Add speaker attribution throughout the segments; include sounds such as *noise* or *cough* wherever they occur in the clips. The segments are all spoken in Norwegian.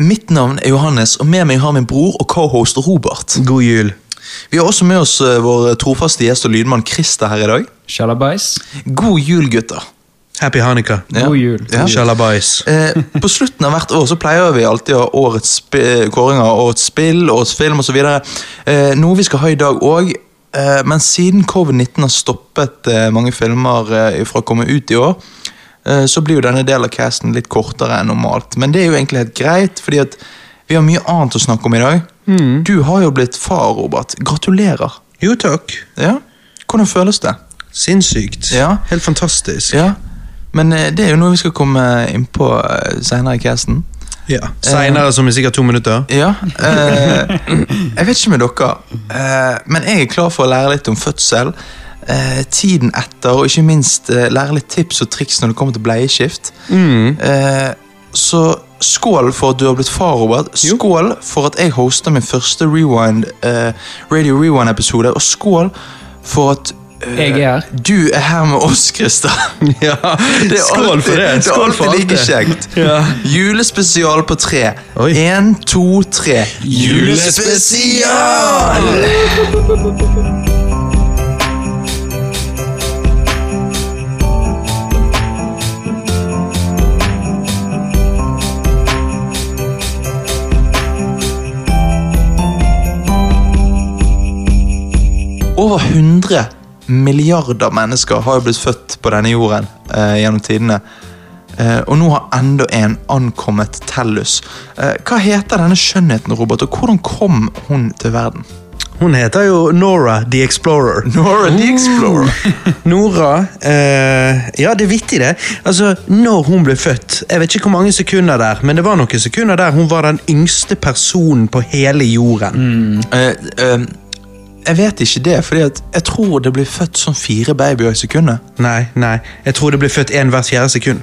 Speaker 1: Mitt navn er Johannes, og med meg har min bror og cohost Robert.
Speaker 2: God jul.
Speaker 1: Vi har også med oss eh, vår trofaste gjest og lydmann Christer her i dag.
Speaker 3: Sjalabais.
Speaker 1: God jul, gutter.
Speaker 2: Happy Hanukkah.
Speaker 1: Ja.
Speaker 3: God jul.
Speaker 1: Ja.
Speaker 2: Shalabais.
Speaker 1: Eh, på slutten av hvert år så pleier vi alltid å ha årets sp- kåringer, årets spill, årets film osv. Eh, noe vi skal ha i dag òg. Eh, men siden covid-19 har stoppet eh, mange filmer eh, fra å komme ut i år, eh, så blir jo denne delen av casten litt kortere enn normalt. Men det er jo egentlig helt greit, fordi at vi har mye annet å snakke om i dag. Du har jo blitt far, Robert. Gratulerer.
Speaker 2: Jo takk.
Speaker 1: Ja. Hvordan føles det?
Speaker 2: Sinnssykt.
Speaker 1: Ja.
Speaker 2: Helt fantastisk.
Speaker 1: Ja. Men eh, det er jo noe vi skal komme inn på eh, senere i casten.
Speaker 2: Ja. Seinere, som i sikkert to
Speaker 1: *laughs*
Speaker 2: minutter.
Speaker 1: Ja. eh, jeg vet ikke med dere, eh, men jeg er klar for å lære litt om fødsel. eh, tiden etter, og ikke minst eh, lære litt tips og triks når det kommer til bleieskift.
Speaker 2: Mm.
Speaker 1: Eh, så skål for at du har blitt far, Robert. Skål for at jeg hoster min første Rewind, eh, Radio Rewind-episode. Og skål for at eh,
Speaker 3: Jeg er her.
Speaker 1: du er her med oss, Christer.
Speaker 2: *laughs* Ja.
Speaker 1: Det er
Speaker 2: Skål
Speaker 1: alltid-
Speaker 2: for det.
Speaker 1: Det er
Speaker 2: Skål for
Speaker 1: alltid
Speaker 2: alt
Speaker 1: like
Speaker 2: det.
Speaker 1: kjekt.
Speaker 2: Ja.
Speaker 1: Julespesial på tre.
Speaker 2: Oi.
Speaker 1: Én, to, tre.
Speaker 2: Julespesial!
Speaker 1: Over 100 milliarder mennesker har jo blitt født på denne jorden eh, gjennom tidene. Eh, og nå har enda en ankommet Tellus. Eh, hva heter denne skjønnheten, Robert, og hvordan kom hun til verden?
Speaker 2: Hun heter jo Nora the
Speaker 1: *laughs*
Speaker 2: Explorer.
Speaker 1: Nora the Explorer.
Speaker 2: Nora eh, Ja, det er vittig, det. Altså, når hun ble født Jeg vet ikke hvor mange sekunder der, men det var noen sekunder der hun var den yngste personen på hele jorden.
Speaker 1: Eh, eh, jeg vet ikke det, fordi at jeg tror det blir født sånn fire babyer i sekundet.
Speaker 2: Nei, nei. Jeg tror det ble født én hvert fjerde sekund.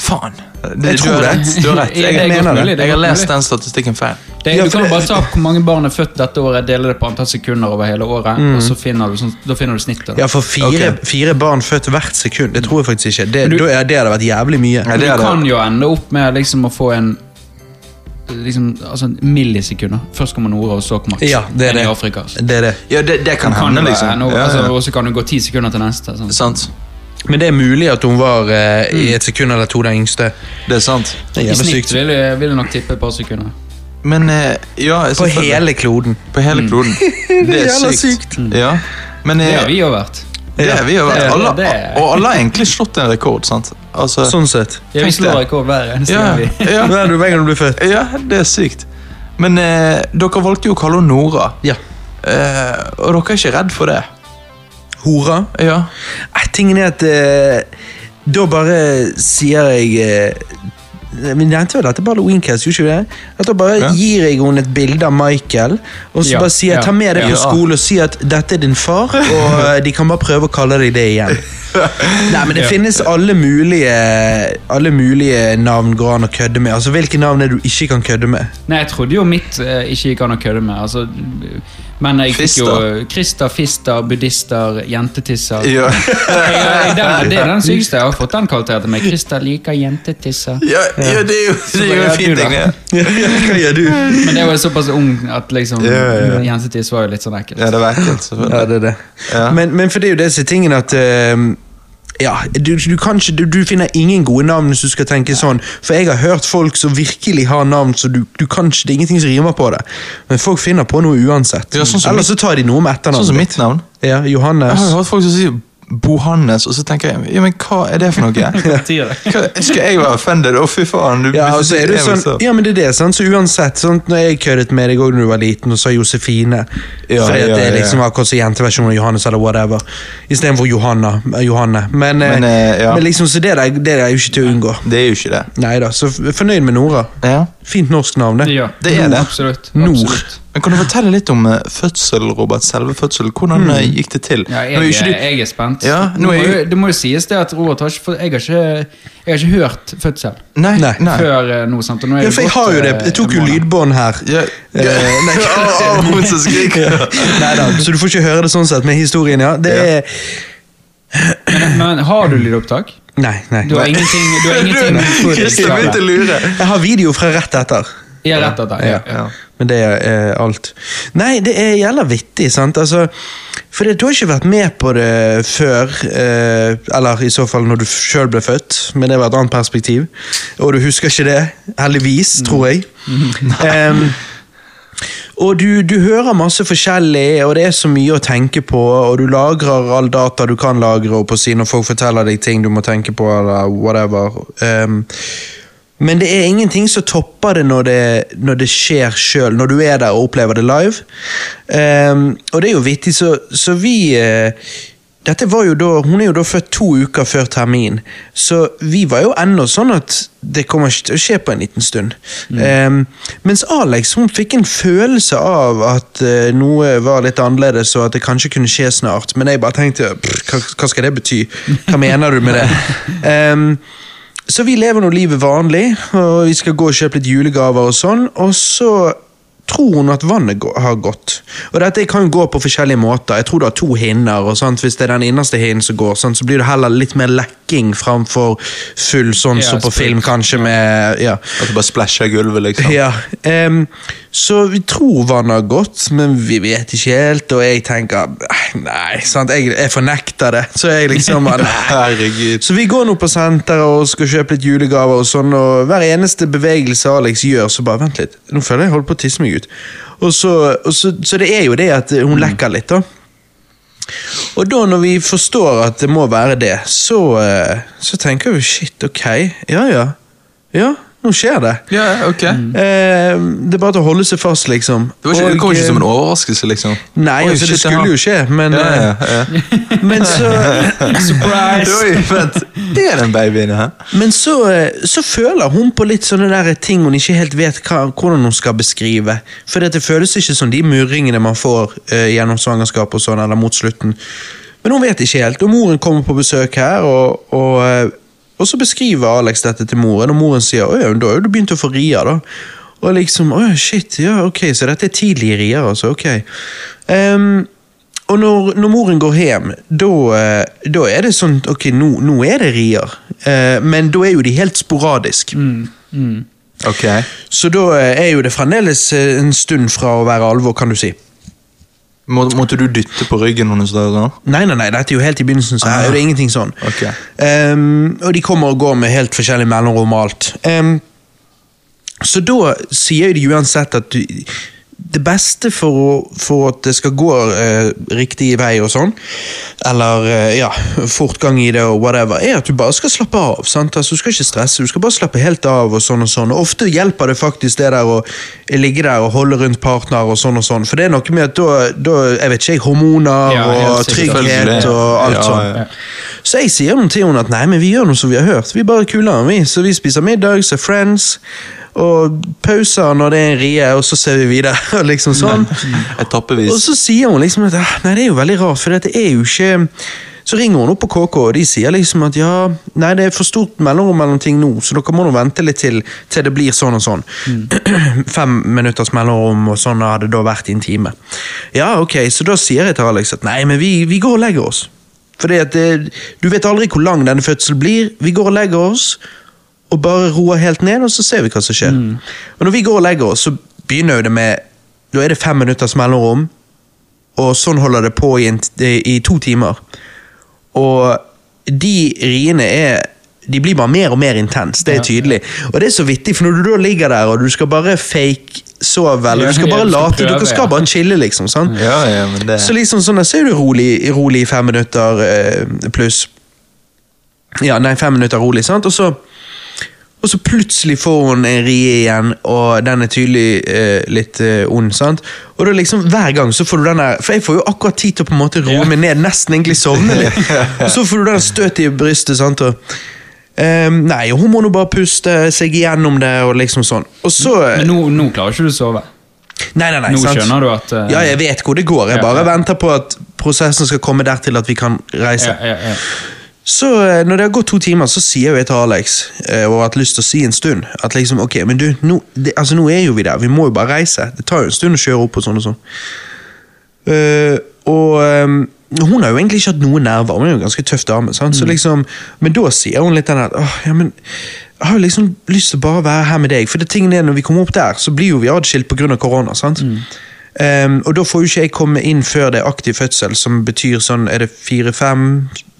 Speaker 1: Faen.
Speaker 2: Jeg
Speaker 1: du
Speaker 2: tror
Speaker 1: har
Speaker 2: det.
Speaker 1: rett. Du har rett.
Speaker 3: Det er
Speaker 1: Jeg,
Speaker 2: mener
Speaker 3: godt
Speaker 2: det.
Speaker 3: mulig, det er
Speaker 1: jeg har
Speaker 3: godt
Speaker 1: lest
Speaker 3: mulig.
Speaker 1: den statistikken feil.
Speaker 3: Det,
Speaker 2: Ja,
Speaker 3: du
Speaker 2: for
Speaker 3: kan
Speaker 2: det-
Speaker 3: bare ta opp hvor mange barn er født dette året, dele det på antall sekunder over hele året, og så finner du, sånn, da finner du snittet.
Speaker 2: Mm. Ja, for fire,
Speaker 1: Ok.
Speaker 2: fire barn født hvert sekund. Det tror jeg faktisk ikke. Det,
Speaker 3: du-
Speaker 2: da- ja, det hadde vært jævlig mye.
Speaker 1: Ja, det er
Speaker 3: du
Speaker 1: det.
Speaker 3: kan jo ende opp med liksom å få en liksom, altså millisekunder. Først kommer Nora, og så kommer
Speaker 2: Ja, det er
Speaker 3: en
Speaker 2: det.
Speaker 3: i Afrika. altså.
Speaker 2: Det er det.
Speaker 1: Ja, det, det kan,
Speaker 3: Kan
Speaker 1: hende,
Speaker 3: det være
Speaker 1: liksom.
Speaker 3: noe,
Speaker 1: Ja,
Speaker 3: altså,
Speaker 1: ja.
Speaker 3: og så kan du gå ti sekunder til neste. Sånn.
Speaker 1: Sant.
Speaker 2: Men det er mulig at hun var eh, i et sekund eller to den yngste.
Speaker 1: Det er sant.
Speaker 2: Det er
Speaker 3: I
Speaker 2: jævlig
Speaker 3: snitt
Speaker 2: sykt.
Speaker 3: vil jeg, vil jeg nok tippe et par sekunder.
Speaker 1: Men eh, ja
Speaker 2: På
Speaker 1: selvfølgelig.
Speaker 2: hele kloden.
Speaker 1: På hele kloden. Det
Speaker 2: jævla
Speaker 1: er sykt. Ja. Men eh,
Speaker 3: Det har vi jo vært.
Speaker 1: det er vi jo.
Speaker 3: det-
Speaker 1: Alle,
Speaker 3: det er-
Speaker 1: og alle har egentlig slått en rekord, sant? Altså,
Speaker 2: Sånn sett.
Speaker 3: Ja, vi
Speaker 1: Tenk
Speaker 3: slår
Speaker 1: det.
Speaker 3: rekord hver eneste
Speaker 1: ja,
Speaker 3: gang. vi
Speaker 1: ja,
Speaker 2: Hver du- hver gang du blir født.
Speaker 1: ja, det er sykt. Men eh, dere valgte jo å kalle henne Nora,
Speaker 2: Ja.
Speaker 1: eh, og dere er ikke redd for det?
Speaker 2: Hora.
Speaker 1: Ja.
Speaker 2: Eh, Tingen er at eh, da bare sier jeg eh, vi nevnte vel dette på Halloweencast, gjorde ikke vi det? At Da bare
Speaker 1: Ja.
Speaker 2: gir jeg henne et bilde av Michael, og så
Speaker 3: Ja,
Speaker 2: bare sier jeg
Speaker 3: ja,
Speaker 2: ta med det på
Speaker 1: ja.
Speaker 2: skolen og si at dette er din far, og eh, de kan bare prøve å kalle deg det igjen. Nei, men det finnes alle mulige, alle mulige navn går an å kødde med. Altså, Hvilke navn er det du ikke kan kødde med?
Speaker 3: Nei, jeg trodde jo mitt eh, ikke gikk an å kødde med. Altså, men jeg fikk jo
Speaker 1: Fister.
Speaker 3: Krister, fister, buddhister, jentetisser.
Speaker 1: Ja.
Speaker 3: Jeg- jeg- den, det er den sykeste jeg har fått den karakteren til meg. Krister liker jentetisser.
Speaker 1: Ja, ja, det er jo, det er jo en
Speaker 3: Ja,
Speaker 1: fin
Speaker 3: du da.
Speaker 1: ting, det.
Speaker 2: Hva gjør du? *laughs*
Speaker 3: Men det var jo såpass ung at liksom
Speaker 1: ja,
Speaker 3: jentetiss var jo litt sånn ekkelt.
Speaker 1: Ja, det var ekkelt,
Speaker 2: Ja,
Speaker 1: selvfølgelig.
Speaker 2: det er det.
Speaker 1: Ja.
Speaker 2: Men, men for det er jo det som er tingen at eh, ja, du, du, kan ikke, du, du finner ingen gode navn hvis du skal tenke sånn. For jeg har hørt folk som virkelig har navn, så du, du kan ikke, det er ingenting som rimer på det. Men folk finner på noe uansett.
Speaker 1: Ja, sånn som
Speaker 2: Eller så tar de noe med etternavn.
Speaker 1: Sånn som mitt navn.
Speaker 2: Ja,
Speaker 1: Jeg har
Speaker 2: Johannes.
Speaker 1: jo hørt folk som sier Bohannes, og så tenker jeg ja, men hva er det for noe?
Speaker 3: betyr det?
Speaker 1: Hva, skal jeg være offended? Å, fy faen. Du,
Speaker 2: Ja, og så er det
Speaker 1: jeg
Speaker 2: jo
Speaker 1: vil
Speaker 2: sånn,
Speaker 1: så-
Speaker 2: ja, men det er det, sant? Så uansett, sant? når jeg køddet med deg også da du var liten og sa Josefine
Speaker 1: Ja,
Speaker 2: Fordi at
Speaker 1: ja,
Speaker 2: det er
Speaker 1: ja.
Speaker 2: liksom akkurat som jenteversjonen av Johannes eller whatever. Istedenfor Johanna. eh, Johanne. Men, eh,
Speaker 1: Men, eh, ja.
Speaker 2: men liksom, så det der, det der er jo ikke til å unngå.
Speaker 1: Det er jo ikke det.
Speaker 2: Nei da, så f- fornøyd med Nora.
Speaker 1: Ja.
Speaker 2: Fint norsk navn, det.
Speaker 3: Ja,
Speaker 1: Det er
Speaker 3: Nord,
Speaker 1: det.
Speaker 3: Absolutt.
Speaker 2: Nord.
Speaker 3: absolutt.
Speaker 1: Men Kan du fortelle litt om eh, fødsel, Robert? Selve fødselen. Hvordan eh, gikk det til?
Speaker 3: Hmm. Ja, jeg,
Speaker 1: Nå er jo ikke
Speaker 3: er-
Speaker 1: du-
Speaker 3: jeg er spent.
Speaker 1: Ja, nå
Speaker 3: Nå må
Speaker 1: er jeg-
Speaker 3: jo- det må jo sies det at Robert har ikke, fått- jeg har ikke, jeg har ikke hørt fødsel
Speaker 1: Nei.
Speaker 2: Nei.
Speaker 1: nei.
Speaker 3: før eh, nå. sant? Og nå er
Speaker 2: Ja,
Speaker 3: det
Speaker 2: for jeg
Speaker 3: gått,
Speaker 2: har jo det.
Speaker 3: eh,
Speaker 2: Jeg tok jo
Speaker 3: en måned.
Speaker 2: lydbånd her.
Speaker 1: Ja. *laughs* ja.
Speaker 2: Eh,
Speaker 1: *laughs*
Speaker 2: nei.
Speaker 1: Å, å, hun som *laughs*
Speaker 2: *laughs*
Speaker 1: skriker.
Speaker 2: Neida, så du får ikke høre det sånn sett, men historien, ja. Det er
Speaker 3: Men har du lydopptak?
Speaker 2: Nei, nei.
Speaker 3: Du har ingenting Du har ingenting med
Speaker 1: Christer
Speaker 3: footage.
Speaker 1: begynte å lure.
Speaker 2: Jeg har video fra rett etter.
Speaker 3: Ja, rett etter. Ja.
Speaker 2: Ja.
Speaker 1: Ja.
Speaker 2: Men det er eh, alt. Nei, det er jævla vittig, sant? Altså, for det, du har ikke vært med på det før, eh, eller i så fall når du sjøl ble født, men det var et annet perspektiv. Og du husker ikke det, heldigvis, tror jeg. Em, og du, du hører masse forskjellig, og det er så mye å tenke på, og du lagrer all data du kan lagre, og på å si når folk forteller deg ting du må tenke på, eller whatever. Ehm, men det er ingenting som topper det når det, når det skjer sjøl, når du er der og opplever det live. Ehm, og det er jo vittig, så, så vi eh, dette var jo da, Hun er jo da født to uker før termin, så vi var jo ennå sånn at det kommer ikke til å skje på en liten stund. Ehm, mens Alex hun fikk en følelse av at eh, noe var litt annerledes, og at det kanskje kunne skje snart. Men jeg bare tenkte "Pff, hva, hva skal det bety? Hva mener du med det? Ehm, så vi lever nå livet vanlig, og vi skal gå og kjøpe litt julegaver og sånn, og så tror hun at vannet gå- har gått. Og dette kan jo gå på forskjellige måter. Jeg tror du har to hinner, og sant? hvis det er den innerste hinnen som går, sant? så blir det heller litt mer lekking framfor full sånn
Speaker 3: Ja,
Speaker 2: som på
Speaker 3: sprut.
Speaker 2: film, kanskje med ja.
Speaker 1: At du bare splæsjer gulvet, liksom.
Speaker 2: Ja, ehm, så vi tror vannet har gått, men vi vet ikke helt, og jeg tenker nei, sant? Jeg, jeg fornekter det. Så jeg liksom bare nei.
Speaker 1: Herregud.
Speaker 2: Så vi går nå på senteret og skal kjøpe litt julegaver og sånn, og hver eneste bevegelse Alex gjør, så bare vent litt, nå føler jeg jeg holder på å tisse meg ut. Og så, og så, så det er jo det at hun lekker litt, da. Og da når vi forstår at det må være det, så, eh, så tenker vi shit, ok, ja ja. Ja, nå skjer det.
Speaker 1: Ja, ok.
Speaker 3: Mm.
Speaker 2: Eh, det er bare til å holde seg fast, liksom.
Speaker 1: Det, var ikke, det kom ikke som en
Speaker 2: år?
Speaker 1: overraskelse, liksom.
Speaker 2: Nei,
Speaker 1: Oi,
Speaker 2: altså, det
Speaker 1: shit, den
Speaker 2: skulle
Speaker 1: har-
Speaker 2: jo skje, men,
Speaker 1: ja, ja,
Speaker 2: eh,
Speaker 1: ja.
Speaker 2: men så
Speaker 3: *laughs*
Speaker 1: *laughs*
Speaker 2: *laughs*
Speaker 3: Surprise!
Speaker 1: Oi, vent. Det er den babyen her.
Speaker 2: Men så, eh, så føler hun på litt sånne der ting hun ikke helt vet hva, hvordan hun skal beskrive. For det føles ikke som de murringene man får eh, gjennom svangerskap og sånn, eller mot slutten. Men hun vet ikke helt. Og moren kommer på besøk her, og, og, eh, og så beskriver Alex dette til moren, og moren sier «Åja, men da har jo du begynt å få rier, da. Og liksom Å shit. Ja, ok, så dette er tidlige rier, altså. Ok. Ehm, og når, når moren går hjem, da, eh, da er det sånn Ok, nå, nå er det rier, eh, men da er jo de helt sporadisk.
Speaker 3: Mm.
Speaker 1: Ok.
Speaker 2: Så da eh, er jo det fremdeles eh, en stund fra å være alvor, kan du si.
Speaker 1: Må, måtte du dytte på ryggen hennes da? da?
Speaker 2: Nei, nei, nei, dette er jo helt i begynnelsen, så her er det ingenting sånn.
Speaker 1: Ok.
Speaker 2: Ehm, og de kommer og går med helt forskjellig mellomrom og alt. Ehm, så da sier de uansett at du, det beste for, å, for at det skal gå eh, riktig vei og sånn, eller eh, ja, fortgang i det og whatever, er at du bare skal slappe av. sant? Altså, du skal ikke stresse, du skal bare slappe helt av og sånn og sånn. Og ofte hjelper det faktisk det der å ligge der og holde rundt partner og sånn og sånn, for det er noe med at da, da jeg vet ikke jeg, hormoner
Speaker 3: Ja,
Speaker 2: og
Speaker 3: helt sikkert.
Speaker 2: trygghet
Speaker 1: Selvfølgelig.
Speaker 2: og alt
Speaker 1: Ja,
Speaker 2: sånn.
Speaker 1: ja.
Speaker 2: Så jeg sier noe til henne at nei, men vi gjør noe som vi har hørt. Vi bare kuler den, vi. Så vi spiser middag, ser Friends, og pauser når det er en rie, og så ser vi videre. *laughs* og liksom sånn. Og
Speaker 1: Etappevis.
Speaker 2: så sier hun liksom at «Ah, nei, det er jo veldig rart, for det er jo ikke så ringer hun opp på KK, og de sier liksom at ja, nei, det er for stort mellomrom mellom ting nå, så dere må nå vente litt til, til det blir sånn og sånn. *clears throat* Fem minutters mellomrom, og sånn har det da vært i en time. Ja, ok, så da sier jeg til Alex at nei, men vi, vi går og legger oss. Fordi at det, du vet aldri hvor lang denne fødselen blir. Vi går og legger oss, og bare roer helt ned, og så ser vi hva som skjer. Og når vi går og legger oss, så begynner jo det med Da er det fem minutters mellomrom, og sånn holder det på i, en, i to timer. Og de riene er de blir bare mer og mer intense, det er tydelig. Og det er så vittig, for når du da ligger der og du skal bare fake sove, eller du skal
Speaker 3: Ja,
Speaker 2: bare
Speaker 3: du skal
Speaker 2: late, dere
Speaker 3: prøve,
Speaker 2: skal
Speaker 3: ja.
Speaker 2: bare chille, liksom. sant?
Speaker 1: Ja, ja, men det
Speaker 2: Så liksom sånn, der, så er du rolig, rolig i fem minutter eh, pluss. Ja, nei, fem minutter rolig, sant? Og så, og så plutselig får hun en rie igjen, og den er tydelig eh, litt eh, ond, sant? Og da liksom, hver gang så får du den der, for jeg får jo akkurat tid til å på en måte roe
Speaker 3: Ja.
Speaker 2: meg ned, nesten egentlig sovne
Speaker 3: *laughs*
Speaker 2: litt. Og så får du den støtet i brystet, sant? Og, eh, nei, og hun må nå bare puste seg igjennom det, og liksom sånn. Og så...
Speaker 3: Men nå, nå klarer ikke du å sove.
Speaker 2: Nei, nei, nei,
Speaker 3: Nå
Speaker 2: sant?
Speaker 3: skjønner du at, eh,
Speaker 2: Ja, jeg vet hvor det går. Jeg
Speaker 3: Ja,
Speaker 2: bare
Speaker 3: ja.
Speaker 2: venter på at prosessen skal komme dertil at vi kan reise.
Speaker 3: Ja, ja, ja.
Speaker 2: Så eh, når det har gått to timer, så sier jo jeg til Alex, eh, og har hatt lyst til å si en stund, at liksom, ok, men du, nå, det, altså, nå er jo vi der, vi må jo bare reise. Det tar jo en stund å kjøre opp og sånn og sånn. Eh, og, eh, Hun har jo egentlig ikke hatt noen nerver, hun er jo en ganske tøff dame. Sant? Så liksom, men da sier hun litt den der Åh, ja, men jeg har jo liksom lyst til å bare være her med deg. For det tingen er, når vi kommer opp der, så blir jo vi adskilt pga. korona. sant? Ehm, og da får jo ikke jeg komme inn før det er aktiv fødsel, som betyr sånn Er det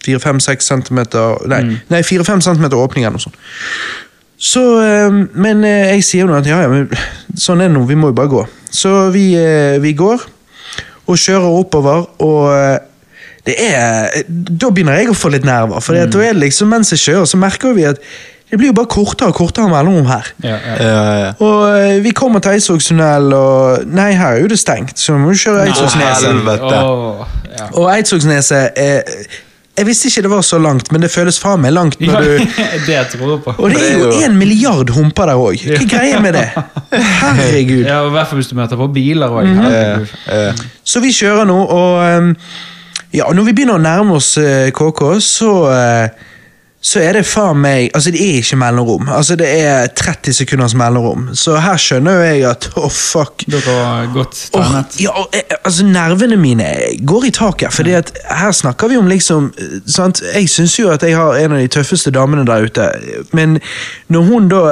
Speaker 2: fire-fem-seks centimeter Nei, nei fire-fem centimeter åpning eller noe sånt. Så, eh, men eh, jeg sier jo nå at ja, ja, men sånn er det nå, vi må jo bare gå. Så vi, eh, vi går og kjører oppover, og eh, det er eh, Da begynner jeg å få litt nerver, for da er det liksom mens jeg kjører, så merker vi at det blir jo bare kortere og kortere mellomrom her.
Speaker 3: Ja, ja.
Speaker 1: Eh,
Speaker 2: Og eh, vi kommer til Eidsvågstunnel, og Nei, her er jo det stengt, så vi må jo kjøre Eidsvågsneset.
Speaker 1: helvete.
Speaker 3: Åh, ja.
Speaker 2: Og Eidsvågsneset eh, Jeg visste ikke det var så langt, men det føles faen meg langt når du
Speaker 3: *laughs* det tror jeg på.
Speaker 2: Og det er jo en milliard humper der òg. Hva er greia med det? Herregud.
Speaker 3: Ja, I hvert fall hvis du møter på biler òg.
Speaker 2: Mm.
Speaker 1: Eh, eh,
Speaker 2: Så vi kjører nå, og ehm, ja, når vi begynner å nærme oss eh, KK, så eh, så er det faen meg Altså, det er ikke mellomrom. Altså, Det er 30 sekunders mellomrom. Så her skjønner jo jeg at *laughs* Å, fuck.
Speaker 3: Dere har godt
Speaker 2: Åh,
Speaker 3: tegnet.
Speaker 2: ja, og, eh, altså Nervene mine går i taket. Fordi at her snakker vi om liksom eh, sant? Jeg syns jo at jeg har en av de tøffeste damene der ute. Men når hun da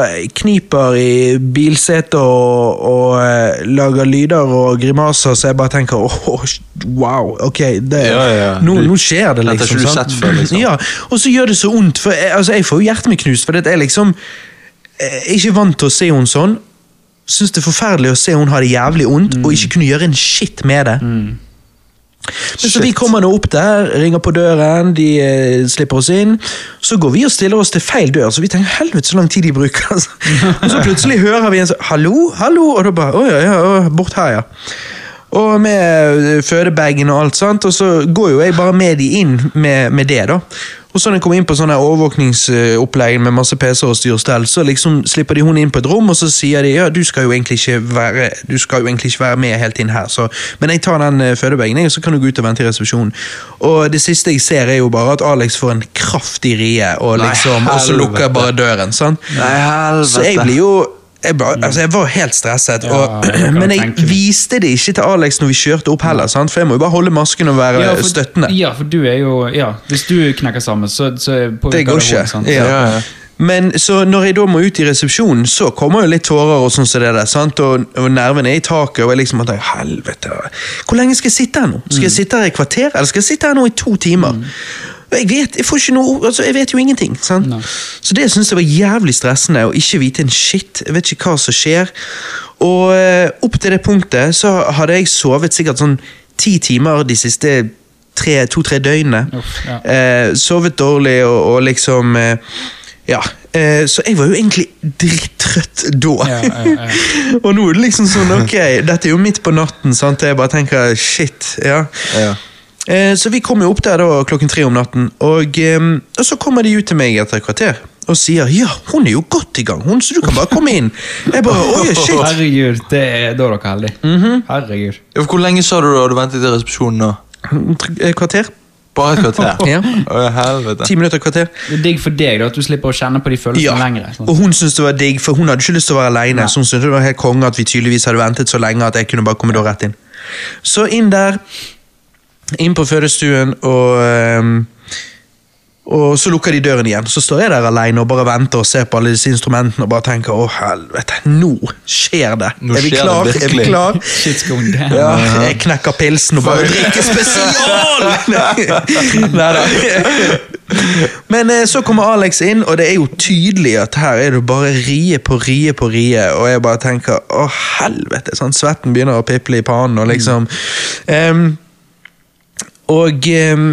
Speaker 2: kniper i bilsetet og, og eh, lager lyder og grimaser, så jeg bare tenker åh, wow, ok det,
Speaker 1: Ja, ja.
Speaker 2: Nå,
Speaker 1: Du-
Speaker 2: nå skjer det,
Speaker 1: Dette har
Speaker 2: liksom.
Speaker 1: ikke du
Speaker 2: sant? *laughs*
Speaker 1: sett før, liksom.
Speaker 2: Ja, og så gjør det så vondt. For jeg, altså, jeg får jo hjertet mitt knust, for det at jeg liksom eh, er ikke vant til å se henne sånn. Syns det er forferdelig å se hun har det jævlig vondt og ikke kunne gjøre en shit med det. Men så
Speaker 1: Mm. Shit.
Speaker 2: vi kommer nå opp der, ringer på døren, de eh, slipper oss inn. Så går vi og stiller oss til feil dør, så vi tenker helvete så lang tid de bruker. *laughs* Altså. Og så plutselig hører vi en sånn 'hallo, hallo', og da bare 'å ja, ja, å, bort her, ja'. Og med eh, fødebagen og alt, sant? og så går jo jeg bare med de inn med, med det, da. Og så når jeg kommer inn på sånne overvåkningsopplegg med masse PC-er og styrstell, så liksom slipper de hun inn på et rom, og så sier de ja, du skal jo egentlig ikke være, du skal jo egentlig ikke være med helt inn her, så men jeg tar den eh, fødebagen, jeg, og så kan du gå ut og vente i resepsjonen. Og det siste jeg ser, er jo bare at Alex får en kraftig rie, og
Speaker 1: Nei,
Speaker 2: liksom, og så lukker jeg bare døren. sant?
Speaker 1: Nei, helvete.
Speaker 2: Så jeg blir jo jeg, bare, altså jeg var helt stresset,
Speaker 3: Ja,
Speaker 2: og,
Speaker 3: det kan
Speaker 2: *clears throat*
Speaker 3: jeg
Speaker 2: men
Speaker 3: tenke
Speaker 2: jeg
Speaker 3: meg.
Speaker 2: viste det ikke til Alex når vi kjørte opp heller, sant? for jeg må jo bare holde masken og være
Speaker 3: Ja, for-
Speaker 2: støttende.
Speaker 3: Ja, for du er jo ja, Hvis du knekker sammen, så, så påvirker
Speaker 2: Det går ikke.
Speaker 3: hun, sant?
Speaker 2: Ja.
Speaker 1: Ja, ja.
Speaker 2: Men så når jeg da må ut i resepsjonen, så kommer jo litt tårer og sånn som det der, sant? Og, og nervene er i taket, og jeg liksom bare tenker, helvete, hvor lenge skal jeg sitte her nå? Skal jeg sitte her i kvarter, eller skal jeg sitte her nå i to timer? Og Jeg vet, jeg, får ikke noe, altså jeg vet jo ingenting. sant?
Speaker 3: Nei.
Speaker 2: Så det syns jeg var jævlig stressende, å ikke vite en shit. Jeg vet ikke hva som skjer. Og eh, opp til det punktet så hadde jeg sovet sikkert sånn ti timer de siste tre- to-tre døgnene.
Speaker 3: Uff, ja.
Speaker 2: Eh, sovet dårlig og, og liksom eh, Ja. Eh, så jeg var jo egentlig drittrøtt da.
Speaker 3: Ja, ja, ja.
Speaker 2: *laughs* og nå er det liksom sånn, ok, dette er jo midt på natten, sant? Jeg bare tenker shit. ja.
Speaker 1: Ja.
Speaker 2: Eh, så vi kom jo opp der da klokken tre om natten, og, eh, og så kommer de ut til meg etter et kvarter og sier ja, hun er jo godt i gang, hun, så du kan bare komme inn. Jeg bare, oi, shit.
Speaker 3: *laughs* Herregud, det er, da er dere heldige.
Speaker 2: Mhm.
Speaker 3: Herregud.
Speaker 1: Ja, for Hvor lenge sa du da du ventet til resepsjonen? nå?
Speaker 2: Eh, Kvarter?
Speaker 1: Bare et kvarter?
Speaker 2: *laughs* Ja.
Speaker 1: Å, helvete.
Speaker 2: Ti minutter, kvarter.
Speaker 3: Det er digg for deg da, at du slipper å kjenne på de følelsene lengre. Sånn.
Speaker 2: Og hun syntes det var digg, for hun hadde ikke lyst til å være alene. Så hun syntes det var helt konge at vi tydeligvis hadde ventet så lenge at jeg kunne bare komme da rett inn. Så inn der, inn på fødestuen, og ehm, og så lukker de døren igjen. Så står jeg der alene og bare venter og ser på alle disse instrumentene og bare tenker å helvete, nå skjer det.
Speaker 1: Nå
Speaker 2: er vi
Speaker 1: skjer det
Speaker 2: klar? er vi
Speaker 1: virkelig. *laughs*
Speaker 2: klar?
Speaker 3: Shit's going down.
Speaker 2: Ja, jeg knekker pilsen og bare drikker spesial!
Speaker 3: *laughs*
Speaker 2: Neida. Men eh, så kommer Alex inn, og det er jo tydelig at her er det bare rie på rie på rie. Og jeg bare tenker å helvete, sånn svetten begynner å piple i pannen og liksom Em, Og em,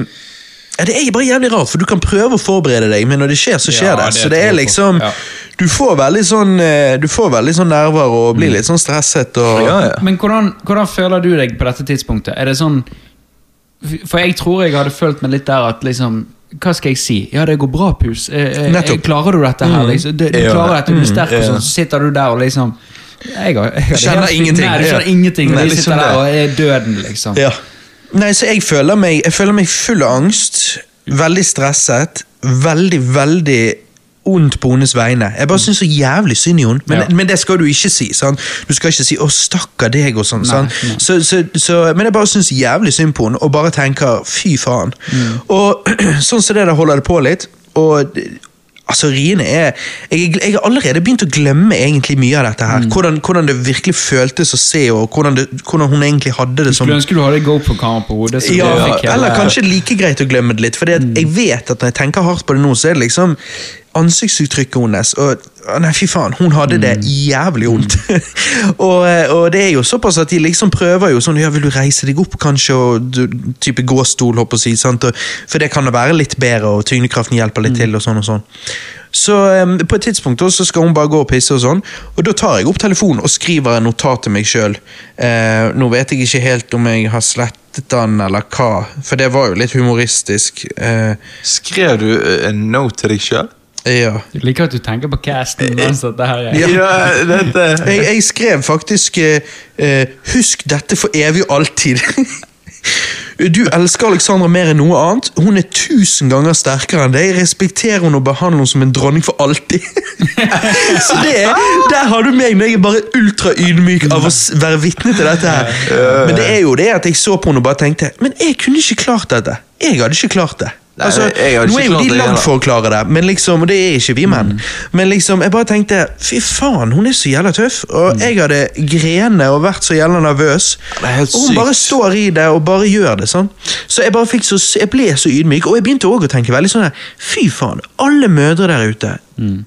Speaker 2: ja, det er bare jævlig rart, for du kan prøve å forberede deg, men når det skjer, så skjer
Speaker 3: Ja,
Speaker 2: det.
Speaker 3: det
Speaker 2: Så det
Speaker 3: tror jeg
Speaker 2: er
Speaker 3: på.
Speaker 2: liksom
Speaker 3: Ja.
Speaker 2: Du får veldig sånn eh, Du får veldig sånn nerver og
Speaker 3: Mm.
Speaker 2: blir litt sånn stresset og
Speaker 1: Ja, ja.
Speaker 3: Men hvordan, hvordan føler du deg på dette tidspunktet? Er det sånn For jeg tror jeg hadde følt meg litt der at liksom hva skal jeg si? Ja, det går bra, pus. Eh, eh,
Speaker 2: Nettopp. Mm.
Speaker 3: Klarer du dette her? Liksom? Du, du
Speaker 1: Ja.
Speaker 3: klarer dette, du er sterk, og
Speaker 1: ja.
Speaker 3: sånn, så sitter du der og liksom jeg har, jeg har det
Speaker 2: Kjenner
Speaker 3: helt fint.
Speaker 2: ingenting.
Speaker 3: Nei, du kjenner
Speaker 2: Ja.
Speaker 3: ingenting.
Speaker 1: Nei,
Speaker 3: Du
Speaker 1: liksom
Speaker 3: sitter der
Speaker 1: det.
Speaker 3: og er døden, liksom.
Speaker 2: Ja. Nei, så jeg føler meg Jeg føler meg full av angst, veldig stresset, veldig, veldig ondt på hennes vegne. Jeg bare syns så jævlig synd i henne. Men,
Speaker 3: Mm. Ja.
Speaker 2: men det skal du ikke si. sant? Du skal ikke si 'å, stakkar deg' og sånn.
Speaker 3: Nei,
Speaker 2: sant?
Speaker 3: nei.
Speaker 2: Så, så, så, men jeg bare syns jævlig synd på henne, og bare tenker 'fy faen'.
Speaker 3: Mm.
Speaker 2: Og *clears throat* sånn som det der holder det på litt. og... Altså, Riene er jeg, jeg har allerede begynt å glemme egentlig mye av dette.
Speaker 3: Mm.
Speaker 2: her. Hvordan, hvordan det virkelig føltes å se henne, og hvordan, det, hvordan hun egentlig hadde det som
Speaker 3: Skulle ønske du hadde GoPro-kamera på hodet. så du
Speaker 2: ja,
Speaker 3: fikk hele- Mm.
Speaker 2: eller kanskje like greit å glemme det litt. For jeg vet at når jeg tenker hardt på det nå, så er det liksom ansiktsuttrykket hennes og å, Nei, fy faen, hun hadde det
Speaker 3: Mm.
Speaker 2: jævlig vondt. *laughs* og, eh, og det er jo såpass at de liksom prøver jo sånn Ja, vil du reise deg opp, kanskje, og du, type gåstol, håper jeg å si. Sant? Og, for det kan da være litt bedre, og tyngdekraften hjelper
Speaker 3: Mm.
Speaker 2: litt til, og sånn og sånn. Så eh, på et tidspunkt da, så skal hun bare gå og pisse, og sånn, og da tar jeg opp telefonen og skriver en notat til meg sjøl. Eh, nå vet jeg ikke helt om jeg har slettet den, eller hva, for det var jo litt humoristisk. Eh,
Speaker 1: Skrev du eh, en note til deg sjøl?
Speaker 2: ja.
Speaker 3: Jeg liker at du tenker på casten mens dette her er
Speaker 2: Eh, Ja.
Speaker 1: dette
Speaker 2: Jeg, jeg skrev faktisk eh, eh, 'Husk dette for evig og alltid'. *laughs* Du elsker Alexandra mer enn noe annet. Hun er tusen ganger sterkere enn deg. Respekter hun og behandler hun som en dronning for alltid. *laughs* Så det er, Der har du meg når jeg er bare ultraydmyk av å s- være vitne til dette her. Men det er jo det at jeg så på henne og bare tenkte Men jeg kunne ikke klart dette. Jeg hadde ikke klart det.
Speaker 1: Nei,
Speaker 2: Altså,
Speaker 1: jeg hadde
Speaker 2: nå
Speaker 1: ikke
Speaker 2: er jo
Speaker 1: klart
Speaker 2: de
Speaker 1: det
Speaker 2: langt
Speaker 1: heller.
Speaker 2: for å klare det, men liksom, og det er ikke vi menn.
Speaker 1: Mm.
Speaker 2: Men liksom, jeg bare tenkte fy faen, hun er så jævla tøff. Og jeg hadde grene og vært så jævla nervøs.
Speaker 1: Mm. Det er helt
Speaker 2: Og hun
Speaker 1: sykt.
Speaker 2: bare står i det og bare gjør det. sånn. Så jeg bare fikk så, jeg ble så ydmyk, og jeg begynte også å tenke veldig sånn her, fy faen, alle mødre der ute,
Speaker 1: Mm.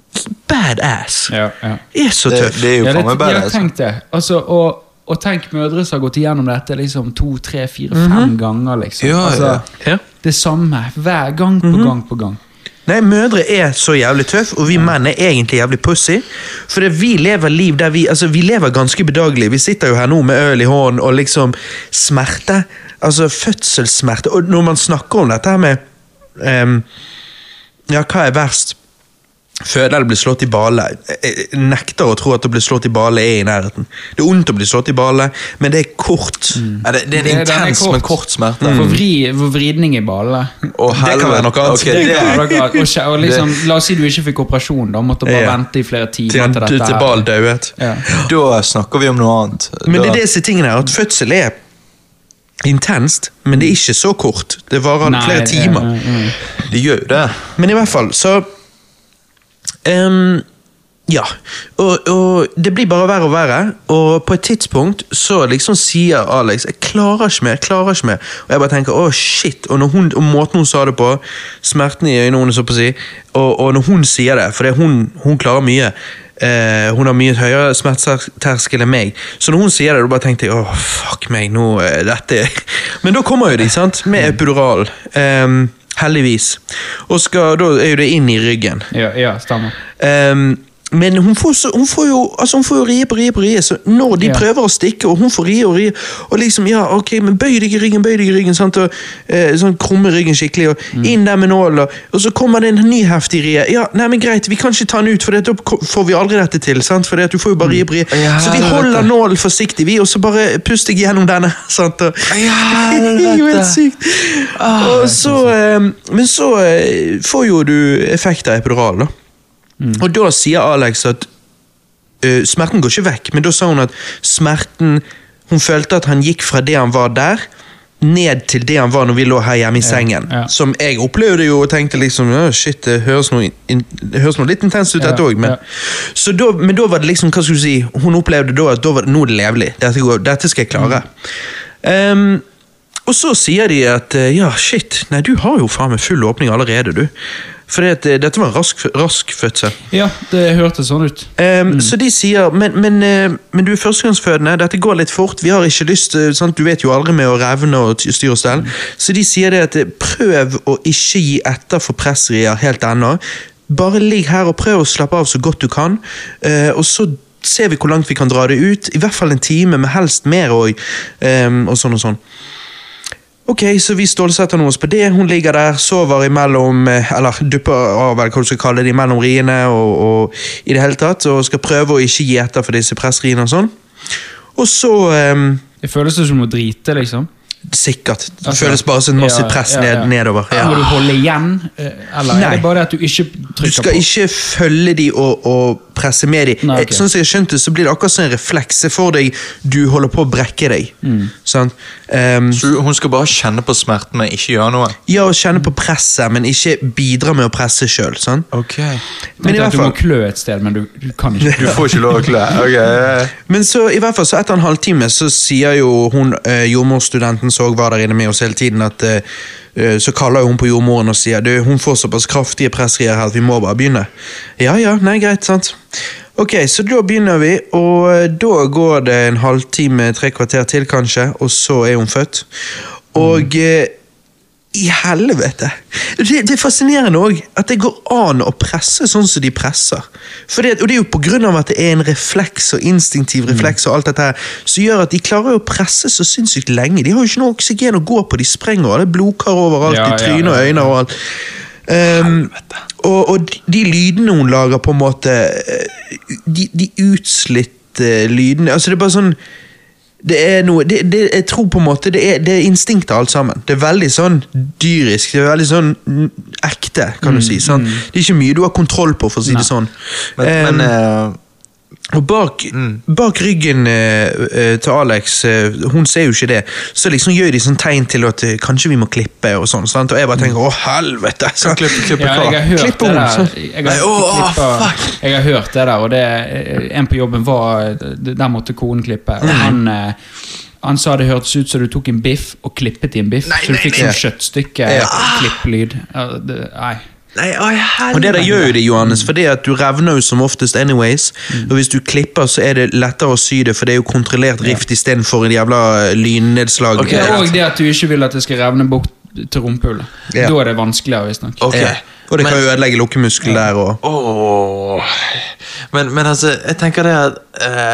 Speaker 2: badass,
Speaker 3: Ja, ja.
Speaker 2: de er så
Speaker 1: Det,
Speaker 2: tøff.
Speaker 1: det er jo
Speaker 3: Ja, det-
Speaker 1: faen meg
Speaker 3: ja,
Speaker 1: bedre. altså.
Speaker 3: tenk det. Altså, og, og tenk mødre som har gått igjennom dette liksom to, tre, fire, fem ganger. liksom.
Speaker 1: Ja,
Speaker 3: altså,
Speaker 1: ja.
Speaker 2: Ja.
Speaker 3: Det samme hver gang på gang på gang.
Speaker 2: Nei, mødre er så jævlig tøff, og vi menn er egentlig jævlig pussy. For det, vi lever liv der vi Altså, vi lever ganske bedagelig. Vi sitter jo her nå med øl i hånden og liksom smerte. Altså fødselssmerte. Og når man snakker om dette her med ehm, Ja, hva er verst? Føde eller bli slått i bale? Jeg jeg nekter å tro at å bli slått i bale er i nærheten. Det er vondt å bli slått i bale, men det er kort.
Speaker 3: Mm.
Speaker 1: Ja, det, det er en
Speaker 3: Det- den er
Speaker 1: intens,
Speaker 3: kort.
Speaker 1: men kort smerte.
Speaker 3: For, vri, for vridning i ballene.
Speaker 1: Å,
Speaker 2: Det kan være noe annet.
Speaker 1: helvete. Ok,
Speaker 3: Det
Speaker 1: det-
Speaker 3: kan være noe- og, skje- og liksom, la oss si du ikke fikk operasjon, da. Måtte bare
Speaker 2: Ja.
Speaker 3: vente i flere timer
Speaker 2: Til,
Speaker 3: til dette.
Speaker 2: til,
Speaker 3: her.
Speaker 2: til bal dauet.
Speaker 3: Ja.
Speaker 1: *laughs* Da snakker vi om noe annet.
Speaker 2: Men det
Speaker 1: Da-
Speaker 2: er disse tingene her, at fødsel er intenst, men det er ikke så kort. Det varer
Speaker 3: Nei,
Speaker 2: flere
Speaker 3: det-
Speaker 2: timer.
Speaker 3: mm.
Speaker 1: det gjør jo det.
Speaker 2: Men i hvert fall, så ehm, Ja. Og, og det blir bare verre og verre, og på et tidspunkt så liksom sier Alex 'Jeg klarer ikke mer', jeg klarer ikke mer. Og jeg bare tenker 'å, shit'. Og, når hun, og måten hun sa det på, smerten i øynene hennes, så på å si, og, og når hun sier det, for det er hun, hun klarer mye eh, Hun har mye høyere smerteterskel enn meg. Så når hun sier det, da bare tenkte jeg 'å, fuck meg, nå eh, dette er-» *laughs* Men da kommer jo de, sant, med epidural. Ehm, Heldigvis. Og skal, da er jo det inn i ryggen.
Speaker 3: Ja, ja, stemmer.
Speaker 2: Ehm, men hun får, så, hun, får jo, altså hun får jo rie på rie på rie, så når de
Speaker 3: Ja.
Speaker 2: prøver å stikke, og hun får rie og rie Og liksom, ja, ok, men bøy deg i ryggen, bøy deg i ryggen, sant, og eh, sånn krumme ryggen skikkelig, og inn der med nål, og, og så kommer det en ny heftig rie. Ja, nei, men greit, vi kan ikke ta den ut, for det, da ko- får vi aldri dette til, sant, for det, at du får jo bare rie på rie.
Speaker 1: Ja,
Speaker 2: så vi
Speaker 1: helvete.
Speaker 2: holder nålen forsiktig, vi, og så bare puster jeg gjennom denne, *laughs* sant, og *laughs*
Speaker 1: Ja,
Speaker 2: det er jo helt
Speaker 1: helvete.
Speaker 2: sykt.
Speaker 3: Ah,
Speaker 2: Og så,
Speaker 3: sånn.
Speaker 2: eh, men så eh, får jo du effekt av epidural, da.
Speaker 3: Mm.
Speaker 2: Og da sier Alex at eh, smerten går ikke vekk, men da sa hun at smerten Hun følte at han gikk fra det han var der, ned til det han var når vi lå her hjemme i sengen.
Speaker 3: ja.
Speaker 2: Som jeg opplevde jo og tenkte liksom «Åh, Shit, det høres noe, in det høres noe litt intenst ut,
Speaker 3: Ja,
Speaker 2: dette òg, men
Speaker 3: ja.
Speaker 2: så da, men da var det liksom, hva skulle du si, hun opplevde da at da var det, nå er det levelig. Dette, går, dette skal jeg klare.
Speaker 3: Mm.
Speaker 2: Ehm, og så sier de at eh, ja, shit, nei, du har jo faen meg full åpning allerede, du. For dette var en rask, fø- rask fødsel.
Speaker 3: Ja, det hørtes sånn ut.
Speaker 2: Ehm, Så de sier men, men, eh, men du er førstegangsfødende, dette går litt fort. Vi har ikke lyst eh, sant? Du vet jo aldri med å revne og ty- styre og stell. Så de sier det at eh, prøv å ikke gi etter for pressrier helt ennå. Bare ligg her og prøv å slappe av så godt du kan. eh, og så ser vi hvor langt vi kan dra det ut. I hvert fall en time, men helst mer òg. og sånn og sånn. Ok, så vi stålsetter oss på det. Hun ligger der, sover imellom eh, Eller dupper av, eller hva du skal kalle det, imellom riene og, og i det hele tatt. Og skal prøve å ikke gi etter for disse pressriene og sånn. Og så ehm,
Speaker 3: Det føles som å drite, liksom.
Speaker 2: Sikkert. Det
Speaker 3: Altså,
Speaker 2: føles bare som et massivt
Speaker 3: ja,
Speaker 2: press
Speaker 3: ja, ja.
Speaker 2: ned, nedover.
Speaker 3: Må du
Speaker 2: Ja.
Speaker 3: holde igjen, eh, eller er
Speaker 2: Nei.
Speaker 3: det bare det at du ikke trykker
Speaker 2: Du skal
Speaker 3: på?
Speaker 2: ikke følge de og, og presse med de.
Speaker 3: Nei, ok.
Speaker 2: Eh, Sånn som jeg skjønte, så blir det akkurat som en refleks. Se for deg du holder på å brekke deg.
Speaker 3: Mm.
Speaker 2: Sant? Ehm,
Speaker 1: Så hun skal bare kjenne på smerten, men ikke gjøre noe?
Speaker 2: ja, å kjenne på presset, men ikke bidra med å presse sjøl. Sånn?
Speaker 1: Ok.
Speaker 2: Men i
Speaker 3: Tenkte
Speaker 2: hvert
Speaker 3: at du
Speaker 2: fall
Speaker 3: må klø et sted, men du, du kan ikke.
Speaker 1: Du
Speaker 2: *laughs*
Speaker 1: får ikke lov å klø. Ok. eh,
Speaker 2: Men så i hvert fall, så etter en halvtime så sier jo hun eh, jordmorstudenten som også var der inne med oss hele tiden, at eh, eh, så kaller hun på jordmoren og sier du, hun får såpass kraftige pressrier her at vi må bare begynne. Ja ja, nei greit, sant. Ok, så da begynner vi, og eh, da går det en halvtime, tre kvarter til kanskje, og så er hun født. Og eh, i helvete! Det, det er fascinerende òg at det går an å presse sånn som de presser. For det, og det er jo på grunn av at det er en refleks og
Speaker 3: Mm.
Speaker 2: instinktiv refleks og alt dette her, som gjør at de klarer jo å presse så sinnssykt lenge. De har jo ikke noe oksygen å gå på, de sprenger, og det er blodkar overalt
Speaker 3: Ja,
Speaker 2: i
Speaker 3: ja,
Speaker 2: trynet
Speaker 3: ja,
Speaker 2: og
Speaker 3: ja.
Speaker 2: øyne og alt. Ehm, og, og de- de lydene hun lager, på en måte eh, De, de utslitte lydene Altså, det er bare sånn det er noe det, det, Jeg tror på en måte det er, det er instinktet, alt sammen. Det er veldig sånn dyrisk. Det er veldig sånn mm, ekte, kan du si. Sånn. Det er ikke mye du har kontroll på, for å si det sånn.
Speaker 1: Mm, Men,
Speaker 2: Em,
Speaker 1: men eh,
Speaker 2: og bak, bak ryggen eh, eh, til Alex, eh, hun ser jo ikke det, så liksom gjør de sånn tegn til at eh, kanskje vi må klippe og sånn. Sant? Og jeg bare tenker å helvete! Så,
Speaker 1: klippe, klippe
Speaker 3: Ja,
Speaker 1: hva?
Speaker 3: jeg har hørt
Speaker 2: Klipp
Speaker 3: det
Speaker 2: om,
Speaker 3: der.
Speaker 2: så.
Speaker 3: Jeg
Speaker 1: Nei,
Speaker 3: har,
Speaker 1: åh,
Speaker 3: klippa- jeg har hørt det der, og det, eh, en på jobben var Der måtte konen klippe, og
Speaker 2: Mm.
Speaker 3: han eh, han sa det hørtes ut som du tok en biff og klippet i en biff. så du fikk sånn eh,
Speaker 2: Ja.
Speaker 3: kjøttstykke-klipplyd. Nei.
Speaker 1: Nei, å, helvete.
Speaker 2: Og det der gjør jo det, Johannes, for det at du revner jo som oftest anyways. Og hvis du klipper, så er det lettere å sy det, for det er jo kontrollert rift istedenfor en jævla eh, lynnedslag.
Speaker 1: Ok,
Speaker 3: Det er
Speaker 2: Eh,
Speaker 3: òg det at du ikke vil at det skal revne bort til rumpehullet.
Speaker 2: Ja.
Speaker 3: Da er det vanskeligere, visstnok.
Speaker 1: Ok.
Speaker 2: eh, Og det kan jo ødelegge lukkemuskelen der og
Speaker 1: Åh. Men, men altså, jeg tenker det at eh,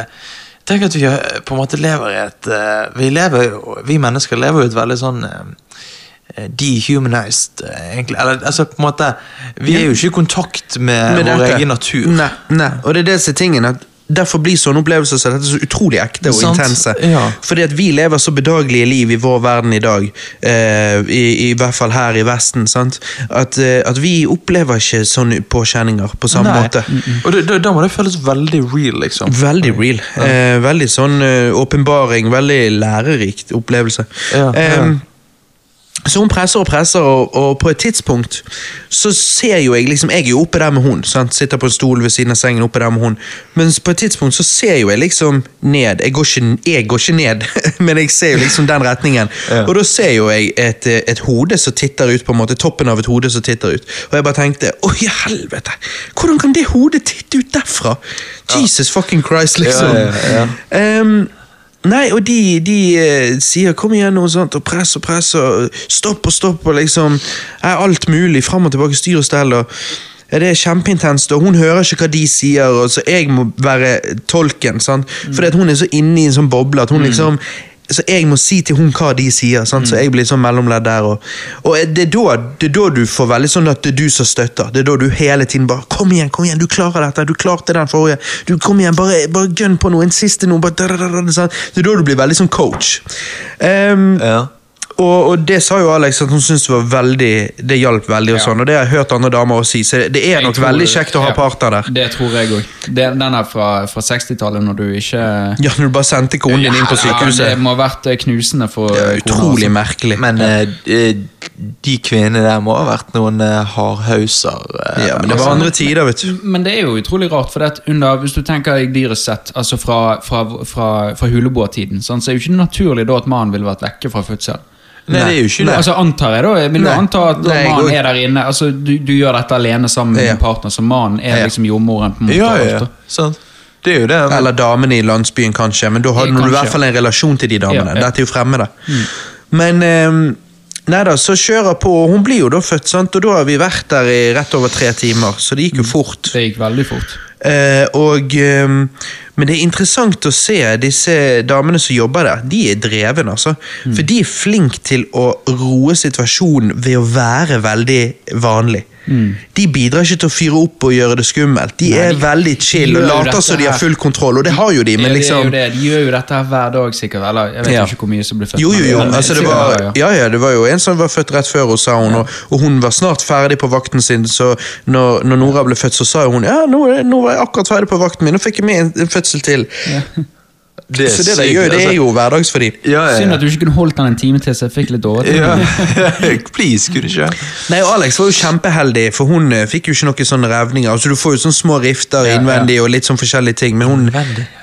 Speaker 1: Tenk at vi eh, på en måte lever i et eh, Vi lever jo, vi mennesker lever jo et veldig sånn eh, dehumanized, eh, egentlig. Eller altså, på en måte Vi er jo ikke i kontakt med,
Speaker 2: Med
Speaker 1: Eh, vår
Speaker 2: dette.
Speaker 1: egen natur.
Speaker 2: Nei, nei, og det er det som er tingen at Derfor blir sånne opplevelser som dette så utrolig ekte og
Speaker 1: Sant,
Speaker 2: intense.
Speaker 1: ja.
Speaker 2: Fordi at vi lever så bedagelige liv i vår verden i dag, eh, i, i hvert fall her i Vesten, sant? At, eh, at vi opplever ikke sånne påkjenninger på samme
Speaker 1: Nei.
Speaker 2: måte.
Speaker 1: Og da- da- da må det føles veldig real, liksom.
Speaker 2: Veldig real. Eh, veldig sånn eh, åpenbaring, veldig lærerikt opplevelse.
Speaker 1: Ja, ja.
Speaker 2: Em, Ehm, så hun presser og presser, og, og på et tidspunkt så ser jo jeg liksom Jeg er jo oppe der med hun, sant? sitter på en stol ved siden av sengen oppe der med hun. Mens på et tidspunkt så ser jo jeg liksom ned. Jeg går ikke, jeg går ikke ned, *laughs* men jeg ser jo liksom den retningen.
Speaker 1: Ja.
Speaker 2: Og da ser jo jeg et, eh, et hode som titter ut, på en måte. Toppen av et hode som titter ut. Og jeg bare tenkte å i helvete! Hvordan kan det hodet titte ut derfra? Jesus fucking Christ, liksom.
Speaker 1: Ja, ja,
Speaker 2: Ehm, Nei, og de, de eh, sier 'kom igjen' og sånt, og press og press og stopp og stopp og liksom er Alt mulig. Fram og tilbake, styr og stell. og ja, Det er kjempeintenst, og hun hører ikke hva de sier, og så jeg må være tolken. sant? Fordi at hun er så inne i en sånn boble at hun liksom så jeg må si til hun hva de sier, sant? så jeg blir sånn mellomledd der. Og, og det, er da, det er da du får veldig sånn at det er du som støtter. Det er da du hele tiden bare 'Kom igjen, kom igjen, du klarer dette, du klarte den forrige'. du Kom igjen, bare, bare gønn på noe, en siste noe. Bare, da, da, da, da, sant? Det er da du blir veldig sånn coach. Ehm,
Speaker 1: Ja.
Speaker 2: og, og det sa jo Alex at hun syntes det var veldig Det hjalp veldig, og
Speaker 3: Ja.
Speaker 2: sånn Og det har jeg hørt andre damer også si, så det, det er
Speaker 3: Jeg
Speaker 2: nok
Speaker 3: tror-
Speaker 2: veldig kjekt å ha
Speaker 3: ja,
Speaker 2: parter der.
Speaker 3: Det tror jeg òg. Den den er fra, fra 60-tallet, når du ikke
Speaker 2: Ja, når du bare sendte konen din inn på
Speaker 3: Ja, det
Speaker 2: sykehuset.
Speaker 3: må ha vært eh, knusende for
Speaker 2: Det
Speaker 3: eh,
Speaker 2: er
Speaker 3: kona,
Speaker 2: utrolig merkelig.
Speaker 1: Men eh, de- de kvinnene der må ha vært noen eh, hardhauser. eh,
Speaker 2: Ja, men det
Speaker 1: altså.
Speaker 2: var andre tider, vet du.
Speaker 3: Men det er jo utrolig rart, for det at under, hvis du tenker deg dyrest sett, altså fra, fra, fra, fra huleboertiden, sånn, så er jo ikke det naturlig da at mannen ville vært vekke fra fødsel.
Speaker 1: Nei, det er jo ikke det.
Speaker 3: Altså antar jeg da, men du
Speaker 2: Nei.
Speaker 3: antar at da
Speaker 2: Nei, jeg
Speaker 3: mannen
Speaker 2: går-
Speaker 3: er der inne, altså du, du gjør dette alene sammen med
Speaker 2: Ja.
Speaker 3: din partner, så mannen er
Speaker 2: Ja.
Speaker 3: liksom jordmoren på en måte.
Speaker 1: Ja, ja,
Speaker 3: ofte.
Speaker 1: ja. Sant. Det er jo det. men-
Speaker 2: Eller damene i landsbyen, kanskje. Men da hadde
Speaker 3: Ja,
Speaker 2: du i
Speaker 3: kanskje,
Speaker 2: hvert fall en relasjon til de damene.
Speaker 3: Ja, Mm. ja.
Speaker 2: Dette er jo fremmede. Men ehm, nei da, så kjører på. og Hun blir jo da født, sant? og da har vi vært der i rett over tre timer, så det gikk
Speaker 3: Mm.
Speaker 2: jo fort.
Speaker 3: Det gikk veldig fort.
Speaker 2: Eh, og, ehm, men det er interessant å se disse damene som jobber der. De er dreven, altså.
Speaker 3: Mm.
Speaker 2: For de er flinke til å roe situasjonen ved å være veldig vanlig. De bidrar ikke til å fyre opp og gjøre det skummelt. De er veldig chill
Speaker 3: Mm. De
Speaker 2: og
Speaker 3: gjør jo
Speaker 2: later
Speaker 3: dette
Speaker 2: som de har
Speaker 3: her.
Speaker 2: full kontroll, og det har jo de, men
Speaker 3: Ja,
Speaker 2: liksom
Speaker 3: det er jo det. De gjør jo dette her hver dag, sikkert. Eller jeg vet
Speaker 2: Ja.
Speaker 3: ikke hvor mye som blir født.
Speaker 2: Jo, jo,
Speaker 3: men-
Speaker 2: jo.
Speaker 3: men
Speaker 2: Altså, det,
Speaker 3: sikkert hver
Speaker 2: var,
Speaker 3: dag, ja.
Speaker 2: ja, ja, det var jo en som var født rett før hos sa hun, og, og hun var snart ferdig på vakten sin, så når, når Nora ble født, så sa hun ja, nå, er- nå var jeg akkurat ferdig på vakten min, nå fikk jeg med en, en fødsel til.
Speaker 1: Det
Speaker 2: Så det, der
Speaker 1: sykt,
Speaker 2: gjør, det
Speaker 1: altså.
Speaker 2: er jo hverdags for dem.
Speaker 1: ja, ja,
Speaker 3: Synd at du ikke kunne holdt den en time til, så jeg fikk litt dårlig.
Speaker 1: ja. ja. *laughs* Please, kunne du ikke?
Speaker 2: Nei, og Alex var jo kjempeheldig, for hun eh, fikk jo ikke noen sånne revninger. Altså, du får jo sånne små rifter
Speaker 3: ja.
Speaker 2: innvendig og litt sånn forskjellige ting, men hun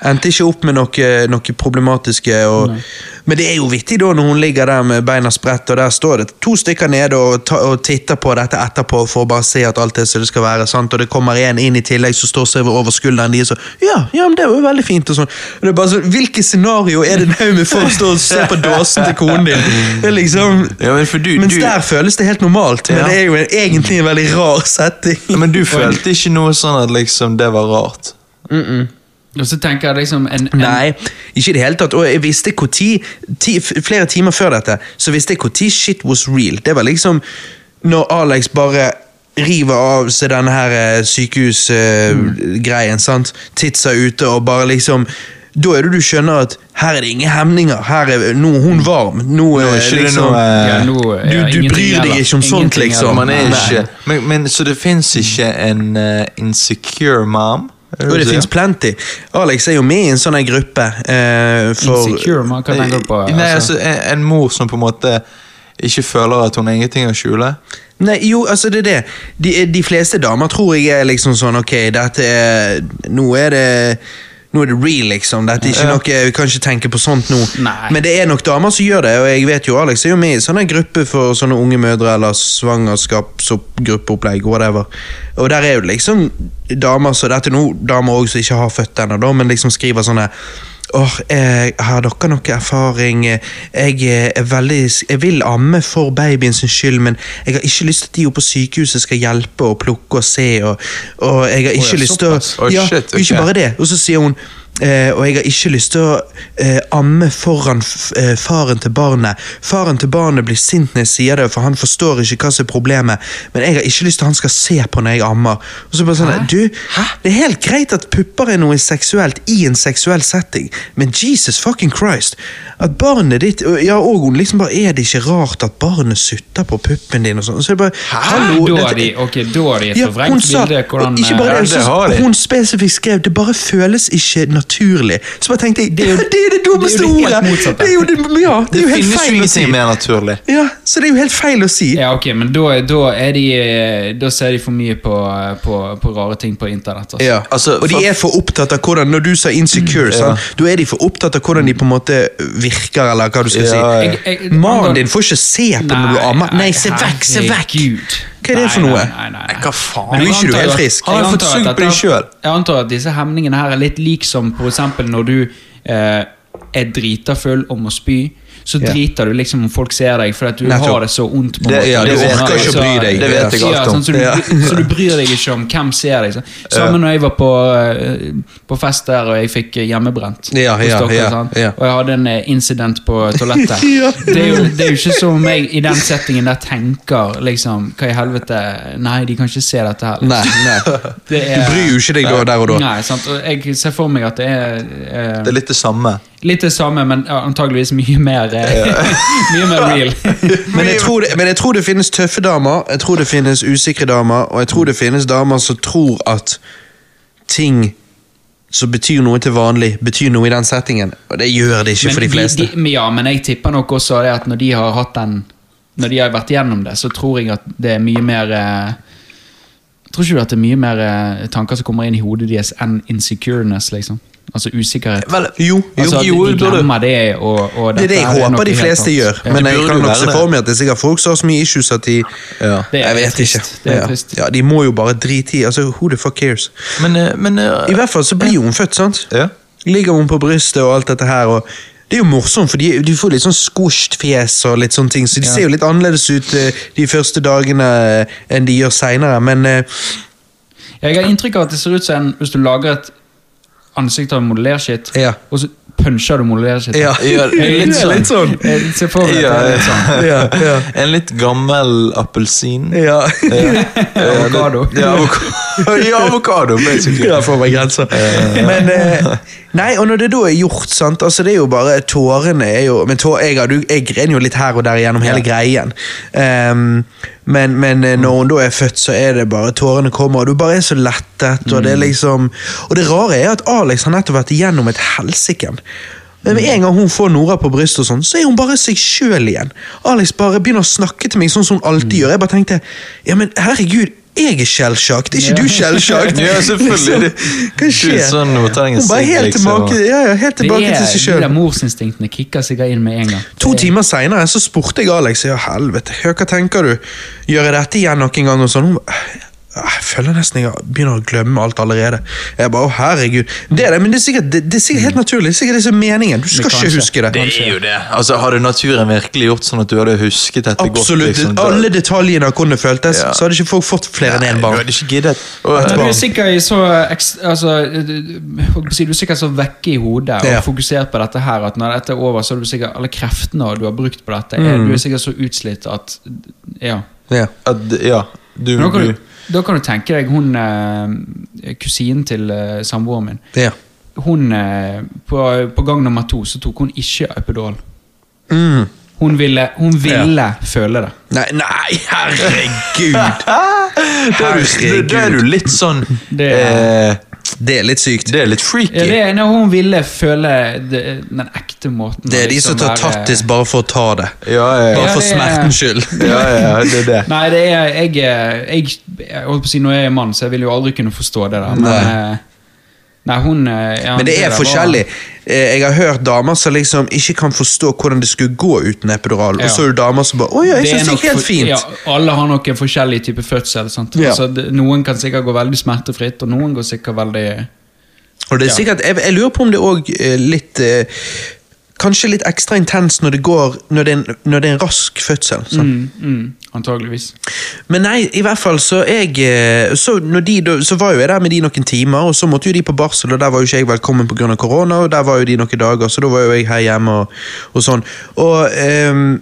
Speaker 2: endte ikke opp med noe, noe problematiske. Og... Men det er jo vittig da når hun ligger der med beina spredt, og der står det to stykker nede og, ta, og titter på dette etterpå for å bare se at alt er som det skal være, sant? og det kommer en inn i tillegg som står seg over skulderen de og så ja, ja, men det var jo veldig fint og sånn. Og det er bare sånn, Hvilke scenario er det nå med folk står og ser på dåsen til konen din? Det er liksom...
Speaker 1: Ja, men for du,
Speaker 2: Mens
Speaker 1: du,
Speaker 2: der føles det helt normalt, men
Speaker 1: Ja.
Speaker 2: det er jo en, egentlig en veldig rar setting. *laughs*
Speaker 1: men du følte ikke noe sånn at liksom det var rart?
Speaker 3: Og så tenker jeg liksom en, en
Speaker 2: Nei, ikke i det hele tatt. Og jeg visste hvor tid, ti, f- flere timer før dette, så visste jeg hvor tid shit was real. Det var liksom når Alex bare river av seg denne her eh, sykehusgreien, sant. Titsa ute og bare liksom da er det du skjønner at her er det ingen hemninger. Her er nå er hun varm. Nå,
Speaker 1: Nå
Speaker 2: er
Speaker 1: er ikke det
Speaker 2: liksom,
Speaker 1: noe
Speaker 3: ja,
Speaker 1: eh,
Speaker 3: nå,
Speaker 2: du-
Speaker 3: ja,
Speaker 2: du
Speaker 3: ingenting
Speaker 2: bryr deg
Speaker 3: gjelder.
Speaker 2: ikke om sånt,
Speaker 3: Ingenting
Speaker 2: liksom.
Speaker 3: gjelder.
Speaker 1: Man er
Speaker 2: Nei.
Speaker 1: ikke men, men, Så det fins ikke en eh, insecure mom? Er
Speaker 2: Og
Speaker 1: du
Speaker 2: det
Speaker 1: sier?
Speaker 2: fins plenty. Alex er jo med i en sånn her gruppe. eh, for,
Speaker 3: Insecure, man kan tenke på
Speaker 1: Nei, altså, en, en mor som på en måte ikke føler at hun har ingenting å skjule?
Speaker 2: Nei, jo, altså det er det. De, de fleste damer tror jeg er liksom sånn Ok, dette er Nå er det nå er det real, liksom. Dette er ikke noe, Vi kan ikke tenke på sånt nå.
Speaker 3: Nei.
Speaker 2: Men det er nok damer som gjør det. Og jeg vet jo, Alex er jo med i sånne gruppe for sånne unge mødre eller svangerskapsgruppeopplegg. whatever. Og der er jo liksom damer så dette er nå damer også som ikke har født ennå, da, men liksom skriver sånne Åh, eh, Har dere noe erfaring? Eh, Jeg eh, er veldig s- Jeg vil amme for babyen sin skyld, men jeg har ikke lyst til at de jo på sykehuset skal hjelpe og plukke og se. Og, og jeg har ikke
Speaker 3: ja,
Speaker 2: lyst til å
Speaker 1: såpass. Å,
Speaker 2: ja,
Speaker 1: shit,
Speaker 2: og Ikke
Speaker 1: ok.
Speaker 2: bare det. Og så sier hun eh, Og jeg har ikke lyst til å eh, amme foran f eh, faren til barnet. Faren til barnet blir sint når jeg sier det, for han forstår ikke hva som er problemet. Men jeg har ikke lyst til at han skal se på når jeg ammer. Og så bare sånn, du, Det er helt greit at pupper er noe seksuelt i en seksuell setting, men Jesus fucking Christ At barnet ditt og- Ja, og hun liksom bare Er det ikke rart at barnet sutter på puppen din og sånn? Så er det bare Hallo!
Speaker 3: Da
Speaker 2: dette-
Speaker 3: er de, ok, da er de et
Speaker 2: ja, hun
Speaker 3: forvrengt
Speaker 2: sa,
Speaker 3: bilde. Hvordan,
Speaker 2: ikke bare
Speaker 3: eh,
Speaker 1: Ja, det
Speaker 2: det, hun sa-
Speaker 1: har de.
Speaker 2: Hun spesifikt skrev det bare føles ikke naturlig. Så bare tenkte jeg, det er jo det, dummeste
Speaker 3: det helt
Speaker 2: ordet!
Speaker 3: motsatte.
Speaker 2: Det er jo det, ja, det er
Speaker 1: Det
Speaker 2: jo helt
Speaker 1: finnes jo
Speaker 2: feil å si.
Speaker 1: ingenting mer naturlig.
Speaker 2: Ja, så det er jo helt feil å si.
Speaker 3: Ja, ok, men da, da, er de, eh, da ser de for mye på, eh, på, på rare ting på internett. Altså.
Speaker 2: Ja,
Speaker 1: altså,
Speaker 2: og de
Speaker 1: for- Mm,
Speaker 2: er for opptatt av hvordan Når du sa insecure, sant? da er de for opptatt av hvordan de på en måte virker, eller hva du skal
Speaker 1: Ja, ja.
Speaker 3: Jeg- jeg-
Speaker 2: si. Mannen din får ikke se på når du ammer. Nei, se vekk, se vekk!
Speaker 3: herregud.
Speaker 2: Hva er det for
Speaker 3: Nei,
Speaker 2: noe?
Speaker 3: Nei, nei, nei, nei.
Speaker 1: Nei, hva faen?
Speaker 3: Men
Speaker 2: Du er
Speaker 3: jeg
Speaker 2: ikke du
Speaker 3: antar
Speaker 2: helt
Speaker 3: at-
Speaker 2: frisk?
Speaker 3: jeg
Speaker 1: Har du fått
Speaker 3: antar at
Speaker 1: sugd på
Speaker 3: dette-
Speaker 1: deg selv?
Speaker 3: Jeg antar at disse hemningene her er litt lik som for eksempel når du eh, er drita full og må spy. Så
Speaker 2: Ja.
Speaker 3: driter du liksom om folk ser deg, fordi at du
Speaker 2: Nettopp.
Speaker 3: har det så ondt. på en
Speaker 1: Det-
Speaker 3: måte.
Speaker 1: ja,
Speaker 2: du
Speaker 3: er
Speaker 2: orker
Speaker 3: sånn,
Speaker 2: ikke å
Speaker 3: altså,
Speaker 2: bry deg. Det vet
Speaker 1: jeg
Speaker 3: ja,
Speaker 1: alt om.
Speaker 3: Sånn, så, du,
Speaker 2: Ja.
Speaker 3: *laughs* så du bryr deg ikke om hvem ser deg. sånn. Samme når jeg var på, eh, på fest der og jeg fikk eh, hjemmebrent.
Speaker 2: Ja,
Speaker 3: hos
Speaker 2: ja,
Speaker 3: dere,
Speaker 2: ja,
Speaker 3: sant?
Speaker 2: ja.
Speaker 3: Og jeg hadde en eh, incident på
Speaker 2: *laughs*
Speaker 3: toalettet.
Speaker 2: Ja.
Speaker 3: det, er jo, det er jo ikke som om jeg i den settingen der tenker liksom, Hva i helvete Nei, de kan ikke se dette her. liksom.
Speaker 2: Nei, nei.
Speaker 3: Det
Speaker 2: Du
Speaker 3: er-
Speaker 2: bryr jo ikke deg da, der og da.
Speaker 3: Nei, sant? Og jeg ser for meg at det er eh,
Speaker 1: Det er litt det samme.
Speaker 3: litt det samme, men ja, antageligvis mye mer eh, *laughs* Mye mer real.
Speaker 2: *laughs* Men jeg, tror det, men jeg tror det finnes tøffe damer, jeg tror det finnes usikre damer, og jeg tror det finnes damer som tror at ting som betyr noe til vanlig, betyr noe i den settingen. Og det gjør det ikke for de fleste.
Speaker 3: De, ja, men jeg tipper nok også det at når de har hatt den Når de har vært gjennom det, så tror jeg at det er mye mer eh, Tror ikke du at det er mye mer eh, tanker som kommer inn i hodet deres enn insecureness, liksom? Altså usikkerhet.
Speaker 1: Vel,
Speaker 2: jo, jo,
Speaker 3: altså, at
Speaker 1: jo,
Speaker 3: de
Speaker 1: det burde-
Speaker 3: glemmer det, og, og
Speaker 2: det er det
Speaker 3: dette
Speaker 2: jeg
Speaker 3: her noe
Speaker 2: håper de
Speaker 3: helt
Speaker 2: fleste
Speaker 3: annet.
Speaker 2: gjør,
Speaker 3: Ja.
Speaker 2: men
Speaker 1: det
Speaker 2: jeg
Speaker 1: burde
Speaker 2: kan
Speaker 1: jo
Speaker 2: nok
Speaker 1: være
Speaker 2: se
Speaker 1: det.
Speaker 2: for meg at det er sikkert folk som har så mye issues at de
Speaker 1: Ja.
Speaker 3: Det er
Speaker 2: Jeg vet
Speaker 3: trist.
Speaker 2: ikke.
Speaker 3: Det er
Speaker 2: Ja.
Speaker 3: trist.
Speaker 2: Ja, de må jo bare drite i. Altså, who the fuck cares?
Speaker 1: Men, eh, men eh,
Speaker 2: I hvert fall så blir hun født, sant?
Speaker 1: Ja.
Speaker 2: Ligger hun på brystet og alt dette her, og det er jo morsomt, for de, de får litt sånn squished fjes og litt sånne ting, så de ser jo litt annerledes ut eh, de første dagene eh, enn de gjør seinere, men eh,
Speaker 3: Jeg har inntrykk av at det ser ut som en, hvis du lager et ansikt av modellert shit,
Speaker 2: Ja.
Speaker 3: og så puncher du modulerer sitt.
Speaker 2: Ja,
Speaker 1: Ja,
Speaker 2: det er litt sånn. Litt sånn.
Speaker 3: Se for deg at
Speaker 1: Ja,
Speaker 3: det er litt sånn.
Speaker 2: Ja, ja,
Speaker 1: En litt gammel appelsin.
Speaker 2: ja.
Speaker 1: Eh,
Speaker 3: Avokado.
Speaker 1: Ja, avokado, ja, avokado basically.
Speaker 2: *laughs* Ja, for meg grenser. *laughs* Men eh, Nei, og når det da er gjort, sant Altså, det er jo bare Tårene er jo Men tå, jeg, har- du, jeg grein jo litt her og der gjennom hele greien. Ehm, men, men eh, når hun da er født, så er det bare Tårene kommer, og du bare er så lettet, og
Speaker 1: Mm.
Speaker 2: det er liksom Og det rare er at Alex har nettopp vært igjennom et helsiken. Men med en gang hun får Nora på brystet, og sånn, så er hun bare seg sjøl igjen. Alex bare begynner å snakke til meg sånn som hun
Speaker 1: Mm.
Speaker 2: alltid gjør. Jeg bare tenkte ja, men herregud, jeg er skjellsjakt, er ikke du
Speaker 3: Ja.
Speaker 2: skjellsjakt?
Speaker 1: *laughs* Ja, selvfølgelig.
Speaker 2: Liksom, Hva
Speaker 1: Du
Speaker 2: skjer?
Speaker 1: er sånn, nå tar jeg en
Speaker 2: hun bare
Speaker 1: sigg,
Speaker 2: helt
Speaker 1: liksom.
Speaker 2: tilbake, ja, ja, helt
Speaker 3: Det
Speaker 2: tilbake
Speaker 3: er,
Speaker 2: til seg
Speaker 3: de
Speaker 2: sjøl.
Speaker 3: der morsinstinktene kicker sikkert inn med en gang.
Speaker 2: To timer seinere spurte jeg Alex ja helvete, hør, hva tenker du? Gjør jeg dette igjen noen gang? Og sånn, hun ba, jeg føler nesten jeg begynner å glemme alt allerede. Jeg bare, å herregud. Det er det, men det er sikkert, det, det er sikkert
Speaker 1: Mm.
Speaker 2: helt naturlig. Det er sikkert det som er meningen. Du skal
Speaker 3: Det
Speaker 2: ikke
Speaker 3: kanskje.
Speaker 2: huske det.
Speaker 1: Det er jo det. Altså, Hadde naturen virkelig gjort sånn at du hadde husket dette
Speaker 2: Absolutt.
Speaker 1: godt? liksom, da-
Speaker 2: Alle detaljene av hvordan det føltes,
Speaker 1: Ja.
Speaker 2: så hadde ikke folk fått flere enn én
Speaker 1: Du
Speaker 2: barn.
Speaker 1: hadde ikke giddet. Og
Speaker 3: Men
Speaker 1: et
Speaker 3: Du er
Speaker 1: barn.
Speaker 3: sikkert i så ekst- altså, eh, holdt på å si, du er sikkert så vekke i hodet og
Speaker 2: Ja.
Speaker 3: fokusert på dette her at når dette er over, så er du sikkert alle kreftene du har brukt på dette,
Speaker 2: Mm.
Speaker 3: er, du er sikkert så utslitt at Ja.
Speaker 2: Ja.
Speaker 1: At- Ja, du,
Speaker 3: Men da, kan
Speaker 1: du
Speaker 3: du, da kan du tenke deg hun eh, kusinen til eh, samboeren min.
Speaker 2: Ja.
Speaker 3: Hun eh, på, på gang nummer to så tok hun ikke Upedal.
Speaker 2: Mm.
Speaker 3: Hun ville, hun ville føle det.
Speaker 2: Nei, nei, herregud!
Speaker 1: Det er du, det er du litt sånn
Speaker 3: Det
Speaker 1: eh,
Speaker 3: er-
Speaker 2: Det er litt sykt.
Speaker 1: det er litt
Speaker 3: Ja, det
Speaker 1: freaky.
Speaker 3: er når hun ville føle det, den ekte måten.
Speaker 2: Det
Speaker 3: å
Speaker 2: er de som
Speaker 3: liksom
Speaker 2: tar
Speaker 3: være-
Speaker 2: tattis bare for å ta det.
Speaker 1: Ja, ja,
Speaker 2: Bare
Speaker 1: ja.
Speaker 2: for
Speaker 3: det er-
Speaker 2: smertens skyld.
Speaker 1: ja, ja det er det.
Speaker 3: Nei, det er jeg, jeg, jeg holdt på å si, Når jeg er mann, så jeg vil jo aldri kunne forstå det der. Men,
Speaker 2: Nei.
Speaker 3: eh, nei hun eh, ja,
Speaker 2: Men det
Speaker 3: der
Speaker 2: er
Speaker 3: var-
Speaker 2: forskjellig. Eh, Jeg har hørt damer som liksom ikke kan forstå hvordan det skulle gå uten epidural, og
Speaker 3: Ja.
Speaker 2: så er det damer som bare 'Å ja, jeg
Speaker 3: Det er
Speaker 2: syns det
Speaker 3: nok
Speaker 2: gikk helt
Speaker 3: for- Ja,
Speaker 2: fint'.
Speaker 3: alle har nok en forskjellig type fødsel. Sant?
Speaker 2: Ja.
Speaker 3: Altså, det, noen kan sikkert gå veldig smertefritt, og noen går sikkert veldig
Speaker 2: Og det er sikkert, jeg, jeg lurer på om det òg litt eh, Kanskje litt ekstra intens når det går Når det er en, når det er en rask fødsel. Sant?
Speaker 3: mm, mm, Antageligvis.
Speaker 2: Men nei, i hvert fall så jeg eh, så, når de, da- så var jo jeg der med de noen timer, og så måtte jo de på barsel, og der var jo ikke jeg velkommen pga. korona, og der var jo de noen dager, så da var jo jeg her hjemme og, og sånn. Og ehm,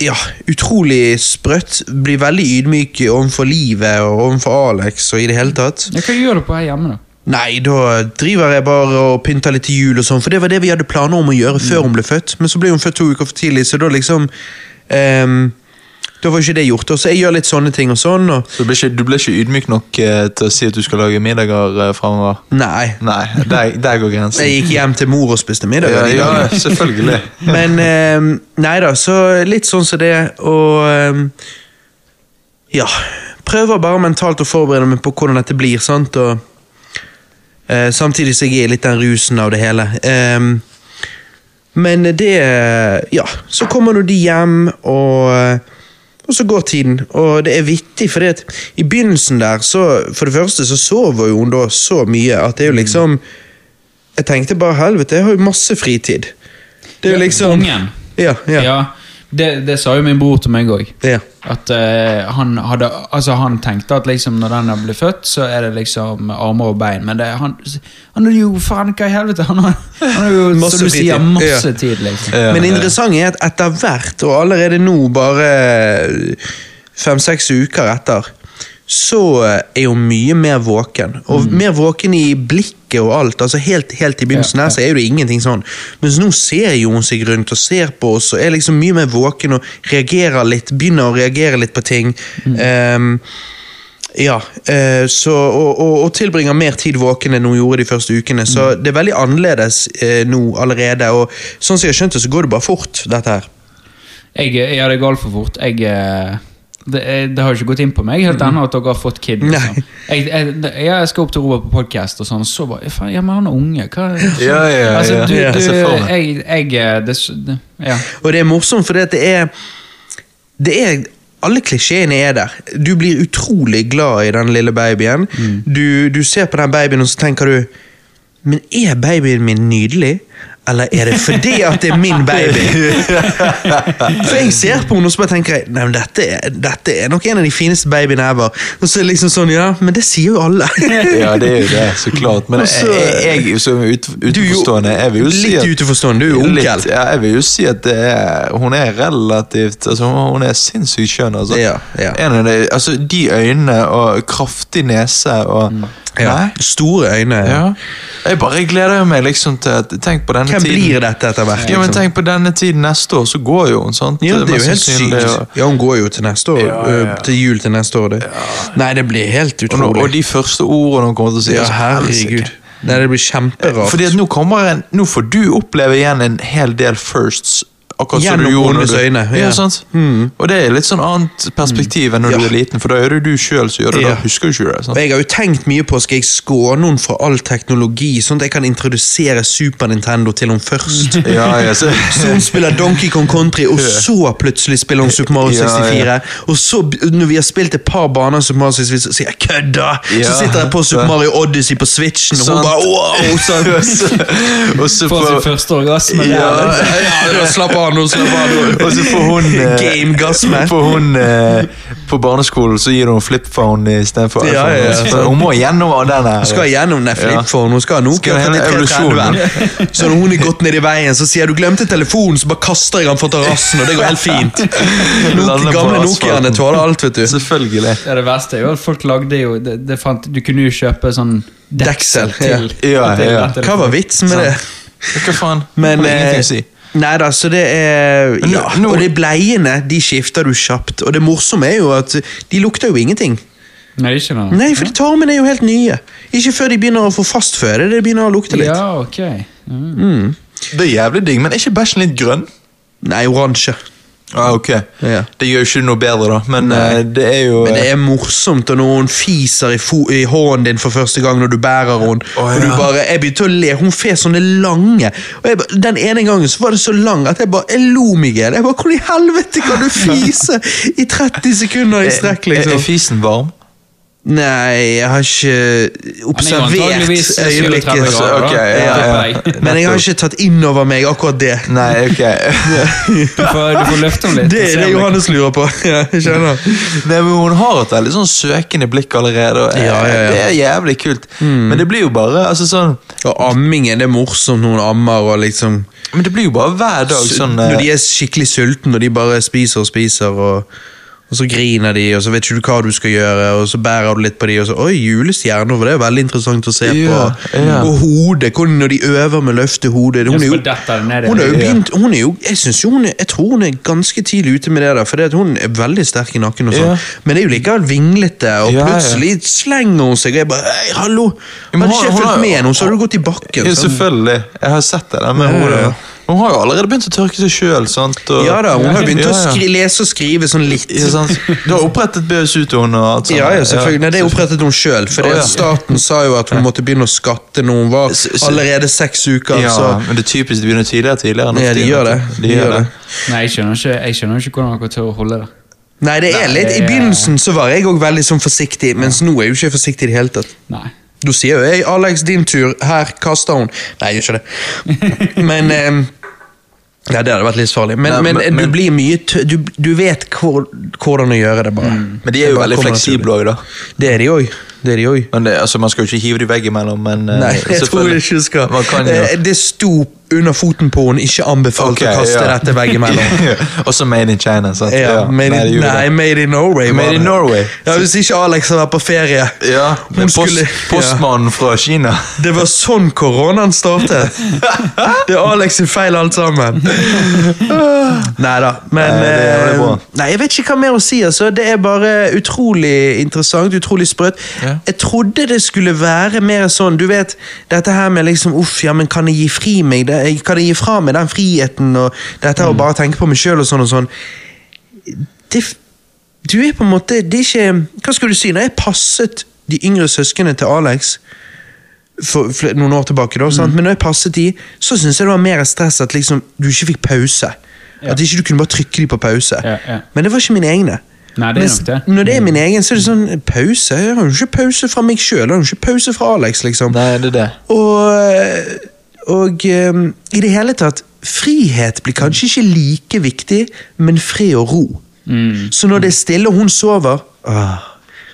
Speaker 2: ja, utrolig sprøtt. Blir veldig ydmyk overfor livet og overfor Alex og i det hele tatt.
Speaker 3: Ja, hva gjør du på her hjemme, da?
Speaker 2: Nei, da driver jeg bare og pynter litt til jul og sånn, for det var det vi hadde planer om å gjøre før hun ble født, men så ble hun født to uker for tidlig, så da liksom ehm, Da var ikke det gjort. Og så jeg gjør litt sånne ting og sånn, og
Speaker 1: Så du ble, ikke, du ble ikke ydmyk nok eh, til å si at du skal lage middager eh, fremover?
Speaker 2: Nei.
Speaker 1: Nei, der, der går grensen.
Speaker 2: Jeg gikk hjem til mor og spiste middag.
Speaker 1: Ja,
Speaker 2: de
Speaker 1: ja,
Speaker 2: dagene.
Speaker 1: selvfølgelig.
Speaker 2: Men eh, nei da, så litt sånn som det, og eh, Ja. Prøver bare mentalt å forberede meg på hvordan dette blir, sant, og eh, Samtidig så jeg er litt den rusen av det hele. Eh, men det Ja, så kommer nå de hjem, og og så går tiden, og det er vittig, fordi at i begynnelsen der, så for det første så sover jo hun da så mye at det er jo liksom Jeg tenkte bare helvete, jeg har jo masse fritid. Det er jo liksom
Speaker 3: Ungen.
Speaker 2: Ja,
Speaker 3: Ja.
Speaker 2: ja.
Speaker 3: det, det sa jo min bror til meg òg.
Speaker 2: ja.
Speaker 3: At eh, han, hadde, altså, han tenkte at liksom, når den ble født, så er det liksom armer og bein. Men det, han, han er jo faen hva i helvete! Han har, han har jo
Speaker 2: Masse
Speaker 3: som du
Speaker 2: fritid.
Speaker 3: sier, masse
Speaker 2: Ja.
Speaker 3: tid, liksom.
Speaker 1: Ja,
Speaker 2: Men det
Speaker 1: ja.
Speaker 2: interessante er at etter hvert, og allerede nå, bare fem-seks uker etter, så eh, er hun mye mer våken. Og mer våken i blikket og alt. altså Helt, helt i begynnelsen
Speaker 3: Ja,
Speaker 2: her så er det ingenting sånn. Mens nå ser jo hun seg rundt og ser på oss og er liksom mye mer våken og reagerer litt, begynner å reagere litt på ting.
Speaker 3: Mm.
Speaker 2: Ehm, ja, eh, så, og, og, og tilbringer mer tid våken enn hun gjorde de første ukene. Så
Speaker 3: Mm.
Speaker 2: det er veldig annerledes eh, nå allerede. Og sånn som jeg har skjønt det, så går det bare fort, dette her.
Speaker 3: Jeg, jeg hadde galt for fort. Jeg, eh, det, jeg, det har jo ikke gått inn på meg helt
Speaker 1: Mhm.
Speaker 3: ennå at dere har fått kid.
Speaker 2: Nei.
Speaker 3: Liksom. Jeg, jeg, jeg skal opp til Robert på podkast, og sånn, så bare faen, ja, men han er unge. Hva
Speaker 1: Ja, ja, ja,
Speaker 3: altså,
Speaker 1: ja.
Speaker 3: du,
Speaker 1: Jeg
Speaker 3: du,
Speaker 1: ser for meg.
Speaker 3: jeg, jeg eh, det, det, ja.
Speaker 2: Og det er morsomt, fordi at det er Det er alle klisjeene er der. Du blir utrolig glad i den lille babyen.
Speaker 1: Mm.
Speaker 2: Du, du ser på den babyen, og så tenker du Men er babyen min nydelig? Eller er det fordi at det er min baby?
Speaker 1: *laughs*
Speaker 2: For jeg ser på henne og så bare tenker jeg, nei, men dette er, dette er nok en av de fineste babyene ever. Og så er det liksom sånn, ja, men det sier jo
Speaker 1: *laughs*
Speaker 2: alle.
Speaker 1: Ja, det er jo det, så klart. Men
Speaker 2: Og så-
Speaker 1: jeg, jeg som er ut,
Speaker 2: Du er jo
Speaker 1: utenforstående, jeg vil jo si
Speaker 2: litt
Speaker 1: at
Speaker 2: utenforstående, du er jo onkel.
Speaker 1: Litt, ja, jeg vil jo si at det er, hun er relativt altså, hun- Hun er sinnssykt skjønn. Altså.
Speaker 2: Ja, ja.
Speaker 1: En av de, altså, de øynene og kraftig nese og
Speaker 2: Mm. Ja,
Speaker 1: Nei?
Speaker 2: store øyne.
Speaker 1: Ja. Jeg bare gleder meg liksom til at Tenk på denne
Speaker 2: Hvem
Speaker 1: tiden.
Speaker 2: blir dette etter hvert?
Speaker 1: Ja, men
Speaker 2: liksom?
Speaker 1: tenk på denne tiden neste år, så går jo hun, sant?
Speaker 2: Ja, det er
Speaker 1: Mest
Speaker 2: jo helt
Speaker 1: sannsynlig,
Speaker 2: sykt.
Speaker 1: og-
Speaker 2: Ja, hun går jo til neste år.
Speaker 1: Ja, ja, ja.
Speaker 2: ø, Til jul til neste år. Det. Nei, det blir helt
Speaker 1: Og, nå-
Speaker 2: utrolig.
Speaker 1: og de første ordene hun kommer til å si
Speaker 2: ja,
Speaker 1: altså,
Speaker 2: herregud.
Speaker 1: helsike. Eh,
Speaker 2: Nei, det blir kjemperart.
Speaker 1: Fordi at nå kommer en Nå får du oppleve igjen en hel del firsts. Akkurat som du
Speaker 2: Gjennom
Speaker 1: gjorde når
Speaker 2: hennes
Speaker 1: du-
Speaker 2: øyne,
Speaker 1: Ja,
Speaker 2: ja. Mm.
Speaker 1: sant? Og det er litt sånn annet perspektiv enn når du
Speaker 2: Ja.
Speaker 1: er liten, for da er det du sjøl som gjør det.
Speaker 2: Ja.
Speaker 1: Da husker du ikke det.
Speaker 2: *laughs*
Speaker 1: sant?
Speaker 2: Og jeg har jo tenkt mye på Skal jeg skåne henne fra all teknologi, sånn at jeg kan introdusere Super Nintendo til henne
Speaker 1: *laughs*
Speaker 2: først.
Speaker 1: Ja, ja, så,
Speaker 2: Så
Speaker 1: *laughs*
Speaker 2: hun spiller Donkey Kong Country, og så plutselig spiller hun Super Mario
Speaker 1: Ja, ja.
Speaker 2: 64. Og så, b- når vi har spilt et par baner, Super Mario 64, så sier jeg 'kødda'! Så
Speaker 1: Ja.
Speaker 2: sitter jeg på Super Mario Odyssey på Switchen, og hun
Speaker 1: Sant.
Speaker 2: bare
Speaker 1: *laughs*
Speaker 2: wow! Sånn.
Speaker 1: og så, og så
Speaker 3: Får sin
Speaker 1: får
Speaker 3: første orgasme.
Speaker 1: Ja.
Speaker 3: der.
Speaker 2: *laughs* Ja, slapp av nå, slapp av nå.
Speaker 1: og så får hun
Speaker 2: *laughs*
Speaker 1: eh,
Speaker 2: Game gasme.
Speaker 1: Får hun eh, På barneskolen så gir hun flipphone istedenfor
Speaker 2: Ja,
Speaker 1: iPhone.
Speaker 2: ja, ja.
Speaker 1: Så Hun må gjennom den her.
Speaker 2: Hun skal gjennom den flipphone, hun skal ha Nokia
Speaker 1: Skal ha hele
Speaker 2: 3330.
Speaker 1: *laughs*
Speaker 2: Så når hun er gått ned i veien, så sier jeg du glemte telefonen, så bare kaster jeg den fra terrassen, og det går helt
Speaker 1: *laughs*
Speaker 2: fint.
Speaker 1: Lander
Speaker 2: Nokia,
Speaker 1: på
Speaker 2: gamle
Speaker 1: asfalten.
Speaker 2: Nokiaene tåler alt, vet du.
Speaker 1: Selvfølgelig.
Speaker 3: Det, er det verste er jo at folk lagde jo det, det fant, Du kunne jo kjøpe sånn deksel
Speaker 2: Deksel,
Speaker 3: til.
Speaker 1: ja. Ja,
Speaker 3: til
Speaker 1: ja.
Speaker 3: dette.
Speaker 2: Hva var vitsen med det?
Speaker 1: Hva faen?
Speaker 2: Men eh,
Speaker 1: det er ingenting å si.
Speaker 2: Nei da, så det er
Speaker 1: nå-
Speaker 2: ja.
Speaker 1: nå-
Speaker 2: Og de bleiene de skifter du kjapt. Og det morsomme er jo at de lukter jo ingenting.
Speaker 3: Nei, ikke noe.
Speaker 2: Nei, for de tarmene er jo helt nye. Ikke før de begynner å få fast føde. Det begynner å lukte litt.
Speaker 3: Ja, ok. Mm.
Speaker 1: Det er jævlig digg, men er ikke bæsjen litt grønn?
Speaker 2: Nei, oransje.
Speaker 1: Ah, ok.
Speaker 2: Ja.
Speaker 1: Det gjør jo ikke noe bedre, da, men eh, det er jo
Speaker 2: Men det er morsomt og noen fiser i, fo i hånden din for første gang når du bærer henne.
Speaker 1: Å,
Speaker 2: Og du
Speaker 1: ja.
Speaker 2: bare, jeg begynte å le, Hun fes sånne lange. Og jeg, ba- Den ene gangen så var det så lang at jeg bare jeg lo meg i hjel. Jeg bare, Hvordan i helvete kan du fise i 30 sekunder i strekk?
Speaker 1: Er, er
Speaker 2: liksom?
Speaker 1: fisen varm?
Speaker 2: Nei, jeg har ikke observert
Speaker 3: antageligvis 37
Speaker 2: øyeblikket.
Speaker 3: grader,
Speaker 2: så-
Speaker 3: da.
Speaker 1: ok, ja,
Speaker 3: Ja.
Speaker 1: ja.
Speaker 2: Men jeg har ikke tatt inn over meg akkurat det.
Speaker 1: Nei,
Speaker 2: *laughs*
Speaker 1: ok.
Speaker 3: Du får, du får løfte henne litt.
Speaker 2: Det
Speaker 3: og se
Speaker 2: er det
Speaker 3: om
Speaker 2: Johannes lurer på. *laughs* Ja, jeg skjønner.
Speaker 1: Nei, men Hun har et veldig sånn søkende blikk allerede, og eh,
Speaker 2: Ja, ja, Mm. ja.
Speaker 1: det er jævlig kult. Men det blir jo bare altså sånn
Speaker 2: Og ammingen, det er morsomt når hun ammer og liksom
Speaker 1: Men det blir jo bare hver dag
Speaker 2: Su-
Speaker 1: sånn eh,
Speaker 2: Når de er skikkelig sultne, og de bare spiser og spiser, og, og så griner de, og så vet ikke du hva du skal gjøre, og så bærer du litt på de, og så Oi, julestjerner, for det er veldig interessant å se
Speaker 1: Ja,
Speaker 2: på.
Speaker 1: ja.
Speaker 2: Og hodet, hvordan når de øver med å løfte hodet. Hun
Speaker 3: Ja,
Speaker 2: er
Speaker 3: for
Speaker 2: jo,
Speaker 3: dette er nede.
Speaker 2: hun er jo
Speaker 1: Ja.
Speaker 2: begynt hun er jo, Jeg synes jo hun er, jeg tror hun er ganske tidlig ute med det, der, for det at hun er veldig sterk i nakken. og sånn.
Speaker 1: Ja.
Speaker 2: Men det er jo likevel vinglete, og
Speaker 1: Ja, ja.
Speaker 2: plutselig slenger hun seg. Og jeg bare Hei, hallo!
Speaker 1: Ja, men hun-
Speaker 2: Hadde ikke jeg
Speaker 1: hun
Speaker 2: fulgt
Speaker 1: har-
Speaker 2: med nå, så hadde du gått i bakken.
Speaker 1: Ja,
Speaker 2: sant?
Speaker 1: selvfølgelig. Jeg har sett det der med
Speaker 2: sånn. Ja, ja,
Speaker 1: hodet.
Speaker 2: ja.
Speaker 1: Hun har jo allerede begynt å tørke seg sjøl, sant? Og,
Speaker 2: Ja da, hun har begynt
Speaker 1: Ja,
Speaker 2: å
Speaker 1: ja.
Speaker 2: skri lese og skrive sånn litt.
Speaker 1: Ja, sant? Du har opprettet BSU-tone og alt sånt?
Speaker 2: Ja, ja, selvfølgelig. Nei, det opprettet hun sjøl. For det
Speaker 1: Å, ja.
Speaker 2: at staten sa jo at hun måtte begynne å skatte når hun var
Speaker 1: S- s-
Speaker 2: allerede seks uker.
Speaker 1: Ja,
Speaker 2: Så
Speaker 1: men det er typisk de begynner tidligere og tidligere. nå
Speaker 2: Ja,
Speaker 1: for
Speaker 2: de
Speaker 1: tiden,
Speaker 2: gjør det.
Speaker 1: vet du.
Speaker 2: De gjør det.
Speaker 3: Nei, jeg skjønner ikke, jeg skjønner ikke hvordan dere tør å holde det.
Speaker 2: Nei, det er
Speaker 3: Nei,
Speaker 2: litt I
Speaker 3: det er-
Speaker 2: begynnelsen så var jeg òg veldig sånn forsiktig, mens nå er jeg jo ikke forsiktig i det hele tatt.
Speaker 3: Nei.
Speaker 2: Du sier jo 'Hei, Alex, din tur. Her kaster hun'. Nei, jeg gjør ikke
Speaker 1: *laughs*
Speaker 2: det. Men eh, Ja, det hadde vært livsfarlig. Men,
Speaker 1: Nei,
Speaker 2: men,
Speaker 1: men-
Speaker 2: du
Speaker 1: men-
Speaker 2: blir mye tø du, du vet hvor, hvordan å gjøre det, bare.
Speaker 1: Mm. Men de er
Speaker 2: Det
Speaker 1: jo
Speaker 2: bare
Speaker 1: veldig
Speaker 2: kommer
Speaker 1: fleksible òg, da.
Speaker 2: naturlig. Det er de òg. Det er de òg.
Speaker 1: Men det, altså, man skal jo ikke hive de veggimellom, men eh,
Speaker 2: Nei, jeg tror
Speaker 1: selvfølgelig.
Speaker 2: ikke du skal.
Speaker 1: Man kan jo.
Speaker 2: Eh, Det sto under foten på henne, ikke anbefalt
Speaker 1: Ok,
Speaker 2: å kaste
Speaker 1: ja.
Speaker 2: dette
Speaker 1: *laughs*
Speaker 2: veggimellom.
Speaker 1: Også Made in China, sant?
Speaker 2: Ja, made
Speaker 1: Nei, det
Speaker 2: in,
Speaker 1: gjorde
Speaker 2: nei,
Speaker 1: det.
Speaker 2: made in Norway. var
Speaker 1: Made in
Speaker 2: det.
Speaker 1: Norway.
Speaker 2: Ja, Hvis ikke Alex hadde vært på ferie.
Speaker 1: Ja,
Speaker 2: Hun
Speaker 1: men post,
Speaker 2: skulle-
Speaker 1: postmannen fra Kina.
Speaker 2: Det var sånn koronaen startet! Det er Alex sin feil, alt sammen. Nei da, men
Speaker 1: Nei, det er
Speaker 2: eh,
Speaker 1: veldig bra.
Speaker 2: Nei, Jeg vet ikke hva mer å si. altså. Det er bare utrolig interessant, utrolig sprøtt.
Speaker 1: Ja.
Speaker 2: Jeg trodde det skulle være mer sånn Du vet, dette her med liksom Uff, ja, men kan jeg gi fri meg det? Kan jeg gi fra meg den friheten og dette
Speaker 1: Mm.
Speaker 2: her å bare tenke på meg sjøl og sånn og sånn? Det, f- du er på en måte Det er ikke Hva skal du si? Når jeg passet de yngre søsknene til Alex for, fl- noen år tilbake, da,
Speaker 3: Mhm.
Speaker 2: sant? men når jeg passet de, så syntes jeg det var mer stress at liksom, du ikke fikk pause. At ikke du kunne bare trykke de på pause.
Speaker 3: Ja, ja.
Speaker 2: Men det var ikke mine egne.
Speaker 3: Nei, det er nok det. Mm.
Speaker 2: Når det er min egen, så er det sånn pause. Jeg har jo ikke pause fra meg sjøl, jeg har jo ikke pause fra Alex, liksom.
Speaker 1: Nei, det er det.
Speaker 2: Og, Og ehm, i det hele tatt Frihet blir kanskje ikke like viktig, men fred og ro. Så når det er stille og hun sover ah,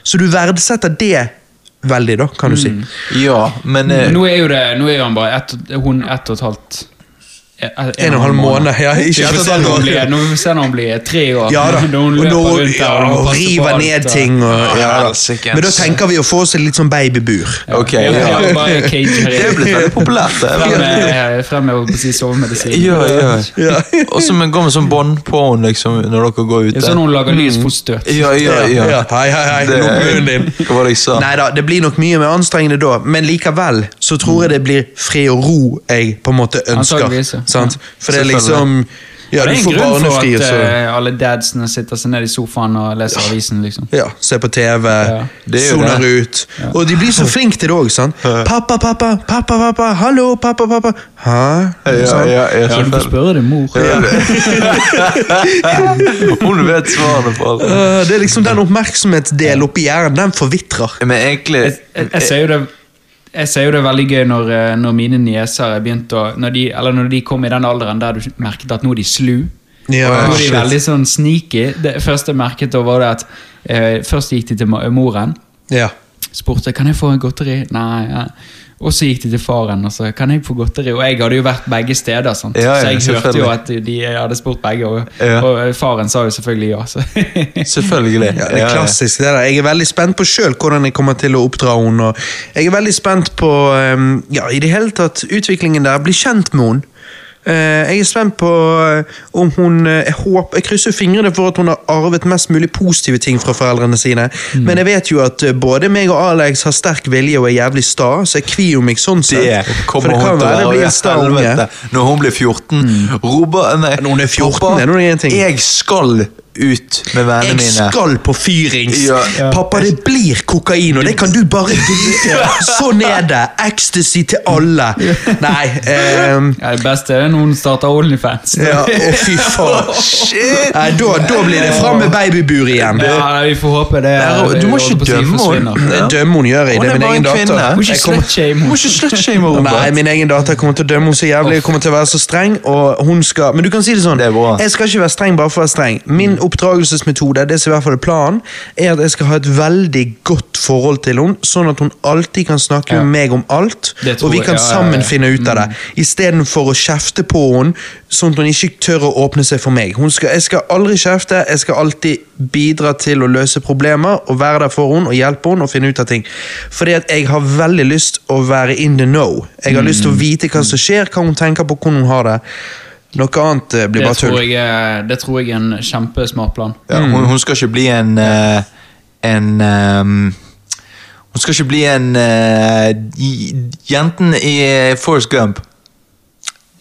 Speaker 2: Så du verdsetter det veldig, da, kan du si.
Speaker 1: Ja, men eh,
Speaker 3: Nå er jo det, nå er jo han bare ett, hun ett og et halvt en,
Speaker 2: En og en halv måned. Ja,
Speaker 3: Vi
Speaker 2: ikke
Speaker 3: får se
Speaker 2: sant?
Speaker 3: når hun blir- når vi får se når hun blir tre år.
Speaker 2: Ja da.
Speaker 3: *laughs* Når hun
Speaker 2: Og
Speaker 3: løper
Speaker 2: nå
Speaker 3: rundt der,
Speaker 2: ja,
Speaker 3: og hun
Speaker 2: og
Speaker 3: passer på
Speaker 2: river
Speaker 3: alt,
Speaker 2: ned
Speaker 3: og-
Speaker 2: ting. Og, ja, da.
Speaker 1: Helsikes.
Speaker 2: Men da tenker vi å få oss et litt sånn babybuur.
Speaker 1: Ok,
Speaker 3: Ja,
Speaker 1: ja.
Speaker 3: ja, bare cage
Speaker 1: *laughs*
Speaker 3: her
Speaker 1: Det er
Speaker 3: igjen.
Speaker 1: blitt veldig populært. det.
Speaker 3: Frem med, frem med å si sovemedisin.
Speaker 1: Ja, ja.
Speaker 2: Ja.
Speaker 1: Og så går vi sånn bånd på henne liksom, når dere går
Speaker 3: Det er
Speaker 1: ute.
Speaker 3: sånn hun lager lysfotstøt.
Speaker 2: Mm.
Speaker 1: Ja, ja, ja.
Speaker 2: Hei, hei, hei.
Speaker 1: Det-
Speaker 2: Lukk munnen din.
Speaker 1: Hva var det jeg sa?
Speaker 2: Nei da, det blir nok mye mer anstrengende da, men likevel så tror jeg det blir fred og ro jeg på en måte ønsker.
Speaker 3: Antageligvis, ja.
Speaker 2: Sant? For det er
Speaker 1: Selvfølgelig.
Speaker 2: liksom Ja, du
Speaker 3: det er en
Speaker 2: får
Speaker 3: grunn for
Speaker 2: barnefri,
Speaker 3: at
Speaker 2: så
Speaker 3: eh, alle dadsene sitter seg ned i sofaen og leser avisen, liksom.
Speaker 2: ja, Se på TV,
Speaker 1: Det er jo
Speaker 2: soner
Speaker 1: det.
Speaker 2: ut. Og de blir så flinke til det òg. Pappa, pappa, pappa, pappa, hallo, pappa, pappa. Hæ?
Speaker 1: Ja,
Speaker 2: Sant?
Speaker 1: ja, ja,
Speaker 3: Ja, du får
Speaker 1: selvfølgelig.
Speaker 3: spørre din mor.
Speaker 1: Hun vet svarene på alt.
Speaker 2: Øh, Det er liksom den oppmerksomhetsdelen oppi hjernen, den forvitrer.
Speaker 1: Men egentlig
Speaker 3: Jeg, jeg ser jo det jeg ser jo det veldig gøy når, eh, når mine nieser er begynt å når de, Eller når de kom i den alderen der du merket at nå er de slu.
Speaker 2: Ja,
Speaker 3: nå er de
Speaker 2: shit.
Speaker 3: veldig sånn sneaky. Det første jeg merket da, var det at eh, først gikk de til ma- moren.
Speaker 2: Ja.
Speaker 3: Spurte kan jeg få en godteri. Nei, ja. Og så gikk de til faren og sa kan jeg få godteri. Og jeg hadde jo vært begge steder, sant?
Speaker 1: Ja, ja,
Speaker 3: så jeg hørte jo
Speaker 1: selvfølgelig.
Speaker 3: at de, de hadde spurt begge. Og,
Speaker 1: Ja.
Speaker 3: og eh, faren sa jo selvfølgelig ja. Så. *laughs*
Speaker 1: Selvfølgelig.
Speaker 2: Ja, det er klassisk. det der. Jeg er veldig spent på selv hvordan jeg kommer til å oppdra henne. og Jeg er veldig spent på ehm, ja, i det hele tatt, utviklingen der. Bli kjent med henne. Eh, jeg er spent på eh, om hun eh, Jeg håper, jeg krysser fingrene for at hun har arvet mest mulig positive ting fra foreldrene sine.
Speaker 1: Mm.
Speaker 2: Men jeg vet jo at eh, både meg og Alex har sterk vilje og er jævlig sta, så jeg kvier meg sånn sett.
Speaker 1: Det
Speaker 2: for
Speaker 1: kommer
Speaker 2: det
Speaker 1: hun
Speaker 2: kan
Speaker 1: til å
Speaker 2: være det blir
Speaker 1: være
Speaker 2: en sta unge.
Speaker 1: helvete når hun blir 14. Robert, nei,
Speaker 2: Når hun er 14,
Speaker 1: pappa,
Speaker 2: er det noe en ting.
Speaker 1: Jeg skal ut med vennene
Speaker 2: Jeg
Speaker 1: mine.
Speaker 2: skal på fyrings!
Speaker 1: Ja. Ja.
Speaker 2: Pappa, det blir kokain, og det kan du
Speaker 1: *laughs*
Speaker 2: bare drite i. Sånn er det! Ecstasy til alle! Nei ehm,
Speaker 3: Ja, det beste er når hun starter Onlyfans.
Speaker 2: ja, Å, fy faen.
Speaker 1: *laughs* Shit!
Speaker 2: Nei, da, da blir det fram med babybur igjen.
Speaker 3: Ja, vi får håpe det.
Speaker 1: Nei,
Speaker 3: det-
Speaker 1: du må ikke
Speaker 3: holdt på å si
Speaker 1: dømme
Speaker 3: forsvinner.
Speaker 1: henne.
Speaker 2: Det dømmer hun gjør jeg.
Speaker 1: Hun
Speaker 2: Det
Speaker 1: er
Speaker 2: er min
Speaker 1: bare en
Speaker 2: egen
Speaker 1: kvinne.
Speaker 2: datter.
Speaker 1: Hun
Speaker 3: Må ikke
Speaker 2: Jeg kommer-
Speaker 3: slutshame
Speaker 1: Må
Speaker 3: henne.
Speaker 1: ikke slutshame
Speaker 2: Nei,
Speaker 1: Robert.
Speaker 2: min egen datter kommer til å dømme henne så jævlig. Jeg kommer til å være så streng, og hun skal... Men du kan si det sånn,
Speaker 1: Det er bra.
Speaker 2: jeg skal ikke være streng bare for å være streng.
Speaker 3: Mm.
Speaker 2: Min oppdragelsesmetode, det som i hvert fall er planen, er at jeg skal ha et veldig godt forhold til henne, sånn at hun alltid kan snakke
Speaker 3: Ja.
Speaker 2: med meg om alt,
Speaker 3: Det tror
Speaker 2: og vi
Speaker 3: jeg,
Speaker 2: kan
Speaker 3: ja, ja, ja.
Speaker 2: sammen finne ut av det.
Speaker 3: Mm.
Speaker 2: I stedet for å kjefte på henne, sånn at hun ikke tør å åpne seg for meg. Hun skal, jeg skal aldri kjefte, jeg skal alltid bidra til å løse problemer, og være der for henne, og hjelpe henne, og finne ut av ting. Fordi at jeg har veldig lyst å være in the know. Jeg har lyst
Speaker 3: Mm.
Speaker 2: til å vite hva som skjer, hva hun tenker på, hvordan hun har det. Noe annet eh, blir
Speaker 3: Det
Speaker 2: bare tull.
Speaker 3: tror, jeg, er- det tror jeg er en kjempesmart plan.
Speaker 1: Ja, hun, hun skal ikke bli en eh, En ehm, Hun skal ikke bli en eh, j- Jenten i eh, Forrest Gump.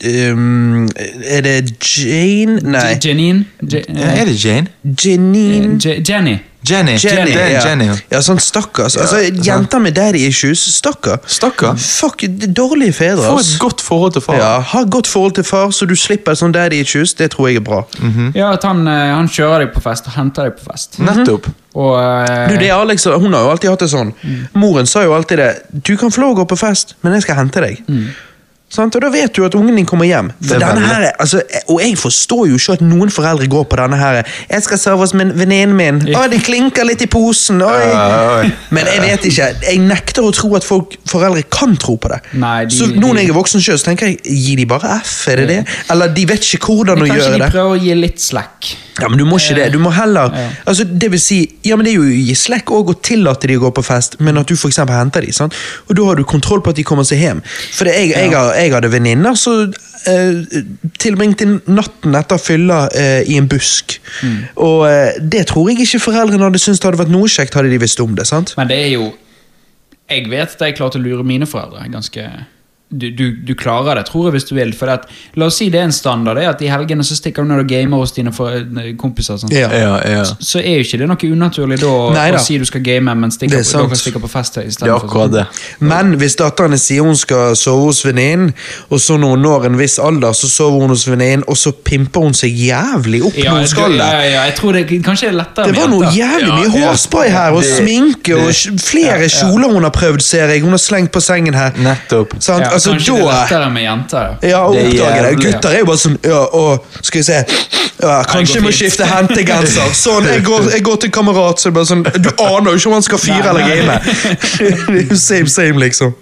Speaker 2: Um, er det Jane? Nei.
Speaker 3: Je- Janine? Je- eh,
Speaker 1: Ja, er det Jane?
Speaker 2: Janine
Speaker 3: Je- Jenny.
Speaker 1: Jenny.
Speaker 2: Jenny.
Speaker 1: Det er
Speaker 2: ja.
Speaker 1: Jenny.
Speaker 2: ja, sånn stakkars. Altså, Jenter med daddy issues, stakkar.
Speaker 1: Stakkar.
Speaker 2: Fuck, det er dårlige fedre.
Speaker 1: Få
Speaker 2: ass.
Speaker 1: et godt forhold til far.
Speaker 2: Ja, ha godt forhold til far, så du slipper sånn daddy issues. Det tror jeg er bra.
Speaker 1: Mm.
Speaker 3: Ja, at han, eh, han kjører deg på fest og henter deg på fest.
Speaker 1: Nettopp.
Speaker 3: Og eh,
Speaker 2: Du, det er Alex, Hun har jo alltid hatt det sånn. Moren sa jo alltid det. 'Du kan få lov å gå på fest, men jeg skal hente deg.' Sant? Og Da vet du at ungen din kommer hjem. For
Speaker 1: Det er
Speaker 2: denne
Speaker 1: veldig.
Speaker 2: her, er- altså, og jeg forstår jo ikke at noen foreldre går på denne her 'Jeg skal sove hos min venninnen min'. 'Å, det klinker litt i posen'. Oi.
Speaker 1: Ja, oi.
Speaker 2: Men jeg vet ikke. Jeg nekter å tro at folk, foreldre kan tro på det.
Speaker 3: Nei, de-
Speaker 2: så nå når
Speaker 3: de-
Speaker 2: jeg er voksen sjøl, tenker jeg gi de bare F, er det det? Eller de vet ikke hvordan å
Speaker 3: eh, Kanskje
Speaker 2: gjøre
Speaker 3: de
Speaker 2: det.
Speaker 3: prøver å gi litt slack.
Speaker 2: Ja, men du må
Speaker 3: Eh,
Speaker 2: ikke det. Du må heller altså, Det vil si, ja, men det er jo å gi slekk òg å tillate de å gå på fest, men at du for eksempel henter de, sant? Og da har du kontroll på at de kommer seg hjem. For det, jeg, jeg, har- jeg hadde venninner som eh, tilbringte natten etter fylla eh, i en busk.
Speaker 3: Mm.
Speaker 2: Og eh, det tror jeg ikke foreldrene hadde syntes hadde vært noe kjekt, hadde de visst om det. sant?
Speaker 3: Men det er jo Jeg vet at jeg klarte å lure mine foreldre. ganske... Du, du, du klarer det, tror jeg, hvis du vil. For at, la oss si det er en standard. Det er at I helgene så stikker du ned og gamer hos dine for, kompiser. Sånn.
Speaker 2: Ja.
Speaker 1: Ja, ja.
Speaker 3: Så er jo ikke det noe unaturlig da å,
Speaker 2: Nei da.
Speaker 3: å si du skal game, men stikker
Speaker 2: Det er
Speaker 3: på,
Speaker 2: sant.
Speaker 3: dere stikker på fest i
Speaker 1: Det
Speaker 3: stedet
Speaker 1: er
Speaker 3: for
Speaker 1: akkurat
Speaker 3: sånn.
Speaker 1: det.
Speaker 2: Men hvis datterne sier hun skal sove hos venninnen, og så når hun når en viss alder, så sover hun hos venninnen, og så pimper hun seg jævlig opp
Speaker 3: Ja,
Speaker 2: når hun skal
Speaker 3: du- eh,
Speaker 2: det.
Speaker 3: ja, ja, jeg tror det kanskje er lettere
Speaker 2: Det
Speaker 3: med
Speaker 2: var noe
Speaker 3: jenter.
Speaker 2: jævlig mye
Speaker 1: ja.
Speaker 2: hårspray her, og
Speaker 1: Det-
Speaker 2: sminke og sj- flere kjoler hun har prøvd, ser jeg. Hun har slengt på sengen her.
Speaker 1: Nettopp.
Speaker 2: Sant?
Speaker 3: Ja.
Speaker 2: altså,
Speaker 3: Kanskje det er
Speaker 2: da-
Speaker 3: lettere med jenter.
Speaker 2: Ja, å
Speaker 1: Det er
Speaker 2: oppdage det.
Speaker 1: jævlig.
Speaker 2: Gutter er jo bare sånn ja, å, Skal vi se ja, Kanskje
Speaker 3: går
Speaker 2: jeg må
Speaker 3: fint.
Speaker 2: skifte hentegenser. Sånn, jeg går, jeg går til kamerat, så det er bare sånn Du aner jo ikke om han skal fyre
Speaker 3: Nei,
Speaker 2: eller
Speaker 3: nei.
Speaker 2: game. *laughs* Det er jo same, same, liksom.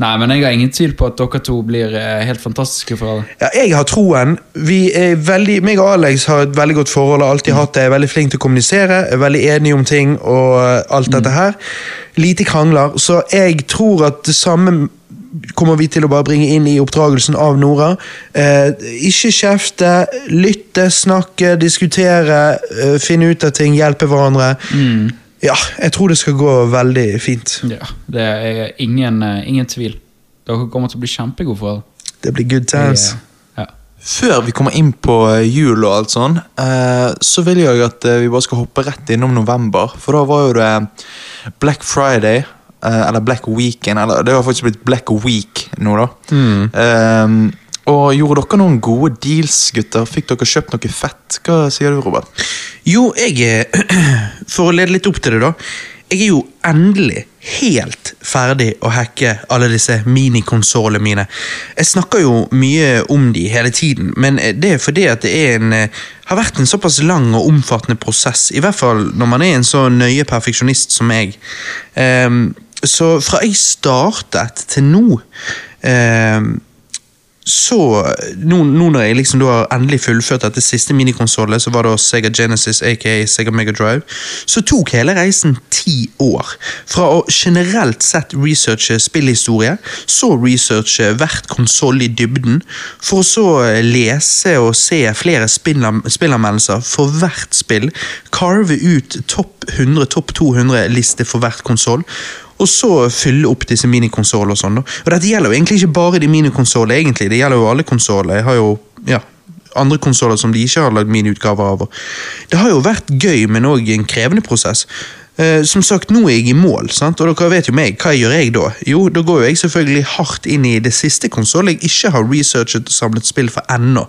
Speaker 3: Nei, men jeg har ingen tvil på at dere to blir eh, helt fantastiske foreldre.
Speaker 2: Ja, jeg har troen. Vi er veldig, meg og Alex har et veldig godt forhold. har alltid hatt det, er veldig flink til å kommunisere, er veldig enige om ting og eh, alt dette her. Lite krangler. Så jeg tror at det samme kommer vi til å bare bringe inn i oppdragelsen av Nora. Eh, ikke kjefte, lytte, snakke, diskutere, eh, finne ut av ting, hjelpe hverandre. Ja, jeg tror det skal gå veldig fint.
Speaker 3: Ja, det er ingen, eh, ingen tvil. Dere kommer til å bli kjempegode foreldre.
Speaker 2: Det blir good
Speaker 3: Jeg,
Speaker 2: times.
Speaker 3: eh, ja.
Speaker 1: Før vi kommer inn på eh, jul og alt sånn, eh, så vil jeg at eh, vi bare skal hoppe rett innom november. For da var jo det Black Friday, eh, eller Black Weekend, eller det har faktisk blitt Black Week nå, da. Eh, og gjorde dere noen gode deals, gutter? Fikk dere kjøpt noe fett? Hva sier du, Robert?
Speaker 2: Jo, jeg er *clears throat* For å lede litt opp til det, da. Jeg er jo endelig helt ferdig å hacke alle disse minikonsollene mine. Jeg snakker jo mye om de hele tiden, men det er fordi at det er en, eh, har vært en såpass lang og omfattende prosess. I hvert fall når man er en så nøye perfeksjonist som meg. Ehm, så fra jeg startet til nå ehm, så nå, nå når jeg liksom da har endelig fullført dette siste minikonsollet, så var det Sega Genesis, aka Sega Mega Drive, så tok hele reisen ti år. Fra å generelt sett researche spillhistorie, så researche hvert konsoll i dybden, for å så lese og se flere spillam- spillanmeldelser for hvert spill, carve ut topp 100, topp 200-liste for hvert konsoll, og så fylle opp disse minikonsoler og sånn. da. Og dette gjelder jo egentlig ikke bare de minikonsolene, egentlig. Det gjelder jo alle konsoler. Jeg har jo ja, andre konsoler som de ikke har lagd miniutgaver av. og Det har jo vært gøy, men òg en krevende prosess. Eh, som sagt, nå er jeg i mål, sant? og dere vet jo meg. Hva gjør jeg da? Jo, da går jo jeg selvfølgelig hardt inn i det siste konsollet jeg ikke har researchet og samlet spill for ennå.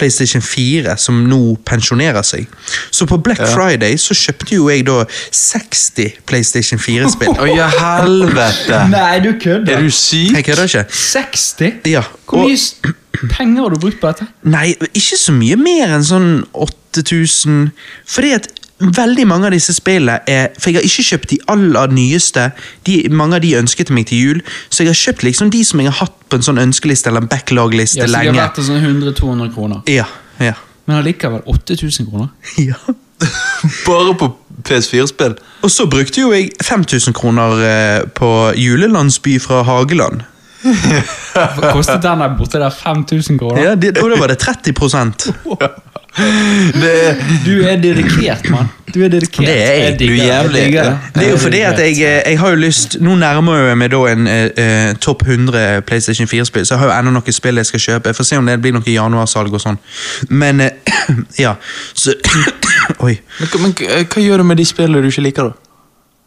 Speaker 2: PlayStation 4, som nå pensjonerer seg. Så på Black Friday så kjøpte jo jeg da 60 PlayStation
Speaker 1: *laughs*
Speaker 2: 4-spill.
Speaker 1: Å, ja, *laughs* helvete!
Speaker 3: Nei, du kødder!
Speaker 1: Er du syk?
Speaker 2: Jeg kødder ikke.
Speaker 3: 60?
Speaker 2: Ja,
Speaker 3: Hvor
Speaker 2: og-
Speaker 3: mye s- *clears throat* penger har du brukt på dette?
Speaker 2: Nei, ikke så mye mer enn sånn 8000. Fordi at veldig mange av disse spillene er For jeg har ikke kjøpt de aller nyeste. De, mange av de ønsket meg til jul. Så jeg har kjøpt liksom de som jeg har hatt på en sånn ønskeliste eller en backlog-liste
Speaker 3: Ja, så de har
Speaker 2: lenge.
Speaker 3: vært til sånn 100-200 kroner.
Speaker 2: Ja,
Speaker 3: *laughs*
Speaker 2: ja.
Speaker 3: Men allikevel 8000 kroner?
Speaker 2: ja.
Speaker 1: Bare på PS4-spill?
Speaker 2: Og så brukte jo jeg 5000 kroner eh, på julelandsby fra Hageland.
Speaker 3: Hva kostet den der borte der 5000 kroner?
Speaker 2: Ja, det, og da var det 30
Speaker 1: Det er
Speaker 3: Du er dedikert, mann. Du er dedikert.
Speaker 2: Det er jeg.
Speaker 3: Jeg digger
Speaker 1: Du er
Speaker 3: jeg
Speaker 1: jævlig.
Speaker 3: digger
Speaker 1: Ja.
Speaker 2: Det er jo fordi at jeg, jeg har jo lyst Nå nærmer jeg meg da en eh, eh, topp 100 PlayStation 4-spill, så jeg har jo ennå noen spill jeg skal kjøpe. Jeg får se om det blir noe januarsalg og sånn. Men eh, *clears throat* ja, så *clears throat* Oi.
Speaker 1: Men, hva- men hva- hva gjør du med de spillene du ikke liker, da?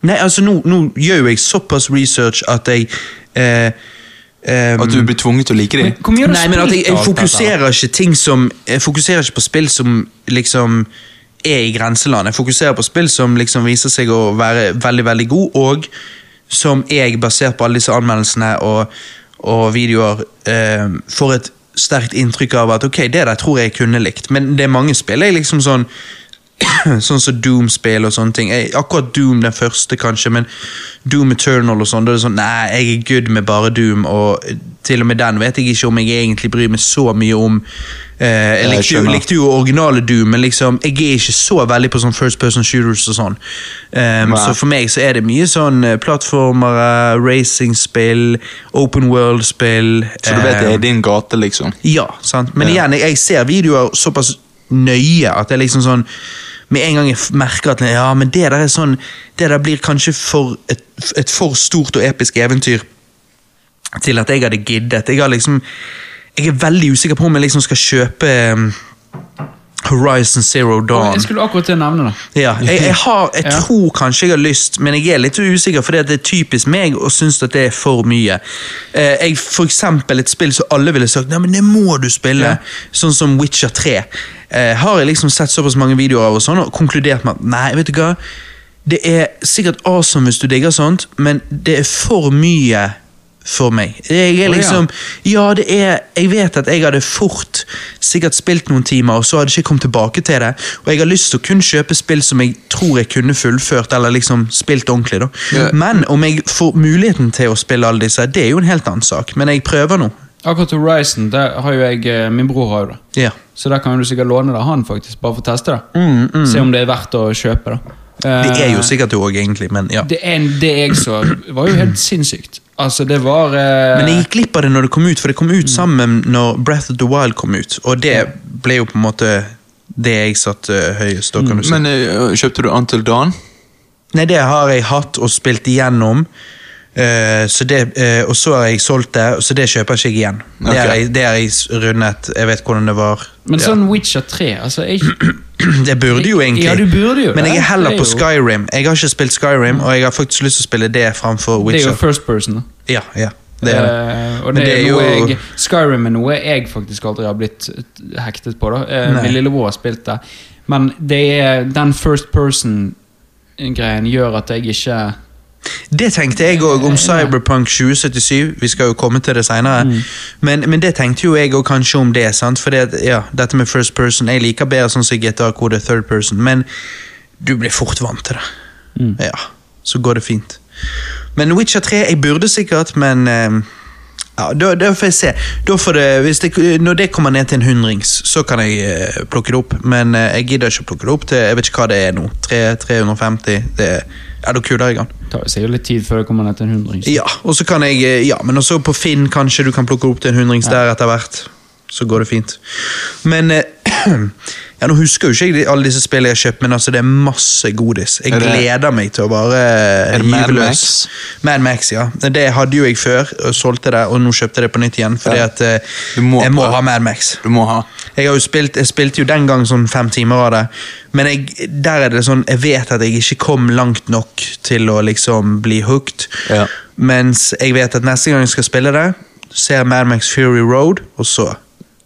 Speaker 2: Nei, altså, nå, nå gjør jo jeg såpass research at jeg eh, eh,
Speaker 1: At du blir tvunget til å like dem?
Speaker 3: Hvor mye har du
Speaker 2: Nei, men at jeg,
Speaker 3: spilt
Speaker 2: jeg
Speaker 3: av alt dette her?
Speaker 2: fokuserer ikke ting som Jeg fokuserer ikke på spill som liksom er i grenseland. Jeg fokuserer på spill som liksom viser seg å være veldig, veldig god, og som jeg, basert på alle disse anmeldelsene og, og videoer, eh, får et sterkt inntrykk av at ok, det der tror jeg jeg kunne likt, men det er mange spill jeg liksom sånn *coughs* Sånn som Doom-spill og sånne ting. Jeg, akkurat Doom den første, kanskje, men Doom Eternal og sånn. Da er det sånn Nei, jeg er good med bare Doom, og til og med den vet jeg ikke om jeg egentlig bryr meg så mye om. Eh, jeg
Speaker 1: Jeg
Speaker 2: likte jo,
Speaker 1: skjønner.
Speaker 2: likte jo originale Doom, men liksom, jeg er ikke så veldig på sånn first person shooters og sånn. Eh,
Speaker 1: Nei.
Speaker 2: så for meg så er det mye sånn eh, plattformere, racingspill, open world-spill.
Speaker 1: Så du vet det
Speaker 2: eh,
Speaker 1: er din gate, liksom?
Speaker 2: ja, sant? men
Speaker 1: Ja.
Speaker 2: igjen, jeg, jeg ser videoer såpass nøye at jeg liksom sånn Med en gang jeg f- merker at ja, men det der er sånn Det der blir kanskje for et, et for stort og episk eventyr til at jeg hadde giddet. Jeg har liksom Jeg er veldig usikker på om jeg liksom skal kjøpe um, Horizon Zero
Speaker 3: Å,
Speaker 2: Dawn.
Speaker 3: Jeg skulle akkurat til å nevne det.
Speaker 2: Ja, jeg, jeg, har, jeg
Speaker 3: Ja.
Speaker 2: tror kanskje jeg har lyst, men jeg er litt usikker, fordi at det er typisk meg å synes at det er for mye. Eh, jeg, for eksempel et spill som alle ville sagt Nei, men det må du spille,
Speaker 3: Ja.
Speaker 2: sånn som Witcher 3. Eh, har jeg liksom sett såpass mange videoer av og sånn, og konkludert med at nei, vet du hva Det er sikkert awesome hvis du digger sånt, men det er for mye for meg. Jeg er
Speaker 3: Å, ja.
Speaker 2: liksom Ja, det er Jeg vet at jeg hadde fort sikkert spilt noen timer, og så hadde jeg ikke kommet tilbake til det. Og jeg har lyst til å kun kjøpe spill som jeg tror jeg kunne fullført, eller liksom spilt ordentlig, da.
Speaker 1: Ja.
Speaker 2: Men om jeg får muligheten til å spille alle disse, det er jo en helt annen sak. Men jeg prøver nå.
Speaker 3: Akkurat Horizon, der har jo jeg eh, Min bror har jo det.
Speaker 2: Ja.
Speaker 3: Så der kan du sikkert låne det av han, faktisk, bare for å teste det. Se om det er verdt å kjøpe, da. Eh,
Speaker 2: Mm, Det er jo sikkert det òg, egentlig, men ja.
Speaker 3: Det, er, det jeg så, var jo helt sinnssykt. Altså, det var eh,
Speaker 2: Men jeg gikk glipp av det når det kom ut, for det kom ut sammen når Breath of the Wild kom ut. Og det ble jo på en måte det jeg satt eh, høyest, da, kan du si.
Speaker 1: Men eh, kjøpte du Until Dawn?
Speaker 2: Nei, det har jeg hatt og spilt igjennom. eh, så det, eh, og så har jeg solgt det, så det kjøper jeg ikke igjen. Det, har
Speaker 1: Ok.
Speaker 2: jeg, det har jeg s- rundet. Jeg vet hvordan det var.
Speaker 3: Men
Speaker 2: Ja.
Speaker 3: sånn Witcher 3 altså, jeg,
Speaker 2: *clears throat* Det burde jo egentlig.
Speaker 3: Ja, du burde jo
Speaker 2: Men
Speaker 3: det.
Speaker 2: jeg er heller
Speaker 3: Det er
Speaker 2: på
Speaker 3: jo-
Speaker 2: Skyrim. Jeg har ikke spilt Skyrim, og jeg har faktisk lyst til å spille det framfor
Speaker 3: Det er
Speaker 2: *clears throat* Witcher.
Speaker 3: jo first person. da.
Speaker 2: Ja, ja, det er det.
Speaker 3: Eh, og
Speaker 2: Men
Speaker 3: det,
Speaker 2: det er
Speaker 3: er noe
Speaker 2: jo-
Speaker 3: jeg, Skyrim er noe jeg faktisk aldri har blitt eh, hektet på. da Eh,
Speaker 2: Nei.
Speaker 3: Min lillebror har spilt det. Men det er den first person-greien gjør at jeg ikke
Speaker 2: Det tenkte jeg òg om Cyberpunk 2077. Vi skal jo komme til det seinere. Men, men det tenkte jo jeg òg kanskje om det. sant? For det, ja, dette med first person Jeg liker bedre sånn som GTA hvor det er third person, men du blir fort vant til det. Ja, så går det fint. Men Witcher 3 Jeg burde sikkert, men eh, ja, da, da får jeg se. Da får det, hvis det, når det kommer ned til en hundrings, så kan jeg eh, plukke det opp. Men eh, jeg gidder ikke å plukke det opp til jeg vet ikke hva det er nå. 3, 350? Det, ja, da kuler jeg den.
Speaker 3: Det tar seg jo litt tid før det kommer ned til en hundring. så-
Speaker 2: Ja, og så kan jeg eh, Ja, men også på Finn kanskje du kan plukke opp til en hundrings der etter hvert. Så går det fint. Men eh, *clears throat* Ja, nå husker jo ikke jeg de- alle disse spillene jeg har kjøpt, men altså det er masse godis. Jeg
Speaker 1: Er det-
Speaker 2: gleder meg til å bare
Speaker 1: Er det Mad
Speaker 2: gyve løs.
Speaker 1: Max?
Speaker 2: Mad Max, ja. Det hadde jo jeg før, og solgte det, og nå kjøpte jeg det på nytt igjen. Fordi
Speaker 1: Ja.
Speaker 2: at eh,
Speaker 1: Du må
Speaker 2: jeg må
Speaker 1: prøve.
Speaker 2: ha Mad Max.
Speaker 1: Du må ha.
Speaker 2: Jeg har jo spilt, jeg spilte jo den gang sånn fem timer av det, men jeg, der er det sånn, jeg vet at jeg ikke kom langt nok til å liksom bli hooked.
Speaker 1: Ja.
Speaker 2: Mens jeg vet at neste gang jeg skal spille det, ser jeg Mad Max Fury Road, og så...
Speaker 1: Ja,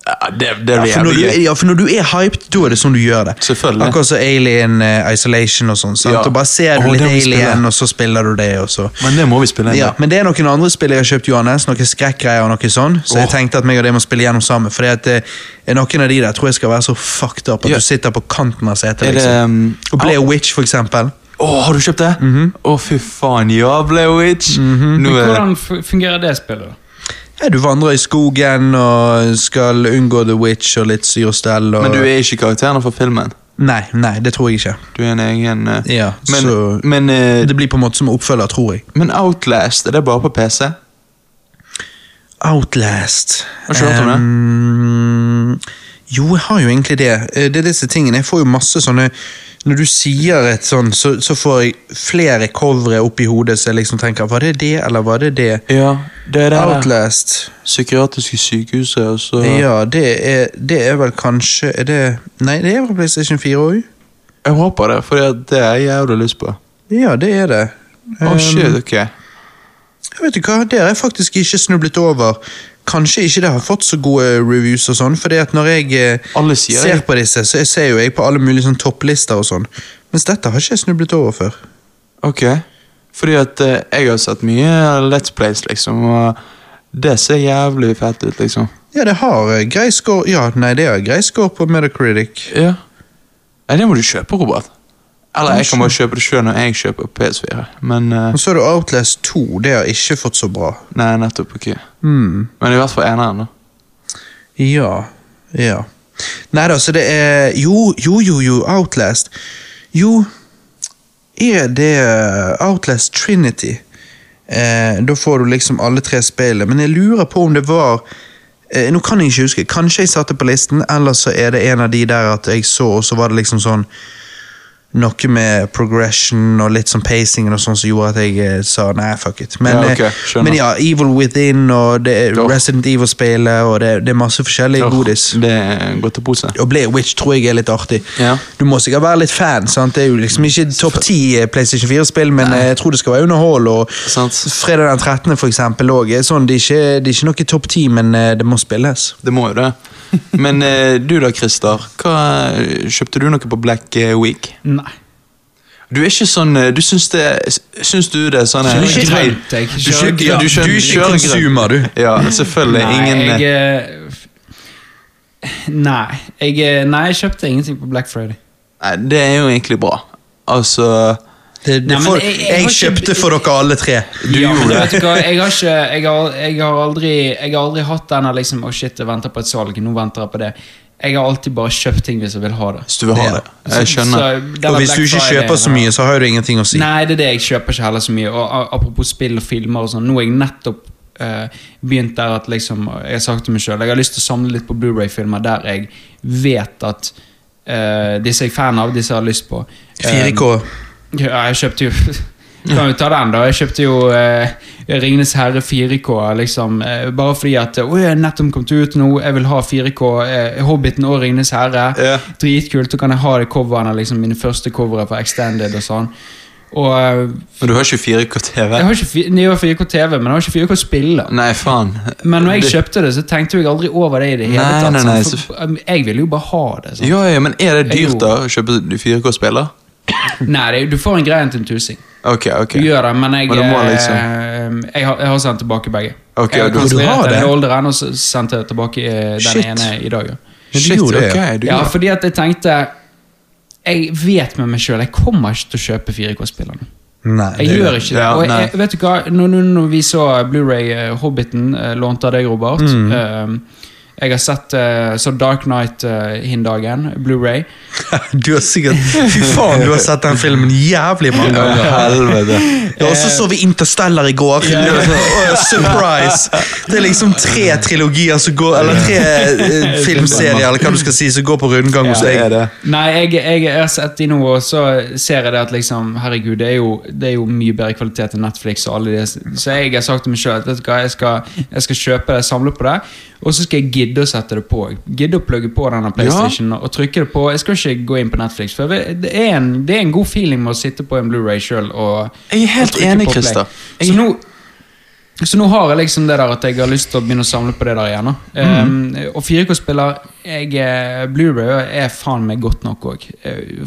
Speaker 1: Ah, det, det
Speaker 2: Ja
Speaker 1: blir
Speaker 2: for, når du,
Speaker 1: jævlig gøy.
Speaker 2: ja, for når du er hyped, da er det sånn du gjør det.
Speaker 1: Selvfølgelig.
Speaker 2: Akkurat som Alien eh, Isolation og sånn, sant?
Speaker 1: Ja.
Speaker 2: Og bare ser du
Speaker 1: Å,
Speaker 2: litt
Speaker 1: det må vi spille.
Speaker 2: Alien, og så spiller du det, og så...
Speaker 1: Men det må vi spille en
Speaker 2: Ja,
Speaker 1: gang.
Speaker 2: men det er noen andre spill jeg har kjøpt, Johannes. Noen skrekkgreier og noe sånn. Så jeg
Speaker 1: Åh.
Speaker 2: tenkte at meg og det må spille gjennom sammen. For noen av de der tror jeg skal være så fucked up at
Speaker 1: Ja.
Speaker 2: du sitter på kanten av setet.
Speaker 1: Er det,
Speaker 2: Liksom.
Speaker 1: um,
Speaker 2: Og Blair Witch, for eksempel.
Speaker 1: Å, har du kjøpt det? Å, fy faen. Ja, Blair Witch. Nå eh,
Speaker 3: Men
Speaker 1: er det
Speaker 3: Hvordan fu- fungerer det spillet? da?
Speaker 2: Ja, du vandrer i skogen og skal unngå The Witch og litt syr og stell. Og...
Speaker 1: Men du er ikke karakteren fra filmen.
Speaker 2: Nei, nei, det tror jeg ikke.
Speaker 1: Du er en egen eh,
Speaker 2: Ja,
Speaker 1: Men,
Speaker 2: så-
Speaker 1: men, eh,
Speaker 2: Det blir på en måte som oppfølger, tror jeg.
Speaker 1: men Outlast, er det bare på PC?
Speaker 2: Outlast.
Speaker 1: Har ikke hørt om det?
Speaker 2: Ehm, jo, jeg har jo egentlig det. Eh, Det er disse tingene. Jeg får jo masse sånne Når du sier et sånn, så, så får jeg flere covere opp i hodet så jeg liksom tenker Var det det, eller var det det?
Speaker 1: Ja, det er det.
Speaker 2: Outlast.
Speaker 1: Psykiatriske sykehuset, og så
Speaker 2: Ja, det er, det er vel kanskje Er det Nei, det er vel PlayStation 4 òg?
Speaker 1: Jeg håper det, for det har jeg jævlig lyst på. Å,
Speaker 2: Ja, det er det. Ehm,
Speaker 1: shit, ok.
Speaker 2: Jeg vet ikke hva, Det har jeg faktisk ikke snublet over. Kanskje ikke det har fått så gode reviews, og sånn, fordi at når jeg eh,
Speaker 1: Alle sier
Speaker 2: ser
Speaker 1: det.
Speaker 2: på disse, så jeg ser jo jeg på alle mulige sånn topplister og sånn. Mens dette har ikke jeg snublet over før.
Speaker 1: Ok. Fordi at eh, jeg har sett mye Let's Plays, liksom, og det ser jævlig fett ut, liksom.
Speaker 2: Ja, det har eh, grei score Ja, nei, det har grei score på Metacritic.
Speaker 1: Ja. Nei, det må du kjøpe, Robert. Eller jeg kan bare kjøpe det sjøl når jeg kjøper PS4, men eh,
Speaker 2: Og så er det Outlast 2. Det har ikke fått så bra.
Speaker 1: Nei, nettopp ikke.
Speaker 2: Hmm.
Speaker 1: Men i hvert fall eneren, da.
Speaker 2: Ja. Ja. Nei da, så det er Jo, jo, jo, jo, Outlast. Jo Er det eh, Outlast Trinity? Eh, da får du liksom alle tre spillene. Men jeg lurer på om det var eh, Nå kan jeg ikke huske. Kanskje jeg satte på listen, eller så er det en av de der at jeg så, og så var det liksom sånn noe med progression og litt sånn pacingen og sånn som gjorde at jeg eh, sa nei, fuck it. Men,
Speaker 1: Ja, ok,
Speaker 2: eh,
Speaker 1: skjønner.
Speaker 2: men ja, Evil Within og det er
Speaker 1: Ja.
Speaker 2: Resident Evil-spillet, og det, det er masse forskjellig
Speaker 1: Åh,
Speaker 2: godis.
Speaker 1: Det er en godtepose.
Speaker 2: Og Blair Witch tror jeg er litt artig.
Speaker 1: Ja.
Speaker 2: Du må sikkert være litt fan. sant? Det er jo liksom ikke topp ti eh, PlayStation 4-spill, men eh, jeg tror det skal være underhold. Og
Speaker 1: Sant.
Speaker 2: Fredag den 13. for eksempel òg. Sånn, det, er ikke- det er ikke noe topp ti, men eh, det må spilles.
Speaker 1: Det må jo det. Men eh, du da, Christer. Hva, kjøpte du noe på Black eh, Week?
Speaker 3: Nei.
Speaker 1: Du er ikke sånn eh, Du syns det Syns du det er sånn eh,
Speaker 3: Kjører
Speaker 1: grei-
Speaker 3: grønt, jeg.
Speaker 1: Du
Speaker 3: Kjører
Speaker 1: kjører, ja,
Speaker 2: grønt.
Speaker 1: du kjører,
Speaker 2: Du er ikke
Speaker 1: grønt.
Speaker 2: consumer, du.
Speaker 1: Ja, selvfølgelig. ingen
Speaker 3: Nei,
Speaker 1: eh,
Speaker 3: jeg eh, Nei, jeg, eh, nei, jeg kjøpte ingenting på Black Friday.
Speaker 1: Nei, det er jo egentlig bra. Altså
Speaker 2: Det, det
Speaker 3: Nei, men
Speaker 2: får-
Speaker 3: jeg- jeg
Speaker 2: jeg
Speaker 3: har ikke-
Speaker 2: kjøpte for dere alle tre.
Speaker 1: Du
Speaker 3: ja, men
Speaker 1: gjorde
Speaker 3: vet du hva, Jeg har, ikke, jeg har, jeg har, aldri, jeg har aldri hatt denne liksom, Å shit, jeg venter på et salg, nå venter jeg på det. Jeg har alltid bare kjøpt ting hvis jeg vil ha det.
Speaker 1: Hvis du vil ha
Speaker 2: Ja.
Speaker 1: det. Jeg skjønner.
Speaker 3: Så, denne
Speaker 2: Og hvis
Speaker 3: Black
Speaker 2: du ikke
Speaker 3: Friday-
Speaker 2: kjøper så mye, så har du ingenting å si.
Speaker 3: Nei, det er det. Jeg kjøper ikke heller så mye. Og a- Apropos spill og filmer og sånn. Nå har jeg nettopp eh, begynt der at liksom Jeg har sagt til meg sjøl jeg har lyst til å samle litt på Blu-ray-filmer der jeg vet at eh, disse jeg er fan av, disse jeg har lyst på. Eh,
Speaker 2: 4K.
Speaker 3: ja, jeg kjøpte jo *laughs* Kan jo ta den, da. Jeg kjøpte jo eh, Ringenes herre 4K, liksom. Eh, bare fordi at Å, jeg har nettopp kommet ut nå, jeg vil ha 4K. Eh, Hobbiten og Ringenes herre.
Speaker 1: Ja.
Speaker 3: Dritkult. Så kan jeg ha det coverne, liksom mine første covere på Extended og sånn. Og eh,
Speaker 1: Men du har ikke 4K-TV?
Speaker 3: jeg har ikke fi- jeg har 4K TV, men jeg har ikke 4K spille.
Speaker 1: Nei, faen.
Speaker 3: Men når jeg
Speaker 1: Det-
Speaker 3: kjøpte det, så tenkte jeg aldri over det i det hele
Speaker 1: Nei,
Speaker 3: tatt.
Speaker 1: nei, nei,
Speaker 3: sånn, for, eh, jeg ville jo bare ha det. Sånn.
Speaker 1: Ja, ja, men er det
Speaker 3: Jeg
Speaker 1: dyrt, da? Å kjøpe 4K-spiller?
Speaker 3: Nei, det, du får en greie til en tusing.
Speaker 1: Ok, ok.
Speaker 3: Du gjør det, men jeg,
Speaker 1: Men du må liksom-
Speaker 3: eh, jeg, har, jeg har sendt tilbake begge.
Speaker 1: Ok,
Speaker 3: jeg har
Speaker 1: du-
Speaker 2: Du har
Speaker 3: kansellert den
Speaker 2: det?
Speaker 3: olderen, og så sendte jeg tilbake eh, den
Speaker 2: Shit.
Speaker 3: ene i dag. ja.
Speaker 2: Men du
Speaker 1: Shit,
Speaker 2: gjorde det,
Speaker 1: ok.
Speaker 2: ja.
Speaker 1: Du
Speaker 3: Ja,
Speaker 1: gjorde det.
Speaker 3: fordi at jeg tenkte Jeg vet med meg sjøl, jeg kommer ikke til å kjøpe 4K-spillerne.
Speaker 2: Nei,
Speaker 3: Jeg gjør ikke det.
Speaker 1: Ja,
Speaker 3: Og jeg,
Speaker 1: nei.
Speaker 3: vet du hva, når, når, når vi så Blu-ray eh, Hobbiten, eh, lånt av deg, Robert
Speaker 1: Mm.
Speaker 3: eh, Jeg har sett eh, så Dark Knight eh, hin dagen, Blu-ray.
Speaker 2: *laughs* Du har sikkert Fy faen, du har sett den filmen jævlig mange
Speaker 1: Ja,
Speaker 2: ganger.
Speaker 1: helvete.
Speaker 2: Ja, og så så vi Interstellar i går.
Speaker 3: Ja,
Speaker 2: *laughs*
Speaker 3: ja.
Speaker 2: Åh, Surprise! Det er liksom tre trilogier som går Eller tre eh, filmserier eller hva du skal si, som går på rundgang hos
Speaker 1: Det er
Speaker 2: deg.
Speaker 1: det.
Speaker 3: Nei, jeg, jeg, jeg har sett de nå, og så ser jeg det at liksom, herregud, det er, jo, det er jo mye bedre kvalitet enn Netflix og alle de Så jeg har sagt til meg sjøl at vet du hva, jeg skal, jeg skal kjøpe det, samle på det, og så skal jeg gidde å sette det på. Gidde å plugge på denne PlayStation og trykke det på. Jeg skal ikke gå inn på Netflix, for jeg vet- det er en, det er en god feeling med å sitte på en Blu-ray sjøl og
Speaker 1: Jeg er helt
Speaker 3: og trykke
Speaker 1: enig,
Speaker 3: på play.
Speaker 1: Christer.
Speaker 3: Så nå så nå har jeg liksom det der at jeg har lyst til å begynne å samle på det der igjen. da.
Speaker 1: Mm.
Speaker 3: Ehm, og 4K-spiller jeg, eh, Blu-ray er faen meg godt nok òg,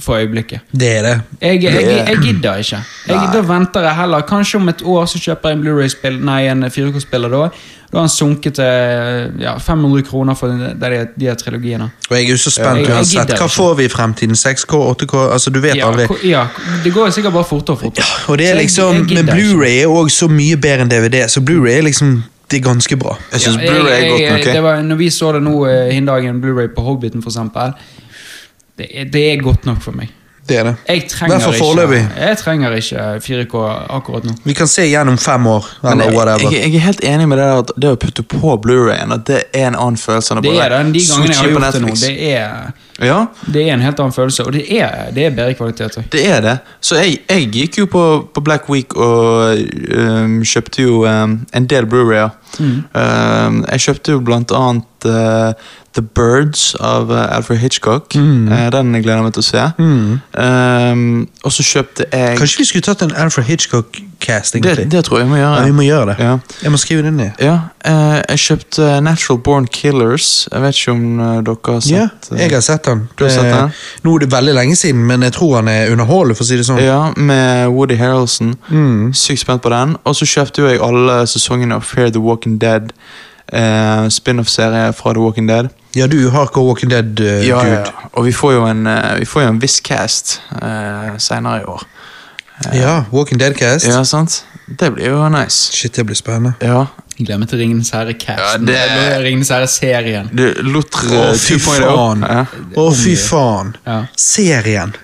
Speaker 3: for øyeblikket.
Speaker 2: Det er det.
Speaker 3: Jeg, jeg,
Speaker 1: Det
Speaker 3: jeg,
Speaker 1: er-
Speaker 3: gidder ikke. Jeg, da venter jeg heller. Kanskje om et år så kjøper jeg en Blu-ray-spill Nei, en 4K-spiller da. Da har han sunket til ja, 500 kroner for de, de, de her trilogiene.
Speaker 2: Og jeg er jo så
Speaker 3: Jeg-
Speaker 2: spent
Speaker 3: jeg
Speaker 2: uansett.
Speaker 3: gidder
Speaker 2: Hva
Speaker 3: ikke.
Speaker 2: får vi i fremtiden? 6K, 8K? Altså, du vet
Speaker 3: Ja,
Speaker 2: aldri.
Speaker 3: ko- ja, det går jo sikkert bare fortere og fortere.
Speaker 2: Og det er
Speaker 3: Så jeg- jeg
Speaker 2: liksom,
Speaker 3: gidder
Speaker 2: men
Speaker 3: ikke.
Speaker 2: Blu-ray er òg så mye bedre enn DVD, så Blu-ray er liksom Det er ganske bra.
Speaker 1: Jeg syns
Speaker 3: Ja,
Speaker 1: Blu-ray er
Speaker 3: jeg-
Speaker 1: godt
Speaker 3: jeg-
Speaker 1: nok. eh.
Speaker 3: Det
Speaker 1: jeg.
Speaker 3: var, når vi så det nå eh, hin dagen, Blu-ray på Hobbiten for eksempel, det, er- det er godt nok for meg.
Speaker 2: Det er det.
Speaker 3: Jeg trenger,
Speaker 2: Hvertfall
Speaker 3: ikke,
Speaker 2: foreløpig.
Speaker 3: jeg trenger ikke 4K akkurat nå.
Speaker 2: Vi kan se igjen om fem år,
Speaker 1: Men
Speaker 2: eller
Speaker 1: jeg,
Speaker 2: whatever.
Speaker 1: jeg, jeg er helt enig med det der at det å putte på Blu-rayen at det er en annen følelse enn å
Speaker 3: Det er
Speaker 1: bare
Speaker 3: den, De gangene jeg har
Speaker 1: switche på
Speaker 3: gjort det nå,
Speaker 1: Netflix.
Speaker 3: det er,
Speaker 1: Ja,
Speaker 3: det er en helt annen følelse. Og det er, det er bedre kvalitet òg.
Speaker 1: det er det. Så jeg, jeg gikk jo på, på Black Week og øhm, kjøpte jo øhm, en del Blu-rayer.
Speaker 2: Mm.
Speaker 1: Øhm, jeg kjøpte jo blant annet øh, The Birds av øh, Alfred Hitchcock.
Speaker 2: Mm.
Speaker 1: Eh, den gleder jeg meg til å se. Øhm, og så kjøpte jeg
Speaker 2: Kanskje vi skulle tatt en Alfred Hitchcock-cast,
Speaker 1: det,
Speaker 2: egentlig?
Speaker 1: det tror jeg vi må gjøre.
Speaker 2: Ja, vi må gjøre det.
Speaker 1: Ja.
Speaker 2: Jeg må skrive det ned.
Speaker 1: Ja, eh, jeg kjøpte Natural Born Killers. Jeg vet ikke om eh, dere har
Speaker 2: Ja,
Speaker 1: sett eh,
Speaker 2: jeg har sett han.
Speaker 1: Du har sett han?
Speaker 2: Eh, Nå er det veldig lenge siden, men jeg tror han er underholdende, for å si det sånn.
Speaker 1: ja, Mm. med Woody Harrelson. Sykt spent på den. Og så kjøpte jo jeg alle sesongene av Fear the Walking Dead. Eh, Spin-off-serie fra The Walking Dead.
Speaker 2: Ja, du er hardcore Walking eh, Dead-dude.
Speaker 1: Ja, ja, ja. Og vi får jo en, eh, vi får jo en viss cast eh, senere i år.
Speaker 2: Walking Dead-cast.
Speaker 1: Ja, sant? Det blir jo nice.
Speaker 2: Shit, det blir spennende.
Speaker 1: Ja.
Speaker 3: Gleder meg til Ringenes herre-casten.
Speaker 1: Ja, det-
Speaker 3: Ringenes herre-serien.
Speaker 1: Du, Lotre
Speaker 2: Å, fy
Speaker 1: 2.0.
Speaker 2: faen.
Speaker 1: Ja.
Speaker 2: Å, fy faen.
Speaker 3: Ja.
Speaker 2: Serien.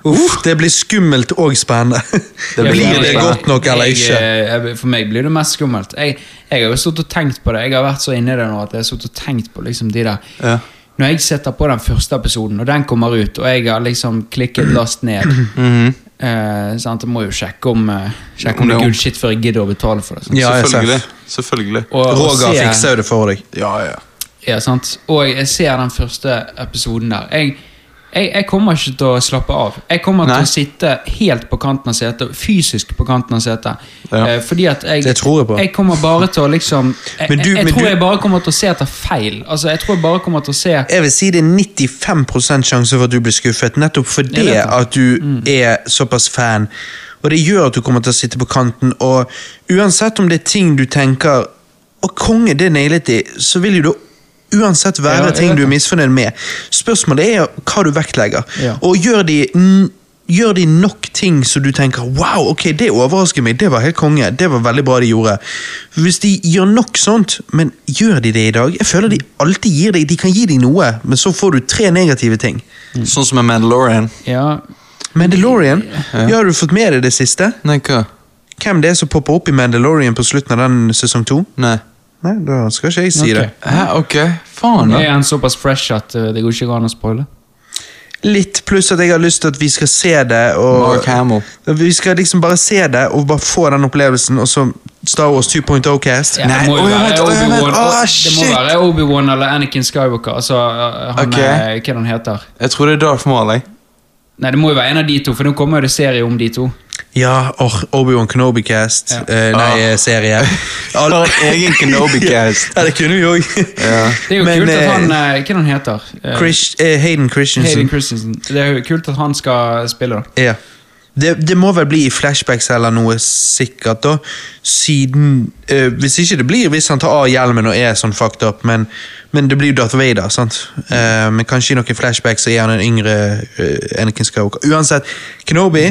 Speaker 2: Uff, det blir skummelt og spennende.
Speaker 1: Det blir
Speaker 2: blir
Speaker 1: veldig
Speaker 2: det
Speaker 1: spennende.
Speaker 2: godt nok eller
Speaker 3: jeg,
Speaker 2: ikke?
Speaker 3: eh, jeg- For meg blir det mest skummelt. Jeg, jeg har jo stått og tenkt på det. Jeg har vært så inne i det nå at jeg har stått og tenkt på liksom de der
Speaker 1: Ja.
Speaker 3: Når jeg setter på den første episoden, og den kommer ut, og jeg har liksom klikket
Speaker 2: *clears throat*
Speaker 3: last ned
Speaker 1: Mhm.
Speaker 3: eh, sant? Jeg må jo sjekke om, eh, sjekke om
Speaker 1: Om
Speaker 3: det er
Speaker 1: det-
Speaker 3: good shit før jeg gidder å betale for det. Sant?
Speaker 2: Ja, jeg ser.
Speaker 1: Selvfølgelig. Selvfølgelig.
Speaker 3: Og, og
Speaker 2: Roger
Speaker 3: se-
Speaker 2: fikser jo det for deg.
Speaker 1: Ja, ja.
Speaker 3: Ja, sant? Og jeg ser den første episoden der. Jeg, Jeg, jeg kommer ikke til å slappe av. Jeg kommer
Speaker 1: Nei.
Speaker 3: til å sitte helt på kanten av setet, fysisk på kanten av setet.
Speaker 1: Ja.
Speaker 3: Eh, fordi at jeg
Speaker 2: Det tror jeg på.
Speaker 3: kommer bare til å liksom Jeg,
Speaker 2: Men du-
Speaker 3: jeg, jeg
Speaker 2: men
Speaker 3: tror
Speaker 2: du-
Speaker 3: jeg bare kommer til å se etter feil. Altså, jeg tror jeg bare kommer til å se
Speaker 2: Jeg vil si det er 95 sjanse for at du blir skuffet, nettopp
Speaker 3: Jeg
Speaker 2: fordi
Speaker 3: vet det.
Speaker 2: at du
Speaker 3: Mm.
Speaker 2: er såpass fan. Og det gjør at du kommer til å sitte på kanten, og uansett om det er ting du tenker Å, konge, det nailet de, så vil jo det uansett
Speaker 3: Ja,
Speaker 2: være
Speaker 3: jeg
Speaker 2: ting
Speaker 3: vet
Speaker 2: du er
Speaker 3: det.
Speaker 2: misfornøyd med. Spørsmålet er hva du vektlegger.
Speaker 3: Ja.
Speaker 2: Og gjør de, n- gjør de nok ting så du tenker Wow, ok, det overrasker meg, det var helt konge, det var veldig bra de gjorde. Hvis de gjør nok sånt, men gjør de det i dag? Jeg føler de alltid gir deg De kan gi deg noe, men så får du tre negative ting.
Speaker 1: Sånn som med Mandalorian.
Speaker 3: Ja,
Speaker 2: Mandalorian, ja, har du fått med deg det siste?
Speaker 1: Nei, hva?
Speaker 2: Hvem det er som popper opp i Mandalorian på slutten av den sesong to?
Speaker 1: Nei.
Speaker 2: Nei, da skal ikke jeg si
Speaker 3: Ok.
Speaker 2: det.
Speaker 1: Hæ, ok.
Speaker 2: Ah,
Speaker 1: Faen, da.
Speaker 3: er han såpass fresh at eh, det går ikke an å spoile?
Speaker 2: Litt pluss at jeg har lyst til at vi skal se det. Og
Speaker 1: Mark Hamill.
Speaker 2: Vi skal liksom bare se det og bare få den opplevelsen, og så Star Wars 2.0-cast.
Speaker 3: Ja,
Speaker 1: Nei,
Speaker 3: det må jo
Speaker 1: oi,
Speaker 3: være
Speaker 1: vent, oi, vent,
Speaker 3: Obi-Wan
Speaker 1: ah,
Speaker 3: Det må
Speaker 1: shit.
Speaker 3: være Obi-Wan eller Anakin Skywalker. Altså, eh, han
Speaker 1: Ok.
Speaker 3: eh, Hva er det han heter
Speaker 1: Jeg tror det er Darth Maul, jeg.
Speaker 3: Nei, det må jo være en av de to, for nå kommer jo det serie om de to.
Speaker 2: Ja, or, Obi-Wan Kenobi-cast.
Speaker 3: Ja. Ah.
Speaker 2: Eh, nei, eh,
Speaker 3: *laughs*
Speaker 2: serie.
Speaker 1: For en egen *laughs* Kenobi-cast.
Speaker 2: ja, det kunne vi òg.
Speaker 3: Det er jo kult at han eh, Hva er det han heter? Eh,
Speaker 2: Hayden Christensen.
Speaker 3: Hayden Christensen. Det er jo kult at han skal spille, da.
Speaker 2: Ja. Det, det må vel bli i flashbacks eller noe sikkert, da. Siden eh, Hvis ikke det blir hvis han tar av hjelmen og er sånn fucked up, men, men det blir jo Darth Vader, sant? Eh, men kanskje i noen flashbacks så er han en yngre eh, Anakin Skywalker. Uansett, Kenobi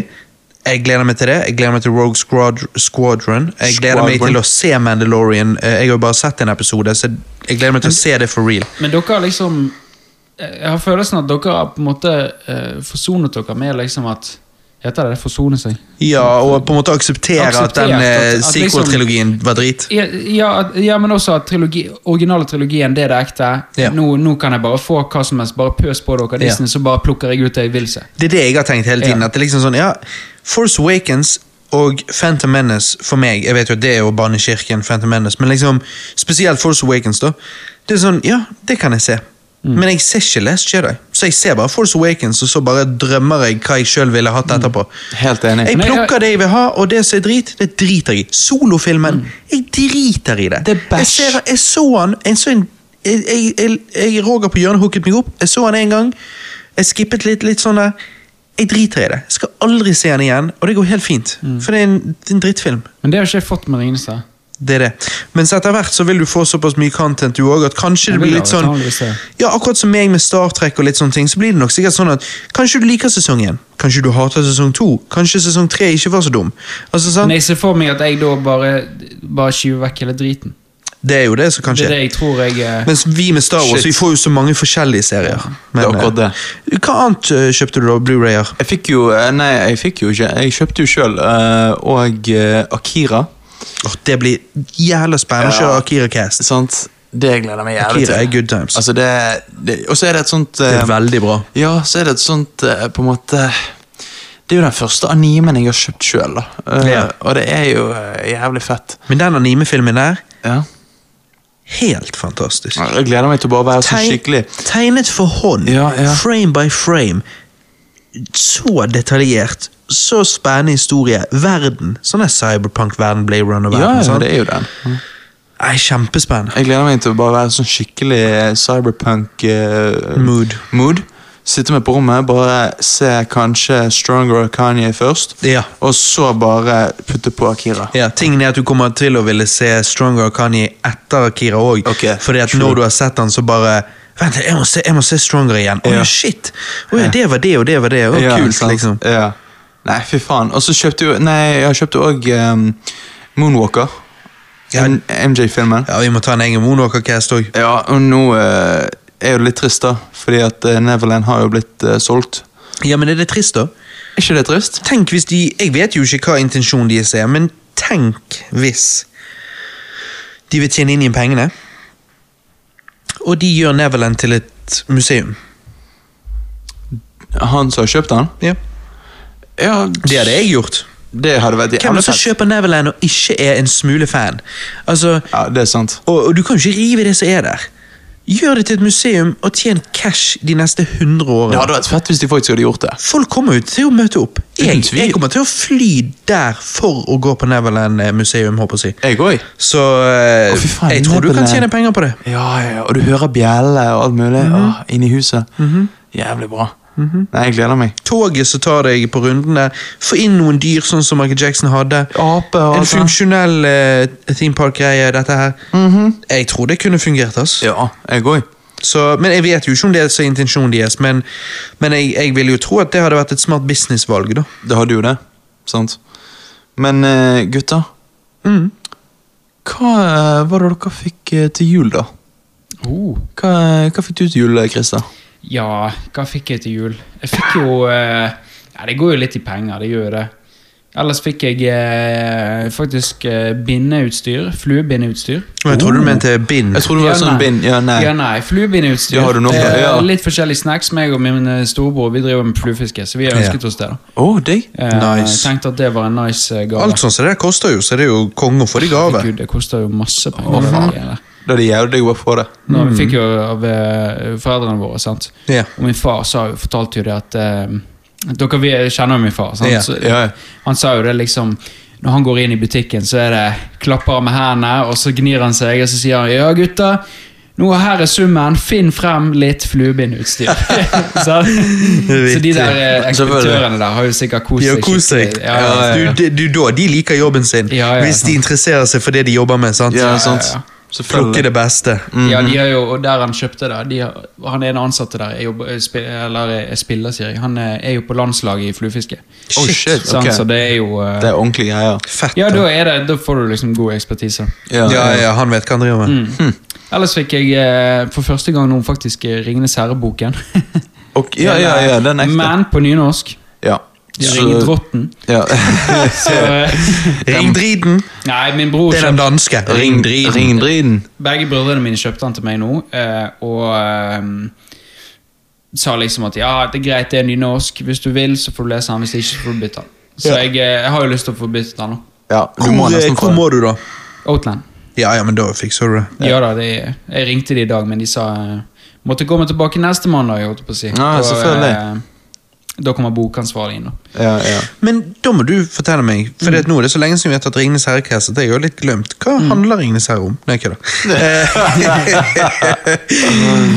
Speaker 2: jeg gleder meg til det. Jeg gleder meg til Rogue Squad Squadron. Jeg gleder meg
Speaker 1: Squadron.
Speaker 2: til å se Mandalorian. Eh, Jeg har jo bare sett en episode, så jeg gleder meg til å se det for real.
Speaker 3: Men dere har liksom Jeg har følelsen at dere har på en måte eh, forsonet dere med liksom at Heter det det? Forsone seg?
Speaker 2: Ja, Og på en måte akseptere at den
Speaker 3: Akseptert at-
Speaker 2: eh,
Speaker 3: at liksom-
Speaker 2: sequel-trilogien var drit.
Speaker 3: Ja, ja, at- ja, men også at trilogi, originale trilogien, det er det ekte.
Speaker 2: Ja.
Speaker 3: Nå, nå kan jeg bare få hva som helst, bare pøs på dere Disney, så bare plukker jeg ut det jeg vil se.
Speaker 2: Det er det jeg har tenkt hele tiden.
Speaker 3: Ja.
Speaker 2: At det er liksom sånn, ja, Force Awakens og Phantom Menace for meg Jeg vet jo at det er jo barnekirken, Phantom Menace, men liksom, spesielt Force Awakens. da Det er sånn, ja, det kan jeg se. Men jeg ser ikke Last Jedi. Så jeg ser bare Force Awakens, og så bare drømmer jeg hva jeg sjøl ville hatt etterpå.
Speaker 1: Helt enig.
Speaker 2: Jeg
Speaker 3: Men jeg-
Speaker 2: plukker det jeg vil ha, og det som er drit, det driter jeg i. Solofilmen, jeg driter i det.
Speaker 1: Det er bæsj.
Speaker 2: Jeg, ser, jeg så han, jeg så en sånn, jeg, jeg, jeg, jeg Roger på hjørnet hooket meg opp. Jeg så han en gang. Jeg skippet litt, litt sånn der. Jeg driter i det. Jeg skal aldri se han igjen, og det går helt fint. For det er en, det er en drittfilm.
Speaker 3: Men det har ikke jeg fått med Ringenes herre.
Speaker 2: Det er det. Mens etter hvert så vil du få såpass mye content du òg, at kanskje
Speaker 3: Jeg
Speaker 2: det
Speaker 3: vil
Speaker 2: blir
Speaker 3: ha
Speaker 2: litt
Speaker 3: det,
Speaker 2: sånn
Speaker 3: antageligvis det.
Speaker 2: Ja, akkurat som meg med Star Trek og litt sånne ting, så blir det nok sikkert sånn at kanskje du liker sesong én, kanskje du hater sesong to, kanskje sesong tre ikke var så dum. Altså, sant?
Speaker 3: Men jeg ser for meg at jeg da bare, bare skyver vekk hele driten.
Speaker 2: Det er jo det som kan
Speaker 3: Det er det
Speaker 2: skje.
Speaker 3: jeg tror jeg eh,
Speaker 2: Mens vi med Star Wars
Speaker 1: Shit.
Speaker 2: vi får jo så mange forskjellige serier. Men,
Speaker 1: Det er akkurat det.
Speaker 2: eh, Hva annet eh, kjøpte du da? Blu-rayer?
Speaker 1: Jeg fikk jo eh, Nei, jeg fikk jo ikke. Jeg kjøpte jo sjøl. Og eh, Akira.
Speaker 2: Åh, det blir jævla spennende å
Speaker 1: Ja.
Speaker 2: kjøre Akira Cast.
Speaker 1: Sant? Det gleder jeg meg jævlig
Speaker 2: Akira er
Speaker 1: til.
Speaker 2: good times.
Speaker 1: Altså, det, det Og så er det et sånt
Speaker 2: det
Speaker 1: eh,
Speaker 2: er veldig bra.
Speaker 1: Ja, så er det et sånt eh, på en måte Det er jo den første animen jeg har kjøpt sjøl, da. Eh,
Speaker 2: Ja.
Speaker 1: Og det er jo eh, jævlig fett.
Speaker 2: Men den animefilmen der,
Speaker 1: Ja.
Speaker 2: helt fantastisk.
Speaker 1: Jeg gleder meg til å bare være så
Speaker 2: Tegn-
Speaker 1: Altså, skikkelig
Speaker 2: Tegnet for hånd,
Speaker 1: Ja, ja.
Speaker 2: frame by frame. Så detaljert, så spennende historie. Verden. Sånn er cyberpunk-verden, Blade
Speaker 1: Ja,
Speaker 2: Runner-verden.
Speaker 1: ja,
Speaker 2: sant?
Speaker 1: det er jo den.
Speaker 2: Nei, Kjempespennende.
Speaker 1: Jeg gleder meg til å bare være sånn skikkelig cyberpunk eh,
Speaker 2: Mood.
Speaker 1: mood. Sitte med på rommet, bare se kanskje Stronger og Kanye først.
Speaker 2: Ja.
Speaker 1: Og så bare putte på Akira.
Speaker 2: Ja, tingen er at du kommer til å ville se Stronger og Kanye etter Akira òg.
Speaker 1: Ok,
Speaker 2: fordi at når du har sett han så bare Vent, jeg må se, jeg må se Stronger igjen. Å ja.
Speaker 1: Ja.
Speaker 2: shit! Å ja, det var det, og det var det. Å,
Speaker 1: Ja,
Speaker 2: kult,
Speaker 1: sant?
Speaker 2: liksom.
Speaker 1: Ja. Nei, fy faen. Og så kjøpte jo Nei, jeg kjøpte òg eh, Moonwalker.
Speaker 2: Ja.
Speaker 1: M- MJ-filmen.
Speaker 2: Ja, vi må ta en egen Moonwalker-cast òg.
Speaker 1: Ja, og nå eh, er jo det litt trist, da. Fordi at eh, Neverland har jo blitt eh, solgt.
Speaker 2: Ja, men er det trist, da?
Speaker 1: Er ikke det trist?
Speaker 2: Tenk hvis de Jeg vet jo ikke hva intensjonen deres er, men tenk hvis de vil tjene inn igjen pengene, og de gjør Neverland til et museum.
Speaker 1: Han som har kjøpt den?
Speaker 2: Ja.
Speaker 1: Ja,
Speaker 2: Det hadde jeg gjort.
Speaker 1: det hadde vært
Speaker 2: Hvem er
Speaker 1: jævlig
Speaker 2: det som
Speaker 1: fett.
Speaker 2: kjøper Neverland og ikke er en smule fan? Altså,
Speaker 1: Ja, det er sant.
Speaker 2: Og, og du kan jo ikke rive det som er der. Gjør det til et museum og tjen cash de neste 100 årene.
Speaker 1: Det hadde vært fett hvis de faktisk hadde gjort det.
Speaker 2: Folk kommer jo til å møte opp. Jeg,
Speaker 1: Uten tvil.
Speaker 2: jeg kommer til å fly der for å gå på Neverland-museum, håper jeg. å si.
Speaker 1: Jeg òg.
Speaker 2: Så eh,
Speaker 1: Å, fy faen,
Speaker 2: jeg tror du kan
Speaker 1: Neverland.
Speaker 2: tjene penger på det.
Speaker 1: Ja, ja, ja, og du hører bjellene og alt mulig Åh, inni huset. Jævlig bra. Nei, jeg gleder meg.
Speaker 2: Toget som tar deg på rundene. Få inn noen dyr, sånn som Michael Jackson hadde.
Speaker 1: Ape og alt
Speaker 2: En
Speaker 1: det.
Speaker 2: funksjonell eh, theme park-greie, dette her.
Speaker 1: Mhm.
Speaker 2: Jeg tror det kunne fungert. ass.
Speaker 1: Ja, jeg òg.
Speaker 2: Så, men Jeg vet jo ikke om det er så intensjonen deres, men, men jeg, jeg vil jo tro at det hadde vært et smart businessvalg. da.
Speaker 1: Det hadde jo det. Sant. Men eh, gutter,
Speaker 2: Mm.
Speaker 1: hva eh, var det dere fikk eh, til jul, da?
Speaker 3: Oh.
Speaker 1: Hva, hva fikk du til jul, eh, Christer?
Speaker 3: Ja, hva fikk jeg til jul? Jeg fikk jo eh, Ja, det går jo litt i penger, det gjør jo det. Ellers fikk jeg eh, faktisk eh, bindeutstyr. Fluebindeutstyr.
Speaker 2: Men Jeg trodde du mente bind.
Speaker 1: Jeg tror det var sånn bind. Ja, nei.
Speaker 3: Ja, nei. Fluebindeutstyr.
Speaker 1: Ja, har du noe?
Speaker 3: Eh,
Speaker 1: Ja.
Speaker 3: Litt forskjellige snacks. meg og min eh, storebror vi driver med fluefiske, så vi har ønsket oss det. da.
Speaker 1: Å, digg.
Speaker 3: Eh,
Speaker 2: Nice.
Speaker 3: Tenkte at det var en nice eh, gave.
Speaker 2: Alt sånn som det der koster jo, så det er jo konge å få det i gave.
Speaker 3: Gud, det koster jo masse penger.
Speaker 1: Å, faen.
Speaker 3: det der.
Speaker 1: Da er det jævlig digg å bare få det.
Speaker 3: Nå, Vi fikk jo av eh, foreldrene våre, sant.
Speaker 2: Mm. Ja.
Speaker 3: Og min far sa, jo- fortalte jo det at eh, Dere vi kjenner jo min far. Sant?
Speaker 2: Ja,
Speaker 3: Så,
Speaker 1: ja, ja.
Speaker 3: Han sa jo det liksom Når han går inn i butikken, så er det klapper han med hendene, og så gnir han seg, og så sier han Ja, gutta. Nå her er summen. Finn frem litt
Speaker 2: *laughs*
Speaker 3: fluebindutstyr. *laughs* så, så de der eh, ekspeditørene der har jo sikkert kost
Speaker 2: De har
Speaker 3: seg.
Speaker 2: kost seg.
Speaker 3: skikkelig. Ja, ja, ja.
Speaker 2: Du, de- du, da, de liker jobben sin,
Speaker 3: Ja, ja,
Speaker 2: hvis de
Speaker 3: sant.
Speaker 2: interesserer seg for det de jobber med. sant?
Speaker 1: Ja, sant.
Speaker 3: ja.
Speaker 2: Plukke det beste.
Speaker 1: Mhm.
Speaker 3: Ja, de har jo, og der han kjøpte det de har, Han ene ansatte der er, jobber, er spi- eller eh, er spiller, sier jeg. Han eh, er er jo på landslaget i fluefiske.
Speaker 1: Oh, shit,
Speaker 3: Sant,
Speaker 1: ok.
Speaker 3: Så det er jo eh,
Speaker 1: Det er ordentlige greier.
Speaker 2: Fett.
Speaker 3: Ja,
Speaker 2: da.
Speaker 3: da, er det, da får du liksom god ekspertise.
Speaker 2: ja, ja, han vet hva han driver med.
Speaker 3: Mm.
Speaker 1: Hm.
Speaker 3: Ellers fikk jeg eh, for første gang noen faktisk eh, Ringenes herre-boken.
Speaker 1: Ok, ja, ja, ja, den er ekte.
Speaker 3: Men på nynorsk.
Speaker 1: *laughs* ja.
Speaker 3: De ringer Drotten.
Speaker 1: ja.
Speaker 3: Så, eh, *laughs*
Speaker 2: Ringdriden!
Speaker 3: nei, min bror
Speaker 2: Det er den
Speaker 3: kjøpte
Speaker 2: danske.
Speaker 1: Ringdriden. Ringdriden.
Speaker 3: Begge brødrene mine kjøpte den til meg nå, eh, og eh, sa liksom at ja, det er greit, det er nynorsk. Hvis du vil, så får du lese den. Hvis ikke, så får du bytte den. Så jeg, eh, jeg har jo lyst til å få byttet den nå.
Speaker 1: Ja, du må
Speaker 2: Hvor, eh,
Speaker 1: nesten
Speaker 2: hvor
Speaker 1: få det.
Speaker 2: må du, da?
Speaker 3: Outland.
Speaker 2: Ja, ja, men da fikser du det.
Speaker 3: Ja da, det, jeg ringte de i dag, men de sa eh, måtte komme tilbake neste mandag. Jeg holdt på å si.
Speaker 1: Ja,
Speaker 3: Og,
Speaker 1: selvfølgelig.
Speaker 3: eh, da kommer bokansvarlig inn. da.
Speaker 1: Ja, ja.
Speaker 2: Men da må du fortelle meg, for
Speaker 3: Mm.
Speaker 2: det at nå er det så lenge siden vi har tatt Ringenes herre-cast, at jeg har litt glemt. Hva handler Ringenes herre om? Nei, *laughs* Eh, kødda.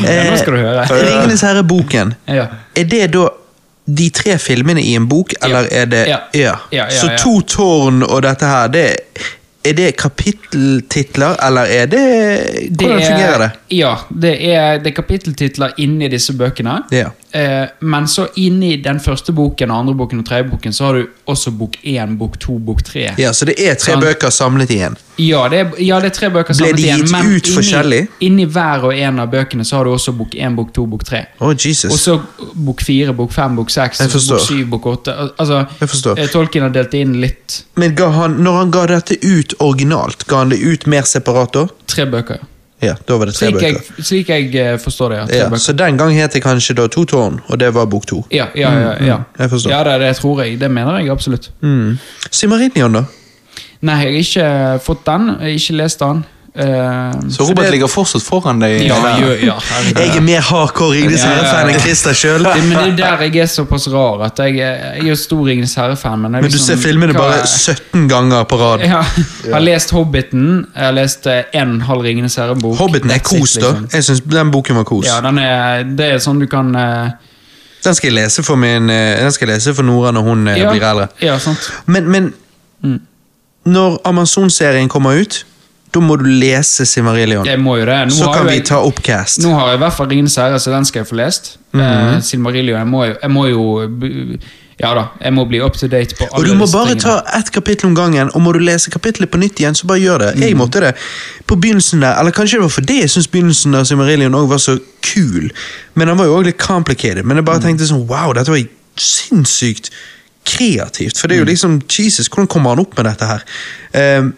Speaker 3: Ja, nå skal du høre.
Speaker 2: Ringenes herre-boken.
Speaker 3: Ja.
Speaker 2: Er det da de tre filmene i en bok, eller er det
Speaker 3: Ja. Ja, ja,
Speaker 2: Så
Speaker 3: ja.
Speaker 2: To tårn og dette her, det er det kapitteltitler, eller er det Hvordan
Speaker 3: er-
Speaker 2: fungerer det?
Speaker 3: Ja, det er, det er kapitteltitler inni disse bøkene.
Speaker 2: Ja.
Speaker 3: Eh, men så inni den første boken, og andre boken og tredje boken, så har du også bok én, bok to, bok tre.
Speaker 2: ja, Så det er tre
Speaker 3: Sant.
Speaker 2: bøker samlet i én.
Speaker 3: Ja, det er, ja, det er tre bøker
Speaker 2: Ble
Speaker 3: samlet
Speaker 2: de
Speaker 3: igjen,
Speaker 2: gitt
Speaker 3: men
Speaker 2: ut forskjellig?
Speaker 3: Inni hver og en av bøkene så har du også bok én, bok to, bok tre.
Speaker 2: Å, Jesus.
Speaker 3: Og så bok fire, bok fem, bok seks,
Speaker 2: Jeg forstår.
Speaker 3: bok syv, bok åtte. Al- Altså,
Speaker 2: Jeg forstår.
Speaker 3: eh, Tolkien har delt inn litt
Speaker 2: Men ga han, når han ga dette ut originalt, ga han det ut mer separat da?
Speaker 3: tre bøker. ja.
Speaker 2: Ja, da var det tre
Speaker 3: Slik jeg,
Speaker 2: bøker.
Speaker 3: slik jeg eh, forstår det, ja. Tre
Speaker 2: Ja,
Speaker 3: bøker.
Speaker 2: så den gang het det kanskje da To tårn, og det var bok to.
Speaker 3: Ja, ja, ja, ja.
Speaker 2: Mm, jeg forstår.
Speaker 3: Ja, det, det tror jeg. Det mener jeg absolutt.
Speaker 2: Mm. Simarinion, da?
Speaker 3: Nei, jeg har ikke eh, fått den. Jeg har ikke lest den. Eh,
Speaker 1: Så Robert
Speaker 2: det-
Speaker 1: ligger fortsatt foran deg.
Speaker 3: ja,
Speaker 1: Ja.
Speaker 3: gjør- ja, herregud.
Speaker 2: Jeg er mer hardcore Ringnes
Speaker 3: Ja, ja, ja.
Speaker 2: Herre-fan enn Christer sjøl.
Speaker 3: *laughs* Det- Men det er der jeg er såpass rar at jeg, er- jeg er jo stor Ringenes herre-fan. Men, jeg
Speaker 2: Men du
Speaker 3: liksom-
Speaker 2: ser filmene
Speaker 3: hva-
Speaker 2: bare 17 ganger på rad.
Speaker 3: *laughs* Ja, jeg har lest Hobbiten. Jeg har lest eh, en halv Ringenes herre-bok.
Speaker 2: Hobbiten er
Speaker 3: That's it,
Speaker 2: kos, da.
Speaker 3: liksom.
Speaker 2: Jeg synes Den boken var kos.
Speaker 3: Ja, den er, det er sånn du kan eh,
Speaker 2: Den skal jeg lese for, min, eh, den skal jeg lese for Nora når hun eh,
Speaker 3: ja, Mm.
Speaker 2: blir eldre.
Speaker 3: Ja, sant.
Speaker 2: Men, men når Amazon-serien kommer ut, da må du lese Simarillion.
Speaker 3: Jeg må jo det. Nå
Speaker 2: Så
Speaker 3: har
Speaker 2: kan
Speaker 3: jo
Speaker 2: vi
Speaker 3: jeg-
Speaker 2: ta opp cast.
Speaker 3: Nå har jeg i hvert fall Ringenes herre, så den skal jeg få lest.
Speaker 2: Mhm.
Speaker 3: Eh, Silmarillion. Jeg må, jo- jeg må jo b- Ja da, jeg må bli up to date på alle
Speaker 2: Og du må
Speaker 3: disse
Speaker 2: bare
Speaker 3: tingene.
Speaker 2: ta ett kapittel om gangen, og må du lese kapittelet på nytt igjen, så bare gjør det.
Speaker 3: Mm.
Speaker 2: Jeg måtte det. På begynnelsen der, eller kanskje det var fordi jeg syntes begynnelsen av Simarillion også var så kul, men han var jo også litt complicated, men jeg
Speaker 3: Mm.
Speaker 2: bare tenkte sånn, wow, dette var sinnssykt kreativt, for det
Speaker 3: Mm.
Speaker 2: er jo liksom, Jesus, hvordan kommer han opp med dette her? Ehm,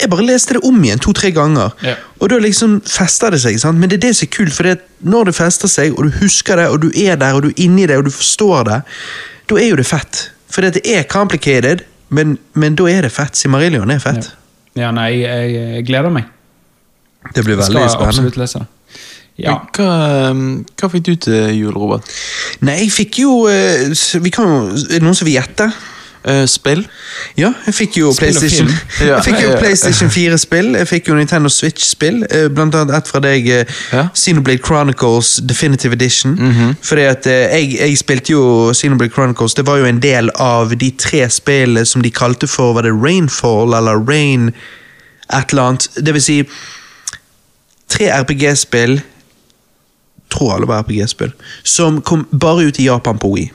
Speaker 2: jeg bare leste det om igjen to-tre ganger,
Speaker 3: Ja.
Speaker 2: og da liksom fester det seg, sant? men det er det som er kult, for det at når det fester seg, og du husker det, og du er der, og du er inni det, og du forstår det, da er jo det fett. For det at det er complicated, men, men da er det fett. Simarillion er fett.
Speaker 3: Ja, nei, jeg, jeg gleder meg.
Speaker 2: Det blir
Speaker 3: Jeg
Speaker 2: veldig
Speaker 3: skal
Speaker 2: spennende.
Speaker 3: absolutt lese det. Ja.
Speaker 1: Hva, um, hva fikk du til jul, Robert?
Speaker 2: Nei, jeg fikk jo eh, s- vi kan jo, Er det noen som vil gjette?
Speaker 1: Eh, spill?
Speaker 2: Ja, jeg fikk jo
Speaker 3: Spill og
Speaker 2: PlayStation
Speaker 3: film.
Speaker 1: Ja,
Speaker 2: Jeg fikk
Speaker 1: *laughs*
Speaker 2: jo
Speaker 1: ja.
Speaker 2: PlayStation 4-spill, jeg fikk jo Nintendo Switch-spill, eh, blant annet et fra deg, eh,
Speaker 1: Ja.
Speaker 2: Xenoblade Chronicles Definitive Edition. Fordi at eh, jeg, jeg spilte jo Xenoblade Chronicles, det var jo en del av de tre spillene som de kalte for Var det Rainfall eller Rain et eller annet. Det vil si tre RPG-spill tror alle var RPG-spill, som kom bare ut i Japan på Wii.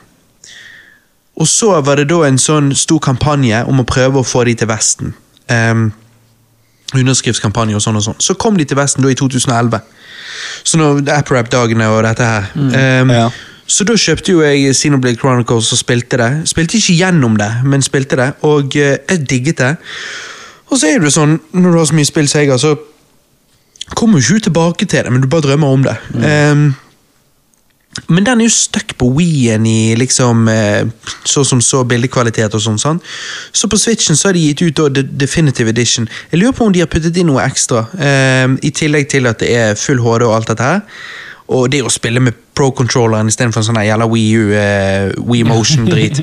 Speaker 2: Og så var det da en sånn stor kampanje om å prøve å få de til Vesten. Ehm, underskriftskampanje og sånn og sånn. Så kom de til Vesten da i 2011. Så nå AppRap-dagene og dette her. Ehm,
Speaker 1: ja.
Speaker 2: Så da kjøpte jo jeg Xenoblade Chronicles og spilte det. Spilte ikke gjennom det, men spilte det, og eh, jeg digget det. Og så er det jo sånn, når du har så mye spill som jeg har, så kommer jo ikke tilbake til det, men du bare drømmer om det. Ehm, men den er jo stuck på Wii-en i liksom eh, så som så bildekvalitet og sånn. sant? Så på Switchen så har de gitt ut da The Definitive Edition. Jeg lurer på om de har puttet inn noe ekstra, eh, i tillegg til at det er full HD og alt dette her. Og det å spille med pro-controlleren istedenfor en sånn her jævla Wii U, eh, Wii Motion-drit.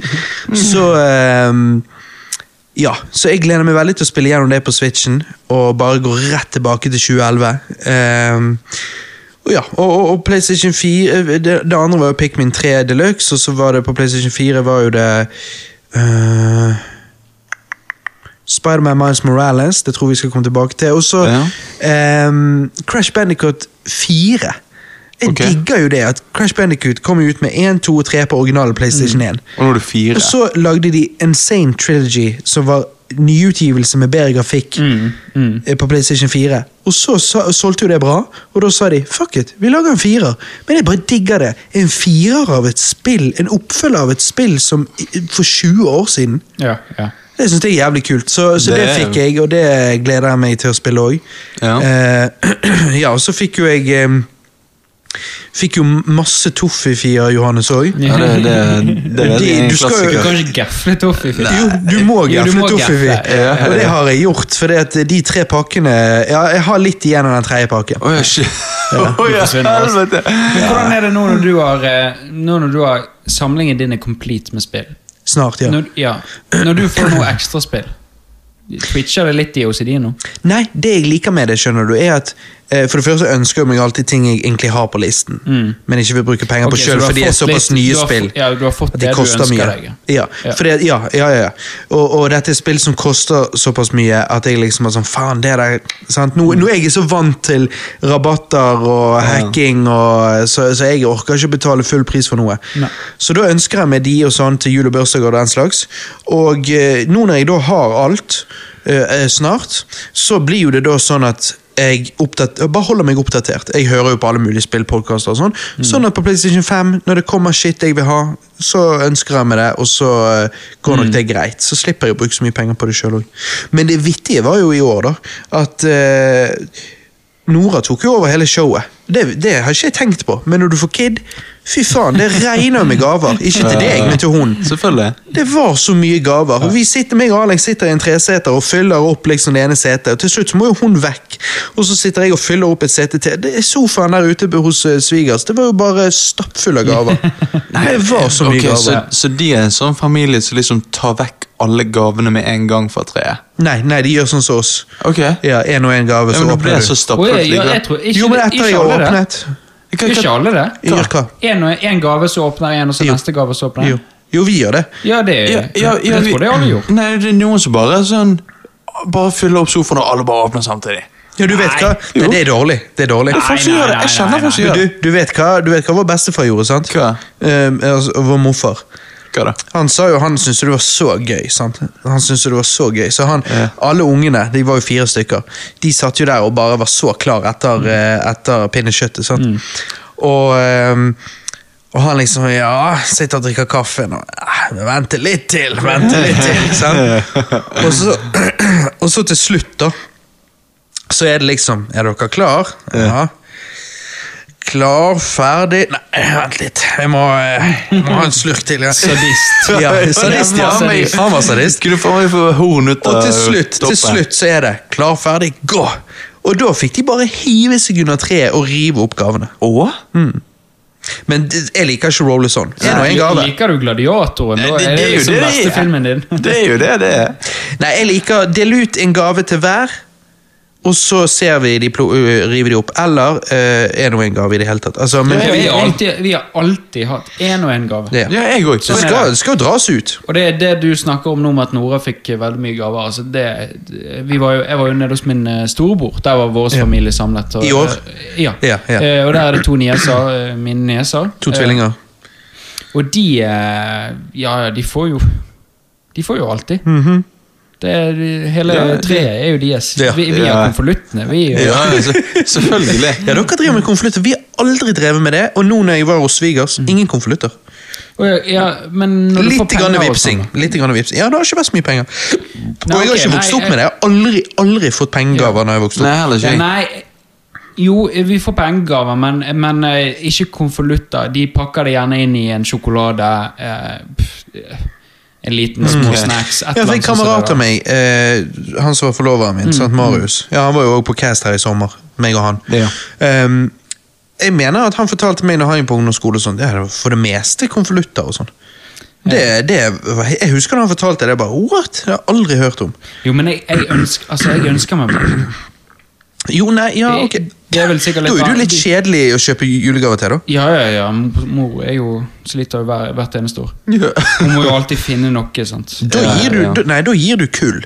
Speaker 2: Så eh, ja, så jeg gleder meg veldig til å spille gjennom det på Switchen, og bare gå rett tilbake til 2011. Ehm, og ja, og, og, og PlayStation 4 eh, det, det andre var jo Pikmin 3 Deluxe, og så var det på PlayStation 4 var jo det eh, Spiderman Miles Morales, det tror vi skal komme tilbake til. Og så
Speaker 1: Ja.
Speaker 2: ehm, Crash Bandicoot 4. Jeg
Speaker 1: Ok.
Speaker 2: digger jo det at Crash Bandicoot kom jo ut med 1, 2 og 3 på originale PlayStation 1.
Speaker 1: Og nå er det fire.
Speaker 2: Og så lagde de Insane Trilogy, som var nyutgivelse med bedre grafikk
Speaker 1: Mm,
Speaker 2: eh, på PlayStation 4. Og så sa, solgte jo det bra, og da sa de fuck it, vi lager en firer. Men jeg bare digger det. En firer av et spill, en oppfølger av et spill som i- for 20 år siden.
Speaker 3: Ja, ja.
Speaker 2: Det syns jeg er jævlig kult, så, så det,
Speaker 1: Det er-
Speaker 2: fikk jeg, og det gleder jeg meg til å spille òg.
Speaker 1: Ja.
Speaker 2: Eh, *clears throat* ja, og så fikk jo jeg eh, Fikk jo masse Toffifier, Johannes, òg.
Speaker 1: ja, det, det, det er
Speaker 2: De-
Speaker 1: en
Speaker 2: du skal jo-
Speaker 3: Du
Speaker 1: klassiker.
Speaker 3: kan ikke gafle Toffi. Finn.
Speaker 2: Jo, du må
Speaker 3: Jo, du
Speaker 2: gafle
Speaker 3: må
Speaker 2: Toffifi.
Speaker 3: gafle.
Speaker 2: Og det har jeg gjort, for de tre pakkene Ja, jeg har litt igjen av den tredje pakken.
Speaker 1: Å ja, shit. *laughs* Å ja,
Speaker 3: forsvinner også.
Speaker 1: helvete.
Speaker 3: Men hvordan er det nå når du har, eh, nå når du har Samlingen din er complete med spill.
Speaker 2: Snart, ja.
Speaker 3: Når, ja. når du får noe ekstraspill Twitcher det litt i OCD nå?
Speaker 2: Nei, det jeg liker med det, skjønner du, er at eh, for det første ønsker jeg meg alltid ting jeg egentlig har på listen, men ikke vil bruke penger
Speaker 3: Mm. Ok,
Speaker 2: på
Speaker 3: så
Speaker 2: sjøl,
Speaker 3: du har
Speaker 2: for de er
Speaker 3: fått
Speaker 2: såpass
Speaker 3: litt-
Speaker 2: nye
Speaker 3: du har
Speaker 2: spill.
Speaker 3: fått- ja, du har fått
Speaker 2: at
Speaker 3: det du
Speaker 2: koster
Speaker 3: ønsker
Speaker 2: mye.
Speaker 3: deg,
Speaker 2: Ja,
Speaker 3: ja.
Speaker 2: fordi at- ja, ja, ja, ja. Og, og dette er spill som koster såpass mye at jeg liksom er sånn Faen, det der sant? Nå, nå er jeg så vant til rabatter og hacking, og, så, så jeg orker ikke betale full pris for noe.
Speaker 3: Nei.
Speaker 2: Så da ønsker jeg meg de og sånn til jul og bursdager og den slags. Og eh, nå når jeg da har alt eh, eh, snart, så blir jo det da sånn at jeg oppdat- bare holder meg oppdatert. Jeg hører jo på alle mulige spillpodkaster og sånn. Sånn at på PlayStation 5, når det kommer shit jeg vil ha, så ønsker jeg meg det, og så eh, går nok det greit. Så slipper jeg å bruke så mye penger på det sjøl òg. Men det vittige var jo i år, da, at eh, Nora tok jo over hele showet. Det, det har ikke jeg tenkt på, men når du får kid Fy faen, det regner med gaver. Ikke til deg, men til hun.
Speaker 1: Selvfølgelig.
Speaker 2: Det var så mye gaver. Og vi sitter, meg og Alex sitter i en treseter og fyller opp liksom det ene setet. Og til slutt så må jo hun vekk, og så sitter jeg og fyller opp et sete til. Det er sofaen der ute hos eh, svigers. Det var jo bare stappfull av
Speaker 1: *laughs*
Speaker 2: gaver. Det var så mye
Speaker 1: Ok, så,
Speaker 2: gaver.
Speaker 1: så de er en sånn familie som liksom tar vekk alle gavene med en gang fra treet?
Speaker 2: Nei, nei, de gjør sånn som oss.
Speaker 1: Ok. Ja,
Speaker 2: Ja, én og én gave, så
Speaker 1: men da ble
Speaker 2: åpner
Speaker 1: jeg så
Speaker 2: du.
Speaker 1: stappfull.
Speaker 3: Oi, ja, jeg
Speaker 1: likevel.
Speaker 3: tror, ikke,
Speaker 2: Jo, men etter
Speaker 3: ikke
Speaker 2: jeg har
Speaker 3: alle det.
Speaker 2: åpnet
Speaker 1: Hva-
Speaker 3: Ikke
Speaker 1: hva-
Speaker 3: alle det?
Speaker 2: Jeg gjør hva?
Speaker 3: En, og- en gave, så åpner en, og så
Speaker 2: Jo.
Speaker 3: neste gave, så åpner
Speaker 2: Jo,
Speaker 3: en.
Speaker 2: jo vi gjør det.
Speaker 3: Ja, det,
Speaker 1: Ja, ja, ja,
Speaker 3: det
Speaker 1: vi-
Speaker 3: tror jeg alle gjorde.
Speaker 1: Nei, det er noen som bare sånn Bare fyller opp sofaen, og alle bare åpner samtidig.
Speaker 2: Ja, du vet
Speaker 3: Nei.
Speaker 2: hva? Nei,
Speaker 1: Jo.
Speaker 2: det er dårlig. Det er dårlig.
Speaker 1: Nei, folk som
Speaker 3: nei,
Speaker 1: gjør det.
Speaker 3: nei,
Speaker 1: Jeg kjenner
Speaker 3: nei,
Speaker 1: folk som
Speaker 2: Men
Speaker 1: gjør
Speaker 2: Du,
Speaker 1: det.
Speaker 2: du, vet hva, du vet hva vår bestefar gjorde, sant?
Speaker 1: Hva?
Speaker 2: Eh, altså, vår morfar.
Speaker 1: Hva da?
Speaker 2: Han sa jo han syntes det var så gøy. sant? Han syntes det var så gøy. Så han,
Speaker 1: Ja.
Speaker 2: alle ungene, de var jo fire stykker, de satt jo der og bare var så klar etter, eh, etter pinnekjøttet. sant? Og, ehm, og han liksom Ja, sitter og drikker kaffe nå. Eh, Vente litt til, vente litt til. sant? Og så, *clears throat* og så til slutt, da, så er det liksom Er dere klar? Ja. Klar, ferdig Nei, vent litt. Jeg må, eh, jeg må ha en slurk til. Ja.
Speaker 3: Sadist.
Speaker 2: *laughs* Ja, sadist, ja.
Speaker 1: Han var Eh, meg.
Speaker 2: Han var sadist.
Speaker 1: Skulle faen meg få horn ut
Speaker 2: Og til slutt, til slutt så er det klar, ferdig, gå! Og da fikk de bare hive seg under treet og rive oppgavene.
Speaker 1: Åh?
Speaker 2: Men det- jeg liker ikke Roller sånn. Det er nå en
Speaker 3: Lik-
Speaker 2: gave.
Speaker 3: Liker du Gladiatoren?
Speaker 1: Nei,
Speaker 3: Da
Speaker 1: det-
Speaker 3: er
Speaker 1: det
Speaker 3: det
Speaker 1: er jo
Speaker 3: liksom
Speaker 1: det det
Speaker 3: beste
Speaker 1: er.
Speaker 3: filmen din.
Speaker 1: *laughs* Det er jo det det er.
Speaker 2: Nei, jeg liker Del ut en gave til hver, og så ser vi de plo ø, rive de opp. Eller eh, er det nå en gave i det hele tatt? Altså, men,
Speaker 3: Ja, vi, har alltid, vi har alltid hatt én og én gave.
Speaker 2: det.
Speaker 1: Ja, jeg òg.
Speaker 2: Det skal, det skal jo dras ut.
Speaker 3: Og det er det du snakker om nå med at Nora fikk eh, veldig mye gaver. Altså det, vi var jo, jeg var jo nede hos min eh, storebror. Der var vår familie samlet. Og,
Speaker 2: I år?
Speaker 3: eh, Ja.
Speaker 2: Ja, ja.
Speaker 3: Eh, Og der er det to nieser. eh, Mine nieser.
Speaker 2: To tvillinger.
Speaker 3: Eh, Og de eh, Ja, de får jo De får jo alltid. Det er, hele
Speaker 1: Ja, det-
Speaker 3: treet er jo deres.
Speaker 2: Ja,
Speaker 3: vi, vi er
Speaker 1: ja.
Speaker 3: konvoluttene. Vi er jo
Speaker 1: Ja, så- *laughs* selvfølgelig.
Speaker 2: Ja, dere driver med konvolutter. Vi har aldri drevet med det. Og nå når jeg var hos svigers, ingen konvolutter.
Speaker 3: Og jeg- ja, men Mm. når du får
Speaker 2: Litt
Speaker 3: penger
Speaker 2: grann
Speaker 3: og
Speaker 2: vipsing.
Speaker 3: sånn.
Speaker 2: Litt grann vipsing. Ja, det har ikke vært så mye penger. Og
Speaker 3: Nei,
Speaker 2: jeg har
Speaker 3: ok,
Speaker 2: ikke vokst
Speaker 3: nei,
Speaker 2: opp med det. Jeg har aldri, aldri fått pengegaver når jeg vokste
Speaker 1: Nei,
Speaker 2: opp.
Speaker 1: heller ikke
Speaker 3: Ja,
Speaker 1: jeg.
Speaker 3: nei, jo, vi får pengegaver, men, men eh, ikke konvolutter. De pakker det gjerne inn i en sjokolade, eh, pff, eh, en liten små snacks, et
Speaker 2: Mm. Ja,
Speaker 3: eller
Speaker 2: for En
Speaker 3: annet sånt som
Speaker 2: kamerat
Speaker 3: det
Speaker 2: av
Speaker 3: der.
Speaker 2: meg, eh, han som var forloveren
Speaker 3: Mm,
Speaker 2: min, sant, Marius Ja, Han var jo også på cast her i sommer, meg og han.
Speaker 1: Ja.
Speaker 2: Ehm, jeg mener at han fortalte meg når han gikk på ungdomsskole og sånn, det er for det meste konvolutter og sånn. Det, det, var- jeg husker da han fortalte det, jeg bare what? Det har jeg aldri hørt om.
Speaker 3: Jo, men jeg, jeg, ønsker, altså, jeg ønsker meg bare
Speaker 2: Jo, nei, ja, ok.
Speaker 3: Det- det er vel sikkert litt
Speaker 2: da er det jo litt
Speaker 3: vanlig.
Speaker 2: kjedelig å kjøpe julegaver til, da.
Speaker 3: Ja, ja, ja. Mor er jo sliter jo hver, hvert eneste år.
Speaker 1: Ja.
Speaker 3: Hun må jo alltid finne noe, sant.
Speaker 2: *laughs* Da
Speaker 1: Ja,
Speaker 2: gir du,
Speaker 1: ja.
Speaker 2: da- Nei, da gir du kull.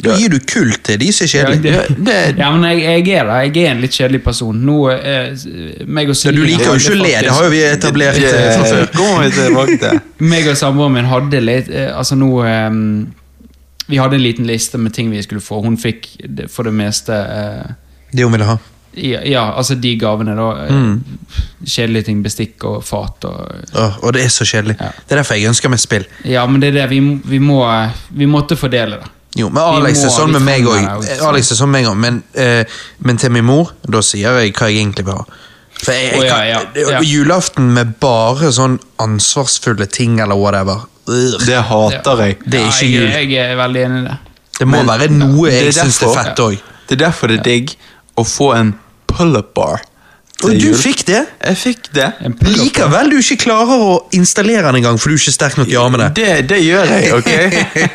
Speaker 2: Da
Speaker 1: Ja.
Speaker 2: gir du kull til de som er
Speaker 3: Ja,
Speaker 2: kjedelige.
Speaker 3: det- ja, men jeg, jeg er det. Jeg er en litt kjedelig person. Nå, eh, meg og
Speaker 2: Ja,
Speaker 3: Silje
Speaker 2: du liker jo
Speaker 3: hadde
Speaker 2: ikke å le, det
Speaker 3: faktisk-
Speaker 2: har jo vi etablert
Speaker 1: Det
Speaker 2: eh, fra
Speaker 3: *laughs*
Speaker 2: før.
Speaker 1: kommer vi tilbake til.
Speaker 3: meg og samboeren min hadde litt eh, Altså nå ehm, Vi hadde en liten liste med ting vi skulle få. Hun fikk det- for det meste eh,
Speaker 2: Det hun ville ha.
Speaker 3: ja, ja, altså de gavene, da. eh,
Speaker 2: Mm.
Speaker 3: Kjedelige ting. Bestikk og fat og
Speaker 2: Åh, og det er så kjedelig.
Speaker 3: Ja.
Speaker 2: Det er derfor jeg ønsker meg spill.
Speaker 3: Ja, men det er det. Vi, m- vi må eh, Vi måtte fordele det.
Speaker 2: Jo, men Alex
Speaker 3: Vi
Speaker 2: er
Speaker 3: må,
Speaker 2: sånn
Speaker 3: vi
Speaker 2: med meg
Speaker 3: trenger
Speaker 2: òg.
Speaker 3: det også.
Speaker 2: Alex er sånn med meg også, men, eh, men til min mor, da sier jeg hva jeg egentlig vil ha. For jeg, jeg,
Speaker 3: Å, ja,
Speaker 2: kan-
Speaker 3: ja,
Speaker 2: det-
Speaker 3: ja.
Speaker 2: Julaften med bare sånn ansvarsfulle ting eller whatever. Ugh.
Speaker 1: Det hater jeg.
Speaker 2: Det er
Speaker 3: Ja,
Speaker 2: ikke
Speaker 3: jeg-
Speaker 2: jul.
Speaker 3: Jeg er veldig enig i det.
Speaker 2: Det
Speaker 1: Men
Speaker 2: må være noe
Speaker 1: det er
Speaker 2: jeg syns er
Speaker 1: derfor-
Speaker 2: fett òg.
Speaker 1: Det er derfor det er digg å få en pull-up bar. til
Speaker 2: Og du
Speaker 1: jul.
Speaker 2: fikk det?
Speaker 1: Jeg fikk det.
Speaker 3: En pull-up.
Speaker 2: Likevel du ikke klarer å installere den engang, for du er ikke sterk nok i armene.
Speaker 1: Det, det gjør jeg,
Speaker 2: *laughs*
Speaker 1: ok?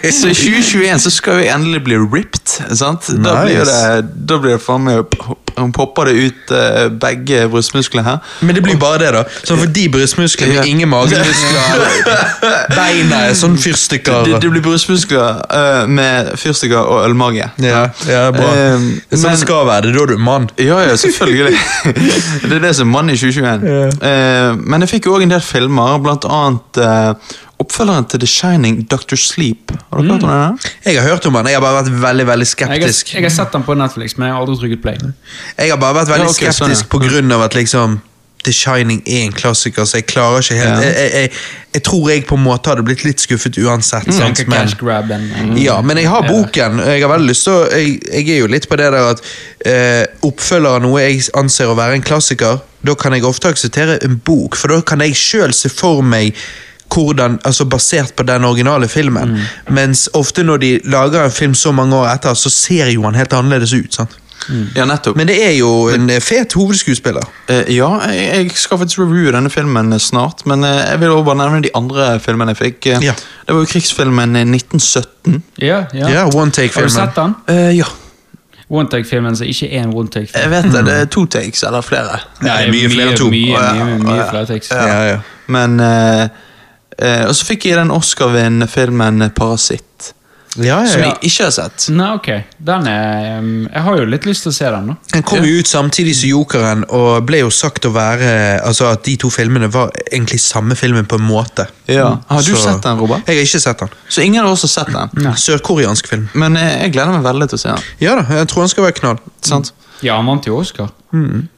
Speaker 1: Så i 2021 så skal jeg endelig bli ripped. sant? Da blir
Speaker 2: Nice.
Speaker 1: det, da blir det faen meg Hun popper det ut eh, begge brystmusklene her.
Speaker 2: Men det blir bare det, da. Så for de brystmusklene
Speaker 1: Ja.
Speaker 2: med ingen magemuskler *laughs* Beina er sånn
Speaker 1: Det, det
Speaker 2: fyrstikker.
Speaker 1: blir brystmuskler eh, med fyrstikker og ølmage.
Speaker 2: Ja, ja, bra.
Speaker 1: Eh,
Speaker 2: Det er sånn det
Speaker 1: men-
Speaker 2: skal være. Det er da du er mann.
Speaker 1: Ja, ja, selvfølgelig. *laughs* det er det som er mann i 2021. Eh, men jeg fikk jo òg en del filmer, blant annet eh, oppfølgeren til The Shining, Dr. Sleep. Har dere hørt om
Speaker 2: Mm.
Speaker 1: den? her?
Speaker 2: Jeg har hørt om han, jeg har bare vært veldig veldig
Speaker 3: Jeg har,
Speaker 2: skeptisk.
Speaker 3: jeg har sett den på Netflix, men jeg har aldri trykket play.
Speaker 2: Mm. Jeg har bare vært
Speaker 1: Ja,
Speaker 2: veldig
Speaker 1: ok, sånn,
Speaker 2: skeptisk på grunn av at liksom The Shining er en klassiker, så jeg klarer ikke helt
Speaker 1: Ja.
Speaker 2: jeg, jeg, jeg, jeg tror jeg på en måte hadde blitt litt skuffet
Speaker 1: Mm.
Speaker 2: uansett.
Speaker 3: Jeg
Speaker 2: sant,
Speaker 3: tenker
Speaker 2: men,
Speaker 3: cash grab en- eh,
Speaker 2: ja, men jeg har boken. og Jeg har veldig lyst til å- jeg, jeg er jo litt på det der at eh, oppfølger av noe jeg anser å være en klassiker, da kan jeg ofte akseptere en bok, for da kan jeg sjøl se for meg hvordan, altså Basert på den originale filmen.
Speaker 3: Mm.
Speaker 2: Mens ofte når de lager en film så mange år etter, så ser jo han helt annerledes ut. sant? Mm.
Speaker 1: Ja, nettopp.
Speaker 2: Men det er jo en eh, fet hovedskuespiller.
Speaker 1: Eh, ja, jeg, jeg skal faktisk reviewe denne filmen snart, men eh, jeg vil også bare nevne de andre filmene jeg fikk. Eh,
Speaker 2: Ja.
Speaker 1: Det var jo krigsfilmen eh, 1917.
Speaker 3: Ja, ja.
Speaker 2: Ja, One
Speaker 3: Har du
Speaker 2: Take-filmen.
Speaker 3: sett den?
Speaker 1: Eh, ja,
Speaker 3: One take-filmen som ikke er en one take-film.
Speaker 1: jeg vet det. Det er to takes, eller flere.
Speaker 3: Nei,
Speaker 2: Mm. det er mye flere enn to.
Speaker 3: Mye,
Speaker 1: Å, ja,
Speaker 3: mye, mye,
Speaker 1: å, ja.
Speaker 3: flere tekst.
Speaker 2: Ja, ja.
Speaker 1: Men eh, eh, Og så fikk jeg den Oscar-vinnende filmen eh, 'Parasitt',
Speaker 2: Ja, ja,
Speaker 1: som
Speaker 2: ja.
Speaker 1: jeg ikke har sett.
Speaker 3: Nei, ok. Den er um, Jeg har jo litt lyst til å se den, da.
Speaker 2: Den kom jo ut samtidig som Jokeren, og ble jo sagt å være Altså at de to filmene var egentlig samme filmen på en måte.
Speaker 1: Ja. Mm. Har du
Speaker 2: Så-
Speaker 1: sett den, Robert?
Speaker 2: Jeg har ikke sett den.
Speaker 1: Så ingen av oss har sett den.
Speaker 2: Sørkoreansk film.
Speaker 1: Men eh, jeg gleder meg veldig til å se den.
Speaker 2: Ja da, jeg tror han skal være knall.
Speaker 1: Sant?
Speaker 3: Ja, han vant jo Oscar.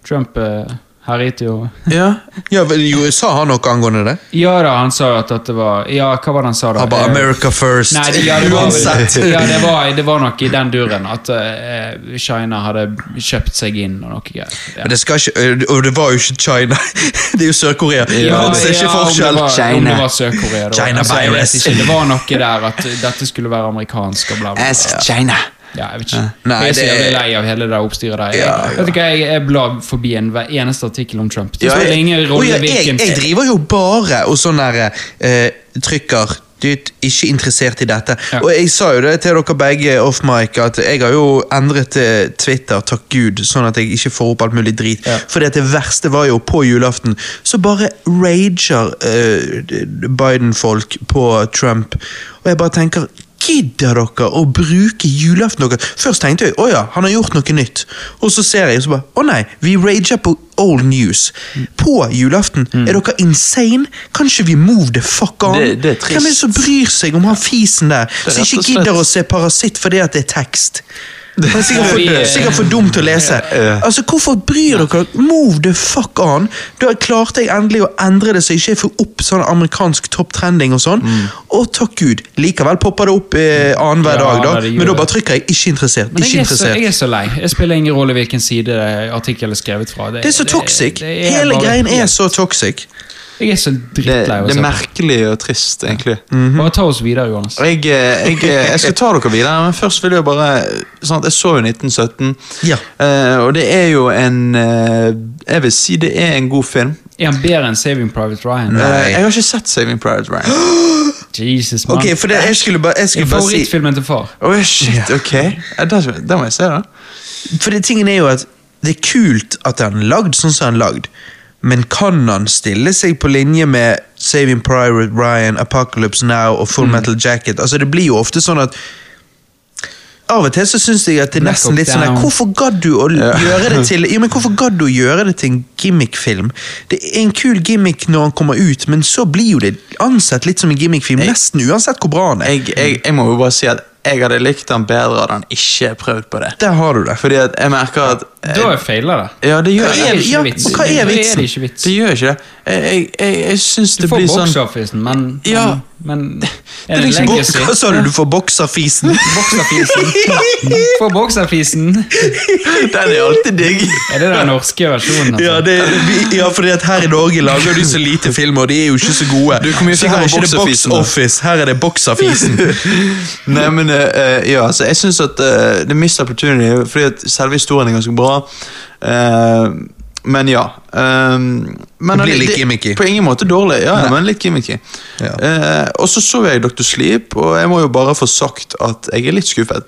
Speaker 3: Trump uh, herjet jo
Speaker 1: Ja.
Speaker 2: Ja, vel, jo, Sa han noe angående det?
Speaker 3: Ja da, han sa jo at dette var Ja, hva var det han sa da?
Speaker 2: Han bare
Speaker 3: Eh,
Speaker 2: 'America first'.
Speaker 3: Nei,
Speaker 2: *laughs*
Speaker 3: det, ja, det var,
Speaker 2: Uansett.
Speaker 3: ja, det var, det var nok i den duren at eh, China hadde kjøpt seg inn og noe greier. Ja.
Speaker 2: Men det skal ikke, og det var jo ikke China. *laughs* Det er jo Sør-Korea.
Speaker 3: Ja,
Speaker 2: det er ikke
Speaker 3: ja,
Speaker 2: forskjell.
Speaker 3: Om det var, om
Speaker 1: China.
Speaker 3: det var Sør-Korea. da. Altså,
Speaker 2: China
Speaker 3: jeg vet
Speaker 2: virus.
Speaker 3: ikke. Det var noe der at dette skulle være amerikansk og bla, bla, bla.
Speaker 1: China.
Speaker 3: Ja, jeg vet ikke.
Speaker 2: Nei,
Speaker 3: jeg er så
Speaker 2: det-
Speaker 3: jævlig lei av hele det forstyret der. Jeg,
Speaker 2: Ja,
Speaker 3: Vet du hva, jeg, jeg blar forbi en, hver eneste artikkel om Trump. Det
Speaker 2: Ja,
Speaker 3: spiller
Speaker 2: jeg-
Speaker 3: ingen rolle
Speaker 2: Å ja,
Speaker 3: hvilken
Speaker 2: Jeg, jeg driver jo bare og sånn der eh, trykker dytt, ikke interessert i dette.
Speaker 3: Ja.
Speaker 2: Og jeg sa jo det til dere begge off mic, at jeg har jo endret eh, Twitter, takk Gud, sånn at jeg ikke får opp alt mulig drit.
Speaker 3: Ja.
Speaker 2: For det verste var jo på julaften, så bare rager eh, Biden-folk på Trump. Og jeg bare tenker Gidder dere å bruke julaften dere? Først tenkte jeg å ja, han har gjort noe nytt. Og så ser jeg og så bare å nei, vi rager på old news. På julaften, er dere insane? Kanskje vi move the fuck on?
Speaker 1: Mm. Det- det er trist.
Speaker 2: Hvem er det som bryr seg om han fisen der,
Speaker 1: er
Speaker 2: som
Speaker 1: rett og
Speaker 2: ikke
Speaker 1: slett-
Speaker 2: gidder å se Parasitt fordi at det er tekst? Han er sikkert
Speaker 3: Ja,
Speaker 2: for,
Speaker 3: vi-
Speaker 2: sikkert for dum til å lese. Altså, Hvorfor bryr dere Move the fuck on! Da klarte jeg endelig å endre det så jeg ikke får opp sånn amerikansk topptrending og sånn. Og takk Gud, likevel popper det opp eh, annenhver
Speaker 3: Ja,
Speaker 2: dag,
Speaker 3: nei,
Speaker 2: da.
Speaker 3: det gjør
Speaker 2: Men da
Speaker 3: det.
Speaker 2: bare trykker jeg 'ikke interessert'.
Speaker 3: Men jeg
Speaker 2: Ikke
Speaker 3: er, så, jeg
Speaker 2: interessert.
Speaker 3: er så lei. Jeg spiller ingen rolle hvilken side det artikkelen er skrevet fra.
Speaker 2: Det er så toxic.
Speaker 3: det er
Speaker 2: Hele
Speaker 3: bare-
Speaker 2: greien er så toxic.
Speaker 3: Jeg er så
Speaker 1: Det,
Speaker 3: drittlei av å
Speaker 1: det
Speaker 3: se
Speaker 1: er
Speaker 3: på.
Speaker 1: merkelig og trist, egentlig.
Speaker 2: Mhm.
Speaker 3: Bare ta oss videre, Johannes.
Speaker 1: Og Jeg, eh, jeg, eh, jeg skal ta dere videre, men først vil jeg bare sånn at Jeg så jo 1917,
Speaker 2: Ja.
Speaker 1: eh, og det er jo en eh, Jeg vil si det er en god film.
Speaker 3: Er han bedre enn Saving Private Ryan?
Speaker 1: Eh,
Speaker 2: Nei.
Speaker 1: Jeg har ikke sett Saving Private Ryan.
Speaker 3: Jesus, mann.
Speaker 2: Ok, for det, jeg skulle bare, jeg skulle bare si
Speaker 3: Favorittfilmen til far.
Speaker 1: Åh, shit, ok. Ja, der, der må jeg se, da.
Speaker 2: For det, tingen er jo at det er kult at han er lagd sånn som han er lagd, men kan han stille seg på linje med Saving Private Ryan, Apocalypse Now og
Speaker 1: Mm.
Speaker 2: Full Metal Jacket? Altså Det blir jo ofte sånn at av og til så syns jeg at det er
Speaker 3: Black
Speaker 2: nesten
Speaker 3: Hawk
Speaker 2: litt sånn der,
Speaker 3: Down.
Speaker 2: Hvorfor gadd du å
Speaker 1: Ja.
Speaker 2: gjøre det til Jo, men hvorfor gadd du å gjøre det til en gimmickfilm? Det er en kul gimmick når han kommer ut, men så blir jo det ansett litt som en gimmickfilm, nesten uansett hvor bra han er.
Speaker 1: Jeg, jeg, jeg må jo bare si at jeg hadde likt den bedre hadde han ikke prøvd på det.
Speaker 2: Der har du det.
Speaker 1: Fordi at jeg merker at
Speaker 3: Da er feiler det.
Speaker 1: Ja, det gjør
Speaker 2: Eh, Hva er-
Speaker 1: jeg.
Speaker 2: ja,
Speaker 3: vitsen.
Speaker 2: hva er
Speaker 3: Da
Speaker 2: vitsen?
Speaker 3: det ikke vits.
Speaker 1: Det gjør ikke det. Jeg, jeg, jeg, jeg syns
Speaker 3: Du
Speaker 1: det
Speaker 3: får
Speaker 1: blir sånn
Speaker 3: box-officen, men, men,
Speaker 1: Ja.
Speaker 3: men
Speaker 1: er
Speaker 3: Er det
Speaker 1: liksom
Speaker 2: Bok,
Speaker 3: legacy?
Speaker 2: *laughs* hva sa du, du får bokserfisen? *laughs*
Speaker 3: Bokserfisen. Få bokserfisen.
Speaker 1: *laughs* Den er alltid digg.
Speaker 3: Er det den norske versjonen? Altså?
Speaker 2: Ja, det, vi- ja, fordi at her i Norge lager de så lite film, og de er jo ikke så gode.
Speaker 1: Du, hvor mye
Speaker 2: så
Speaker 1: fikk
Speaker 2: her
Speaker 1: han
Speaker 2: er
Speaker 1: på
Speaker 2: ikke det Box
Speaker 1: Boxerfisen, da?
Speaker 2: Office, her er det
Speaker 1: *laughs*
Speaker 2: Boxerfisen.
Speaker 1: Nei, men eh, eh, ja, altså, jeg syns at eh, det mister opportunity, fordi at selve historien er ganske bra. Eh, men ja. eh, men
Speaker 2: Det blir
Speaker 1: han-
Speaker 2: litt gimmicky.
Speaker 1: På ingen måte dårlig, ja,
Speaker 2: Nei.
Speaker 1: men litt gimmicky.
Speaker 2: Ja.
Speaker 1: Eh, og så så jeg Dr. Sleep, og jeg må jo bare få sagt at jeg er litt skuffet.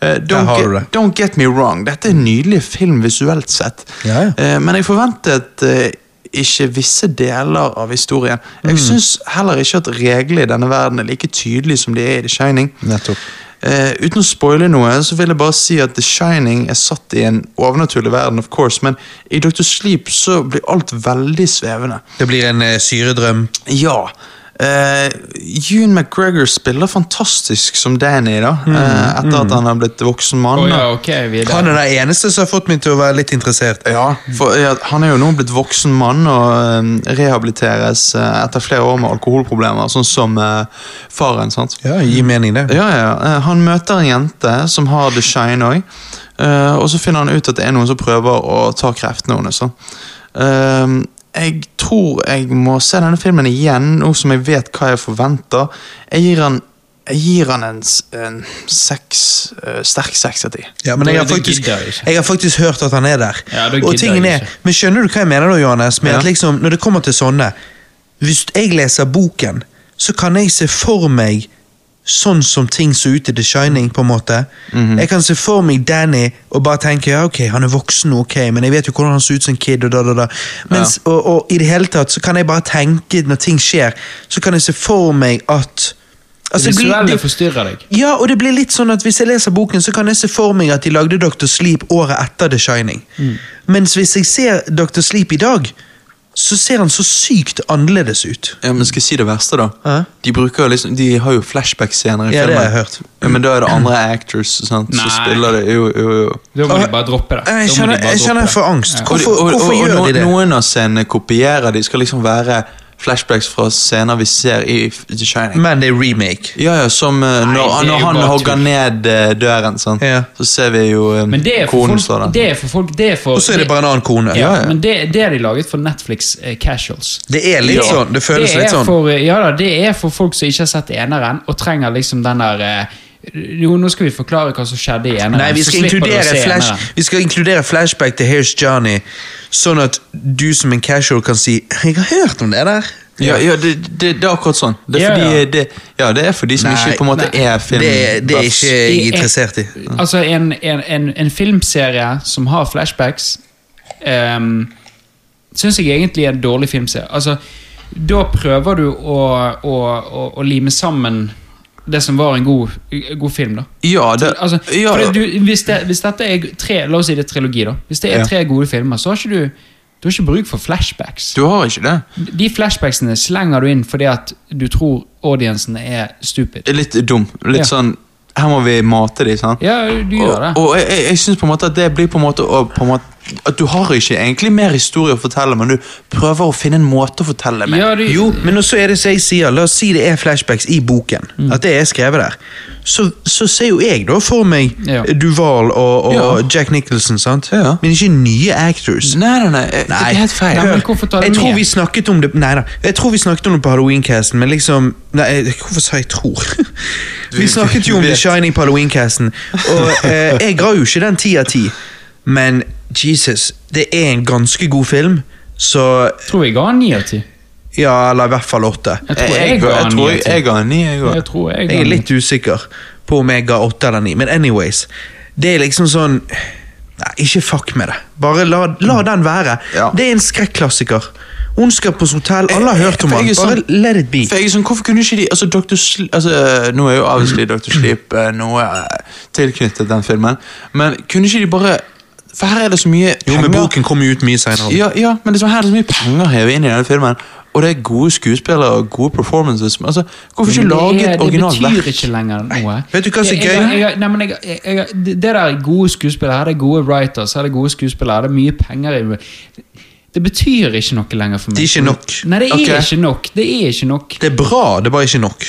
Speaker 1: Eh, don't,
Speaker 2: har du
Speaker 1: get, don't get me wrong, dette er en nydelig film visuelt sett.
Speaker 2: Ja, ja.
Speaker 1: Eh, men jeg forventet eh, ikke visse deler av historien. Jeg syns heller ikke at reglene i denne verden er like tydelige som de er i The Shining.
Speaker 2: Nettopp.
Speaker 1: Eh, uten å spoile noe, så vil jeg bare si at The Shining er satt i en overnaturlig verden, of course, men i Dr. Sleep så blir alt veldig svevende.
Speaker 2: Det blir en eh, syredrøm.
Speaker 1: Ja. Uh, Ewan McGregor spiller fantastisk som Danny, da. eh, etter at han har blitt voksen mann.
Speaker 3: Å ja,
Speaker 1: da.
Speaker 3: ok, videre.
Speaker 2: Han er den eneste som har fått meg til å være litt interessert.
Speaker 1: Ja, for ja, Han er jo nå blitt voksen mann og eh, rehabiliteres eh, etter flere år med alkoholproblemer, sånn som eh, faren. sant?
Speaker 2: Ja, gir mening det.
Speaker 1: Ja, ja, eh, Han møter en jente som har the shine òg, og så finner han ut at det er noen som prøver å ta kreftene hennes. sant? Eh, jeg tror jeg må se denne filmen igjen, nå som jeg vet hva jeg forventer. Jeg gir han, jeg gir han en, s- en seks, eh, sterk seks av ti.
Speaker 2: Ja, men
Speaker 3: Da-
Speaker 2: jeg har,
Speaker 3: da
Speaker 2: faktisk,
Speaker 3: gidder jeg ikke.
Speaker 2: jeg har faktisk hørt at han er der.
Speaker 3: Ja, da gidder
Speaker 2: og tingen
Speaker 3: jeg
Speaker 2: er,
Speaker 3: ikke.
Speaker 2: men skjønner du hva jeg mener da, Johannes? Med
Speaker 1: Ja.
Speaker 2: at liksom, når det kommer til sånne, hvis jeg leser boken, så kan jeg se for meg sånn som ting så ut i The Shining, på en måte.
Speaker 3: Mhm.
Speaker 2: Jeg kan se for meg Danny og bare tenke, ja, ok, han er voksen, ok, men jeg vet jo hvordan han så ut som kid, og da, da, da. Mens, og, og i det hele tatt, så kan jeg bare tenke, når ting skjer, så kan jeg se for meg at...
Speaker 3: Det
Speaker 2: Altså, det blir-
Speaker 3: visuelle
Speaker 2: det-
Speaker 3: forstyrrer deg.
Speaker 2: ja, og det blir litt sånn at Hvis jeg leser boken, så kan jeg se for meg at de lagde Dr. Sleep året etter The Shining.
Speaker 1: Mm.
Speaker 2: Mens hvis jeg ser Dr. Sleep i dag, så ser han så sykt annerledes ut.
Speaker 1: Ja, men Skal jeg si det verste, da?
Speaker 2: Ja.
Speaker 1: De, bruker jo liksom, de har jo flashback-scener i
Speaker 2: Ja, det
Speaker 1: filmen.
Speaker 2: har jeg hørt.
Speaker 1: Ja, men da er det andre actors sant? som
Speaker 3: Nei.
Speaker 1: spiller det. Jo, jo, jo.
Speaker 3: Da må de bare droppe det. Da må
Speaker 2: Ah, Eh, Jeg
Speaker 3: de
Speaker 2: kjenner
Speaker 3: bare
Speaker 2: jeg,
Speaker 3: droppe
Speaker 2: kjenner jeg
Speaker 3: det.
Speaker 2: får angst.
Speaker 3: Ja.
Speaker 1: Og de-
Speaker 2: Hvorfor,
Speaker 1: og-
Speaker 2: hvorfor
Speaker 1: og- og no-
Speaker 2: gjør de det?
Speaker 1: Noen av scenene kopierer de. skal liksom være flashbacks fra scener vi ser i F- The Shining.
Speaker 2: Men det er remake.
Speaker 1: ja, ja, som eh, når,
Speaker 3: det er
Speaker 1: når
Speaker 3: jo
Speaker 1: han
Speaker 3: bare
Speaker 1: hogger
Speaker 3: tull.
Speaker 1: ned eh, døren, sant?
Speaker 2: Ja.
Speaker 1: så ser vi jo eh,
Speaker 3: Men det er for
Speaker 1: konen
Speaker 3: folk.
Speaker 1: står der.
Speaker 3: Det er for folk det er for,
Speaker 2: Og så er det bare en annen kone.
Speaker 3: ja,
Speaker 1: Ja, ja.
Speaker 3: Men det, det er de laget for Netflix eh, Casuals.
Speaker 2: Det er litt
Speaker 1: Ja.
Speaker 2: sånn. Det føles
Speaker 3: er
Speaker 2: litt sånn.
Speaker 3: For, ja da, det er for folk som ikke har sett eneren, og trenger liksom den der eh, Jo, nå skal vi forklare hva som skjedde i eneren.
Speaker 2: Nei, vi
Speaker 3: så
Speaker 2: skal,
Speaker 3: slipper du å
Speaker 2: inkludere
Speaker 3: se
Speaker 2: flash,
Speaker 3: eneren.
Speaker 2: vi skal inkludere flashback til Here's Johnny, sånn at du som en casual kan si 'Jeg har hørt om det der'.
Speaker 1: Ja, ja det, det, det er akkurat sånn. Det er
Speaker 3: Ja,
Speaker 1: fordi,
Speaker 3: ja.
Speaker 1: Det, ja, det er for de som ikke på en måte er film...
Speaker 2: Det, det er ikke jeg
Speaker 3: I-
Speaker 2: interessert i.
Speaker 3: Altså, en, en, en, en filmserie som har flashbacks, um, syns jeg egentlig er en dårlig filmserie. Altså, da prøver du å, å, å, å lime sammen det som var en god, god film, da.
Speaker 1: Ja, det,
Speaker 3: Altså,
Speaker 1: ja,
Speaker 3: for det, du, hvis, det, hvis dette er tre, La oss si det er trilogi, da. Hvis det
Speaker 1: Ja.
Speaker 3: er tre gode filmer, så har ikke du du har ikke bruk for flashbacks.
Speaker 1: du har ikke det.
Speaker 3: De flashbacksene slenger du inn fordi at du tror audiencen er stupid.
Speaker 1: Det er Litt dum. Litt
Speaker 3: Ja.
Speaker 1: sånn Her må vi mate de, sant?
Speaker 3: Ja, du
Speaker 1: Og,
Speaker 3: gjør det.
Speaker 1: og jeg, jeg, jeg synes på en måte at det blir på en måte, å- på en måte At du har ikke egentlig mer historie å fortelle, men du prøver å finne en måte å fortelle med.
Speaker 3: Ja, du,
Speaker 2: Jo, men også er det som jeg sier, la oss si det er flashbacks i boken,
Speaker 3: Mm.
Speaker 2: at det er skrevet der, så, så ser jo jeg da for meg
Speaker 3: Ja.
Speaker 2: Duval og, og
Speaker 1: Ja.
Speaker 2: Jack Nicholson, sant?
Speaker 1: Ja.
Speaker 2: Men ikke nye actors.
Speaker 1: Nei, nei, nei. Det er helt feil.
Speaker 3: Nei, men hvorfor tar du
Speaker 2: jeg
Speaker 3: med?
Speaker 2: tror vi snakket om det Nei da, jeg tror vi snakket om det på Halloween-casten, men liksom Nei, jeg- hvorfor sa jeg 'tror'? Vi snakket jo om
Speaker 1: Vi
Speaker 2: The
Speaker 1: vet.
Speaker 2: Shining på Halloween-casten, og eh, jeg ga jo ikke den ti av ti, men Jesus, det er en ganske god film, så
Speaker 3: tror jeg ga han ni av ti.
Speaker 2: Ja, eller i hvert fall åtte.
Speaker 1: Jeg,
Speaker 3: Jeg tror jeg,
Speaker 1: jeg,
Speaker 3: ga han ni
Speaker 1: tror
Speaker 3: av ti.
Speaker 1: jeg ga en ni, jeg òg.
Speaker 3: Jeg tror jeg ga
Speaker 2: Jeg er
Speaker 3: han ni.
Speaker 2: litt usikker på om jeg ga åtte eller ni, men anyways. Det er liksom sånn Nei, ikke fuck med det. Bare la, la den være.
Speaker 1: Ja.
Speaker 2: Det er en skrekklassiker. Ondskapens hotell, alle har hørt om
Speaker 1: For
Speaker 2: den.
Speaker 1: jeg er
Speaker 2: Bare
Speaker 1: sånn-
Speaker 2: let it be.
Speaker 1: For jeg er sånn, Hvorfor kunne ikke de altså, Dr. Sl altså, Nå er jo avviselig Dr. Sleep eh, noe eh, tilknyttet den filmen, men kunne ikke de bare For her er det så mye
Speaker 2: Jo, men
Speaker 1: penger.
Speaker 2: boken kom jo ut mye seinere.
Speaker 1: Ja, ja, men liksom, her er det så mye penger hevet inn i denne filmen, og det er gode skuespillere og gode performances. men Altså, hvorfor ikke
Speaker 3: Men det
Speaker 1: lage
Speaker 3: er-
Speaker 1: et originalt
Speaker 3: Det
Speaker 1: verk?
Speaker 3: betyr ikke lenger noe.
Speaker 2: Vet du hva som er
Speaker 3: Jeg- jeg-
Speaker 2: gøy?
Speaker 3: jeg- nei, men jeg- jeg- jeg- Det det der er gode skuespillere, her er det gode writers, her er det gode skuespillere, her er det mye penger i Det betyr ikke noe lenger for meg.
Speaker 2: Det er ikke nok.
Speaker 3: Nei, det er
Speaker 1: Ok.
Speaker 3: ikke nok. Det er ikke nok.
Speaker 2: Det er bra, det er bare ikke nok.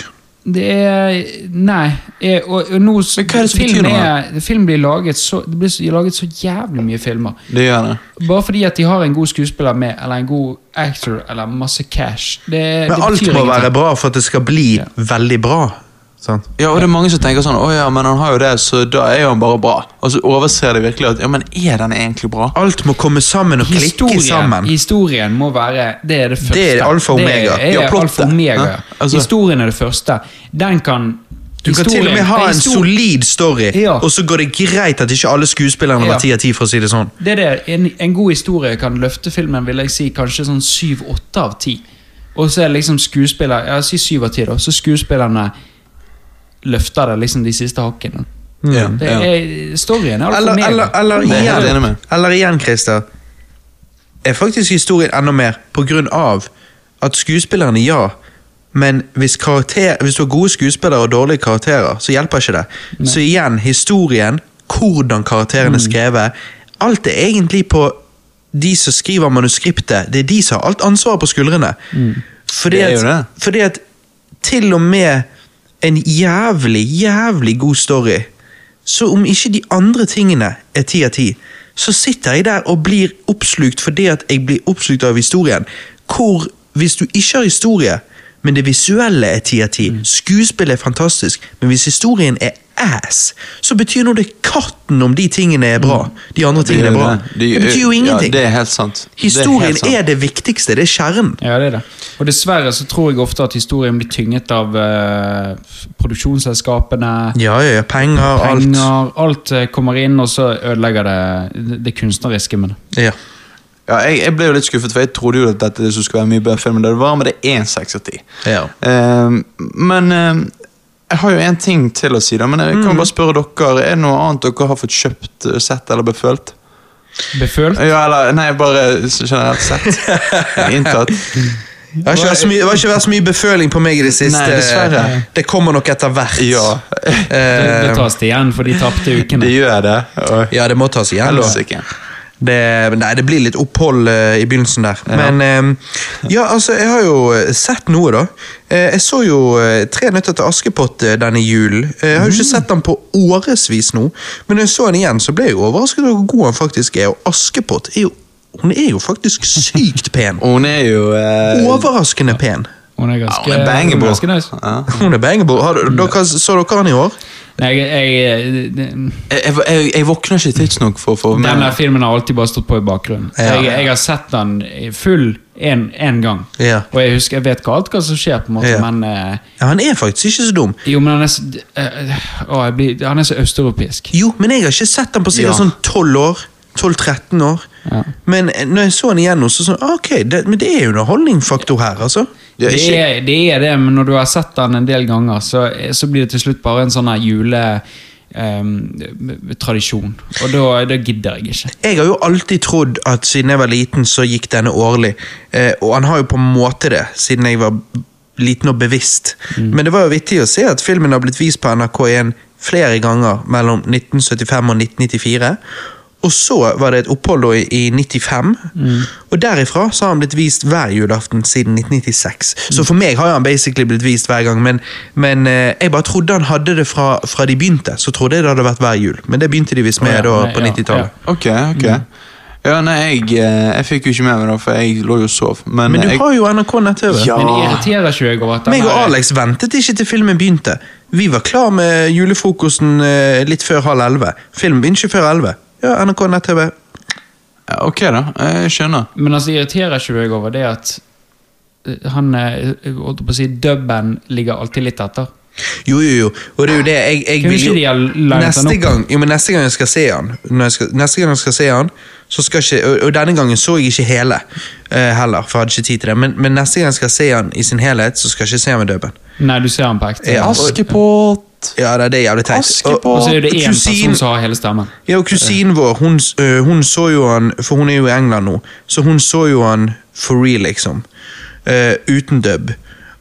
Speaker 3: Det er Nei. eh, Og, og nå
Speaker 1: Men hva er det som betyr
Speaker 3: film,
Speaker 1: noe?
Speaker 3: er, film blir laget så, Det blir så- laget så jævlig mye filmer.
Speaker 1: Det gjør det.
Speaker 3: Bare fordi at de har en god skuespiller med, eller en god actor, eller masse cash. Det, det
Speaker 2: Men alt
Speaker 3: betyr
Speaker 2: må
Speaker 3: ingenting.
Speaker 2: være bra for at det skal bli veldig bra. Sant?
Speaker 1: Ja, og det er mange som tenker sånn Å ja, men han har jo det, så da er jo han bare bra. Og så overser de virkelig at Ja, men er den egentlig bra?
Speaker 2: Alt må komme sammen og klikke sammen.
Speaker 3: Historien må være Det er det første.
Speaker 2: Det er alfa og omega.
Speaker 3: Det er
Speaker 1: Ja, plottet.
Speaker 3: alfa og omega.
Speaker 1: Ja, altså-
Speaker 3: historien er det første. Den kan
Speaker 2: Du kan til og med ha en solid story,
Speaker 3: Ja.
Speaker 2: og så går det greit at ikke alle skuespillerne
Speaker 3: Ja.
Speaker 2: var ti av ti, for å si det sånn.
Speaker 3: Det er det. En, en god historie kan løfte filmen vil jeg si kanskje sånn syv-åtte av ti. Og så er det liksom skuespiller Ja, si syv av ti, da. Så skuespillerne løfter det liksom de siste hakkene.
Speaker 1: Ja,
Speaker 3: Det
Speaker 1: ja.
Speaker 3: er, storyen er alfa
Speaker 2: Eller,
Speaker 3: og omega.
Speaker 2: eller, eller,
Speaker 1: Det er jeg helt enig
Speaker 2: igjen,
Speaker 1: med.
Speaker 2: eller igjen, Christer. Er faktisk historien enda mer på grunn av at skuespillerne, ja. Men hvis, karakter, hvis du har gode skuespillere og dårlige karakterer, så hjelper ikke det. Så igjen, historien, hvordan karakterene er skrevet, alt er egentlig på de som skriver manuskriptet. Det er de som har alt ansvaret på skuldrene. Fordi,
Speaker 1: Det er
Speaker 2: at,
Speaker 1: jo det.
Speaker 2: fordi at til og med en jævlig, jævlig god story, så om ikke de andre tingene er ti av ti, så sitter jeg der og blir oppslukt fordi at jeg blir oppslukt av historien. Hvor, hvis du ikke har historie, men det visuelle er ti av ti,
Speaker 1: Mm.
Speaker 2: skuespillet er fantastisk, men hvis historien er ass, så betyr nå det katten om de tingene er bra. De andre tingene er
Speaker 1: Mm. gjør
Speaker 2: bra.
Speaker 1: De
Speaker 2: Det
Speaker 1: gjør-
Speaker 2: betyr jo
Speaker 1: Ja,
Speaker 2: ingenting.
Speaker 1: det er helt sant. Det er helt
Speaker 2: Historien
Speaker 1: sant.
Speaker 2: er det viktigste, det er kjernen.
Speaker 3: Ja, det er det. Og dessverre så tror jeg ofte at historien blir tynget av eh, produksjonsselskapene,
Speaker 2: Ja, ja, ja, penger, alt.
Speaker 3: penger Alt eh, kommer inn, og så ødelegger det det kunstneriske med det.
Speaker 2: Ja.
Speaker 1: Ja, jeg, jeg ble jo litt skuffet, for jeg trodde jo at dette er det som skulle være mye bedre film enn det det var, men det er en seks av ti.
Speaker 2: Ja.
Speaker 1: Ehm, men ehm, jeg har jo en ting til å si, da, men jeg kan
Speaker 2: Mm.
Speaker 1: bare spørre dere, er det noe annet dere har fått kjøpt, eh, sett eller befølt?
Speaker 3: Befølt?
Speaker 1: Ja, eller, nei, bare generelt
Speaker 2: *laughs*
Speaker 1: sett. Inntatt.
Speaker 2: Det har ikke vært så mye, det har ikke vært så mye beføling på meg i det siste.
Speaker 1: Nei, dessverre.
Speaker 2: Det kommer nok etter hvert.
Speaker 1: Ja,
Speaker 3: Det,
Speaker 2: Eh,
Speaker 3: det tas det igjen for de tapte
Speaker 1: det
Speaker 3: ukene.
Speaker 1: gjør det. Og
Speaker 2: ja, det må tas igjen. da.
Speaker 1: helsike.
Speaker 2: Det, men nei, det blir litt opphold eh, i begynnelsen der. Men eh, ja, altså, jeg har jo eh, sett noe, da. Eh, jeg så jo eh, Tre nøtter til Askepott eh, denne julen. Eh, jeg har jo ikke
Speaker 1: Mm.
Speaker 2: sett den på årevis nå, men når jeg så den igjen, så ble jeg jo overrasket over hvor god han faktisk er. Og Askepott er jo Hun er jo faktisk sykt
Speaker 1: *laughs*
Speaker 2: pen.
Speaker 1: Og hun er jo eh,
Speaker 2: Overraskende pen.
Speaker 3: Hun er
Speaker 1: ja,
Speaker 3: ganske,
Speaker 1: Hun er banger,
Speaker 3: hun er
Speaker 1: bro.
Speaker 3: ganske nice.
Speaker 1: Ja.
Speaker 2: Mm. Hun er bangable. Har, dere, så dere han i år?
Speaker 3: Nei, jeg, jeg, det-
Speaker 1: Jeg, jeg, jeg våkner ikke tidsnok for å få med
Speaker 3: den der filmen har alltid bare stått på i bakgrunnen.
Speaker 1: Ja.
Speaker 3: Jeg, jeg har sett den i full én gang.
Speaker 2: Ja.
Speaker 3: Og jeg husker, jeg vet ikke alt hva som skjer, på en måte,
Speaker 2: Ja.
Speaker 3: men eh,
Speaker 2: Ja, han er faktisk ikke så dum.
Speaker 3: Jo, men han er så, eh, eh, å, jeg blir, han er så østeuropeisk.
Speaker 2: Jo, men jeg har ikke sett han på sikkert
Speaker 1: Ja.
Speaker 2: sånn 12 år. 12-13 år.
Speaker 3: Ja.
Speaker 2: Men eh, når jeg så han igjen, nå, så sånn, ah, ok, det, men det er jo underholdningsfaktor her, altså.
Speaker 1: Det
Speaker 3: Det
Speaker 1: er
Speaker 3: er,
Speaker 1: ikke-
Speaker 3: det er det, men når du har sett den en del ganger, så, så blir det til slutt bare en sånn her jule... eh, tradisjon. Og da, da gidder jeg ikke.
Speaker 2: Jeg har jo alltid trodd at siden jeg var liten, så gikk denne årlig. Eh, og han har jo på en måte det, siden jeg var liten og bevisst.
Speaker 3: Mm.
Speaker 2: Men det var jo vittig å se at filmen har blitt vist på NRK1 flere ganger mellom 1975 og 1994. Og så var det et opphold da i i 95,
Speaker 3: Mm.
Speaker 2: og derifra så har han blitt vist hver julaften siden 1996. Så
Speaker 3: Mm.
Speaker 2: for meg har han basically blitt vist hver gang, men, men eh, jeg bare trodde han hadde det fra, fra de begynte. Så trodde jeg det hadde vært hver jul, men det begynte de visst med
Speaker 3: Ja,
Speaker 2: da
Speaker 3: nei,
Speaker 2: på
Speaker 3: ja,
Speaker 2: 90-tallet.
Speaker 1: Ok, ok. Ja, nei, jeg, eh, jeg fikk jo ikke med meg det, for jeg lå jo og sov. Men,
Speaker 2: Men du
Speaker 1: jeg,
Speaker 2: har jo NRK nett-TV.
Speaker 1: Ja.
Speaker 3: Men det irriterer ikke jeg over at den
Speaker 2: Ah. Meg og
Speaker 3: her-
Speaker 2: Alex ventet ikke til filmen begynte. Vi var klar med julefrokosten eh, litt før halv elleve. Filmen begynte ikke før elleve. Ja, NRK nett-TV.
Speaker 1: Ja, Ok, da. Jeg skjønner.
Speaker 3: Men altså, det irriterer ikke meg over det at eh, han eh, holdt på å si dubben ligger alltid litt etter.
Speaker 2: Jo, jo, jo. Og det er jo det jeg, jeg
Speaker 3: Kunne
Speaker 2: vil jo
Speaker 3: ikke de ha linet den
Speaker 2: neste
Speaker 3: opp?
Speaker 2: gang, jo, men neste gang jeg skal se han, når jeg skal, neste gang jeg skal se han så skal ikke, og, og denne gangen så jeg ikke hele eh, heller, for jeg hadde ikke tid til det. Men, men neste gang jeg skal se han i sin helhet, så skal jeg ikke se han med dubben.
Speaker 3: Nei, du ser han på ekte.
Speaker 2: Ja. altså,
Speaker 1: Askepott!
Speaker 2: Ja, det, det er jævlig teit. Og-
Speaker 1: Askepott!
Speaker 3: Og så er det én
Speaker 2: Kusin-
Speaker 3: person som har hele stemmen.
Speaker 2: Ja, og
Speaker 1: Eh.
Speaker 2: kusinen vår, hun, s- øh, hun så jo han, for hun er jo i England nå, så hun så jo han for real, liksom. Eh, uten dub.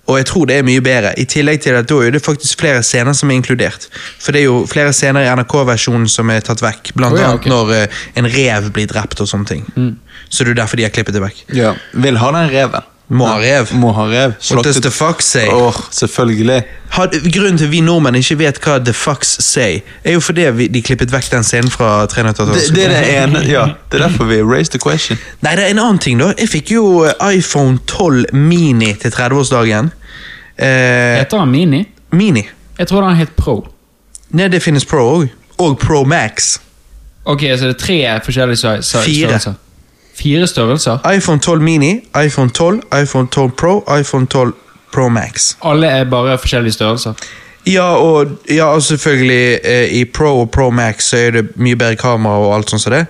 Speaker 2: Og jeg tror det er mye bedre, i tillegg til at da er det faktisk flere scener som er inkludert. For det er jo flere scener i NRK-versjonen som er tatt vekk, blant
Speaker 3: Å ja,
Speaker 2: annet
Speaker 3: ok.
Speaker 2: når eh, en rev blir drept og sånne ting.
Speaker 1: Mm.
Speaker 2: Så det er derfor de har klippet det vekk.
Speaker 1: Ja, Vil ha den reven.
Speaker 2: Må ha rev.
Speaker 1: Må ha rev.
Speaker 2: What does the fuck say?
Speaker 1: Åh, selvfølgelig.
Speaker 2: Har, grunnen til at vi nordmenn ikke vet hva the fucks say, er jo fordi vi, de klippet vekk den scenen fra 312
Speaker 1: Det, det er det ene. Ja, det er derfor vi raised the question.
Speaker 2: Nei, det er en annen ting da. Jeg fikk jo eh, iPhone 12 Mini til 30-årsdagen. Eh,
Speaker 3: Heter han Mini?
Speaker 2: mini.
Speaker 3: Jeg tror han het Pro.
Speaker 2: Nei, det finnes Pro òg. Og Pro Max.
Speaker 3: Ok, så det er tre forskjellige stør- stør-
Speaker 2: Fire.
Speaker 3: størrelser. Fire størrelser?
Speaker 2: iPhone 12 Mini, iPhone 12, iPhone 12 Pro, iPhone 12 Pro Max.
Speaker 3: Alle er bare forskjellige størrelser.
Speaker 2: Ja, og, ja, og selvfølgelig eh, i Pro og Pro Max så er det mye bedre kamera og alt sånt som det.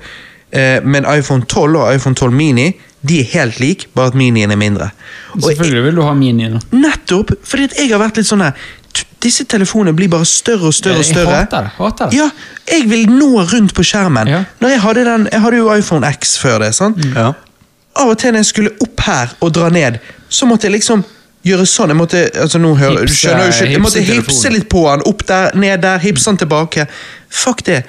Speaker 2: Eh, men iPhone 12 og iPhone 12 Mini de er helt like, bare at Minien er mindre. Og
Speaker 3: Selvfølgelig vil du ha Mini. da.
Speaker 2: Nettopp! Fordi at jeg har vært litt sånn her t- Disse telefonene blir bare større og større. og
Speaker 3: Jeg
Speaker 2: større.
Speaker 3: hater det, hater det.
Speaker 2: Ja, jeg vil nå rundt på skjermen.
Speaker 3: Ja. Mm.
Speaker 2: Når jeg, hadde den, jeg hadde jo iPhone X før det. sant?
Speaker 1: Ja.
Speaker 2: Av og til når jeg skulle opp her og dra ned, så måtte jeg liksom gjøre sånn. Jeg måtte altså nå hører, du
Speaker 3: Hipse-
Speaker 2: skjønner jo ikke, jeg måtte
Speaker 3: hipse telefonen. Mm.
Speaker 2: hipse litt på den. Opp der, ned der, hipse den tilbake. Fuck det.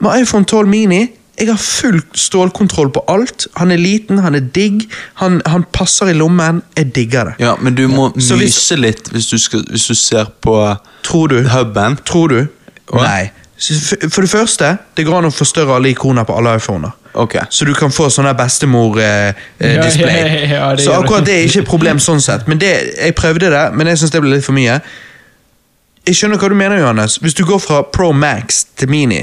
Speaker 2: Med iPhone 12 Mini jeg har full stålkontroll på alt. Han er liten, han er digg, han, han passer i lommen. Jeg digger det.
Speaker 1: ja, men du må
Speaker 2: Så hvis-
Speaker 1: myse litt hvis du, skal, hvis du ser på
Speaker 2: Tror du?
Speaker 1: huben.
Speaker 2: Tror du? Nei. Så f- For det første, det går an å forstørre alle ikoner på alle iPhoner.
Speaker 1: Ok.
Speaker 2: Så du kan få sånn her bestemor-display.
Speaker 3: Ja, ja, ja, ja, det
Speaker 2: eh, så
Speaker 3: gjør du.
Speaker 2: akkurat det er ikke et problem sånn sett. Men det, Jeg prøvde det, men jeg syns det ble litt for mye. Jeg skjønner hva du mener, Johannes. Hvis du går fra Pro Max til Mini,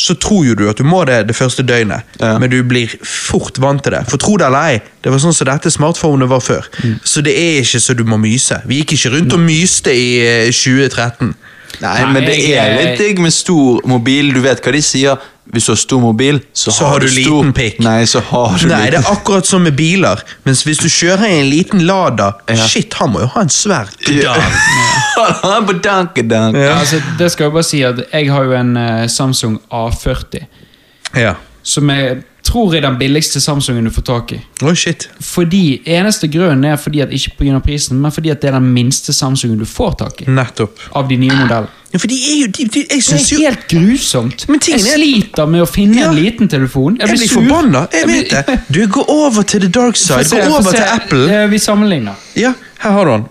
Speaker 2: så tror jo du at du må det det første døgnet,
Speaker 1: Ja.
Speaker 2: men du blir fort vant til det. For tro det eller ei, det var sånn som dette smartphonet var før.
Speaker 3: Mm.
Speaker 2: Så det er ikke så du må myse. Vi gikk ikke rundt og myste i eh, 2013.
Speaker 1: Nei,
Speaker 3: Nei,
Speaker 1: men det
Speaker 3: jeg-
Speaker 1: er litt digg med stor mobil. Du vet hva de sier. Hvis du har stor mobil, så,
Speaker 2: Så har du
Speaker 1: stor.
Speaker 2: liten pikk.
Speaker 1: Nei, så har du
Speaker 2: Nei, det
Speaker 1: liten.
Speaker 2: er akkurat som med biler. Mens hvis du kjører i en liten Lada
Speaker 1: Ja.
Speaker 2: Shit, han må jo ha en svær
Speaker 1: Ja. *laughs* Han er på dankedank.
Speaker 3: Ja. Altså, det skal jeg bare si at jeg har jo en eh, Samsung A40,
Speaker 2: Ja.
Speaker 3: som jeg tror er den billigste Samsungen du får tak i.
Speaker 2: Oi, shit.
Speaker 3: Fordi, Eneste grunnen er fordi at ikke på grunn av prisen, men fordi at det er den minste Samsungen du får tak i.
Speaker 2: Nettopp.
Speaker 3: Av de nye modellene.
Speaker 2: Ja, for de er jo de, de, Jeg
Speaker 3: Det
Speaker 2: syns
Speaker 3: er
Speaker 2: jo
Speaker 3: helt grusomt.
Speaker 2: Men
Speaker 3: Jeg
Speaker 2: tingen er-
Speaker 3: sliter med å finne
Speaker 2: Ja.
Speaker 3: en liten telefon.
Speaker 2: Jeg blir
Speaker 3: sur.
Speaker 2: forbanna. Jeg
Speaker 3: blir-
Speaker 2: vet
Speaker 3: *laughs*
Speaker 2: det. Du, gå over til the dark
Speaker 3: Få
Speaker 2: side.
Speaker 3: se,
Speaker 2: Gå
Speaker 3: få
Speaker 2: over
Speaker 3: se.
Speaker 2: til Apple.
Speaker 3: Eh, Vi sammenligner.
Speaker 2: Ja, her har du han.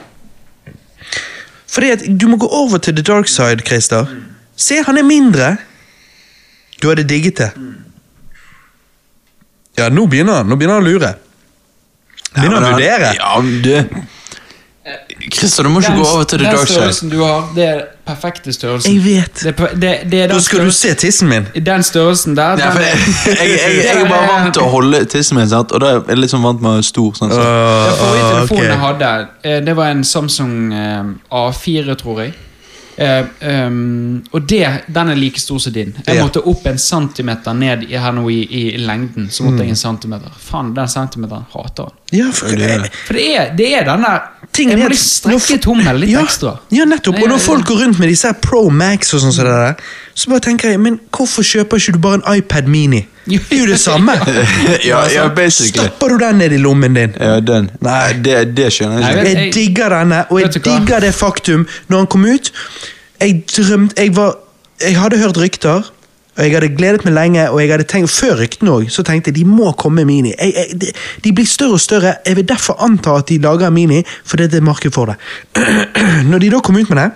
Speaker 2: Fordi at du må gå over til the dark side, Christer. Se, han er mindre. Du hadde digget det. Ja, nå begynner han. Nå begynner han å lure.
Speaker 1: Ja,
Speaker 2: Begynner han å
Speaker 1: men
Speaker 2: vurdere.
Speaker 1: han- Ja, men du Christer, du må ikke
Speaker 3: Den-
Speaker 1: gå over til the
Speaker 3: den
Speaker 1: dark side.
Speaker 3: størrelsen du har, det er perfekte størrelsen.
Speaker 2: Jeg vet.
Speaker 3: Det, er per- det, det er
Speaker 2: Da
Speaker 3: den,
Speaker 2: skal du
Speaker 3: størrelsen,
Speaker 2: se tissen min.
Speaker 3: den størrelsen der.
Speaker 1: Ja, for
Speaker 3: den,
Speaker 1: jeg, jeg, jeg, jeg er bare vant til å holde tissen min, sant? og da er jeg litt sånn vant med å være stor. Sånn, så.
Speaker 3: Den forrige
Speaker 2: Ah,
Speaker 3: telefonen jeg
Speaker 2: ok.
Speaker 3: hadde, eh, det var en Samsung eh, A4, tror jeg. Eh, ehm, og det, den er like stor som din. Jeg
Speaker 2: Ja.
Speaker 3: måtte opp en centimeter ned i, her nå i, i lengden. Så
Speaker 2: Mm.
Speaker 3: måtte jeg en centimeter. Faen, den centimeteren hater han.
Speaker 2: Ja, for, eh,
Speaker 1: Det er det.
Speaker 3: For det er, det er den der
Speaker 2: Tingen
Speaker 3: Jeg
Speaker 2: er
Speaker 3: må
Speaker 2: at-
Speaker 3: litt strekke
Speaker 2: når-
Speaker 3: tommelen litt
Speaker 2: ja,
Speaker 3: ekstra.
Speaker 2: *laughs* Ja, nettopp.
Speaker 3: Ja,
Speaker 2: Og når
Speaker 3: ja,
Speaker 2: folk går rundt med disse her Pro Max og sånn, som det der, så bare tenker jeg, men hvorfor kjøper ikke du bare en iPad
Speaker 3: *laughs*
Speaker 2: Mini? Det er jo det *laughs* samme.
Speaker 1: Ja, ja, basically.
Speaker 2: Stapper du den ned i lommen din?
Speaker 1: Ja, den.
Speaker 2: Nei.
Speaker 1: det, det skjønner
Speaker 3: Nei,
Speaker 1: jeg ikke.
Speaker 3: vet-
Speaker 2: Jeg
Speaker 3: jeg-
Speaker 2: digger denne, og jeg
Speaker 3: Vet du hva?
Speaker 2: digger det faktum Når han kom ut Jeg drømte Jeg, var, jeg hadde hørt rykter, og jeg hadde gledet meg lenge. Og jeg hadde tenkt, Før ryktene òg, så tenkte jeg de må komme Mini. Jeg, jeg, de, de blir større og større. Jeg vil derfor anta at de lager en Mini, for det er det marked for det. *clears throat* Når de da kom ut med det,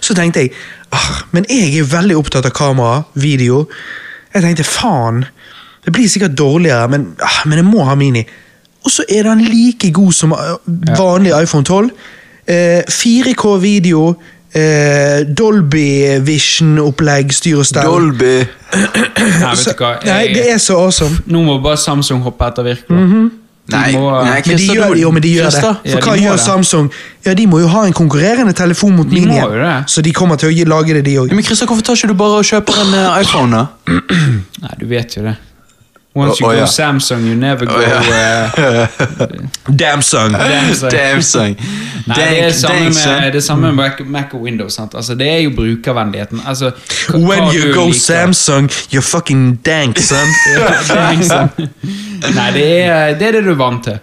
Speaker 2: så tenkte jeg ah, Men jeg er veldig opptatt av kamera, video. Jeg tenkte faen, det blir sikkert dårligere, men, ah, men jeg må ha Mini. Og så er den like god som eh, vanlig iPhone 12. Eh, 4K-video, eh, Dolby Vision-opplegg, styr og stell.
Speaker 1: Dolby.
Speaker 3: Nei, vet
Speaker 2: Så-
Speaker 3: du hva.
Speaker 2: Nei, det
Speaker 3: Jeg,
Speaker 2: er så awesome.
Speaker 3: nå må bare Samsung hoppe etter Virkola.
Speaker 1: Nei,
Speaker 3: må-
Speaker 1: nei,
Speaker 2: Men de
Speaker 1: Christer,
Speaker 2: gjør,
Speaker 1: du-
Speaker 2: jo, men de gjør det.
Speaker 1: Christer?
Speaker 3: Ja,
Speaker 2: For
Speaker 3: de
Speaker 2: hva
Speaker 3: må
Speaker 2: gjør
Speaker 3: det.
Speaker 2: Samsung? Ja, De må jo ha en konkurrerende telefon mot
Speaker 3: De må
Speaker 2: Mini.
Speaker 3: jo det.
Speaker 2: Så de kommer til å gi- lage det, de òg.
Speaker 1: Ja, men Christer, hvorfor tar ikke du bare og kjøper en eh, iPhone, da?
Speaker 3: Nei, du vet jo det. Once you
Speaker 1: Å, å,
Speaker 3: go
Speaker 1: ja.
Speaker 3: Samsung, you never go *laughs*
Speaker 1: *laughs*
Speaker 3: eh,
Speaker 2: Damn son!
Speaker 3: Samsung.
Speaker 1: Damn song.
Speaker 3: Nei, det er samme med, det samme med Mac, Mac og Windows. Sant? Altså, det er jo brukervennligheten. Altså, hva-
Speaker 2: When
Speaker 3: hva
Speaker 2: you
Speaker 3: du
Speaker 2: go
Speaker 3: liker.
Speaker 2: Samsung, you're fucking dank, son.
Speaker 3: *laughs* Ja, *laughs* det er liksom- Nei, det er, det er det du er vant til.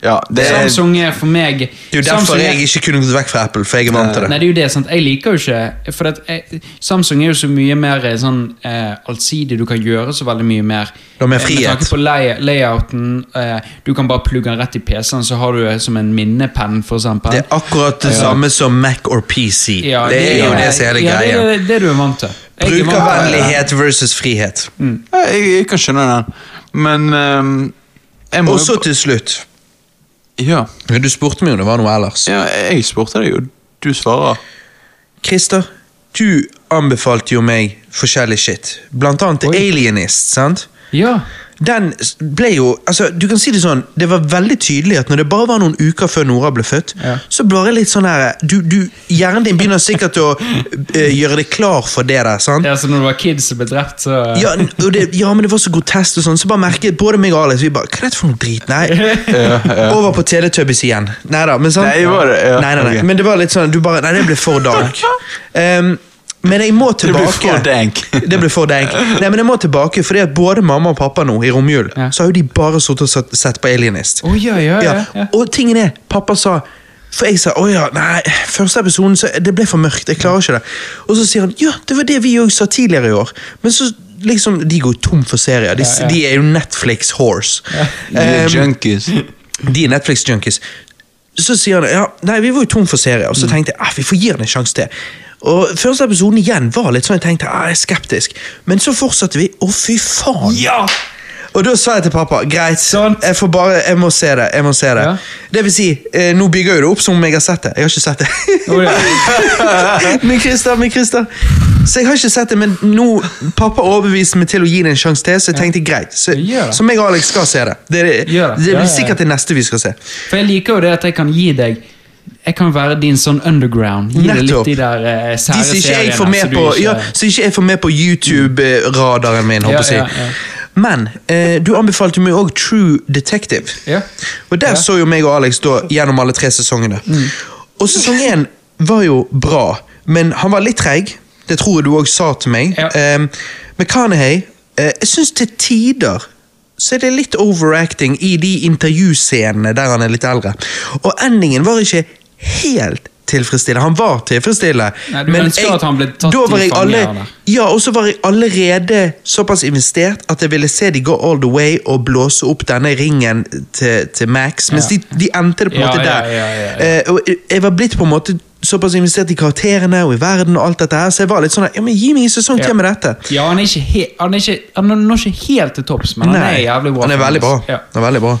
Speaker 1: Ja, det er
Speaker 3: Samsung er for meg
Speaker 2: Det er jo derfor
Speaker 3: Samsung er-
Speaker 2: jeg ikke kunne gått vekk fra Apple, for jeg er vant til
Speaker 3: Nei,
Speaker 2: det.
Speaker 3: det er jo det, sant? Jeg liker jo ikke For at jeg, Samsung er jo så mye mer eh, sånn eh, allsidig. Du kan gjøre så veldig mye mer.
Speaker 2: Du har mer
Speaker 3: Eh,
Speaker 2: frihet.
Speaker 3: Med tanke på lay layouten. Eh, du kan bare plugge den rett i PC-en, så har du det som en minnepenn, for eksempel.
Speaker 2: Det er akkurat det samme som Mac or PC.
Speaker 3: Ja,
Speaker 2: det er jo det som er hele
Speaker 3: ja, det
Speaker 2: greia.
Speaker 3: er det, Mm. det du er vant til. Jeg er vant til-
Speaker 2: Brukervennlighet versus frihet.
Speaker 1: Ja, jeg, jeg kan skjønne den, men ehm, jeg må
Speaker 2: Og
Speaker 1: jo-
Speaker 2: så til slutt
Speaker 1: ja,
Speaker 2: Du spurte meg om det var noe ellers.
Speaker 1: ja, jeg spurte deg jo. Du svarer.
Speaker 2: Christer, du anbefalte jo meg forskjellig shit. Blant annet
Speaker 3: Oi.
Speaker 2: Alienist, sant?
Speaker 3: Ja.
Speaker 2: den s- ble jo altså, Du kan si det sånn, det var veldig tydelig at når det bare var noen uker før Nora ble født,
Speaker 3: Ja.
Speaker 2: så ble det litt sånn her du, du, Hjernen din begynner sikkert å eh, gjøre deg klar for det der, sant?
Speaker 3: Det er altså når det var kids som ble drept, så
Speaker 2: Ja, n- og det, ja, men det var så grotesk og sånn, så bare merket både meg og Alex vi bare, Hva er dette for noe
Speaker 1: *laughs*
Speaker 2: drit? Nei. Over på Teletubbies igjen. Neida, men sant?
Speaker 1: Nei, var det? Ja,
Speaker 2: nei, nei, nei.
Speaker 1: ok.
Speaker 2: Men det var litt sånn du bare Nei, det ble for dark. Ehm, men jeg må
Speaker 1: ble
Speaker 2: tilbake.
Speaker 1: for dank.
Speaker 2: *laughs* det ble for dank. Nei, men jeg må tilbake, fordi at både mamma og pappa nå i romjul,
Speaker 3: Ja.
Speaker 2: så har jo de bare sittet og satt- sett på Alienist.
Speaker 3: Å, ja, ja, ja, ja.
Speaker 2: Og tingen er, pappa sa For jeg sa å ja, nei, første episoden så det ble for mørkt. jeg klarer ikke det. Og så sier han ja, det var det vi òg sa tidligere i år. Men så liksom, de går tom for serier. De,
Speaker 3: Ja, ja.
Speaker 2: de er jo Netflix-horse.
Speaker 1: De er junkies.
Speaker 2: De er Netflix-junkies. Så sier han ja, nei, vi var jo tom for serier,
Speaker 3: Mm.
Speaker 2: og så tenkte jeg ah, vi får gi han en sjanse til. Og Første episoden igjen var litt sånn, jeg tenkte ah, jeg er skeptisk, men så fortsatte vi. Å, fy faen!
Speaker 3: Ja!
Speaker 2: Og da sa jeg til pappa greit,
Speaker 3: Sant.
Speaker 2: jeg får bare, jeg må se det. jeg må se Det
Speaker 3: Ja.
Speaker 2: Det vil si, eh, nå bygger jo det opp som om jeg har sett det. Jeg har ikke sett
Speaker 3: *laughs* Å, ja.
Speaker 2: det. min Christer, min Christer. Så jeg har ikke sett det, men nå pappa overbeviste meg til å gi det en sjanse til, så jeg tenkte greit. Så,
Speaker 3: Gjør det.
Speaker 2: så meg og Alex skal se det. Det, det,
Speaker 3: Gjør det.
Speaker 2: det
Speaker 3: Ja, ja,
Speaker 2: blir
Speaker 3: ja.
Speaker 2: sikkert det neste vi skal se.
Speaker 3: For jeg liker jo det at jeg kan gi deg Jeg kan være din sånn underground. Gi deg litt
Speaker 2: Nettopp.
Speaker 3: de der eh, sære
Speaker 2: De som ikke jeg
Speaker 3: seriene
Speaker 2: får
Speaker 3: som
Speaker 2: med
Speaker 3: altså, du
Speaker 2: på,
Speaker 3: ikke-
Speaker 2: ja, som ikke jeg får med på YouTube-radaren min, håper
Speaker 3: Ja,
Speaker 2: jeg. å
Speaker 3: ja, ja.
Speaker 2: si. Men eh, du anbefalte meg òg True Detective.
Speaker 3: Ja.
Speaker 2: Og der
Speaker 3: Ja. Mm.
Speaker 2: så jo meg og Alex da gjennom alle tre sesongene. Og sesong én var jo bra, men han var litt treig. Det tror jeg du òg sa til meg.
Speaker 3: Ja.
Speaker 2: Eh, men Kanehei, eh, jeg syns til tider så er det litt overacting i de intervjuscenene der han er litt eldre. Og endingen var ikke helt tilfredsstillende. Han var tilfredsstillende,
Speaker 3: Nei, du ønsker at han ble tatt
Speaker 2: da var
Speaker 3: i
Speaker 2: jeg
Speaker 3: fange,
Speaker 2: alle-
Speaker 3: eller?
Speaker 2: Ja, og så var jeg allerede såpass investert at jeg ville se de gå all the way og blåse opp denne ringen til, til Max, mens
Speaker 3: Ja.
Speaker 2: de, de endte det på en
Speaker 3: Ja,
Speaker 2: måte
Speaker 3: ja,
Speaker 2: der.
Speaker 3: ja, ja, ja.
Speaker 2: Eh, og jeg- jeg var blitt på en måte såpass investert i karakterene og i verden, og alt dette her, så jeg var litt sånn ja, men gi meg en sesong
Speaker 3: Ja.
Speaker 2: til med dette.
Speaker 3: Ja, han er ikke, he han er ikke han når ikke helt til topps, men han er jævlig bra.
Speaker 2: Han er veldig bra.
Speaker 3: Ja. Mm.
Speaker 2: Han er veldig bra.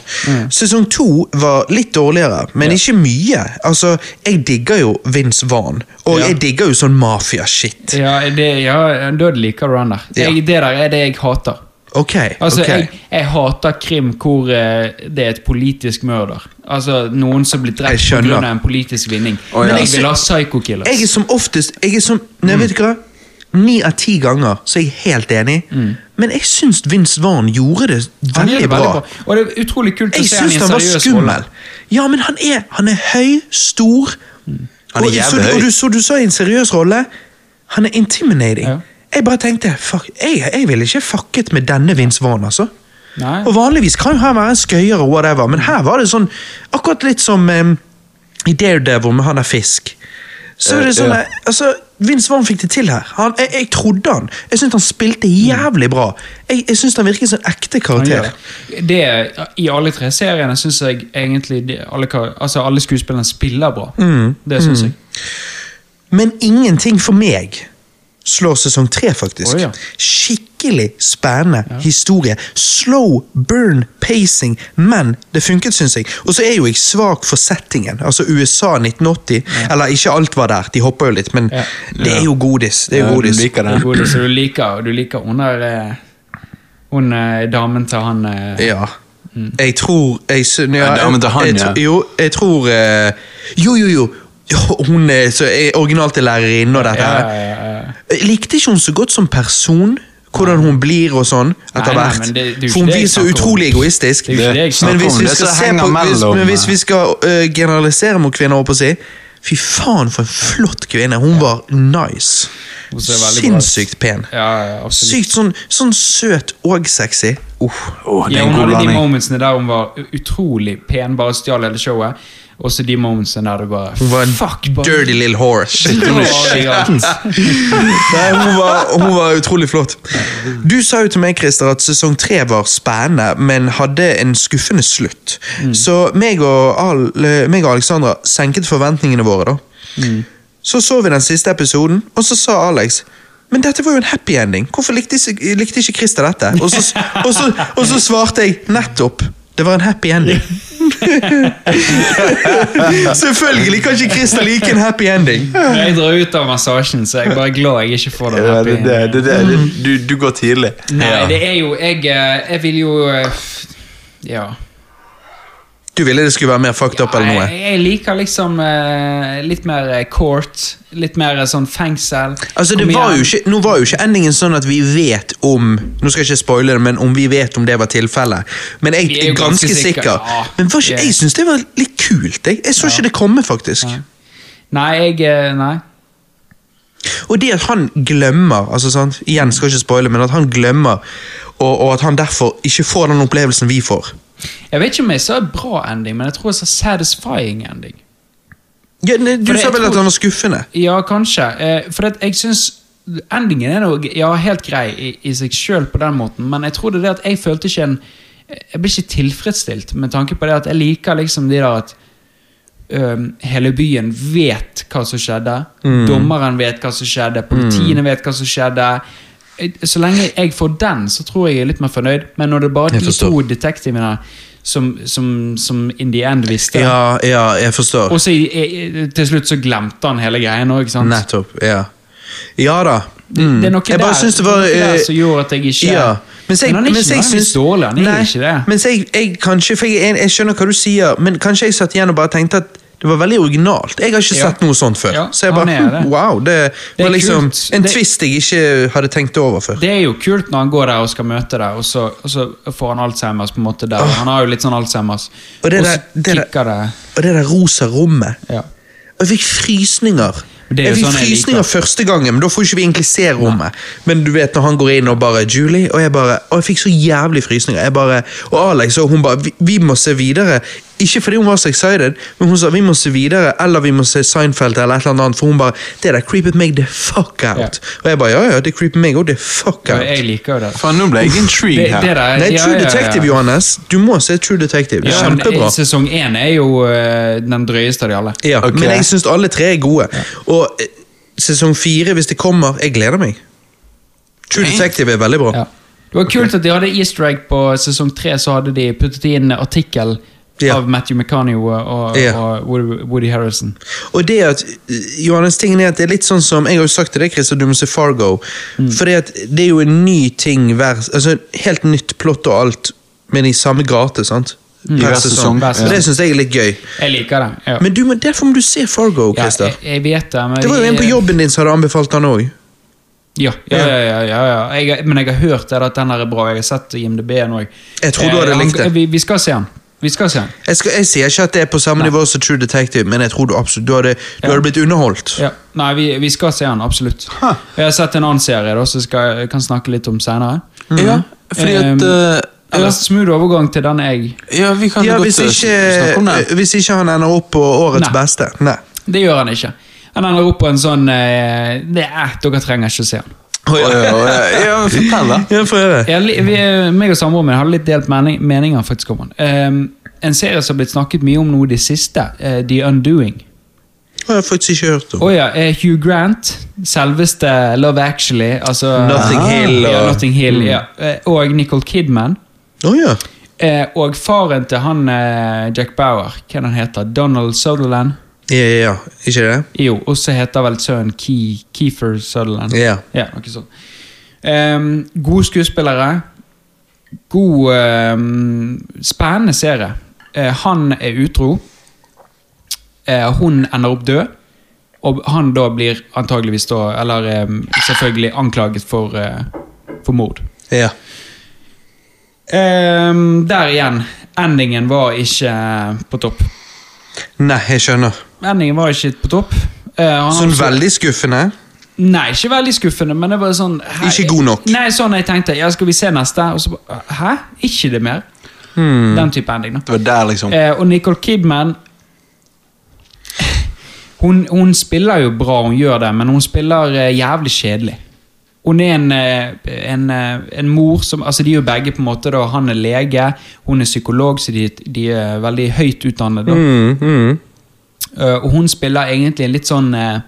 Speaker 2: Sesong to var litt dårligere, men ikke mye. Altså, Jeg digger jo Vince Vaughn, og
Speaker 3: Ja.
Speaker 2: jeg digger jo sånn mafia-shit.
Speaker 3: Ja, det, ja, død liker du han der.
Speaker 2: Ja.
Speaker 3: Jeg, det der er det jeg hater.
Speaker 2: Ok,
Speaker 3: Altså,
Speaker 2: ok.
Speaker 3: jeg, jeg hater krim hvor eh, det er et politisk mørder. Altså, noen som blir
Speaker 2: Jeg
Speaker 3: drept
Speaker 2: skjønner.
Speaker 3: pga. en politisk vinning.
Speaker 1: Å, ja.
Speaker 3: Men jeg vil ha psycho killers.
Speaker 2: Jeg er som oftest jeg er som, Nei,
Speaker 3: Mm.
Speaker 2: vet du hva? Ni av ti ganger så er jeg helt enig, men jeg syns Vince Vaughn gjorde det
Speaker 3: Mm. Han gjør
Speaker 2: veldig
Speaker 3: det
Speaker 2: bra.
Speaker 3: veldig Og det er utrolig kult
Speaker 2: Jeg
Speaker 3: å se han
Speaker 2: syns
Speaker 3: i en
Speaker 2: han var
Speaker 3: seriøs rolle.
Speaker 2: skummel. Ja, men han er, han er høy, stor
Speaker 3: Mm.
Speaker 1: Han er
Speaker 2: og, så,
Speaker 1: jævlig høy.
Speaker 2: og du, så du sa i en seriøs rolle Han er intimidating.
Speaker 3: Ja.
Speaker 2: Jeg bare tenkte fuck, jeg, jeg ville ikke fucket med denne Vince Vaughn, altså.
Speaker 3: Nei.
Speaker 2: Og vanligvis kan jo han være en skøyer, og whatever, men her var det sånn Akkurat litt som em, i Daredevil med han der fisk. Så er det
Speaker 1: Eh,
Speaker 2: sånn
Speaker 1: ja.
Speaker 2: eh, altså, Vince Vaughn fikk det til her. Han, jeg, jeg trodde han. Jeg syntes han spilte jævlig bra. Jeg, jeg syns han virket som en ekte
Speaker 3: Han gjør
Speaker 2: karakter.
Speaker 3: det. Det, I alle tre seriene syns jeg egentlig de, alle, kar- altså alle skuespillerne spiller bra.
Speaker 2: Mm.
Speaker 3: Det syns jeg.
Speaker 2: Men ingenting for meg slår sesong tre, faktisk.
Speaker 3: Å, ja.
Speaker 2: Skikkelig spennende historie. Slow burn pacing, men det funket, syns jeg. Og så er jo jeg svak for settingen. Altså USA 1980. Eller ikke alt var der, de hopper jo litt, men
Speaker 3: Ja.
Speaker 2: det er jo godis. Det er
Speaker 1: Ja,
Speaker 2: jo
Speaker 1: du
Speaker 2: godis.
Speaker 1: liker
Speaker 3: Det er
Speaker 1: det.
Speaker 3: god, så du liker, du liker under, eh, under damen til han eh,
Speaker 2: Ja. Jeg tror jeg, syn- ja,
Speaker 1: Ja, men til han,
Speaker 2: jeg,
Speaker 1: ja.
Speaker 2: tro- Jo, jeg tror eh, Jo, jo, jo. Jo, Hun er, så er originalt er lærerinne og dette
Speaker 3: ja,
Speaker 2: her.
Speaker 3: ja, ja.
Speaker 2: Jeg likte ikke hun så godt som person. Hvordan hun blir og sånn etter
Speaker 3: Nei, nei,
Speaker 2: hvert.
Speaker 3: men det- det er jo ikke
Speaker 2: For hun
Speaker 3: det jeg
Speaker 2: blir så
Speaker 3: snakker om.
Speaker 2: utrolig egoistisk.
Speaker 3: Det er jo ikke det jeg snakker
Speaker 2: Men hvis
Speaker 1: om,
Speaker 2: vi
Speaker 1: det
Speaker 2: skal,
Speaker 1: som
Speaker 2: se
Speaker 1: henger
Speaker 2: på, hvis,
Speaker 1: mellom-
Speaker 2: men hvis vi skal øh, generalisere mot kvinner, holdt på å si Fy faen, for en flott kvinne! Hun var nice.
Speaker 3: Hun ser veldig bra ut.
Speaker 2: Sinnssykt pen.
Speaker 3: ja, ja, absolutt.
Speaker 2: Sykt sånn, sånn søt og sexy. Uff.
Speaker 1: Åh, det
Speaker 3: Ja,
Speaker 1: er en
Speaker 3: hun
Speaker 1: god
Speaker 3: hadde de
Speaker 1: blanding.
Speaker 3: momentsene der hun var u- utrolig pen, bare stjal hele showet. Og så de momentsene der du bare
Speaker 2: Hun var en
Speaker 3: Fuck, bare
Speaker 2: dirty little whore. Shit,
Speaker 3: Hun
Speaker 2: hun
Speaker 3: var
Speaker 2: er
Speaker 3: arrogant.
Speaker 2: Nei, hun var, hun var utrolig flott. Du sa jo til meg, Christer, at sesong tre var spennende, men hadde en skuffende slutt. Så meg og, Al, eh, meg og Alexandra senket forventningene våre, da. Så så vi den siste episoden, og så sa Alex men dette var jo en happy ending. Hvorfor likte, ikke- likte ikke Christer dette? Og så, og, så, og så svarte jeg nettopp. Det var en happy ending. *laughs* Selvfølgelig kan ikke Christer like en happy ending.
Speaker 3: Jeg drar ut av massasjen, så jeg er bare glad jeg ikke får den
Speaker 1: Ja,
Speaker 3: happy
Speaker 1: det, det, det, det,
Speaker 3: Mm.
Speaker 1: det, du, du går tidlig.
Speaker 3: Nei, det er jo Jeg, eh, jeg vil jo eh, Ja.
Speaker 2: Du ville det skulle være mer fucked up eller noe?
Speaker 3: Jeg, jeg liker liksom eh, litt mer eh, court. Litt mer eh, sånn fengsel.
Speaker 2: Altså,
Speaker 3: Kom
Speaker 2: det var jo
Speaker 3: igjen.
Speaker 2: ikke, nå var jo ikke endingen sånn at vi vet om Nå skal jeg ikke spoile det, men om vi vet om det var tilfellet. Men jeg
Speaker 3: Vi er
Speaker 2: er
Speaker 3: jo
Speaker 2: ganske
Speaker 3: ganske sikre,
Speaker 2: sikker.
Speaker 3: ja.
Speaker 2: Men var ikke,
Speaker 3: Ja.
Speaker 2: jeg syns det var litt kult. Jeg, jeg så ikke det komme, faktisk.
Speaker 3: Nei, jeg eh, Nei.
Speaker 2: Og det at han glemmer altså sant, Igjen, skal ikke spoile, men at han glemmer, og, og at han derfor ikke får den opplevelsen vi får.
Speaker 3: Jeg vet ikke om jeg sa bra ending, men jeg tror jeg sa satisfying ending.
Speaker 2: Ja, nei, du
Speaker 3: For det-
Speaker 2: sa
Speaker 3: jeg
Speaker 2: vel
Speaker 3: tror-
Speaker 2: at han var skuffende?
Speaker 3: Ja, kanskje. Eh, for at jeg syns endingen er noe ja, helt grei i, i seg sjøl på den måten, men jeg tror det er det at jeg følte ikke en Jeg ble ikke tilfredsstilt med tanke på det at jeg liker liksom de der at øhm, hele byen vet hva som skjedde.
Speaker 2: Mm.
Speaker 3: Dommeren vet hva som skjedde, politiene vet hva som skjedde. Eh, Så lenge jeg får den, så tror jeg jeg er litt mer fornøyd. Men når det er bare
Speaker 2: Jeg
Speaker 3: de
Speaker 2: forstår.
Speaker 3: to detektivene som, som, som in the end visste
Speaker 2: Ja, ja, jeg forstår.
Speaker 3: Og så i- i- til slutt så glemte han hele greien òg, ikke sant?
Speaker 2: Nettopp. Ja. Ja da. Mm.
Speaker 3: Det, det er noe
Speaker 2: Jeg bare
Speaker 3: der,
Speaker 2: syns det
Speaker 3: det er
Speaker 2: var,
Speaker 3: noe
Speaker 2: eh,
Speaker 3: der som gjorde at jeg ikke
Speaker 2: Ja. Mens jeg,
Speaker 3: Men han er ikke
Speaker 2: mens jeg
Speaker 3: nødvendigvis
Speaker 2: syns-
Speaker 3: dårlig. Han er
Speaker 2: Nei,
Speaker 3: ikke det.
Speaker 2: Mens jeg, jeg kanskje, for jeg, jeg skjønner hva du sier, men kanskje jeg satt igjen og bare tenkte at det var veldig originalt. Jeg har ikke
Speaker 3: Ja.
Speaker 2: sett noe sånt før.
Speaker 3: Ja,
Speaker 2: så jeg
Speaker 3: han
Speaker 2: bare,
Speaker 3: er det.
Speaker 2: hm, *laughs* wow, det,
Speaker 3: Det er
Speaker 2: var liksom
Speaker 3: kult.
Speaker 2: en
Speaker 3: Det-
Speaker 2: twist jeg ikke hadde tenkt over før.
Speaker 3: Det er jo kult når han går der og skal møte deg, og så, og så får han Alzheimers på en måte der. Han har jo litt sånn Alzheimers.
Speaker 2: Og det der-
Speaker 3: så
Speaker 2: det der-
Speaker 3: kikker det.
Speaker 2: Og det der rosa rommet.
Speaker 3: Ja.
Speaker 2: Og jeg fikk frysninger.
Speaker 3: Men det er
Speaker 2: jeg
Speaker 3: jo
Speaker 2: fikk
Speaker 3: sånn jeg
Speaker 2: frysninger
Speaker 3: liker.
Speaker 2: første gangen, men da får ikke vi egentlig se rommet. Men du vet når han går inn og bare Julie, og jeg bare Og jeg fikk så jævlig frysninger. Jeg bare, og Alex og hun bare vi, vi må se videre. Ikke fordi hun var så excited, men hun sa vi må se videre, eller vi må se Seinfeld, eller et eller annet, for hun bare Det der creepet meg the fuck out.
Speaker 3: Ja.
Speaker 2: Og jeg bare ja, ja, det creepet meg òg the fuck
Speaker 3: Ja,
Speaker 2: out.
Speaker 3: jeg liker jo det.
Speaker 1: Faen, nå ble jeg intrigued
Speaker 3: Det, det
Speaker 1: her.
Speaker 3: der,
Speaker 2: Nei,
Speaker 3: ja,
Speaker 2: True
Speaker 3: ja, ja.
Speaker 2: Detective, Johannes. Du må se True Detective.
Speaker 3: Ja, men
Speaker 2: Kjempebra.
Speaker 3: Sesong én er jo eh, den drøyeste av de alle.
Speaker 2: Ja,
Speaker 1: Ok.
Speaker 2: Men jeg syns alle tre er gode. Og eh, sesong fire, hvis det kommer, jeg gleder meg. True
Speaker 1: Ok.
Speaker 2: Detective er veldig bra.
Speaker 3: Ja. Det var kult at de hadde easter egg på sesong tre. Så hadde de puttet inn artikkel
Speaker 2: Ja.
Speaker 3: av Matthew McConaughey og,
Speaker 2: Ja.
Speaker 3: og Woody- Woody Harrison.
Speaker 2: Og det at, eh, Johannes, tingen er at det er litt sånn som Jeg har jo sagt til deg, Chris, at du må se Fargo.
Speaker 3: Mm.
Speaker 2: For det, at det er jo en ny ting hver Altså helt nytt plott og alt, men i samme gate, sant?
Speaker 3: Mm.
Speaker 1: I hver sesong,
Speaker 2: Og
Speaker 3: ja.
Speaker 2: Det syns jeg er litt gøy.
Speaker 3: Jeg liker det. Ja.
Speaker 2: Men du, må- derfor må du se Fargo,
Speaker 3: ja, jeg,
Speaker 2: Christer.
Speaker 3: jeg vet det, men
Speaker 2: det var jo
Speaker 3: vi-
Speaker 2: en på jobben din som hadde anbefalt han òg.
Speaker 3: Ja, ja, ja, ja, ja, ja. Jeg, men jeg har hørt det, at den her er bra. Jeg har sett IMDb-en òg.
Speaker 2: Jeg tror
Speaker 3: Eh,
Speaker 2: du hadde likt det.
Speaker 3: Vi, vi skal se den. Vi skal se den.
Speaker 2: Jeg, skal, jeg sier ikke at det er på samme
Speaker 3: Nei.
Speaker 2: nivå som True Detective, men jeg tror du absolutt Du hadde, du
Speaker 3: Ja.
Speaker 2: hadde blitt underholdt.
Speaker 3: Ja. Nei, vi, vi skal se den, absolutt. Jeg har sett en annen serie da, som skal- jeg kan snakke litt om senere.
Speaker 1: Mm. Ja, fordi at
Speaker 3: Eh,
Speaker 1: eh, ja,
Speaker 3: Eller smooth overgang til den jeg
Speaker 1: ja, vi kan
Speaker 2: Ja,
Speaker 1: godt
Speaker 2: hvis
Speaker 1: eh, snakke om det.
Speaker 2: ikke, hvis ikke han ender opp på årets
Speaker 3: Nei.
Speaker 2: beste. Nei.
Speaker 3: Det gjør han ikke. Han ender opp på en sånn eh, Det er, Dere trenger ikke å se han.
Speaker 1: Å, ja,
Speaker 2: *laughs*
Speaker 1: ja, ja, men fortell, da.
Speaker 2: Ja, få høre.
Speaker 3: Jeg, li- vi, meg og samboeren min har litt delt mening, meninger faktisk om han. Eh, en serie som har blitt snakket mye om nå i det siste, eh, The Undoing.
Speaker 2: Det har jeg faktisk ikke hørt om.
Speaker 3: Å ja, eh, Hugh Grant. Selveste Love Actually. Altså,
Speaker 2: Notting
Speaker 3: Ah.
Speaker 2: Hill og- Mm.
Speaker 3: Ja, Notting Hill ja. Eh, Og Nicole Kidman.
Speaker 2: Å ja.
Speaker 3: Eh, Og faren til han eh, Jack Bauer, hva han heter Donald Sutherland?
Speaker 2: Ja, ja, ja. Ikke det?
Speaker 3: Jo, og så heter vel sønnen Ke Keefer Sutherland.
Speaker 2: Ja.
Speaker 3: Ja, noe sånt. Ehm, gode skuespillere. God ehm, Spennende serie. Eh, han er utro. Eh, hun ender opp død. Og han da blir antageligvis da Eller ehm, selvfølgelig anklaget for, eh, for mord.
Speaker 2: Ja.
Speaker 3: Ehm, der igjen. Endingen var ikke på topp.
Speaker 2: Nei, jeg skjønner.
Speaker 3: Endingen var ikke på topp. Eh, han-
Speaker 2: Sånn veldig skuffende.
Speaker 3: Nei, ikke veldig skuffende, men det var sånn hæ-
Speaker 2: Ikke god nok.
Speaker 3: Nei, sånn jeg tenkte, ja, skal vi se neste? Og så bare, hæ? Ikke det mer?
Speaker 2: Hmm.
Speaker 3: Den type ending, da.
Speaker 1: Det var der, liksom.
Speaker 3: Eh, og Nicole Kidman hun, hun spiller jo bra, hun gjør det, men hun spiller eh, jævlig kjedelig. Hun er en, eh, en, eh, en mor som altså De er jo begge på en måte da, Han er lege, hun er psykolog, så de, de er veldig høyt utdannede. da.
Speaker 2: Mm, mm,
Speaker 3: Eh, og hun spiller egentlig en litt sånn eh,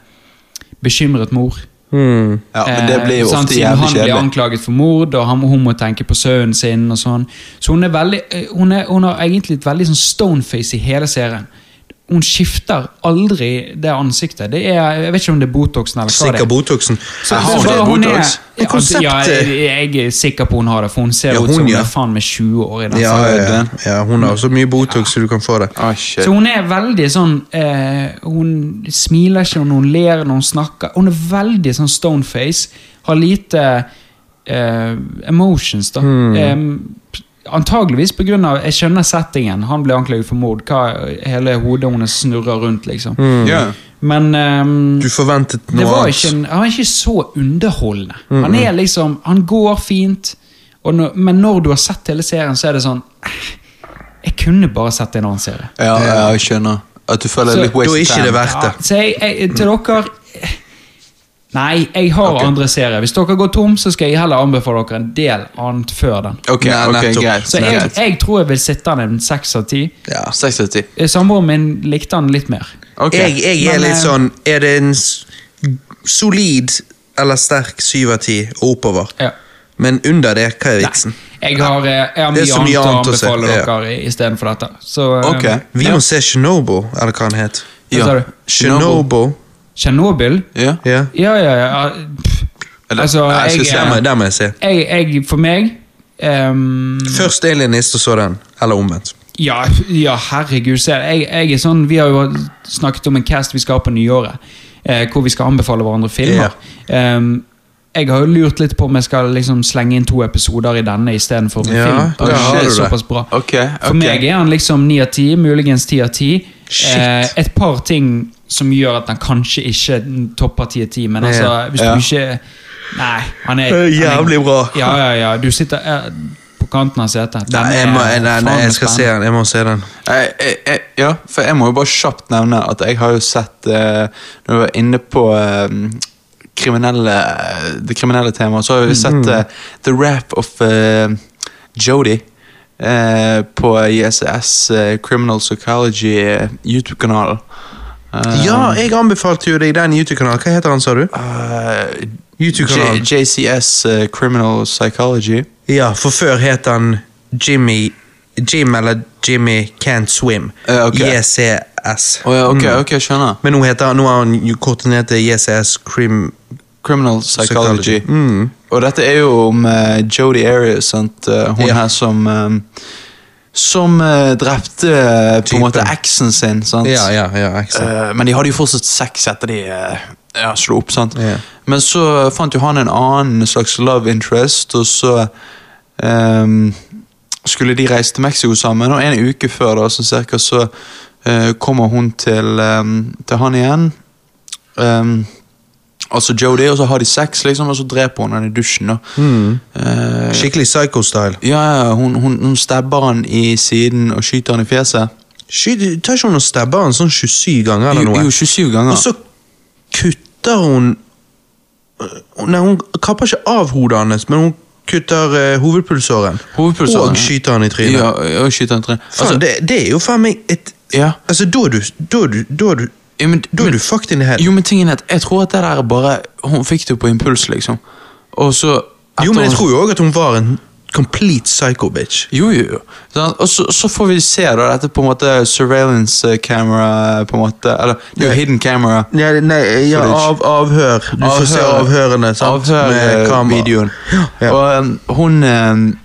Speaker 3: bekymret mor.
Speaker 2: mm.
Speaker 1: Ja, men det blir jo
Speaker 3: Eh, sant,
Speaker 1: ofte
Speaker 3: siden
Speaker 1: jævlig
Speaker 3: Han blir
Speaker 1: kjedelig.
Speaker 3: anklaget for mord, og han, hun må tenke på sønnen sin. og sånn. Så hun, er veldig, eh, hun, er, hun har egentlig et veldig sånn stoneface i hele serien. Hun skifter aldri det ansiktet. Det er, jeg vet ikke om det er Botoxen eller hva det
Speaker 2: Sikker
Speaker 3: er.
Speaker 2: botoxen.
Speaker 3: Så-
Speaker 1: Jeg har
Speaker 3: så
Speaker 1: det,
Speaker 3: bare hun er-
Speaker 1: Botox.
Speaker 3: Ja,
Speaker 2: Men konseptet-
Speaker 3: ja, jeg, jeg er sikker på hun har det, for hun ser
Speaker 2: Ja,
Speaker 3: ut som
Speaker 2: hun,
Speaker 3: hun
Speaker 2: ja.
Speaker 3: er faen meg 20 år. i den
Speaker 2: Ja,
Speaker 3: serien.
Speaker 2: ja, ja. ja, hun har så mye botox så du kan få det.
Speaker 1: Å, shit.
Speaker 3: Så hun er veldig sånn eh, Hun smiler ikke når hun ler når hun snakker. Hun er veldig sånn stoneface. Har lite eh, emotions, da.
Speaker 2: Hmm.
Speaker 3: Eh, antageligvis pga. Jeg skjønner settingen. Han ble anklaget for mord. Hva, hele hodet hennes snurrer rundt, liksom.
Speaker 1: Ja.
Speaker 3: Men ehm,
Speaker 2: Hmm. Du forventet
Speaker 3: det
Speaker 2: noe Hmm.
Speaker 3: var
Speaker 2: annet.
Speaker 3: ikke, en- han er ikke så underholdende. Han er liksom, han går fint, og nå- men når du har sett hele serien, så er det sånn eh, Jeg kunne bare sett en annen serie.
Speaker 1: Ja, ja, jeg skjønner. At du føler
Speaker 3: Så-
Speaker 1: litt
Speaker 2: Da er
Speaker 1: waste
Speaker 2: ikke det
Speaker 1: time.
Speaker 2: verdt det.
Speaker 3: Ja, så jeg, jeg, til dere Nei, jeg har andre serier. Hvis dere går tom, så skal jeg heller anbefale dere en del annet før den.
Speaker 1: Ok,
Speaker 2: Nei,
Speaker 1: ok,
Speaker 2: nettopp.
Speaker 1: greit.
Speaker 3: Så jeg,
Speaker 1: greit.
Speaker 3: jeg tror jeg vil sitte den en seks av ti.
Speaker 2: Ja.
Speaker 1: Seks av ti.
Speaker 3: Eh, Samboeren min likte den litt mer.
Speaker 1: Ok.
Speaker 2: Jeg, jeg er
Speaker 3: Men,
Speaker 2: litt
Speaker 3: eh,
Speaker 2: sånn Er det en s- solid eller sterk syv av ti og oppover?
Speaker 3: Ja.
Speaker 2: Men under det, hva er vitsen?
Speaker 3: Jeg har, eh, jeg har
Speaker 2: Det er
Speaker 3: mye,
Speaker 2: så mye
Speaker 3: annet å
Speaker 2: annet å se,
Speaker 3: anbefale
Speaker 2: ja.
Speaker 3: dere i- istedenfor dette. Så eh,
Speaker 1: Ok.
Speaker 2: Vi
Speaker 1: Ja.
Speaker 2: må se Chernobyl, eller hva han het.
Speaker 3: Hva sa du?
Speaker 2: Chernobyl.
Speaker 3: Tsjernobyl?
Speaker 1: Ja.
Speaker 2: Ja.
Speaker 3: Ja, ja, ja. pff.
Speaker 1: Eller-
Speaker 3: Altså,
Speaker 1: Nei, jeg skal
Speaker 3: jeg,
Speaker 1: se
Speaker 2: Den må,
Speaker 3: eh,
Speaker 2: den må jeg se.
Speaker 3: jeg, jeg For meg ehm,
Speaker 2: Først Alienist, og så den. Eller omvendt.
Speaker 3: Ja, ja herregud. Se, jeg, jeg er sånn, vi har jo snakket om en cast vi skal ha på nyåret, eh, hvor vi skal anbefale hverandre filmer. Ehm, jeg har jo lurt litt på om jeg skal liksom slenge inn to episoder i denne istedenfor en
Speaker 2: Ja,
Speaker 3: film.
Speaker 2: der
Speaker 1: har
Speaker 3: det er
Speaker 2: du det.
Speaker 3: såpass bra.
Speaker 1: Ok,
Speaker 3: For
Speaker 1: ok.
Speaker 3: meg er han liksom ni av ti, muligens ti av ti. Eh,
Speaker 2: Shit.
Speaker 3: et par ting som gjør at han kanskje ikke topper ti av ti, men altså,
Speaker 2: Ja,
Speaker 3: hvis
Speaker 1: ja.
Speaker 3: du ikke Nei, han er,
Speaker 2: Det er
Speaker 3: han
Speaker 2: *laughs*
Speaker 3: er
Speaker 2: jævlig bra.
Speaker 3: Ja, ja, ja. Du sitter eh, på på kanten av setet.
Speaker 2: Nei,
Speaker 3: Den
Speaker 2: jeg, må, nei, nei,
Speaker 3: faen
Speaker 2: jeg skal se
Speaker 3: spennende.
Speaker 2: den. Jeg må se den.
Speaker 1: Jeg, jeg, jeg, ja, for jeg må jo bare kjapt nevne at jeg har jo sett eh, Når vi var inne på eh, kriminelle, det kriminelle temaet, så har vi sett eh, The Rap of eh, Jodie eh, på JCS eh, Criminal Psychology eh, YouTube-kanalen. Eh,
Speaker 2: Ja, jeg anbefalte jo deg den YouTube-kanalen. Hva heter han, sa du?
Speaker 1: eh, J-
Speaker 2: YouTube-kanalen.
Speaker 1: JCS eh, Criminal Psychology.
Speaker 2: Ja, for før het han Jimmy Jim eller Jimmy Can't Swim.
Speaker 1: Ja, Eh, ok.
Speaker 2: JCS.
Speaker 1: Å ja, ok,
Speaker 2: Mm.
Speaker 1: ok, skjønner.
Speaker 2: Men nå heter han, nå har han jo koordinert til JCS Crim...
Speaker 1: Criminal Psychology.
Speaker 2: Psychology. Mm.
Speaker 1: Og dette er jo om eh, Jodi Arias, sant? Eh, hun
Speaker 2: Ja.
Speaker 1: her som eh, Som eh, drepte eh, på en
Speaker 2: Typen.
Speaker 1: måte eksen sin, sant?
Speaker 2: Ja, ja, ja, eksakt.
Speaker 1: Eh, men de hadde jo fortsatt sex etter de eh, ja, slo opp, sant?
Speaker 2: Ja.
Speaker 1: Men så fant jo han en annen slags love interest, og så ehm, skulle de reise til Mexico sammen, og en uke før da, så cirka, så eh, kommer hun til, ehm, til han igjen. Ehm, altså Jodie, og så har de sex, liksom, og så dreper hun han i dusjen. da.
Speaker 2: Mm.
Speaker 1: Eh,
Speaker 2: Skikkelig psycho-style.
Speaker 1: ja, ja, hun, hun, hun stabber han i siden og skyter han i fjeset.
Speaker 2: Sky- Tar ikke hun og stabber han sånn 27 ganger eller
Speaker 1: Jo,
Speaker 2: noe?
Speaker 1: jo, 27 ganger.
Speaker 2: Og så kutter hun eh, Nei, hun kapper ikke av hodet hans, men hun kutter eh, hovedpulsåren.
Speaker 1: Hovedpulsåren,
Speaker 2: Og
Speaker 1: ja.
Speaker 2: skyter han i trynet.
Speaker 1: Ja, og skyter han i trynet. Altså,
Speaker 2: Faen, det, det er jo faen meg et
Speaker 1: Ja.
Speaker 2: Altså, da er du Da er du, da er du,
Speaker 1: Ja, men,
Speaker 2: da er
Speaker 1: men,
Speaker 2: du fucked in the head.
Speaker 1: jo, men tingen er at jeg tror at det der er bare Hun fikk det jo på impuls, liksom. Og så
Speaker 2: Jo, men jeg
Speaker 1: etter-
Speaker 2: tror jo òg at hun var en complete psycho-bitch.
Speaker 1: Jo, jo, jo. Sånn, Og så, så får vi se da dette på en måte surveillance camera på en måte, Eller det er jo
Speaker 2: Ja.
Speaker 1: hidden camera.
Speaker 2: Nei, nei ja,
Speaker 1: Footage.
Speaker 2: av, avhør. Du får se avhørene sant? med kamera.
Speaker 1: Avhørvideoen.
Speaker 2: Ja.
Speaker 1: eh, Og um, hun um,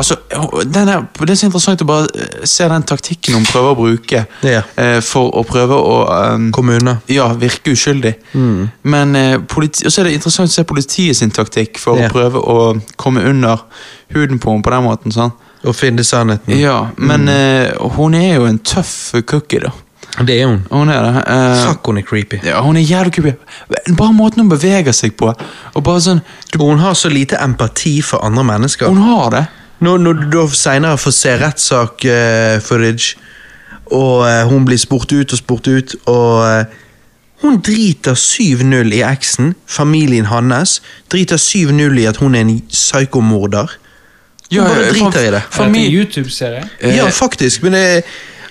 Speaker 1: Altså, hun- den er, Det er så interessant å bare eh, se den taktikken hun prøver å bruke
Speaker 2: Ja.
Speaker 1: eh, for å prøve å um,
Speaker 2: Kom unna.
Speaker 1: ja, virke uskyldig.
Speaker 2: Mm.
Speaker 1: Men eh, politi og så er det interessant å se politiet sin taktikk for
Speaker 2: Ja.
Speaker 1: å prøve å komme under huden på henne på den måten. sånn.
Speaker 2: Og finne sannheten.
Speaker 1: Ja,
Speaker 2: Mm.
Speaker 1: Men eh, hun er jo en tøff cookie, da.
Speaker 2: Det er hun.
Speaker 1: Hun er det. eh,
Speaker 2: Fuck, hun er creepy.
Speaker 1: ja, hun er jævlig creepy. Bare måten hun beveger seg på. og bare sånn,
Speaker 2: Og hun har så lite empati for andre mennesker.
Speaker 1: Hun har det.
Speaker 2: Når, når du da senere får se rettssak-footage, og eh, hun blir spurt ut og spurt ut, og eh, hun driter 7-0 i eksen, familien hans, driter 7-0 i at hun er en psykomorder. Hun
Speaker 1: Ja, ja,
Speaker 2: bare driter
Speaker 1: fam-
Speaker 2: i det.
Speaker 1: for
Speaker 3: Er dette
Speaker 1: meg-
Speaker 3: en YouTube-serie?
Speaker 1: Eh,
Speaker 2: Ja, faktisk, men det,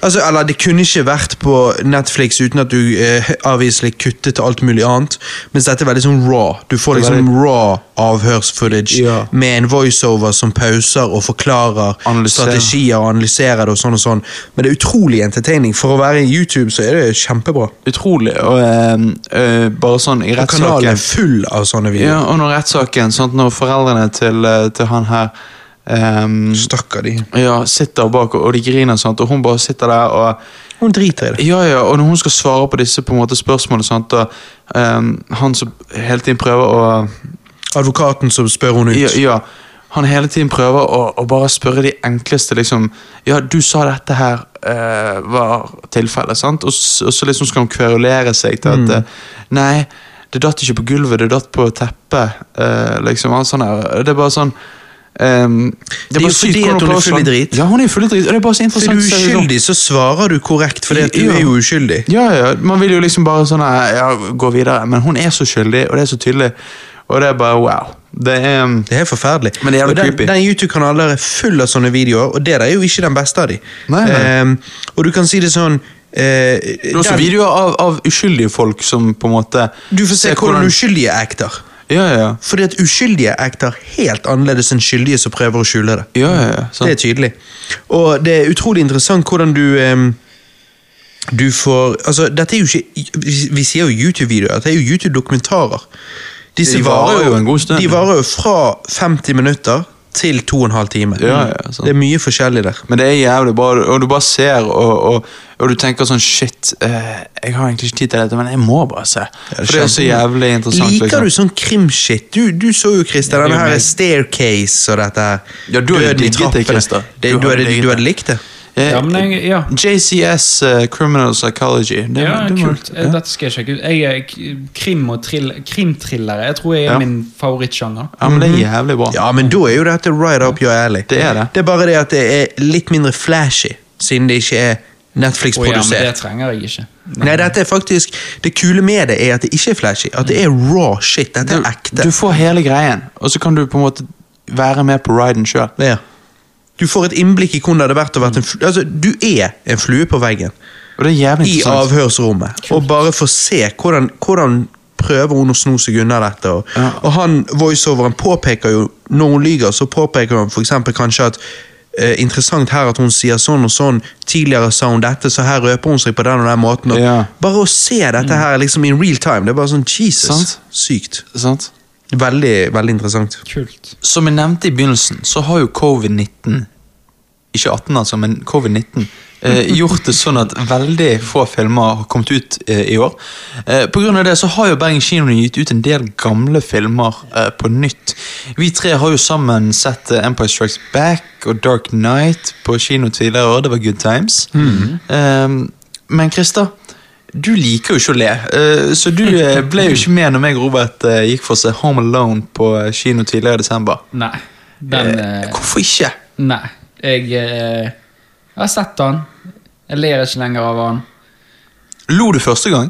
Speaker 2: altså, Eller det kunne ikke vært på Netflix uten at du eh, avviselig kuttet til alt mulig annet. Mens dette er veldig sånn raw. Du får
Speaker 1: Det er
Speaker 2: liksom raw avhørsfootage
Speaker 1: Ja.
Speaker 2: med en voiceover som pauser og forklarer
Speaker 1: Analyserer.
Speaker 2: strategier og analyserer det og sånn og sånn. Men det er utrolig entertaining. For å være i YouTube så er det kjempebra.
Speaker 1: Utrolig. Og eh, eh, bare sånn i
Speaker 2: Og kanalen er
Speaker 1: rettssaken
Speaker 2: full av
Speaker 1: Ja,
Speaker 2: sånne videoer.
Speaker 1: og når rettssaken, sånn at når foreldrene til, eh, til han her ehm,
Speaker 2: Stakkar de.
Speaker 1: ja, sitter bak, og de griner sånt, og hun bare sitter der og
Speaker 2: Hun driter i det.
Speaker 1: Ja, ja, og når hun skal svare på disse på en måte spørsmålene, sånt, og ehm, han som hele tiden prøver å
Speaker 2: Advokaten som spør hun ut.
Speaker 1: ja, ja, han hele tiden prøver å, å bare spørre de enkleste, liksom Ja, du sa dette her eh, var tilfellet, sant? Og, s- og så liksom skal han kverulere seg til at
Speaker 2: Mm.
Speaker 1: eh, Nei, det datt ikke på gulvet, det datt på teppet, eh, liksom. Han sånn her, det er bare sånn ehm,
Speaker 2: Det er
Speaker 1: bare
Speaker 2: jo
Speaker 1: sykt
Speaker 2: fordi
Speaker 1: hvordan
Speaker 2: at hun er
Speaker 1: klarer å
Speaker 2: full i
Speaker 1: slå-
Speaker 2: drit.
Speaker 1: Ja, hun er full i drit, og det er bare så
Speaker 2: Er du
Speaker 1: interessant. å se hvordan-
Speaker 2: uskyldig, så svarer du korrekt, for du
Speaker 1: Ja.
Speaker 2: er jo uskyldig.
Speaker 1: ja, ja, man vil jo liksom bare sånn eh, Ja, gå videre. Men hun er så skyldig, og det er så tydelig. Og det er bare wow. Det er um,
Speaker 2: Det er helt forferdelig.
Speaker 1: Men det er jævlig
Speaker 2: og den,
Speaker 1: creepy.
Speaker 2: Den YouTube-kanalen der er full av sånne videoer, og det der er jo ikke den beste av de.
Speaker 1: Nei, nei.
Speaker 2: Ehm, og du kan si det sånn eh,
Speaker 1: Det er også
Speaker 2: den-
Speaker 1: videoer av, av uskyldige folk som på en måte
Speaker 2: Du får se
Speaker 1: ser
Speaker 2: hvordan uskyldige acter.
Speaker 1: Ja, ja, ja.
Speaker 2: Fordi at uskyldige acter helt annerledes enn skyldige som prøver å skjule det.
Speaker 1: ja, ja, ja
Speaker 2: Det
Speaker 1: sant.
Speaker 2: er tydelig. Og det er utrolig interessant hvordan du ehm, Du får Altså, dette er jo ikke Vi, vi sier jo YouTube-videoer. Dette er jo YouTube-dokumentarer. Disse
Speaker 1: De varer jo en god stund.
Speaker 2: De varer jo fra 50 minutter til 2,5 timer.
Speaker 1: Ja, ja, sånn. sant.
Speaker 2: det er mye forskjellig der.
Speaker 1: Men det er jævlig bra, og du bare ser, og, og, og du tenker sånn Shit, eh, jeg har egentlig ikke tid til dette, men jeg må bare se. For det er så jævlig interessant.
Speaker 2: Liker
Speaker 1: liksom.
Speaker 2: du sånn krimshit? Du, du så jo, Christer,
Speaker 3: det er
Speaker 2: denne
Speaker 3: jo
Speaker 2: her
Speaker 3: meg.
Speaker 2: staircase og dette her.
Speaker 1: Ja, du hadde
Speaker 2: Døden i
Speaker 1: digget det,
Speaker 2: trappene.
Speaker 1: Christer.
Speaker 2: Det,
Speaker 1: Du
Speaker 2: du,
Speaker 1: hadde
Speaker 2: hadde,
Speaker 1: digget
Speaker 2: du hadde
Speaker 1: det.
Speaker 2: likt det.
Speaker 1: Eh,
Speaker 3: Ja, men jeg, ja.
Speaker 1: JCS eh, Criminal Psychology. Det,
Speaker 3: ja,
Speaker 1: det var-
Speaker 3: kult. Eh,
Speaker 1: Ja.
Speaker 3: Dette skal jeg sjekke ut. Jeg er k- krim og trill, krimthrillere. Jeg tror jeg er
Speaker 1: Ja.
Speaker 3: min favorittsjanger.
Speaker 1: ja, men det er jævlig bra.
Speaker 2: Mm-hmm. Mhm. Ja, men da er jo dette right up your alley.
Speaker 1: Det er det.
Speaker 2: Det er bare det at det er litt mindre flashy, siden det ikke er
Speaker 3: Å ja, men det
Speaker 2: Netflix-produsert.
Speaker 3: trenger jeg ikke.
Speaker 2: Nei, dette er faktisk Det kule med det er at det ikke er flashy. At det er raw shit. Dette
Speaker 1: Du,
Speaker 2: er ekte.
Speaker 1: du får hele greien, og så kan du på en måte være med på riden sjøl.
Speaker 2: Ja. Du får et innblikk i hvordan det hadde vært å vært en flue Altså, du er en flue på veggen
Speaker 1: Og det er jævlig
Speaker 2: i
Speaker 1: interessant.
Speaker 2: avhørsrommet, og bare få se hvordan, hvordan prøver hun å sno seg unna dette. Og,
Speaker 1: Ja.
Speaker 2: og han voiceoveren påpeker jo, når hun lyger, så påpeker han for eksempel kanskje at eh, Interessant her at hun sier sånn og sånn. Tidligere sa hun dette, så her røper hun seg på den og den måten. Og
Speaker 1: Ja. Mm.
Speaker 2: Bare å se dette her liksom in real time, det er bare sånn Jesus.
Speaker 1: Sant.
Speaker 2: Sykt.
Speaker 1: Sant?
Speaker 2: Veldig, veldig
Speaker 1: *laughs*
Speaker 2: interessant.
Speaker 3: Kult.
Speaker 1: Som jeg nevnte i begynnelsen, så har jo covid-19 Ikke 18, altså, men covid-19 eh,
Speaker 3: *laughs*
Speaker 1: gjort det sånn at veldig få filmer har kommet ut eh, i år. Eh, på grunn av det så har jo Bergen kino gitt ut en del gamle filmer eh, på nytt. Vi tre har jo sammen sett eh, Empire Strikes Back og Dark Night på kino tidligere år. Det var good times.
Speaker 3: Mm.
Speaker 1: Eh, men Christer, du liker jo ikke å le, eh, så du eh, ble jo ikke med når meg og Robert eh, gikk for å se Home Alone på eh, kino tidligere i desember.
Speaker 3: Nei. Den eh,
Speaker 1: Hvorfor ikke?
Speaker 3: Nei. Jeg, eh, jeg har sett den. Jeg ler ikke lenger av den.
Speaker 1: Lo du første gang?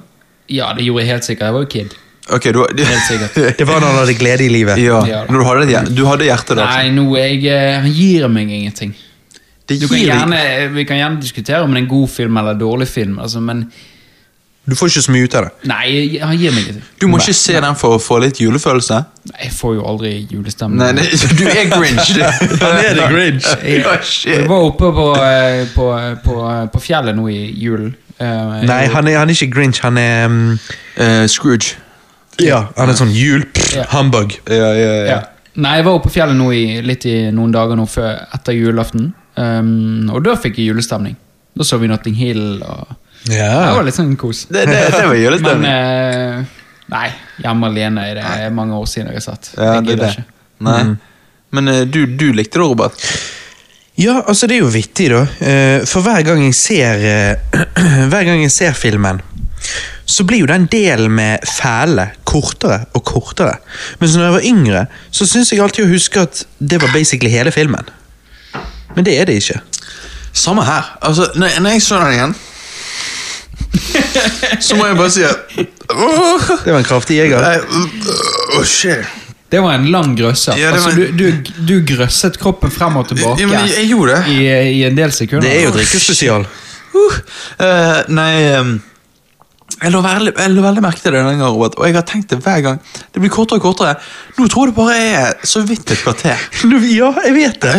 Speaker 3: Ja, det gjorde jeg helt sikkert. Jeg var jo kid.
Speaker 1: Ok, du
Speaker 3: Helt sikkert.
Speaker 2: Det var da han hadde glede i livet.
Speaker 1: *laughs* Ja,
Speaker 3: Ja.
Speaker 1: når du hadde, et hjer- du hadde hjertet da.
Speaker 3: Nei, nå jeg, eh, han gir meg ingenting.
Speaker 1: Det
Speaker 3: Du kan
Speaker 1: gir-
Speaker 3: gjerne, eh, vi kan gjerne diskutere om det er en god film eller en dårlig film, altså, men
Speaker 2: Du får ikke så mye ut av det.
Speaker 3: nei, han gir meg ingenting.
Speaker 1: Du må ikke se den for å få litt julefølelse.
Speaker 3: Nei, Jeg får jo aldri julestemning.
Speaker 1: Nei, nei, *laughs* du er grinch.
Speaker 3: *laughs*
Speaker 1: Han
Speaker 2: er det grinch.
Speaker 1: Ja,
Speaker 3: Jeg
Speaker 1: shit.
Speaker 3: var oppe på, eh, på, på, på fjellet nå i julen. Eh,
Speaker 2: Nei,
Speaker 3: jeg-
Speaker 2: han er, han er ikke Grinch, han er mm,
Speaker 1: Eh, Scrooge.
Speaker 2: Ja, han er sånn jul, pff,
Speaker 3: Ja.
Speaker 2: humbug.
Speaker 1: Ja, ja,
Speaker 3: Ja. Nei, jeg var oppe på fjellet nå i, litt i noen dager nå før, etter julaften. Ehm, og da fikk jeg julestemning. Da så vi Notting Hill og Det var litt sånn kos.
Speaker 1: Det, det, det var
Speaker 3: Men
Speaker 1: julestemning.
Speaker 3: eh, nei, hjemme alene er det er mange år siden jeg har sett.
Speaker 1: Ja, det
Speaker 3: jeg
Speaker 1: er
Speaker 3: gidder Mm.
Speaker 1: det. Nei. Men eh, du, du likte det, Robert.
Speaker 2: Ja, altså det er jo vittig, da. Eh, For hver gang jeg ser eh, *clears throat* Hver gang jeg ser filmen, så blir jo den delen med fæle kortere og kortere. Mens når jeg var yngre, så syns jeg alltid å huske at det var basically hele filmen. Men det er det ikke.
Speaker 1: Samme her. Altså, når, når jeg så den *laughs* igjen, så må jeg bare si at Åh,
Speaker 2: Det var en kraftig jeger.
Speaker 1: nei, åh, shit.
Speaker 3: Det var en lang grøsser.
Speaker 1: Ja, det var-
Speaker 3: altså, du, du, du grøsset kroppen frem og tilbake
Speaker 1: Ja, men jeg, jeg gjorde det.
Speaker 3: i, i en del sekunder.
Speaker 2: Det er jo drikkespesial.
Speaker 1: Uh, eh, nei ehm, jeg la, veldig, jeg la veldig merke til det denne gangen, Robert, og jeg har tenkt det hver gang. Det blir kortere og kortere. Nå tror jeg det bare er så vidt et kvarter.
Speaker 2: Ja, jeg vet det.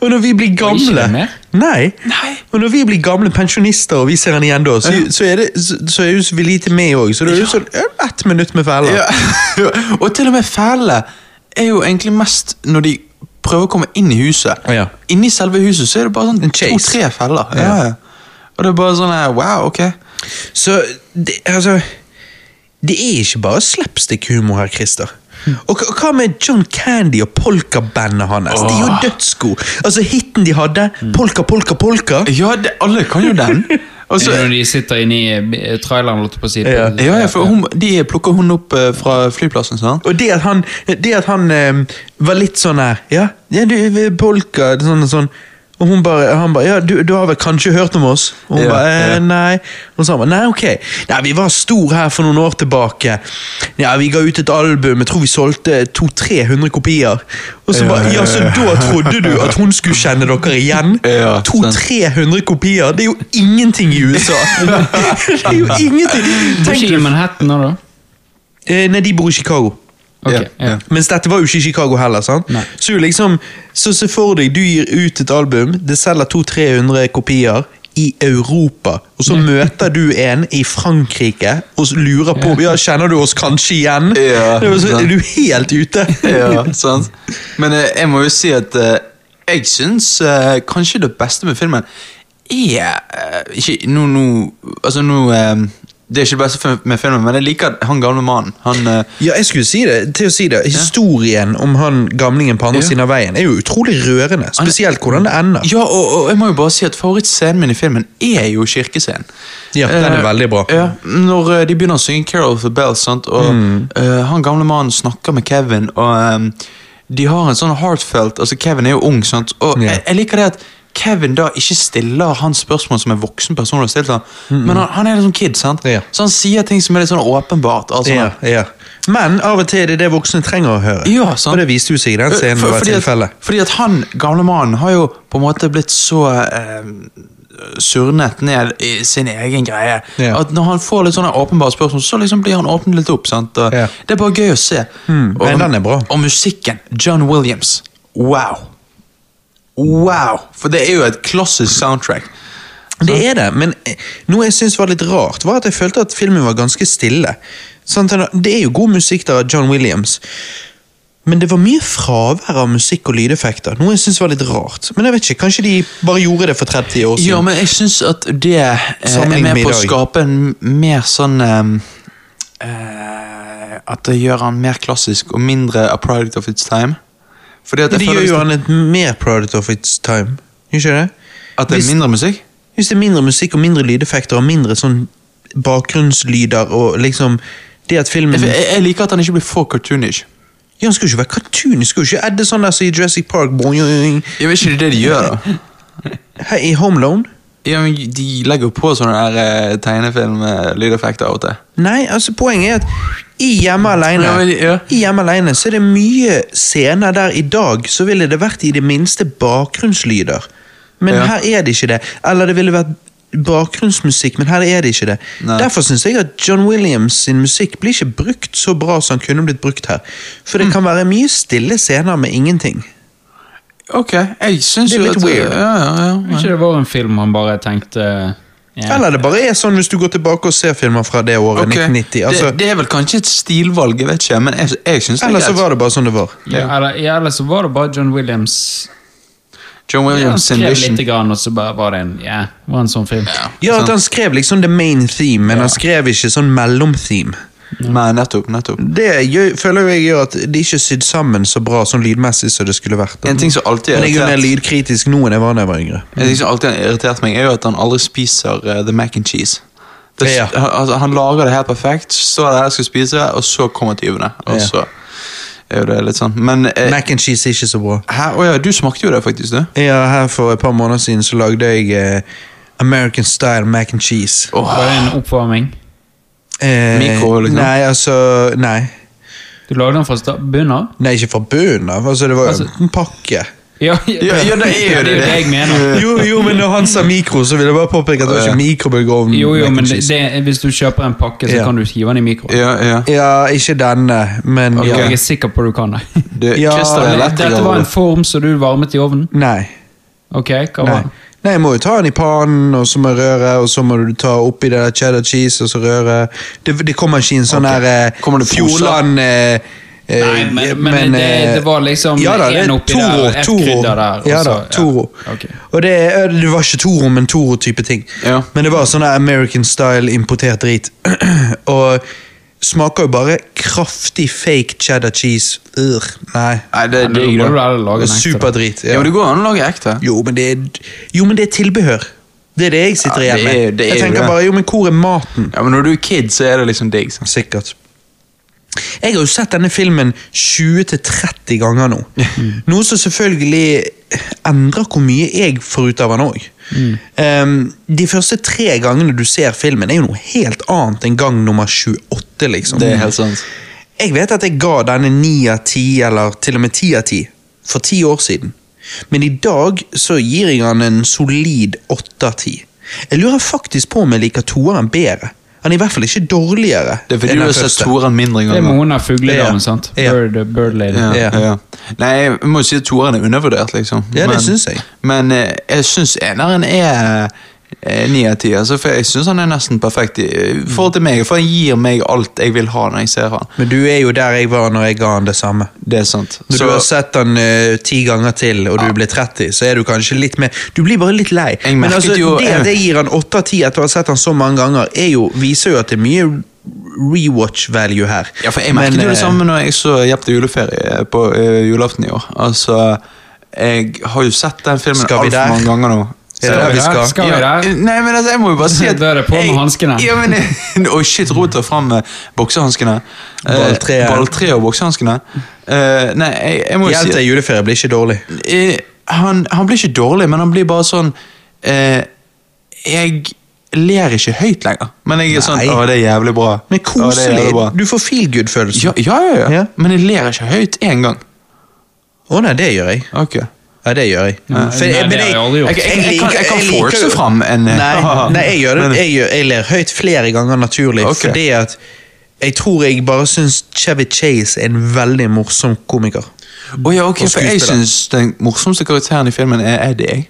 Speaker 2: Og når vi blir
Speaker 3: ikke det
Speaker 2: gamle
Speaker 3: mer?
Speaker 2: Nei.
Speaker 1: Nei.
Speaker 2: Og når vi blir gamle pensjonister og vi ser han igjen da, så, så, er, det, så, så er jo så vi lite med òg. Så det er jo sånn ja, ett minutt med fæler.
Speaker 1: Ja. *laughs* og til og med fælene er jo egentlig mest når de prøver å komme inn i huset.
Speaker 2: Ja.
Speaker 1: Inni selve huset så er det bare
Speaker 2: En
Speaker 1: sånn
Speaker 2: chase.
Speaker 1: to-tre feller.
Speaker 2: Ja.
Speaker 1: Ja. Ja. Og det er bare sånn her, wow, ok.
Speaker 2: *laughs* Så det, altså Det er ikke bare slapstick-humor her, Christer. Og hva- hva med John Candy og polkabandet hans? Det er jo dødsgod. Altså, hiten de hadde, polka, polka, polka.
Speaker 1: Ja, det, alle kan jo
Speaker 2: *laughs*
Speaker 1: den. Og så,
Speaker 3: Når de sitter inne i eh, traileren, holdt jeg på å si.
Speaker 2: Ja.
Speaker 1: ja, ja, for hun, de plukker hun opp eh, fra flyplassen, sant?
Speaker 2: Og det at han, det at han eh, var litt sånn her Ja, ja du, eh, polka sånn og sånn. Og hun bare, han bare Ja, du, du har vel kanskje hørt om oss? Og hun
Speaker 1: Ja,
Speaker 2: bare eh,
Speaker 1: ja.
Speaker 2: Nei. Og så han bare Nei, ok. Nei, vi var stor her for noen år tilbake. Ja, Vi ga ut et album. Jeg tror vi solgte 200-300 kopier. Og så
Speaker 1: Ja,
Speaker 2: bare
Speaker 1: ja,
Speaker 2: Ja, så
Speaker 1: ja.
Speaker 2: da trodde du at hun skulle kjenne dere igjen?
Speaker 1: *laughs* Ja, sant.
Speaker 2: 200-300 kopier? Det er jo ingenting i USA! *laughs* det er jo ingenting!
Speaker 3: Bor
Speaker 2: Tenk,
Speaker 3: ikke i Manhattan nå, da?
Speaker 2: eh, nei, de bor i Chicago.
Speaker 3: Ok,
Speaker 1: Ja,
Speaker 3: ja.
Speaker 1: ja.
Speaker 2: Mens dette var jo ikke i Chicago heller. sant?
Speaker 3: Nei.
Speaker 2: Så jo liksom, så se for deg, du gir ut et album, det selger 200-300 kopier i Europa, og så møter du en i Frankrike og så lurer på ja, kjenner du oss kanskje igjen.
Speaker 1: Ja,
Speaker 2: det var så,
Speaker 1: sant.
Speaker 2: er du helt ute?
Speaker 1: *laughs*
Speaker 2: *laughs*
Speaker 1: ja, sant? Men eh, jeg må jo si at eh, jeg syns eh, kanskje det beste med filmen er eh, ikke, Nå, nå, altså, nå eh, Det er ikke det beste film- med filmen, men jeg liker han gamle mannen. Han, eh,
Speaker 2: Ja, jeg skulle si det. til å si det Historien om han gamlingen på andre
Speaker 1: Ja.
Speaker 2: siden av veien er jo utrolig rørende. Spesielt hvordan det ender.
Speaker 1: ja, og, og jeg må jo bare si at Favorittscenen min i filmen er jo kirkescenen. Eh,
Speaker 2: Ja, den er veldig bra.
Speaker 1: Ja, når eh, de begynner å synge 'Carol of the Bells', sant? og
Speaker 2: Mm.
Speaker 1: eh, han gamle mannen snakker med Kevin, og eh, de har en sånn heartfelt altså Kevin er jo ung, sant? og
Speaker 2: Ja.
Speaker 1: jeg, jeg liker det at Kevin da ikke stiller han spørsmål som en voksen person har stilt han, men han, han er liksom kid, sant?
Speaker 2: Ja.
Speaker 1: så han sier ting som er litt sånn åpenbart. Altså,
Speaker 2: Ja, ja. Men av og til er det det voksne trenger å høre.
Speaker 1: Ja, sant.
Speaker 2: Og det viste jo seg i den scenen.
Speaker 1: sånn. For-
Speaker 2: var
Speaker 1: fordi, at,
Speaker 2: tilfellet.
Speaker 1: fordi at han, gamle mannen, har jo på en måte blitt så eh, surnet ned i sin egen greie.
Speaker 2: Ja.
Speaker 1: At når han får litt sånne åpenbare spørsmål, så liksom blir han åpnet litt opp. sant? Og
Speaker 2: Ja.
Speaker 1: Det er bare gøy å se.
Speaker 2: Mm, men den er bra.
Speaker 1: Og musikken. John Williams. Wow. Wow! For det er jo et klassisk soundtrack.
Speaker 2: Det er det, men eh, noe jeg syntes var litt rart, var at jeg følte at filmen var ganske stille. Sånn, det er jo god musikk der av John Williams, men det var mye fravær av musikk og lydeffekter. Noe jeg syntes var litt rart. Men jeg vet ikke, kanskje de bare gjorde det for 30 år
Speaker 1: Ja,
Speaker 2: siden.
Speaker 1: men jeg syns at det eh, er
Speaker 2: Sammenlignet
Speaker 1: med
Speaker 2: med i
Speaker 1: på å
Speaker 2: dag.
Speaker 1: skape en mer sånn eh, eh, At det gjør han mer klassisk og mindre a product of its time. Fordi at
Speaker 2: Men
Speaker 1: jeg
Speaker 2: det
Speaker 1: føler
Speaker 2: gjør
Speaker 1: hvis
Speaker 2: jo
Speaker 1: det-
Speaker 2: han et mer product of its time. Gjør ikke det?
Speaker 1: at det er
Speaker 2: hvis-
Speaker 1: mindre musikk.
Speaker 2: Hvis det er mindre musikk og mindre lydeffekter og mindre sånn bakgrunnslyder og liksom Det at filmen
Speaker 1: Jeg, jeg, jeg liker at han ikke blir for cartoonish.
Speaker 2: Ja, han skal jo ikke være cartoon, han skal jo ikke edde sånn der som i Jurassic Park. boing.
Speaker 1: Jeg vet ikke det de gjør, da.
Speaker 2: Her i Home Loan
Speaker 1: *laughs* Ja, men de legger jo på sånne der, eh, tegnefilm-lydeffekter av og til.
Speaker 2: Nei, altså poenget er at i Hjemme alene,
Speaker 1: Ja, men- ja.
Speaker 2: I hjemme alene så er det mye scener der i dag så ville det vært i det minste bakgrunnslyder. Men
Speaker 1: Ja.
Speaker 2: her er det ikke det. Eller det ville vært bakgrunnsmusikk, men her er det ikke det.
Speaker 1: Nei.
Speaker 2: Derfor syns jeg at John Williams sin musikk blir ikke brukt så bra som han kunne blitt brukt her. For det
Speaker 1: Mm.
Speaker 2: kan være mye stille scener med ingenting.
Speaker 1: Ok, jeg syns
Speaker 2: Det er
Speaker 1: jo
Speaker 2: litt
Speaker 1: at eh,
Speaker 2: weird.
Speaker 1: Ja, ja, ja.
Speaker 3: Ikke det var en film han bare tenkte eh, ja.
Speaker 2: Eller det bare er sånn hvis du går tilbake og ser filmer fra det året,
Speaker 1: Ok,
Speaker 2: 1990. Altså,
Speaker 1: det, det er vel kanskje et stilvalg, jeg vet ikke, men jeg, jeg syns det er
Speaker 2: eller så
Speaker 1: greit.
Speaker 2: var det bare sånn det var.
Speaker 3: ja. Eller, ja, eller så var det bare John Williams.
Speaker 1: John
Speaker 3: Han
Speaker 1: Williams'
Speaker 3: skrev
Speaker 1: Vision.
Speaker 3: lite grann, og så bare var det en, ja, var en sånn film.
Speaker 2: Ja, at han skrev liksom the main theme, men han skrev ikke sånn mellomtheme.
Speaker 1: Nei, nettopp, nettopp.
Speaker 2: Det gjør, føler jeg gjør at de ikke er sydd sammen så bra sånn lydmessig som det skulle vært.
Speaker 1: En ting som alltid
Speaker 2: men jeg er jo mer
Speaker 1: irritert,
Speaker 2: lydkritisk nå enn jeg var da jeg var yngre.
Speaker 1: en ting som alltid har irritert meg, er jo at han aldri spiser eh, the mac and cheese. Det,
Speaker 2: Ja.
Speaker 1: han, altså, han lager det helt perfekt, så er det jeg skal spise, og så kommer tyvene. Og
Speaker 2: Ja.
Speaker 1: så er jo det litt sånn. Men eh,
Speaker 2: Mac and cheese er ikke så bra.
Speaker 1: her, å ja, du smakte jo det faktisk, du.
Speaker 2: Ja, her For et par måneder siden så lagde jeg eh, American style mac and cheese.
Speaker 1: Åh,
Speaker 3: Var det en oppvarming?
Speaker 2: Eh,
Speaker 1: Mikro, liksom?
Speaker 2: Nei, altså Nei,
Speaker 3: Du lagde den fra sta- bunnen av?
Speaker 2: nei ikke fra bunnen av. Altså, det var jo en pakke.
Speaker 3: *laughs* Ja,
Speaker 1: Ja, ja, det er jo det.
Speaker 3: det jeg mener.
Speaker 1: Eh.
Speaker 2: Jo, jo, men når han sa mikro, så ville jeg bare påpeke at det var ikke
Speaker 1: Mm,
Speaker 2: mikrobølgeovn.
Speaker 3: Jo, jo,
Speaker 2: mac and
Speaker 3: men det,
Speaker 2: cheese.
Speaker 3: det, hvis du kjøper en pakke, så
Speaker 2: Ja.
Speaker 3: kan du hive den i mikroen.
Speaker 1: ja, ja.
Speaker 2: Ja, ikke denne, men
Speaker 3: Ja,
Speaker 2: ja.
Speaker 3: Jeg er sikker på du kan det.
Speaker 1: Du,
Speaker 2: Ja,
Speaker 1: Christer er
Speaker 2: men
Speaker 1: elektriker,
Speaker 3: *laughs* Dette var en
Speaker 1: Ole.
Speaker 3: form som du varmet i ovnen?
Speaker 2: Nei.
Speaker 3: Ok, hva
Speaker 2: Nei.
Speaker 3: var den?
Speaker 2: Nei, jeg må jo ta den i pannen, og så må jeg røre, og så må du ta oppi det der cheddar cheese, og så røre. Det, det kommer ikke inn sånn
Speaker 1: Ok.
Speaker 2: der
Speaker 1: Kommer det
Speaker 2: eh,
Speaker 1: poser?
Speaker 2: Fjordland eh, eh,
Speaker 3: Nei, men- men det-
Speaker 2: eh,
Speaker 3: det var liksom
Speaker 2: ja, da, det
Speaker 3: en
Speaker 2: er
Speaker 3: oppi
Speaker 2: Toro,
Speaker 3: der, og et
Speaker 2: Toro.
Speaker 3: krydder der, og
Speaker 2: Ja
Speaker 3: så-
Speaker 2: da,
Speaker 3: ja.
Speaker 2: Toro.
Speaker 3: Ok.
Speaker 2: Og det, eh, det var ikke Toro, men Toro-type ting.
Speaker 1: Ja.
Speaker 2: Men det var sånn der American style importert drit. *clears throat* og smaker jo bare kraftig fake cheddar cheese. Ur, nei.
Speaker 1: Nei, det er
Speaker 3: Nei,
Speaker 1: digg,
Speaker 3: nå må du
Speaker 1: da.
Speaker 3: heller lage en ekte.
Speaker 2: Superdrit.
Speaker 1: Ja, men det går an å lage ekte.
Speaker 2: Jo, men det er, jo, men det er tilbehør. Det er det jeg sitter
Speaker 1: Ja, det
Speaker 2: igjen med.
Speaker 1: er- det er
Speaker 2: jeg
Speaker 1: jo
Speaker 2: tenker
Speaker 1: det.
Speaker 2: bare, jo, men hvor er maten?
Speaker 1: Ja, men når du er kid, så er det liksom digg. sant?
Speaker 2: Sikkert. Jeg har jo sett denne filmen 20-30 ganger nå.
Speaker 1: Mm.
Speaker 2: Noe som selvfølgelig endrer hvor mye jeg får ut av den òg.
Speaker 1: Mm.
Speaker 2: de første tre gangene du ser filmen, er jo noe helt annet enn gang nummer 28. liksom.
Speaker 1: Det er helt sant.
Speaker 2: Jeg vet at jeg ga denne 9 av 10, eller til og med 10 av 10, for 10 år siden. Men i dag så gir jeg han en solid 8 av 10. Jeg lurer faktisk på om jeg liker toeren bedre. Han er i hvert fall ikke dårligere.
Speaker 1: Det er fordi du
Speaker 2: enn den
Speaker 1: har sett
Speaker 2: første.
Speaker 1: Toren mindre
Speaker 3: Det er
Speaker 1: ganger.
Speaker 3: Mona Fugledamen,
Speaker 2: Ja.
Speaker 3: sant?
Speaker 2: Ja.
Speaker 3: Bird, bird Lady.
Speaker 1: Ja,
Speaker 2: Ja.
Speaker 1: ja. Nei, jeg må jo si at toeren er undervurdert, liksom.
Speaker 2: Ja, det synes jeg.
Speaker 1: Men eh, jeg syns eneren er eh, ni av ti. Altså, for jeg syns han er nesten perfekt i i forhold til meg. For han gir meg alt jeg vil ha når jeg ser han.
Speaker 2: Men du er jo der jeg var når jeg ga han det samme.
Speaker 1: Det er sant.
Speaker 2: Når
Speaker 1: Så-
Speaker 2: du har sett han eh, ti ganger til, og du blir 30, så er du kanskje litt mer Du blir bare litt lei.
Speaker 1: Jeg
Speaker 2: Men
Speaker 1: merket
Speaker 2: altså,
Speaker 1: jo-
Speaker 2: det at jeg gir han åtte av ti etter å ha sett han så mange ganger, er jo, viser jo at det er mye rewatch-value her.
Speaker 1: Ja, for jeg merket
Speaker 2: Men,
Speaker 1: jo det
Speaker 2: eh,
Speaker 1: samme når jeg så Jepp til juleferie på eh, julaften i år. Altså, jeg har jo sett den filmen
Speaker 2: Skal
Speaker 1: altfor
Speaker 2: vi der?
Speaker 1: mange ganger nå.
Speaker 2: Er det
Speaker 1: Så-
Speaker 2: der vi skal?
Speaker 3: Skal vi
Speaker 1: Ja,
Speaker 3: der?
Speaker 1: Nei, men altså, jeg må jo bare
Speaker 3: *laughs*
Speaker 1: si at
Speaker 3: Da er det på med
Speaker 1: jeg-
Speaker 3: hanskene.
Speaker 1: Ja, men *laughs* Oi, shit, rot deg fram med boksehanskene. Eh,
Speaker 2: Balltreet.
Speaker 1: Balltreet og boksehanskene. Eh, nei, jeg, jeg må jo
Speaker 2: Hjelp
Speaker 1: si
Speaker 2: til juleferie blir ikke dårlig.
Speaker 1: eh, han, han blir ikke dårlig, men han blir bare sånn eh, Jeg ler ikke høyt lenger. Men jeg er sånn
Speaker 2: Nei.
Speaker 1: Å, det er jævlig bra. Å, det
Speaker 2: Men
Speaker 1: er
Speaker 2: koselig.
Speaker 1: jævlig bra.
Speaker 2: Du får feel good-følelsen.
Speaker 1: Ja, ja, ja, ja.
Speaker 2: Ja.
Speaker 1: Men jeg ler ikke høyt én gang.
Speaker 2: Å nei, det gjør jeg.
Speaker 1: Ok.
Speaker 2: Ja, det gjør jeg.
Speaker 3: Nei,
Speaker 2: For jeg-
Speaker 3: nei,
Speaker 2: men
Speaker 3: det har jeg aldri gjort.
Speaker 1: Jeg- jeg- jeg kan- jeg kan
Speaker 2: liker
Speaker 1: force
Speaker 2: jo-
Speaker 1: fram en-
Speaker 2: *laughs*
Speaker 1: eh, *laughs*
Speaker 2: Nei, nei jeg gjør det. Jeg, gjør, jeg ler høyt flere ganger naturlig,
Speaker 1: Ok.
Speaker 2: fordi at jeg tror jeg bare syns Chevy Chase er en veldig morsom komiker.
Speaker 1: Å ja, ok,
Speaker 2: Og
Speaker 1: for jeg
Speaker 2: skuespiller.
Speaker 1: syns den morsomste karakteren i filmen er Eddie. jeg.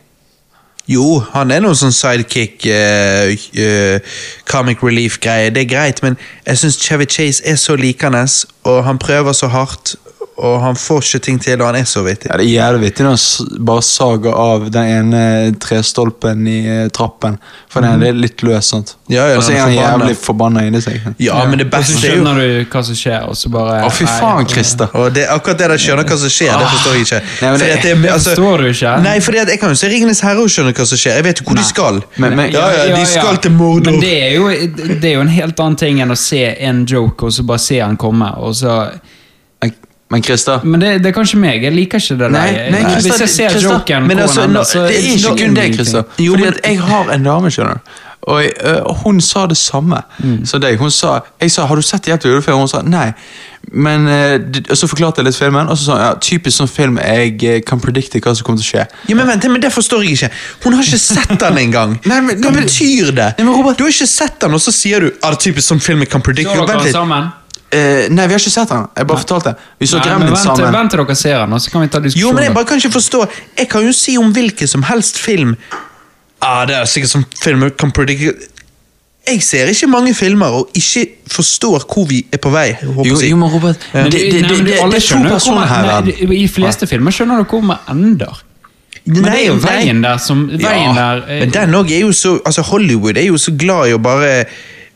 Speaker 2: Jo, han er noen sånn sidekick, eh, eh, comic relief-greie, det er greit, men jeg syns Chevy Chase er så likende, og han prøver så hardt, og han får ikke ting til, og han er så vittig.
Speaker 1: Ja, det er jævlig vittig når han s- bare sager av den ene trestolpen i eh, trappen. For den er litt løs, sant.
Speaker 2: Ja, ja,
Speaker 1: og så
Speaker 2: den
Speaker 1: er
Speaker 2: er
Speaker 1: han
Speaker 2: forbanna.
Speaker 1: jævlig forbanna inni seg.
Speaker 2: Ja, men det
Speaker 3: Og så
Speaker 2: beste er jo
Speaker 3: skjønner du hva som skjer, og så bare
Speaker 1: Å, fy
Speaker 3: Nei,
Speaker 1: faen, Christer.
Speaker 2: Og det, akkurat det der skjønner hva som skjer, det forstår jeg ikke.
Speaker 1: Nei, men det-
Speaker 2: Fordi at altså-
Speaker 3: Det forstår du ikke.
Speaker 2: Nei, fordi at jeg kan jo se Ringenes herre og skjønne hva som skjer. Jeg vet jo hvor de skal.
Speaker 1: Men- men-
Speaker 2: ja, ja, de skal til Mordor.
Speaker 3: Men det er, jo, det er jo en helt annen ting enn å se en joke, og så bare se han komme, og så
Speaker 1: Men- Men Christer
Speaker 3: Men det, det er kanskje meg. Jeg liker ikke det der.
Speaker 1: Nei, nei,
Speaker 3: Jeg-
Speaker 1: Christer,
Speaker 3: Hvis jeg ser
Speaker 1: Christer,
Speaker 3: joken
Speaker 2: men
Speaker 3: hvor
Speaker 2: altså, nå-
Speaker 3: han ender, så
Speaker 1: Det er ikke kun deg, Christer.
Speaker 2: Jo,
Speaker 1: Fordi
Speaker 2: men-
Speaker 1: at jeg har en dame, skjønner du. Og jeg, øh, og hun sa det samme som deg. Hun sa, jeg sa 'Har du sett 'Hjelp til julefilm'? Og hun sa nei. Men, øh, d- og så forklarte jeg litt filmen, og så sa hun ja, typisk sånn film jeg eh, kan predikte hva som kommer til å skje.
Speaker 2: Ja, men vent, men Det forstår jeg ikke. Hun har ikke sett den engang.
Speaker 1: Nei, men-
Speaker 2: Hva
Speaker 1: nei, men-
Speaker 2: betyr det?
Speaker 1: Nei, men Robert-
Speaker 2: du har ikke sett den, og så sier du ah, det er typisk som filmen kan predict.
Speaker 3: Så
Speaker 2: Jo,
Speaker 3: dere
Speaker 2: Vent litt.
Speaker 3: sammen?
Speaker 1: Eh, nei, vi har ikke sett den. Jeg bare fortalte. Vi så
Speaker 3: Nei, men
Speaker 1: Gremlin
Speaker 3: vent, til-
Speaker 1: sammen.
Speaker 3: vent til dere ser den, og så kan vi ta diskusjonen.
Speaker 2: Jo, men Jeg bare kan ikke forstå. Jeg kan jo si om hvilken som helst film ah, det er sikkert som filmen kan predict. Jeg ser ikke mange filmer og ikke forstår hvor vi er på vei. håper
Speaker 1: Jo,
Speaker 2: jeg.
Speaker 1: jo, men Robert
Speaker 2: Ja.
Speaker 1: det, det, det,
Speaker 3: Nei, men
Speaker 1: det,
Speaker 3: du,
Speaker 1: det
Speaker 3: alle
Speaker 1: er to
Speaker 3: skjønner jo hvor
Speaker 1: personer her.
Speaker 3: man-
Speaker 1: verden.
Speaker 3: nei, I fleste filmer skjønner du hvor man ender. Men det er jo
Speaker 2: nei.
Speaker 3: veien der som Veien der eh,
Speaker 2: Men den også er jo så Altså Hollywood er jo så glad i å bare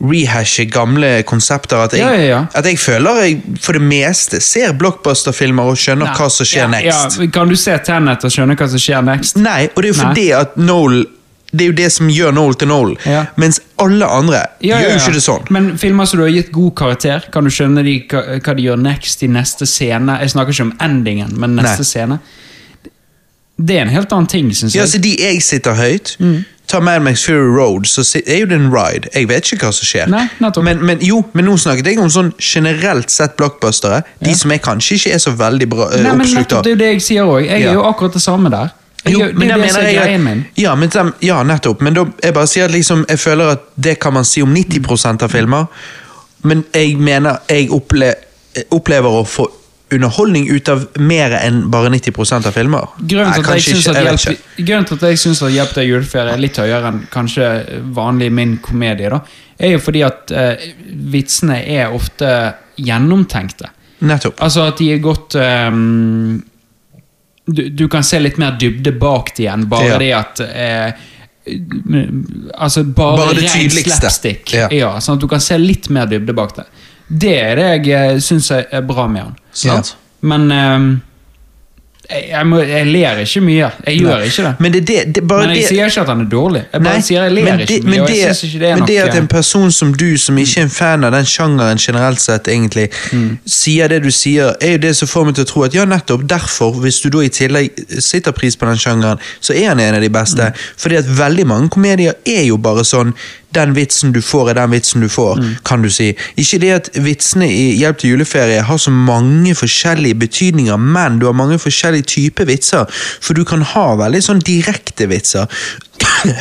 Speaker 2: rehashe gamle konsepter at jeg,
Speaker 3: Ja, ja, ja.
Speaker 2: At jeg føler jeg for det meste ser blockbuster-filmer og skjønner
Speaker 3: eh, Nei.
Speaker 2: hva som skjer
Speaker 3: ja,
Speaker 2: next.
Speaker 3: Ja, kan du se Tenet og skjønne hva som skjer next?
Speaker 2: Nei, og det er jo fordi at Noel Det er jo det som gjør Noel til Noel,
Speaker 3: Ja.
Speaker 2: mens alle andre
Speaker 3: Ja, ja,
Speaker 2: gjør
Speaker 3: ja.
Speaker 2: jo ikke det sånn.
Speaker 3: Men filmer som du har gitt god karakter, kan du skjønne de, hva, hva de gjør next i neste scene? Jeg snakker ikke om endingen, men neste
Speaker 2: Nei.
Speaker 3: scene. Det er en helt annen ting, syns
Speaker 2: Ja,
Speaker 3: jeg.
Speaker 2: altså De jeg sitter høyt
Speaker 3: Mm.
Speaker 2: Ta Mad Max Fury Road, så si- er jo det en ride. Jeg vet ikke hva som skjer.
Speaker 3: Nei, nettopp.
Speaker 2: men, men jo, men nå snakket jeg om sånn generelt sett blockbustere. De som jeg kanskje ikke er så veldig bra eh,
Speaker 3: Nei, men
Speaker 2: oppslukt
Speaker 3: nettopp,
Speaker 2: av.
Speaker 3: det er jo det jeg sier òg. Jeg
Speaker 2: Ja.
Speaker 3: er jo akkurat det samme der. Jeg,
Speaker 2: Jo,
Speaker 3: gjør-
Speaker 2: men
Speaker 3: det
Speaker 2: da
Speaker 3: er det
Speaker 2: mener
Speaker 3: som er
Speaker 2: jeg at-
Speaker 3: greien min.
Speaker 2: Ja, men dem- ja, nettopp. Men da, jeg bare sier at liksom, jeg føler at det kan man si om 90 av filmer. Men jeg mener jeg opple opplever å få underholdning ut av mer enn bare 90 av filmer.
Speaker 3: Grunnen
Speaker 2: Nei,
Speaker 3: til, at jeg
Speaker 2: kanskje
Speaker 3: syns
Speaker 2: ikke,
Speaker 3: at
Speaker 2: jeg vet
Speaker 3: hjelp,
Speaker 2: ikke.
Speaker 3: grunnen til at jeg syns at Hjelp deg juleferie er litt høyere enn kanskje vanlig min komedie, da, er jo fordi at eh, vitsene er ofte gjennomtenkte.
Speaker 2: Nettopp.
Speaker 3: Altså at de er godt ehm, du, du kan se litt mer dybde bak de igjen,
Speaker 2: Ja.
Speaker 3: bare det at eh, m- Altså bare,
Speaker 2: Bare det
Speaker 3: ren
Speaker 2: tydeligste.
Speaker 3: slapstick.
Speaker 2: Ja.
Speaker 3: Ja. sånn at du kan se litt mer dybde bak det. Det er det jeg syns er bra med han.
Speaker 1: Sant?
Speaker 3: Men ehm, jeg, jeg, må, jeg ler ikke mye. Jeg gjør ikke det.
Speaker 2: Men det, det, det bare
Speaker 3: Men jeg
Speaker 2: det,
Speaker 3: sier ikke at han er dårlig. Jeg bare
Speaker 2: Nei,
Speaker 3: sier jeg ler
Speaker 2: men
Speaker 3: ikke
Speaker 2: det-
Speaker 3: mye.
Speaker 2: men
Speaker 3: og jeg synes ikke det er eh,
Speaker 2: men
Speaker 3: noe
Speaker 2: det at en person som du, som ikke er en fan av den sjangeren generelt sett, egentlig,
Speaker 3: Mm.
Speaker 2: sier det du sier, er jo det som får meg til å tro at ja, nettopp derfor, hvis du da i tillegg sitter pris på den sjangeren, så er han en av de
Speaker 3: Mm.
Speaker 2: beste. Fordi at veldig mange komedier er jo bare sånn den vitsen du får, er den vitsen du får,
Speaker 3: Mm.
Speaker 2: kan du si. Ikke det at vitsene i Hjelp til juleferie har så mange forskjellige betydninger, men du har mange forskjellige typer vitser. *laughs* For du kan ha veldig sånn direkte vitser.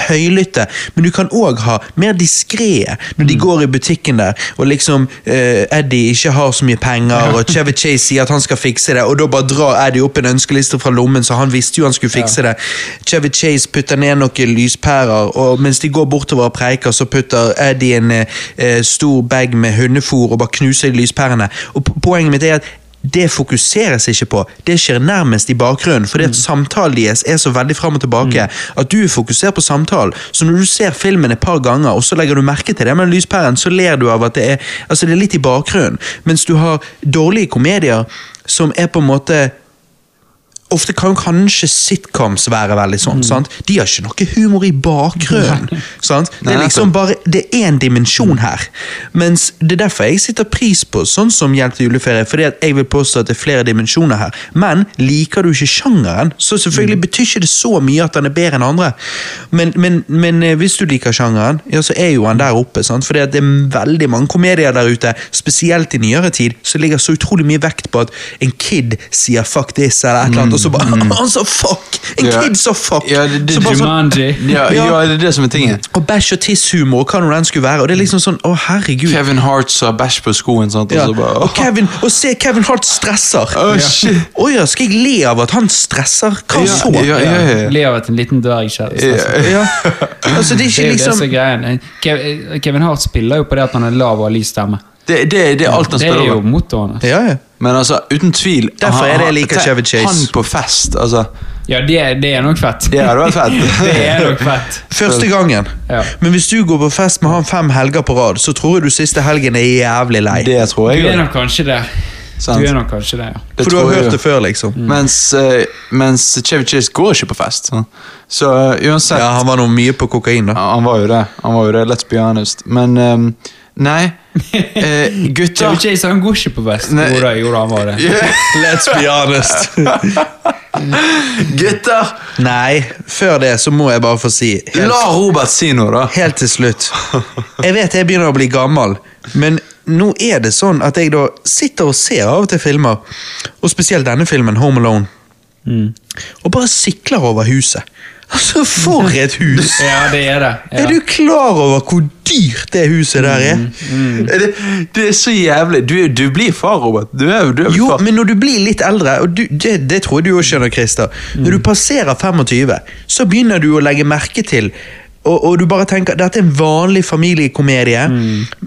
Speaker 2: høylytte, men du kan òg ha mer diskré når de går i butikken der, og liksom eh, Eddie ikke har så mye penger, og Chevy Chase sier at han skal fikse det, og da bare drar Eddie opp en ønskeliste fra lommen, så han visste jo han skulle fikse det. Chevy Chase putter ned noen lyspærer, og mens de går bortover og preiker, så putter Eddie en eh, eh, stor bag med hundefôr og bare knuser lyspærene. Og po- poenget mitt er at det fokuseres ikke på. Det skjer nærmest i bakgrunnen, fordi at samtalen deres er så veldig fram og tilbake at du er fokusert på samtalen. Så når du ser filmen et par ganger, og så legger du merke til det med lyspæren, så ler du av at det er, altså det er litt i bakgrunnen. Mens du har dårlige komedier som er på en måte Ofte kan kanskje sitcoms være veldig sånn. sant? De har ikke noe humor i bakgrunnen. sant? Det er
Speaker 1: Nei,
Speaker 2: liksom bare, det er en dimensjon her. Mens Det er derfor jeg sitter pris på sånn som Hjelp til juleferie. fordi at jeg vil påstå at det er flere dimensjoner her. Men liker du ikke sjangeren, så
Speaker 1: Mm.
Speaker 2: selvfølgelig betyr ikke det så mye at den er bedre enn andre. Men, men, men eh, hvis du liker sjangeren, ja, så er jo han der oppe. sant? Fordi at det er veldig mange komedier der ute, spesielt i nyere tid, som ligger så utrolig mye vekt på at en kid sier 'fuck this' eller et eller annet, og så bare *laughs* Han sa 'fuck'! En
Speaker 1: Mm, Ja.
Speaker 2: kid sa 'fuck'!
Speaker 1: Ja, det- det-
Speaker 2: så bare sånn,
Speaker 3: Jumanji.
Speaker 1: Ja,
Speaker 2: Ja.
Speaker 1: ja, det er det som er tingen.
Speaker 2: og bæsj- og tisshumor og hva nå den skulle være. Og det er liksom sånn, å herregud.
Speaker 1: Kevin Hart sa bæsj på skoen, sant? og
Speaker 2: Ja.
Speaker 1: så bare
Speaker 2: Og, Kevin, og se Kevin Hart stresser.
Speaker 1: Å, shit.
Speaker 2: Å ja, skal jeg le av at han stresser? Hva
Speaker 1: Ja,
Speaker 2: så?
Speaker 1: ja, ja, ja.
Speaker 3: *laughs* Le av at en liten dverg skjer.
Speaker 1: Ja.
Speaker 2: sånn- Ja. Altså, det er
Speaker 3: Det er
Speaker 2: ikke
Speaker 3: jo det
Speaker 2: liksom
Speaker 3: som er greien. Eh, Kev- Kevin Hart spiller jo på det at han er lav og har lys stemme.
Speaker 1: Det, det, det er alt han
Speaker 3: Det er
Speaker 1: spiller
Speaker 3: jo
Speaker 1: om.
Speaker 3: motoren. altså.
Speaker 2: Ja, ja.
Speaker 1: Men altså, uten tvil
Speaker 2: Derfor
Speaker 1: han-
Speaker 2: er det jeg
Speaker 1: han-
Speaker 2: liker
Speaker 1: tenk,
Speaker 2: Chevy Chase.
Speaker 1: Han på fest, altså.
Speaker 3: Ja, det, det er nok fett.
Speaker 1: Det hadde vært fett.
Speaker 3: *laughs* Det er nok fett.
Speaker 2: Første gangen.
Speaker 3: Ja.
Speaker 2: Men hvis du går på fest med han fem helger på rad, så tror jeg du siste helgen er jævlig lei.
Speaker 1: Det tror jeg.
Speaker 3: Du er
Speaker 1: jo.
Speaker 3: nok kanskje det. Du
Speaker 1: Sant.
Speaker 3: er nok kanskje det, ja.
Speaker 1: Det
Speaker 2: For du
Speaker 1: tror
Speaker 2: har
Speaker 1: jeg
Speaker 2: hørt
Speaker 1: jo.
Speaker 2: det før, liksom.
Speaker 1: Mens, eh, mens Chevy Chase går ikke på fest. sant? Så eh, uansett
Speaker 2: Ja, Han var nå mye på kokain, da.
Speaker 1: Ja, Han var jo det. Han var jo det, Let's be honest. Men ehm,
Speaker 3: *laughs*
Speaker 1: nei. Eh,
Speaker 3: Chevy
Speaker 1: gutter
Speaker 3: Chase han går ikke på fest.
Speaker 1: Nei.
Speaker 3: Jo da, jo da, han var det.
Speaker 2: Let's be
Speaker 1: *laughs*
Speaker 2: honest.
Speaker 1: Gutter!
Speaker 2: Nei, før det så må jeg bare få si helt
Speaker 1: La Robert si noe, da.
Speaker 2: Helt til slutt. Jeg vet jeg begynner å bli gammel, men nå er det sånn at jeg da sitter og ser av og til filmer, og spesielt denne filmen, Home Alone, og bare sikler over huset. Altså, for et hus!
Speaker 3: *laughs* Ja, det er det. Ja.
Speaker 2: Er du klar over hvor dyrt det huset der er?
Speaker 3: Mm.
Speaker 1: Det, det er så jævlig. Du, du blir far, Robert. Du er, du er jo
Speaker 2: Jo,
Speaker 1: far.
Speaker 2: men når du blir litt eldre, og du, det, det tror jeg du også skjønner, Christer. Når du passerer 25, så begynner du å legge merke til og, og du bare tenker, Dette er en vanlig familiekomedie,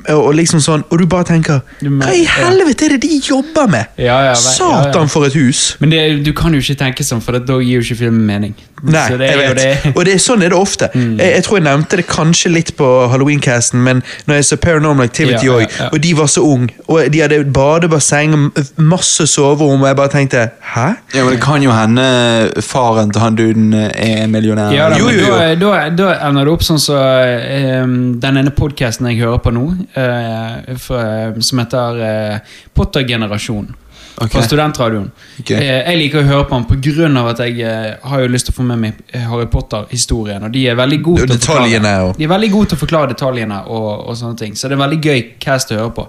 Speaker 2: og, og liksom sånn, og du bare tenker
Speaker 3: Mm. Du mer-
Speaker 2: Hva i
Speaker 3: ja.
Speaker 2: helvete er det de jobber med?!
Speaker 3: Ja, ja, ve- ja, ja.
Speaker 2: Satan, for et hus!
Speaker 3: Men det, du kan jo ikke tenke sånn, for da gir jo ikke filmen mening.
Speaker 2: Nei,
Speaker 3: Så det
Speaker 2: jeg
Speaker 3: er jo
Speaker 2: vet.
Speaker 3: det. Mm.
Speaker 2: Og det er sånn er det ofte. Jeg, jeg tror jeg nevnte det kanskje litt på Halloween-casten, men når jeg så Paranormal Activity
Speaker 3: Ja, ja,
Speaker 2: òg,
Speaker 3: ja.
Speaker 2: og de var så unge, og de hadde badebasseng, masse soverom, og jeg bare tenkte Hæ?
Speaker 1: Ja, men Det kan jo hende eh, faren til han duden eh, er en millionær.
Speaker 3: Ja, da,
Speaker 2: Jo,
Speaker 3: men
Speaker 2: jo, jo.
Speaker 3: Da, da, da ender det opp sånn som så, ehm, den ene podkasten jeg hører på nå, eh, fra- som heter eh, Potter-generasjonen.
Speaker 1: Ok.
Speaker 3: Fra studentradioen.
Speaker 1: Ok.
Speaker 3: Eh, jeg liker å høre på den pga. at jeg eh, har jo lyst til å få med meg Harry Potter-historien. Og de er veldig gode til å forklare
Speaker 2: Detaljene og
Speaker 3: de er veldig gode til å forklare detaljene, og, og sånne ting, så det er veldig gøy cast å høre på.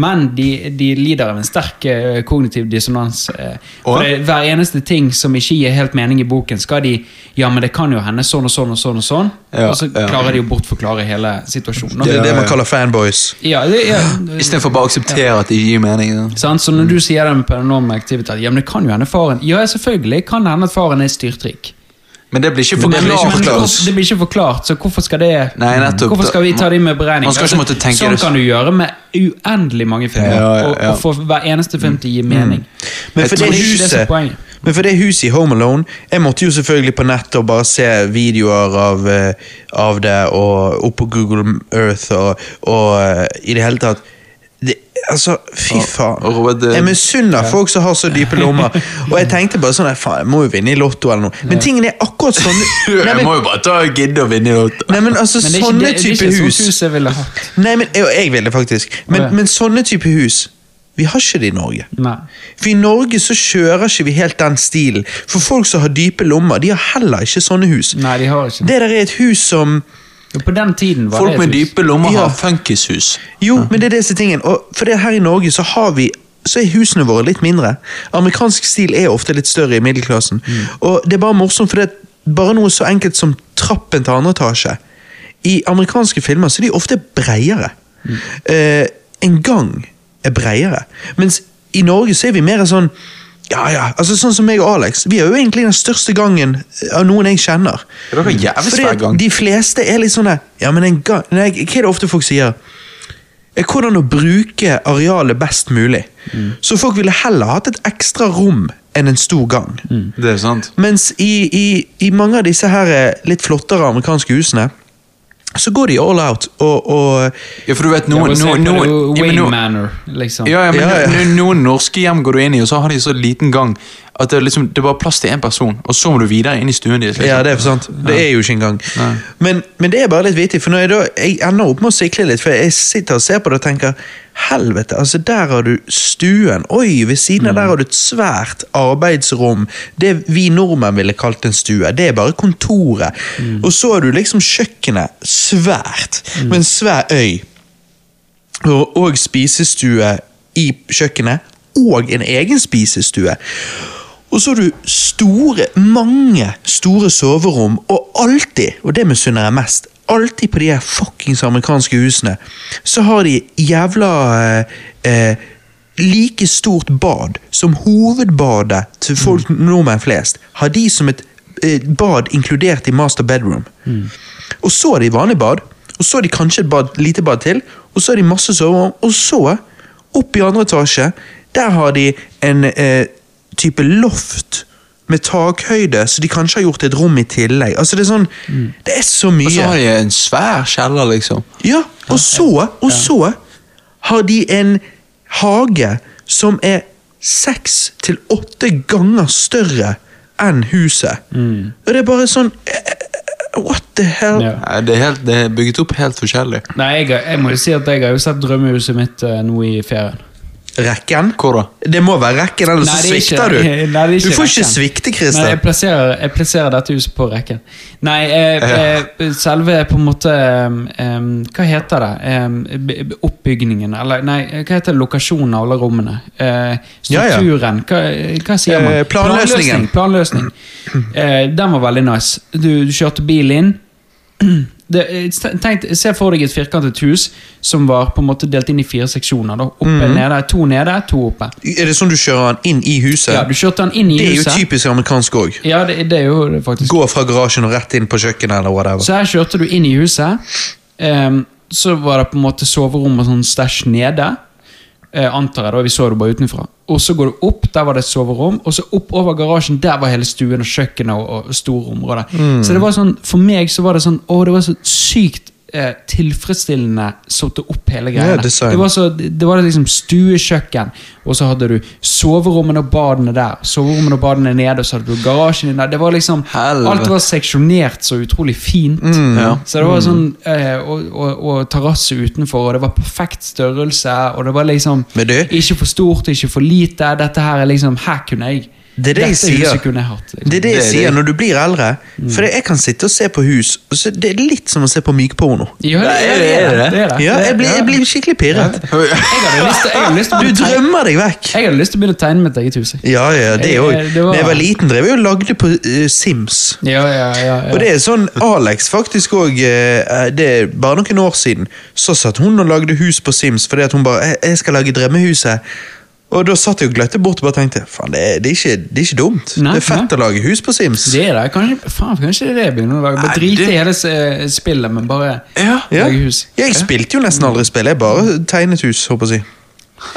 Speaker 3: Men de, de lider av en sterk eh, kognitiv dissonans. eh,
Speaker 1: Og?
Speaker 3: for det, hver eneste ting som ikke gir helt mening i boken, skal de Ja, men det kan jo hende sånn og sånn og sånn, og sånn
Speaker 1: Ja,
Speaker 3: og så
Speaker 1: ja.
Speaker 3: klarer de å bortforklare hele situasjonen.
Speaker 2: Det er det
Speaker 1: Ja,
Speaker 2: man
Speaker 1: ja.
Speaker 2: kaller fanboys.
Speaker 3: Ja, det, ja,
Speaker 1: Istedenfor bare å akseptere at det ikke gir mening. da.
Speaker 3: Sant? Så når du sier det med paranormal activity, ja, men det kan jo hende faren Ja, selvfølgelig kan det hende at faren er styrtrik.
Speaker 1: Men det blir ikke
Speaker 3: Men det blir ikke-
Speaker 1: forklart.
Speaker 3: men
Speaker 1: til oss.
Speaker 3: hvorfor- Det blir ikke forklart, så hvorfor skal det
Speaker 1: Nei, nettopp.
Speaker 3: Hvorfor skal vi ta det med beregning?
Speaker 1: Man skal ikke måtte tenke
Speaker 3: sånn
Speaker 1: det.
Speaker 3: kan du gjøre med uendelig mange filmer,
Speaker 1: Ja, Mm. ja, ja.
Speaker 3: Og, og få hver eneste film til å gi mening.
Speaker 2: Men
Speaker 1: Jeg
Speaker 2: for,
Speaker 1: tror
Speaker 2: det
Speaker 3: ikke det er så
Speaker 2: huset,
Speaker 3: poenget.
Speaker 2: men for det huset i Home Alone Jeg måtte jo selvfølgelig på nettet og bare se videoer av, eh, av det, og opp på Google Earth, og, og eh, i det hele tatt det, Altså, fy faen.
Speaker 1: og Robert, det-
Speaker 2: Jeg misunner folk som har så dype lommer. Og jeg tenkte bare sånn "Nei, Faen, jeg må jo vinne i Lotto eller noe. Men tingen er akkurat sånn Nei,
Speaker 1: Jeg
Speaker 2: men,
Speaker 1: må jo bare ta og gidde å vinne i Lotto.
Speaker 2: nei, men altså,
Speaker 3: Men det er ikke,
Speaker 2: sånne
Speaker 3: det, det er
Speaker 2: type
Speaker 3: ikke
Speaker 2: hus
Speaker 3: sånt hus jeg ville hatt.
Speaker 2: Nei, men jo, jeg vil det faktisk. Men,
Speaker 3: Å, ja.
Speaker 2: men sånne type hus, vi har ikke det i Norge.
Speaker 3: Nei.
Speaker 2: For i Norge så kjører ikke vi helt den stilen. For folk som har dype lommer, de har heller ikke sånne hus.
Speaker 3: Nei, de har ikke det.
Speaker 2: Det der er et hus som
Speaker 3: Jo, På den tiden var
Speaker 1: Folk
Speaker 3: det
Speaker 1: med
Speaker 3: et hus.
Speaker 1: dype lommer
Speaker 2: Ja.
Speaker 1: har funkishus.
Speaker 2: Jo, men det er disse tingene. Og for det her i Norge så har vi så er husene
Speaker 1: Mm.
Speaker 2: våre litt mindre. Amerikansk stil er ofte litt større i middelklassen. Og det er bare morsomt, for det, bare noe så enkelt som trappen til andre etasje. I amerikanske filmer så er de ofte breiere.
Speaker 1: Mm.
Speaker 2: Eh, en gang er breiere. Mens i Norge så er vi mer sånn ja, ja, altså Sånn som meg og Alex. Vi har jo egentlig den største gangen eh, av noen jeg kjenner.
Speaker 1: Ja, dere har jævlig
Speaker 2: Fordi
Speaker 1: svær
Speaker 2: at
Speaker 1: gang.
Speaker 2: De fleste er litt sånn der, Ja, men en gang Nei, hva er det ofte folk sier? er hvordan å bruke arealet best mulig. Så folk ville heller hatt et ekstra rom enn en stor gang.
Speaker 1: Det er sant.
Speaker 2: Mens i, i, i mange av disse her eh, litt flottere amerikanske husene, så går de all out og, og
Speaker 1: Ja, for du vet, noen,
Speaker 3: Noen,
Speaker 1: noen, noen, ja, men
Speaker 3: Wayne
Speaker 1: noen
Speaker 3: Manor, liksom.
Speaker 1: ja, ja, men
Speaker 2: Ja, ja.
Speaker 1: no- no- Noen norske hjem går du inn i, og så har de så liten gang at det er liksom, det er bare plass til én person. Og så må du videre inn i stuen deres.
Speaker 2: Ja, det er for sant. Det er jo ikke engang.
Speaker 1: liksom. Nei.
Speaker 2: Men, men det er bare litt vittig, for når jeg da jeg ender opp med å sikle litt, for jeg sitter og ser på det og tenker Helvete, altså der har du stuen. Oi, ved siden av der har du et svært arbeidsrom. Det vi nordmenn ville kalt en stue. Det er bare kontoret. Og så har du liksom kjøkkenet. Svært. Med en svær øy. Og, og spisestue i kjøkkenet. Og en egen spisestue. Og så har du store, mange store soverom, og alltid, og det misunner jeg mest, alltid på de her fuckings amerikanske husene, så har de jævla eh, eh, like stort bad som hovedbadet til folk,
Speaker 1: Mm.
Speaker 2: nordmenn flest, har de som et eh, bad inkludert i master bedroom.
Speaker 1: Mm.
Speaker 2: Og så har de vanlig bad, og så har de kanskje et bad, lite bad til, og så har de masse soverom, og så, opp i andre etasje, der har de en eh, type loft med takhøyde, så de kanskje har gjort et rom i tillegg. Altså Det er sånn, det er så mye.
Speaker 1: Mm. Og så har de en svær kjeller, liksom.
Speaker 2: Ja, og så, og så har de en hage som er seks til åtte ganger større enn huset. Og det er bare sånn eh, What the hell?
Speaker 3: Mm. Ja.
Speaker 1: Nei, Det er, helt, det er bygget opp helt forskjellig.
Speaker 3: Nei, jeg, har- jeg må jo si at jeg har jo sett drømmehuset mitt eh, nå i ferien.
Speaker 2: Rekken?
Speaker 1: Hvor da?
Speaker 2: Det må være rekken, ellers
Speaker 3: Nei,
Speaker 2: så
Speaker 3: det er ikke-
Speaker 2: svikter du.
Speaker 3: Nei, det er
Speaker 2: du får ikke
Speaker 3: rekken.
Speaker 2: svikte,
Speaker 3: Nei, jeg
Speaker 2: Christer.
Speaker 3: plasserer, jeg plasserer dette huset på rekken. Nei, eh, eh, selve på en måte eh, em, Hva heter det? Em, b- b- oppbygningen, eller nei, hva heter lokasjonen av alle rommene? Eh,
Speaker 2: Ja, ja.
Speaker 3: strukturen, hva, eh, hva sier man?
Speaker 2: Eh, planløsningen.
Speaker 3: Planløsning. planløsning. Eh, den var veldig nice. Du, du kjørte bil inn. *clears throat* Det, eh, tenk, se for deg et firkantet hus som var på en måte delt inn i fire seksjoner. Da. Oppe,
Speaker 2: Mhm.
Speaker 3: nede, to nede, to oppe.
Speaker 2: Er det sånn du kjører den inn i huset?
Speaker 3: Ja, du kjørte den inn i
Speaker 2: eh, det er jo
Speaker 3: huset.
Speaker 2: typisk amerikansk òg.
Speaker 3: ja, det, det er jo faktisk
Speaker 2: Gå fra garasjen og rett inn på kjøkkenet eller whatever.
Speaker 3: Så her kjørte du inn i huset. ehm, så var det på en måte soverom og sånn stæsj nede. Eh, antar jeg, da. Vi så det bare utenfra. Og så går du opp, der var det et soverom. Og så opp over garasjen, der var hele stuen og kjøkkenet og, og store områder.
Speaker 2: Mm.
Speaker 3: Så det var sånn, for meg så var det sånn Å, det var så sykt eh, tilfredsstillende satt opp hele
Speaker 2: Ja,
Speaker 3: greiene.
Speaker 2: design.
Speaker 3: det, var så, det var liksom stuekjøkken, og så hadde du soverommene og badene der. Soverommene og badene nede, og så hadde du garasjen din der. Det var liksom
Speaker 1: Helvete.
Speaker 3: Alt var seksjonert så utrolig fint.
Speaker 2: Mm,
Speaker 1: ja.
Speaker 3: Så det var sånn eh, Og, og, og terrasse utenfor, og det var perfekt størrelse. Og det var liksom
Speaker 2: Men du-
Speaker 3: Ikke for stort, ikke for lite. Dette her er liksom Her kunne jeg.
Speaker 2: Det er det jeg
Speaker 3: Dette
Speaker 2: sier.
Speaker 3: huset kunne jeg hatt. Liksom.
Speaker 2: Det er det jeg
Speaker 1: Det er
Speaker 2: sier
Speaker 1: det.
Speaker 2: når du blir eldre.
Speaker 3: Mm.
Speaker 2: For jeg kan sitte og se på hus, og så det er litt som å se på mykporno.
Speaker 3: Ja, det,
Speaker 1: Nei,
Speaker 3: er det,
Speaker 1: er det det?
Speaker 3: det, er det.
Speaker 2: Ja, jeg blir, jeg blir skikkelig pirret.
Speaker 3: Jeg hadde lyst til- jeg hadde lyst til å
Speaker 2: Du
Speaker 3: begynne å tegne-
Speaker 2: drømmer deg vekk.
Speaker 3: jeg hadde lyst til å begynne å tegne mitt eget hus. jeg.
Speaker 2: Ja, ja, det
Speaker 3: Jeg-
Speaker 2: òg.
Speaker 3: jeg- det var-
Speaker 2: Da jeg var liten, drev jeg og lagde på eh, Sims.
Speaker 3: Ja, ja, ja, ja.
Speaker 2: Og det er sånn Alex faktisk òg Det er bare noen år siden så satt hun og lagde hus på Sims fordi at hun bare "Jeg- 'Jeg skal lage drømmehuset'. Og da satt jeg og gløtte bort og bare tenkte faen, det er, det er, ikke, det er ikke dumt.
Speaker 3: Nei,
Speaker 2: det er fett
Speaker 3: nei.
Speaker 2: å lage hus på Sims.
Speaker 3: Det er det. Kanskje, faen, kanskje det er det jeg begynner å lage. Bare
Speaker 1: Nei,
Speaker 3: drite
Speaker 1: det-
Speaker 3: i hele eh, spillet, men bare
Speaker 1: Ja.
Speaker 2: Ja.
Speaker 3: lage hus.
Speaker 2: Ja, jeg spilte jo nesten aldri spill, jeg bare tegnet hus, håper jeg. å si.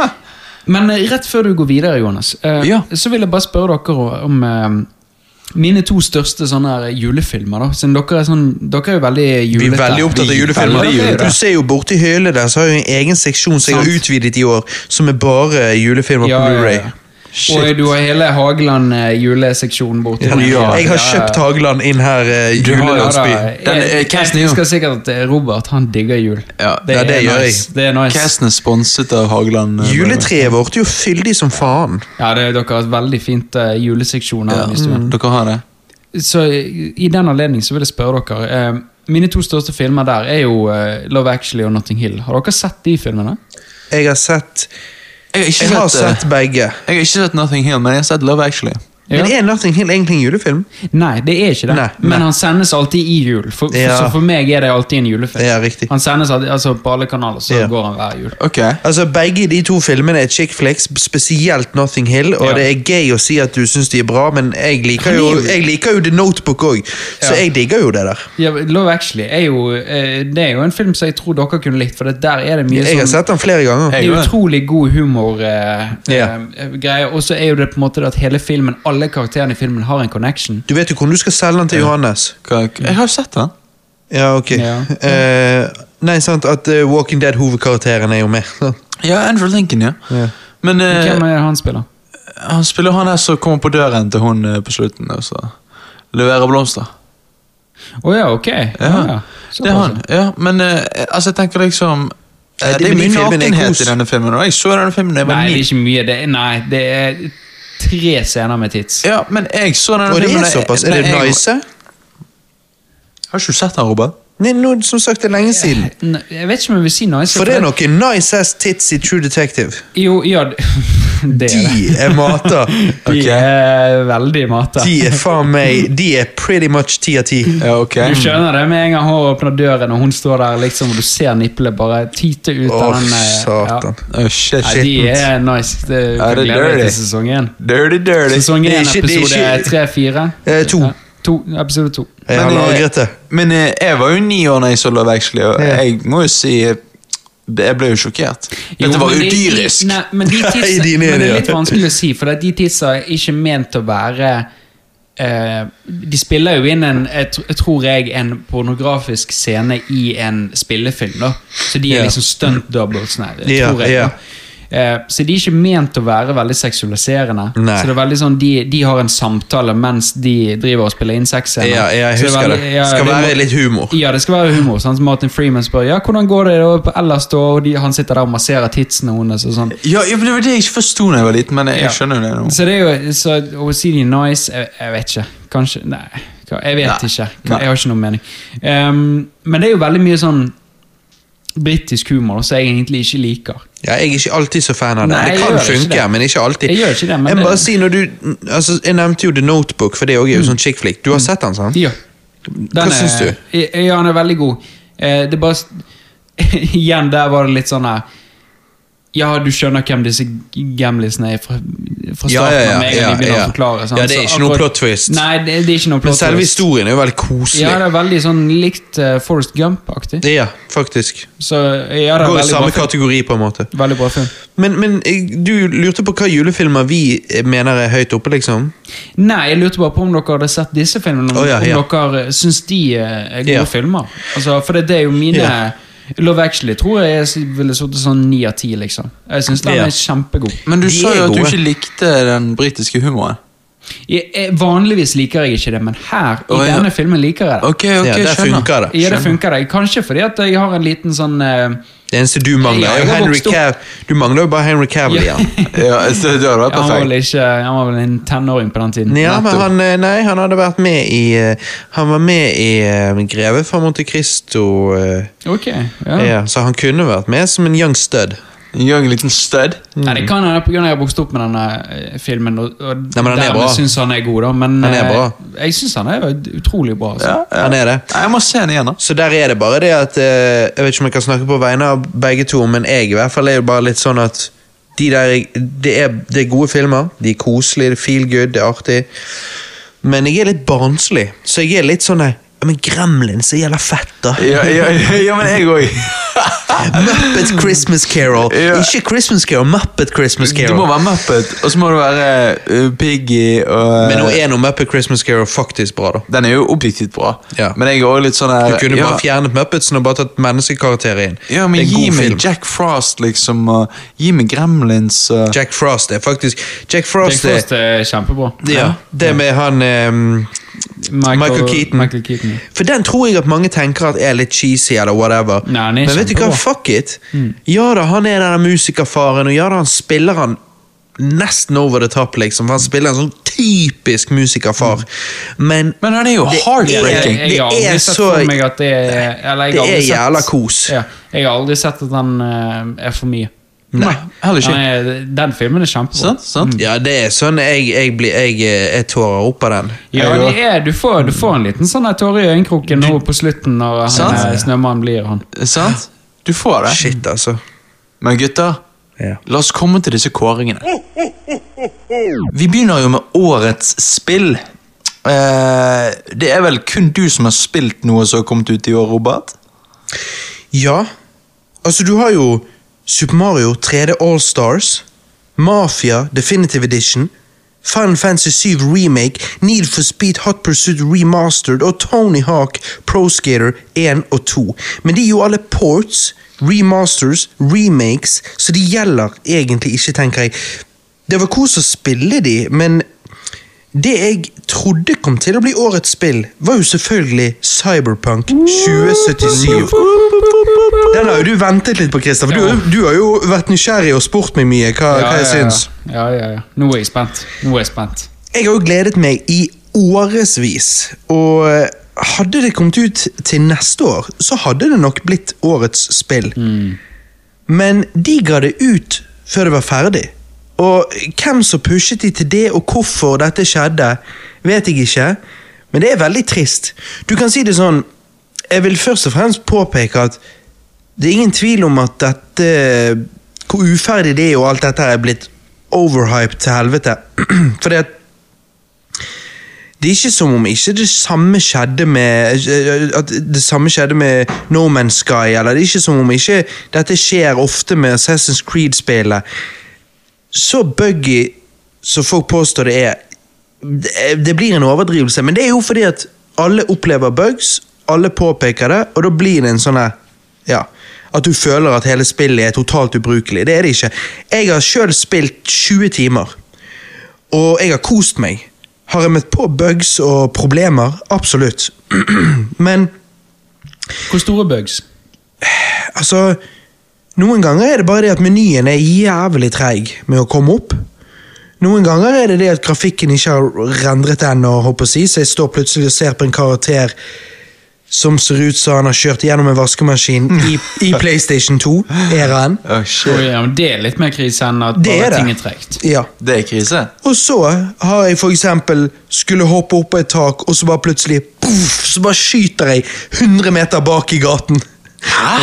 Speaker 3: Men eh, rett før du går videre, Jonas, eh,
Speaker 1: Ja.
Speaker 3: så vil jeg bare spørre dere om eh, mine to største sånne her julefilmer. da Siden dere er, sånn, dere er jo veldig
Speaker 2: Vi er
Speaker 3: julete.
Speaker 2: veldig opptatt av julefilmer.
Speaker 3: Veldig julete.
Speaker 2: Du ser jo borti hølet der, så har jeg en egen seksjon som jeg har
Speaker 3: Sant.
Speaker 2: utvidet i år, som er bare julefilmer
Speaker 3: Ja,
Speaker 2: på
Speaker 3: ja,
Speaker 2: Blu-ray.
Speaker 3: ja. Og du har hele Hageland eh, juleseksjonen borte.
Speaker 1: Ja, ja.
Speaker 2: Jeg har kjøpt Hageland inn her, eh,
Speaker 1: Du har-
Speaker 2: julelandsby.
Speaker 1: Den, eh, casten er jo-
Speaker 3: Jeg husker sikkert at eh, Robert han digger jul.
Speaker 1: Ja,
Speaker 2: ja, det gjør jeg.
Speaker 3: nice. Det er nice.
Speaker 1: Casten er sponset av Hageland. eh,
Speaker 2: Juletreet vårt er jo fyldig som faen.
Speaker 3: Ja, det, dere har et veldig fint uh, juleseksjon. her
Speaker 1: Ja, Mm.
Speaker 3: i stuen.
Speaker 1: Dere har det?
Speaker 3: Så i i den anledning så vil jeg spørre dere eh, Mine to største filmer der er jo eh, Love Actually og Notting Hill. Har dere sett de filmene?
Speaker 2: Jeg har sett
Speaker 1: Jeg har ikke
Speaker 2: Jeg har
Speaker 1: sett, eh,
Speaker 2: sett begge.
Speaker 1: jeg har ikke sett Nothing Hill, men jeg har sett Love Actually.
Speaker 2: Men
Speaker 3: Ja.
Speaker 2: er Nothing Hill egentlig en julefilm?
Speaker 3: Nei, det er ikke det.
Speaker 2: Nei,
Speaker 3: Men
Speaker 2: nei.
Speaker 3: han sendes alltid i jul. For, for,
Speaker 2: Ja.
Speaker 3: Så for meg er det alltid en julefilm.
Speaker 2: Ja, riktig.
Speaker 3: Han sendes alltid, altså på alle kanaler, så
Speaker 2: Ja.
Speaker 3: går han hver jul.
Speaker 1: Ok.
Speaker 2: Altså, Begge de to filmene er chick flicks, spesielt Nothing Hill. Og
Speaker 3: Ja.
Speaker 2: det er gøy å si at du syns de er bra, men jeg liker,
Speaker 3: Han er
Speaker 2: jo,
Speaker 3: jo-
Speaker 2: jeg liker jo The Notebook òg, så
Speaker 3: Ja.
Speaker 2: jeg digger jo det der.
Speaker 3: Ja, Love Actually er jo, eh, det er jo en film som jeg tror dere kunne likt, for det der er det mye
Speaker 2: Jeg har
Speaker 3: sånn
Speaker 2: sett den flere ganger.
Speaker 1: Jeg
Speaker 3: det er
Speaker 1: også.
Speaker 3: utrolig god humor eh,
Speaker 2: Ja.
Speaker 3: eh, greier. Og så er jo det på en måte det at hele filmen, alle karakterene i filmen har en connection.
Speaker 2: Du vet jo hvordan du skal selge den til Johannes.
Speaker 1: Hva- Jeg har jo sett den.
Speaker 2: Ja, ok.
Speaker 3: Ja.
Speaker 2: *laughs* Eh, nei, sant, at eh, Walking Dead-hovedkarakteren er jo med. *laughs* sant?
Speaker 1: Ja, Andrew Lincoln, ja.
Speaker 2: Ja.
Speaker 1: Men eh,
Speaker 3: Hvem er det han spiller?
Speaker 1: han spiller han her som kommer på døren til hun eh, på slutten og så leverer blomster.
Speaker 3: Å ja, ok. Ja,
Speaker 1: Ja,
Speaker 3: Ah, ja.
Speaker 1: Det er han. ja, Men eh, altså, jeg tenker liksom eh,
Speaker 2: Nei,
Speaker 1: Det er
Speaker 2: men de
Speaker 1: mye
Speaker 2: filmene er
Speaker 1: nakenhet
Speaker 2: kos.
Speaker 1: i denne filmen, og jeg så denne filmen da jeg
Speaker 3: Nei,
Speaker 1: var
Speaker 3: det er
Speaker 1: ni.
Speaker 3: ikke mye. Det er, nei, det er tre scener med tits.
Speaker 1: Ja, men jeg så denne
Speaker 2: Og det
Speaker 1: filmen
Speaker 2: er
Speaker 1: da jeg-
Speaker 2: såpass. Er
Speaker 1: da
Speaker 2: det
Speaker 1: jeg-
Speaker 2: nice?
Speaker 1: Har ikke du sett den, Robert?
Speaker 2: Nei, nå, som sagt, det er lenge siden.
Speaker 3: Nei, Jeg vet ikke om jeg vil si nice.
Speaker 2: For det er noen nice ass tits i True Detective.
Speaker 3: Jo, ja, *laughs* det det er det.
Speaker 2: De er
Speaker 3: *laughs*
Speaker 2: mata.
Speaker 3: De
Speaker 1: Ok.
Speaker 3: er veldig mata.
Speaker 2: De er faen meg De er pretty much ti av ti.
Speaker 1: Ja, ok.
Speaker 3: Du skjønner det med en gang hun åpner døren, og hun står der liksom, og du ser nippelet bare tite ut av
Speaker 2: Åh,
Speaker 3: den. eh,
Speaker 2: satan.
Speaker 3: Ja.
Speaker 1: Oh, shit.
Speaker 3: Nei, de er nice. Det
Speaker 1: Ja,
Speaker 3: kan
Speaker 1: det er
Speaker 3: glede deg til
Speaker 1: dirty.
Speaker 3: sesong én.
Speaker 1: Dirty, dirty.
Speaker 3: Sesong
Speaker 2: Det er
Speaker 3: én,
Speaker 2: ikke- det er
Speaker 3: episode
Speaker 2: ikke-
Speaker 3: tre-fire.
Speaker 2: Eh, to.
Speaker 3: to. Episode to.
Speaker 2: Jeg har
Speaker 1: Men, eh,
Speaker 2: lagret det.
Speaker 1: Men eh, jeg var jo ni år da jeg så Love Actually, og
Speaker 2: Ja.
Speaker 1: jeg må jo si eh, Jeg ble jo sjokkert.
Speaker 3: Jo,
Speaker 1: Dette var
Speaker 3: men
Speaker 1: jo
Speaker 3: de-
Speaker 1: dyrisk.
Speaker 3: Nei, men de tidsa,
Speaker 2: *laughs* Nei, de er
Speaker 3: men det er
Speaker 2: nede,
Speaker 3: litt
Speaker 2: ja.
Speaker 3: vanskelig å si, for at de tidsa er ikke ment å være eh, de spiller jo inn en jeg tr- jeg tror jeg, en pornografisk scene i en spillefilm. da Så de
Speaker 2: Ja.
Speaker 3: er liksom stunt doubles. Nei, det
Speaker 2: Ja,
Speaker 3: tror jeg
Speaker 2: ja.
Speaker 3: da. Eh, Så de er ikke ment å være veldig seksualiserende.
Speaker 2: Nei.
Speaker 3: Så det er veldig sånn De, de har en samtale mens de driver og spiller inn sexscener.
Speaker 2: Ja, ja, jeg
Speaker 3: Så er
Speaker 2: husker det.
Speaker 3: veldig- ja,
Speaker 2: Skal
Speaker 3: det er
Speaker 2: være
Speaker 3: må-
Speaker 2: litt humor.
Speaker 3: ja, det skal være humor. Sant? Martin Freeman spør ja, hvordan går det da på ellers, da? Og de, han sitter der og masserer titsene hennes. Og sånn.
Speaker 1: Ja, ja, men Det var det jeg ikke forsto da jeg var liten, men jeg,
Speaker 3: Ja.
Speaker 1: jeg skjønner jo det nå.
Speaker 3: Så det er jo så, Å si de er nice jeg, jeg vet ikke. Kanskje Nei, hva- jeg vet
Speaker 1: Nei.
Speaker 3: ikke.
Speaker 1: Nei.
Speaker 3: Jeg har ikke noen mening. Ehm, men det er jo veldig mye sånn britisk humor som jeg egentlig ikke liker.
Speaker 2: Ja, jeg er ikke alltid så fan av det.
Speaker 3: Nei,
Speaker 2: det
Speaker 3: jeg
Speaker 2: kan
Speaker 3: gjør ikke
Speaker 2: funke,
Speaker 3: det.
Speaker 2: men ikke alltid.
Speaker 3: Jeg gjør ikke det, men
Speaker 2: jeg må
Speaker 3: det- Mm.
Speaker 2: bare si, når du, altså, jeg nevnte jo The Notebook, for det også er jo sånn chick flick. Du har sett den, sant?
Speaker 3: Ja.
Speaker 2: Hva syns du?
Speaker 3: Ja, han er veldig god. Eh, Det er bare s- *laughs* Igjen, der var det litt sånn her Ja, du skjønner hvem disse gamlisene er fra, fra starten
Speaker 2: Ja, ja, ja,
Speaker 3: av, med en gang
Speaker 2: ja,
Speaker 3: de begynner
Speaker 2: ja.
Speaker 3: å forklare. sant?
Speaker 2: Ja, det er
Speaker 3: Så
Speaker 2: ikke noe plot twist.
Speaker 3: Nei, det, det er ikke noe
Speaker 2: Men
Speaker 3: plot
Speaker 2: selve
Speaker 3: twist.
Speaker 2: historien er jo veldig koselig.
Speaker 3: Ja, det er veldig sånn likt eh, Forrest Gump-aktig.
Speaker 2: det... ja faktisk.
Speaker 3: Så ja, det
Speaker 2: Går i
Speaker 3: er veldig bra,
Speaker 2: samme
Speaker 3: film.
Speaker 2: kategori, på en måte.
Speaker 3: veldig bra film.
Speaker 2: Men, men eh, du lurte på hva julefilmer vi eh, mener er høyt oppe, liksom?
Speaker 3: Nei, jeg lurte bare på om dere hadde sett disse filmene. Om,
Speaker 2: Å, ja, ja.
Speaker 3: om dere eh, syns de eh, er gode
Speaker 2: Ja.
Speaker 3: filmer. Altså, for det, det er jo mine
Speaker 2: Ja.
Speaker 3: Love Actually tror jeg jeg s- ville sittet sånn ni av ti, liksom. Jeg syns den
Speaker 2: Ja.
Speaker 3: er kjempegod.
Speaker 1: Men du
Speaker 2: De
Speaker 1: sa
Speaker 2: er
Speaker 1: jo at du
Speaker 2: gode.
Speaker 1: ikke likte den britiske humoren.
Speaker 3: Jeg, jeg, vanligvis liker jeg ikke det, men her, i
Speaker 1: Å, ja.
Speaker 3: denne filmen, liker jeg det.
Speaker 1: Ok, ok,
Speaker 2: ja, der
Speaker 1: skjønner.
Speaker 2: funker det.
Speaker 3: Ja, det funker det. Kanskje fordi at jeg har en liten sånn eh,
Speaker 2: Det eneste du mangler,
Speaker 3: Ja,
Speaker 2: er
Speaker 3: jeg
Speaker 2: jo
Speaker 3: har
Speaker 2: Henry
Speaker 3: vokst opp-
Speaker 2: Cav... Du mangler jo bare Henry Cavill
Speaker 3: Ja.
Speaker 2: igjen. *laughs*
Speaker 1: Ja, så det hadde vært
Speaker 3: han, var vel
Speaker 1: perfekt.
Speaker 3: ikke, han var vel en tenåring på den tiden.
Speaker 2: Ja, men
Speaker 1: Nettopp.
Speaker 2: han, eh, nei, han hadde vært med i eh, Han var med i eh, Greve fra Monte Cristo. eh,
Speaker 3: Ok, ja.
Speaker 2: Ja, så han kunne vært med som en young stud.
Speaker 1: Gjør en liten stud.
Speaker 3: Nei, det kan hende pga. at jeg har vokst opp med denne eh, filmen. Og, og
Speaker 2: Mm. men han er bra.
Speaker 3: syns han er god, da. Men
Speaker 2: Han er
Speaker 3: eh,
Speaker 2: bra.
Speaker 3: jeg syns han er utrolig bra. Altså.
Speaker 1: Ja, ja.
Speaker 2: Han er det.
Speaker 1: Nei, Jeg må se den igjen, da.
Speaker 2: Så der er det bare det at eh, Jeg vet ikke om jeg kan snakke på vegne av begge to, men jeg i hvert fall er jo bare litt sånn at de der, det, er, det er gode filmer. De er koselige, det er feel good, det er artig. Men jeg er litt barnslig, så jeg er litt sånn eh, ja, Men Gremlins er jævla fett, da.
Speaker 1: Ja, ja, ja, ja men jeg òg.
Speaker 2: *laughs* Muppet Christmas Carol.
Speaker 1: Ja.
Speaker 2: Ikke Christmas Carol, Muppet Christmas
Speaker 1: Du må
Speaker 2: Carol.
Speaker 1: være Muppet, og så må du være eh, Piggy og eh,
Speaker 2: Men nå er nå Muppet Christmas Carol faktisk bra, da.
Speaker 1: Den er jo objektivt bra,
Speaker 2: Ja.
Speaker 1: men jeg er også litt sånn
Speaker 2: Du
Speaker 1: her
Speaker 2: kunne
Speaker 1: ja,
Speaker 2: bare fjernet Muppetsen og bare tatt menneskekarakterer inn.
Speaker 1: ja, men
Speaker 2: Det er en
Speaker 1: gi
Speaker 2: god
Speaker 1: meg
Speaker 2: film.
Speaker 1: Jack Frost, liksom. Og gi meg Gremlins. Og...
Speaker 2: Jack Frost er faktisk Jack
Speaker 3: Jack
Speaker 2: Frost,
Speaker 3: Frost er kjempebra.
Speaker 2: er ja, Det med han ehm,
Speaker 3: Michael,
Speaker 2: Michael Keaton.
Speaker 3: Michael Keaton.
Speaker 2: For den tror jeg at mange tenker at er litt cheesy eller whatever.
Speaker 3: Nei, han er
Speaker 2: Men vet du hva,
Speaker 3: kjempebra. Mm.
Speaker 2: fuck it. Ja da, han er denne musikerfaren, og ja da, han spiller han nesten over the top, liksom. For han spiller en sånn typisk musikerfar.
Speaker 3: Mm.
Speaker 2: Men
Speaker 1: Men han er jo
Speaker 2: Det er-
Speaker 1: heartbreaking.
Speaker 3: Jeg, jeg har
Speaker 2: Det er
Speaker 3: aldri sett
Speaker 2: så-
Speaker 3: for meg at det er eller jeg har
Speaker 2: det
Speaker 3: aldri
Speaker 2: er
Speaker 3: sett-
Speaker 2: jævla kos.
Speaker 3: Ja, jeg har aldri sett at han eh, er for mye.
Speaker 1: Nei, heller ikke.
Speaker 3: Han er, den filmen er kjempebra.
Speaker 1: Sant? sant?
Speaker 2: Ja, det er sånn jeg, jeg blir Jeg, eh, jeg tårer opp av den.
Speaker 3: Ja,
Speaker 2: Jeg
Speaker 3: det er, du, får, du får en liten sånn her tåre i øyekroken nå på slutten når han,
Speaker 1: Sant?
Speaker 3: eh, snømannen blir han.
Speaker 1: Sant? Mm. Du får
Speaker 2: også.
Speaker 1: det.
Speaker 2: Shit, altså.
Speaker 1: Men gutter,
Speaker 2: Ja.
Speaker 1: la oss komme til disse kåringene. Vi begynner jo med årets spill. Eh, det er vel kun du som har spilt noe som har kommet ut i år, Robert?
Speaker 2: Ja. Altså, du har jo Super Mario 3D All Stars, Mafia Definitive Edition, Final Fantasy 7 Remake, Need for Speed Hot Pursuit Remastered og Tony Hawk Pro Skater 1 og 2. Men de er jo alle ports, remasters, remakes, så de gjelder egentlig ikke, tenker jeg. Det var kos å spille de, men det jeg trodde kom til å bli årets spill, var jo selvfølgelig Cyberpunk
Speaker 3: *laughs*
Speaker 2: 2077. Den har jo du ventet litt på, Christer. For du, du har jo vært nysgjerrig og spurt meg mye hva, hva jeg syns.
Speaker 3: Ja, ja, ja. Nå er jeg spent. Nå er jeg spent.
Speaker 2: Jeg har jo gledet meg i årevis, og eh, hadde det kommet ut til neste år, så hadde det nok blitt årets spill. Men de ga det ut før det var ferdig. Og hvem som pushet de til det, og hvorfor dette skjedde, vet jeg ikke. Men det er veldig trist. Du kan si det sånn Jeg vil først og fremst påpeke at det er ingen tvil om at dette Hvor uferdig det er, og alt dette her er blitt overhyped til helvete. *clears throat* Fordi at det er ikke som om ikke det samme skjedde med eh, At det samme skjedde med No Man's Sky, eller det er ikke som om ikke dette skjer ofte med Assassin's Creed-spillet. Så buggy som folk påstår det er, det- det blir en overdrivelse, men det er jo fordi at alle opplever bugs, alle påpeker det, og da blir det en sånn her ja, at du føler at hele spillet er totalt ubrukelig. Det er det ikke. Jeg har sjøl spilt 20 timer og jeg har kost meg. Har jeg møtt på bugs og problemer? Absolutt. *clears throat* Men
Speaker 3: Hvor store bugs?
Speaker 2: altså Noen ganger er det bare det at menyen er jævlig treig med å komme opp. Noen ganger er det det at grafikken ikke har rendret ennå, håper jeg, å si, så jeg står plutselig og ser på en karakter som ser ut som han har kjørt gjennom en vaskemaskin i, i
Speaker 3: *laughs*
Speaker 2: PlayStation 2-æraen.
Speaker 1: Oh,
Speaker 3: Å, ja, men det er litt mer krise enn at
Speaker 2: Det
Speaker 3: bare
Speaker 2: er det.
Speaker 3: ting er tregt.
Speaker 2: Ja.
Speaker 1: Det er krise.
Speaker 2: Og så har jeg for eksempel skulle hoppe opp på et tak, og så bare plutselig puff, så bare skyter jeg 100 meter bak i gaten.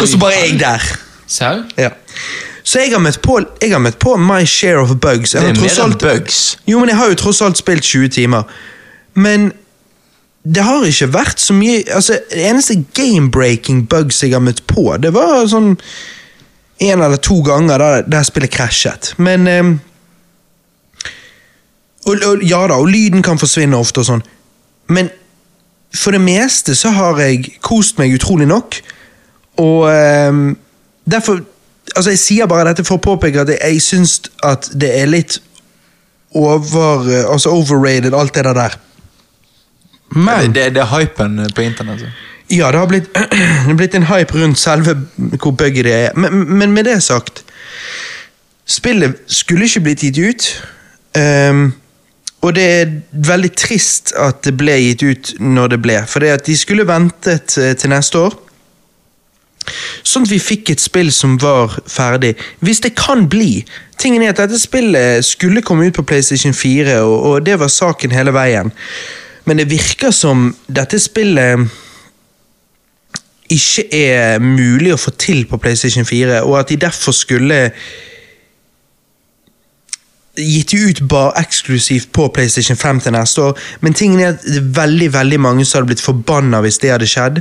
Speaker 2: Og så bare er jeg der.
Speaker 3: Sau?
Speaker 2: Ja. Så jeg har møtt på, jeg har møtt på my share of bugs. Jeg
Speaker 1: Det
Speaker 2: har
Speaker 1: er
Speaker 2: tross
Speaker 1: mer enn
Speaker 2: alt-
Speaker 1: bugs.
Speaker 2: jo, men jeg har jo tross alt spilt 20 timer. Men det har ikke vært så mye Altså, det eneste game-breaking bugs jeg har møtt på, det var sånn en eller to ganger der, der spillet krasjet. Men ehm, og, og, Ja da, og lyden kan forsvinne ofte og sånn, men for det meste så har jeg kost meg utrolig nok, og ehm, derfor Altså, jeg sier bare dette for å påpeke at jeg, jeg syns at det er litt over, altså overrated, alt det der der.
Speaker 1: Det,
Speaker 2: Men
Speaker 1: det, det er hypen på internett. så.
Speaker 2: Ja, det har blitt, *clears throat* det har blitt en hype rundt selve hvor buggy det er. Men, men med det sagt Spillet skulle ikke blitt gitt ut. ehm, og det er veldig trist at det ble gitt ut når det ble. For det at de skulle ventet eh, til neste år. Sånn at vi fikk et spill som var ferdig. Hvis det kan bli. Tingen er at dette spillet skulle komme ut på PlayStation 4, og, og det var saken hele veien. Men det virker som dette spillet ikke er mulig å få til på PlayStation 4, og at de derfor skulle gitt det ut bare eksklusivt på PlayStation 5 til neste år. Men tingen er at det er veldig veldig mange som hadde blitt forbanna hvis det hadde skjedd.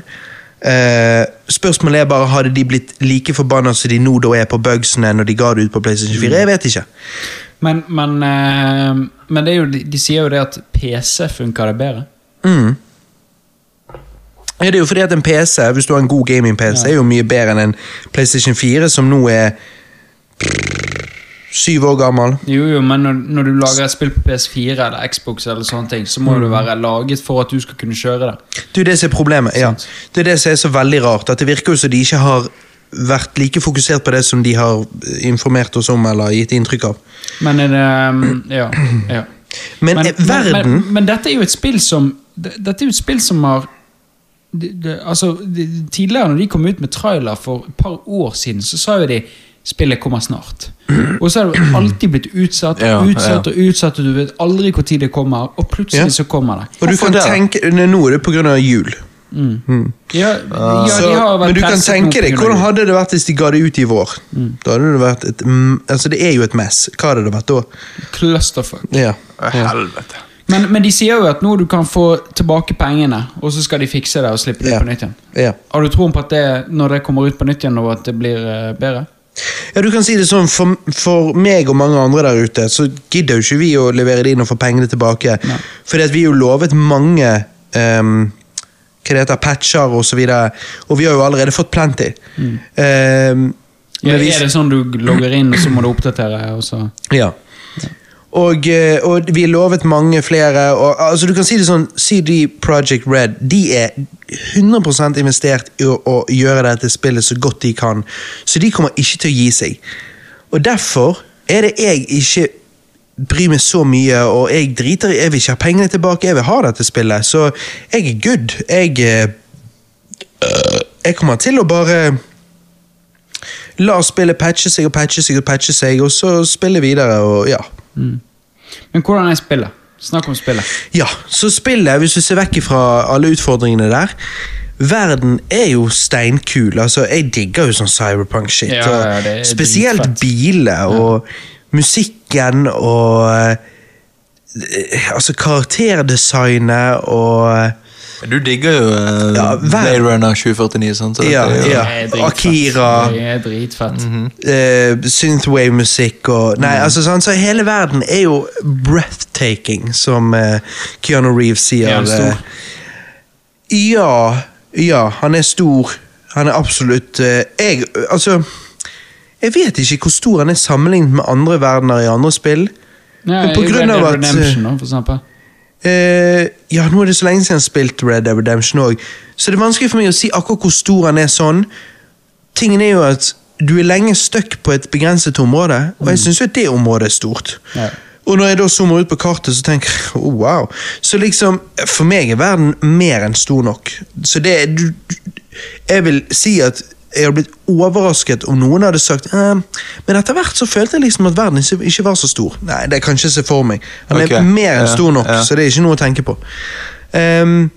Speaker 2: Eh, spørsmålet er bare hadde de blitt like forbanna som de nå da er på bugsene når de ga det ut på PlayStation 4. Jeg vet ikke.
Speaker 3: Men, men, eh, men det er jo, de, de sier jo det at PC funker det bedre.
Speaker 2: Mm. Ja, det er jo fordi at en PC, hvis du har en god gaming-PC, er jo mye bedre enn en PlayStation 4, som nå er syv år gammel.
Speaker 3: Jo, jo, men når, når du lager et spill på PS4 eller Xbox, eller sånne ting, så må
Speaker 2: Mm.
Speaker 3: det være laget for at du skal kunne kjøre det.
Speaker 2: Det er jo det som er problemet. Ja. Det er det som er så veldig rart. At det virker jo som de ikke har vært like fokusert på det som de har informert oss om eller gitt inntrykk av.
Speaker 3: Men er det eh, Ja. ja.
Speaker 2: Men, eh, verden
Speaker 3: men, men dette er jo et spill som det- Dette er jo et spill som har det, det, altså, det, Tidligere, når de kom ut med trailer for et par år siden, så sa jo de spillet kommer snart. Og så har det alltid blitt utsatt
Speaker 1: Ja,
Speaker 3: og utsatt og utsatt, og du vet aldri når det kommer, og plutselig
Speaker 2: Ja.
Speaker 3: så kommer det.
Speaker 2: Og du
Speaker 1: Hvorfor
Speaker 2: kan
Speaker 1: det, da?
Speaker 2: tenke, nei, Nå er det pga. jul.
Speaker 3: Ja, ja,
Speaker 2: Ah. Så,
Speaker 3: de har vært
Speaker 2: men du kan
Speaker 3: presset nå
Speaker 2: tenke
Speaker 3: på
Speaker 2: deg,
Speaker 3: grunn
Speaker 2: Hvordan
Speaker 3: av jul. Mm.
Speaker 2: hadde det vært hvis de ga det ut i vår? Da hadde Det vært et, mm, altså det er jo et mess. Hva hadde det vært da?
Speaker 3: Clusterfuck.
Speaker 2: Ja.
Speaker 1: Å, Helvete.
Speaker 3: Men, men de sier jo at nå du kan få tilbake pengene, og så skal de fikse det og slippe det
Speaker 2: Ja.
Speaker 3: ut på nytt igjen.
Speaker 2: Ja.
Speaker 3: Har du troen på at det, når det kommer ut på nytt igjen, og at det blir eh, bedre?
Speaker 2: ja, du kan si det sånn, for, for meg og mange andre der ute, så gidder jo ikke vi å levere det inn og få pengene tilbake.
Speaker 3: Nei.
Speaker 2: Fordi at vi er jo lovet mange ehm, hva det heter, patcher og så videre, og vi har jo allerede fått plenty. Ehm,
Speaker 3: Ja,
Speaker 2: men vi-
Speaker 3: er det sånn du logger inn, og så må du oppdatere? Og så?
Speaker 2: Ja. Og, eh, og vi lovet mange flere. Og, altså du kan si det sånn, CD Project Red de er 100 investert i å, å gjøre dette spillet så godt de kan. Så de kommer ikke til å gi seg. Og derfor er det jeg ikke bryr meg så mye, og jeg driter i Jeg vil ikke ha pengene tilbake, jeg vil ha dette spillet. Så jeg er good. Jeg eh, jeg kommer til å bare la spillet patche seg og patche seg og patche seg, og så spille videre, og ja.
Speaker 3: Men hvordan er spillet? Snakk om spillet.
Speaker 2: Ja, så spillet, hvis du ser vekk fra alle utfordringene der Verden er jo steinkul. Altså, jeg digger jo sånn cyberpunk-shit.
Speaker 3: Ja, ja,
Speaker 2: og
Speaker 3: det er
Speaker 2: spesielt
Speaker 3: dritfett.
Speaker 2: biler og musikken og eh, Altså, karakterdesignet og
Speaker 1: Du digger jo eh,
Speaker 2: Ja, hver-
Speaker 1: Blade Runner 2049, sant? Så
Speaker 2: Ja,
Speaker 1: dette er jo-
Speaker 2: ja.
Speaker 3: Det er dritfett.
Speaker 2: Akira.
Speaker 3: Det er dritfett.
Speaker 2: eh, synthwave-musikk og
Speaker 3: Mm.
Speaker 2: Nei, altså sånn, så hele verden er jo breathtaking, som eh, Keanu Reeves sier.
Speaker 3: Er han stor?
Speaker 2: eh, ja, ja, han er stor. Han er absolutt eh, Jeg Altså Jeg vet ikke hvor stor han er sammenlignet med andre verdener i andre spill.
Speaker 3: Ja,
Speaker 2: Men på
Speaker 3: i
Speaker 2: grunn
Speaker 3: Red
Speaker 2: av
Speaker 3: Dead
Speaker 2: at-
Speaker 3: Redemption, da, for eksempel.
Speaker 2: Eh, ja, nå er det så lenge siden jeg har spilt Red Dead Redemption òg, så det er vanskelig for meg å si akkurat hvor stor han er sånn. Tingen er jo at du er lenge stuck på et begrenset område, og
Speaker 1: Mm.
Speaker 2: jeg syns jo at det området er stort.
Speaker 3: Ja.
Speaker 2: Og når jeg da zoomer ut på kartet, så tenker jeg oh, wow. Så liksom, for meg er verden mer enn stor nok. Så det er- du, du- Jeg vil si at jeg hadde blitt overrasket om noen hadde sagt eh, Men etter hvert så følte jeg liksom at verden ikke ikke var så stor. Nei, det kan jeg ikke se for meg. Han
Speaker 1: Ok,
Speaker 2: er mer enn
Speaker 1: ja,
Speaker 2: stor nok,
Speaker 1: ja.
Speaker 2: så det er ikke noe å tenke på. Ehm,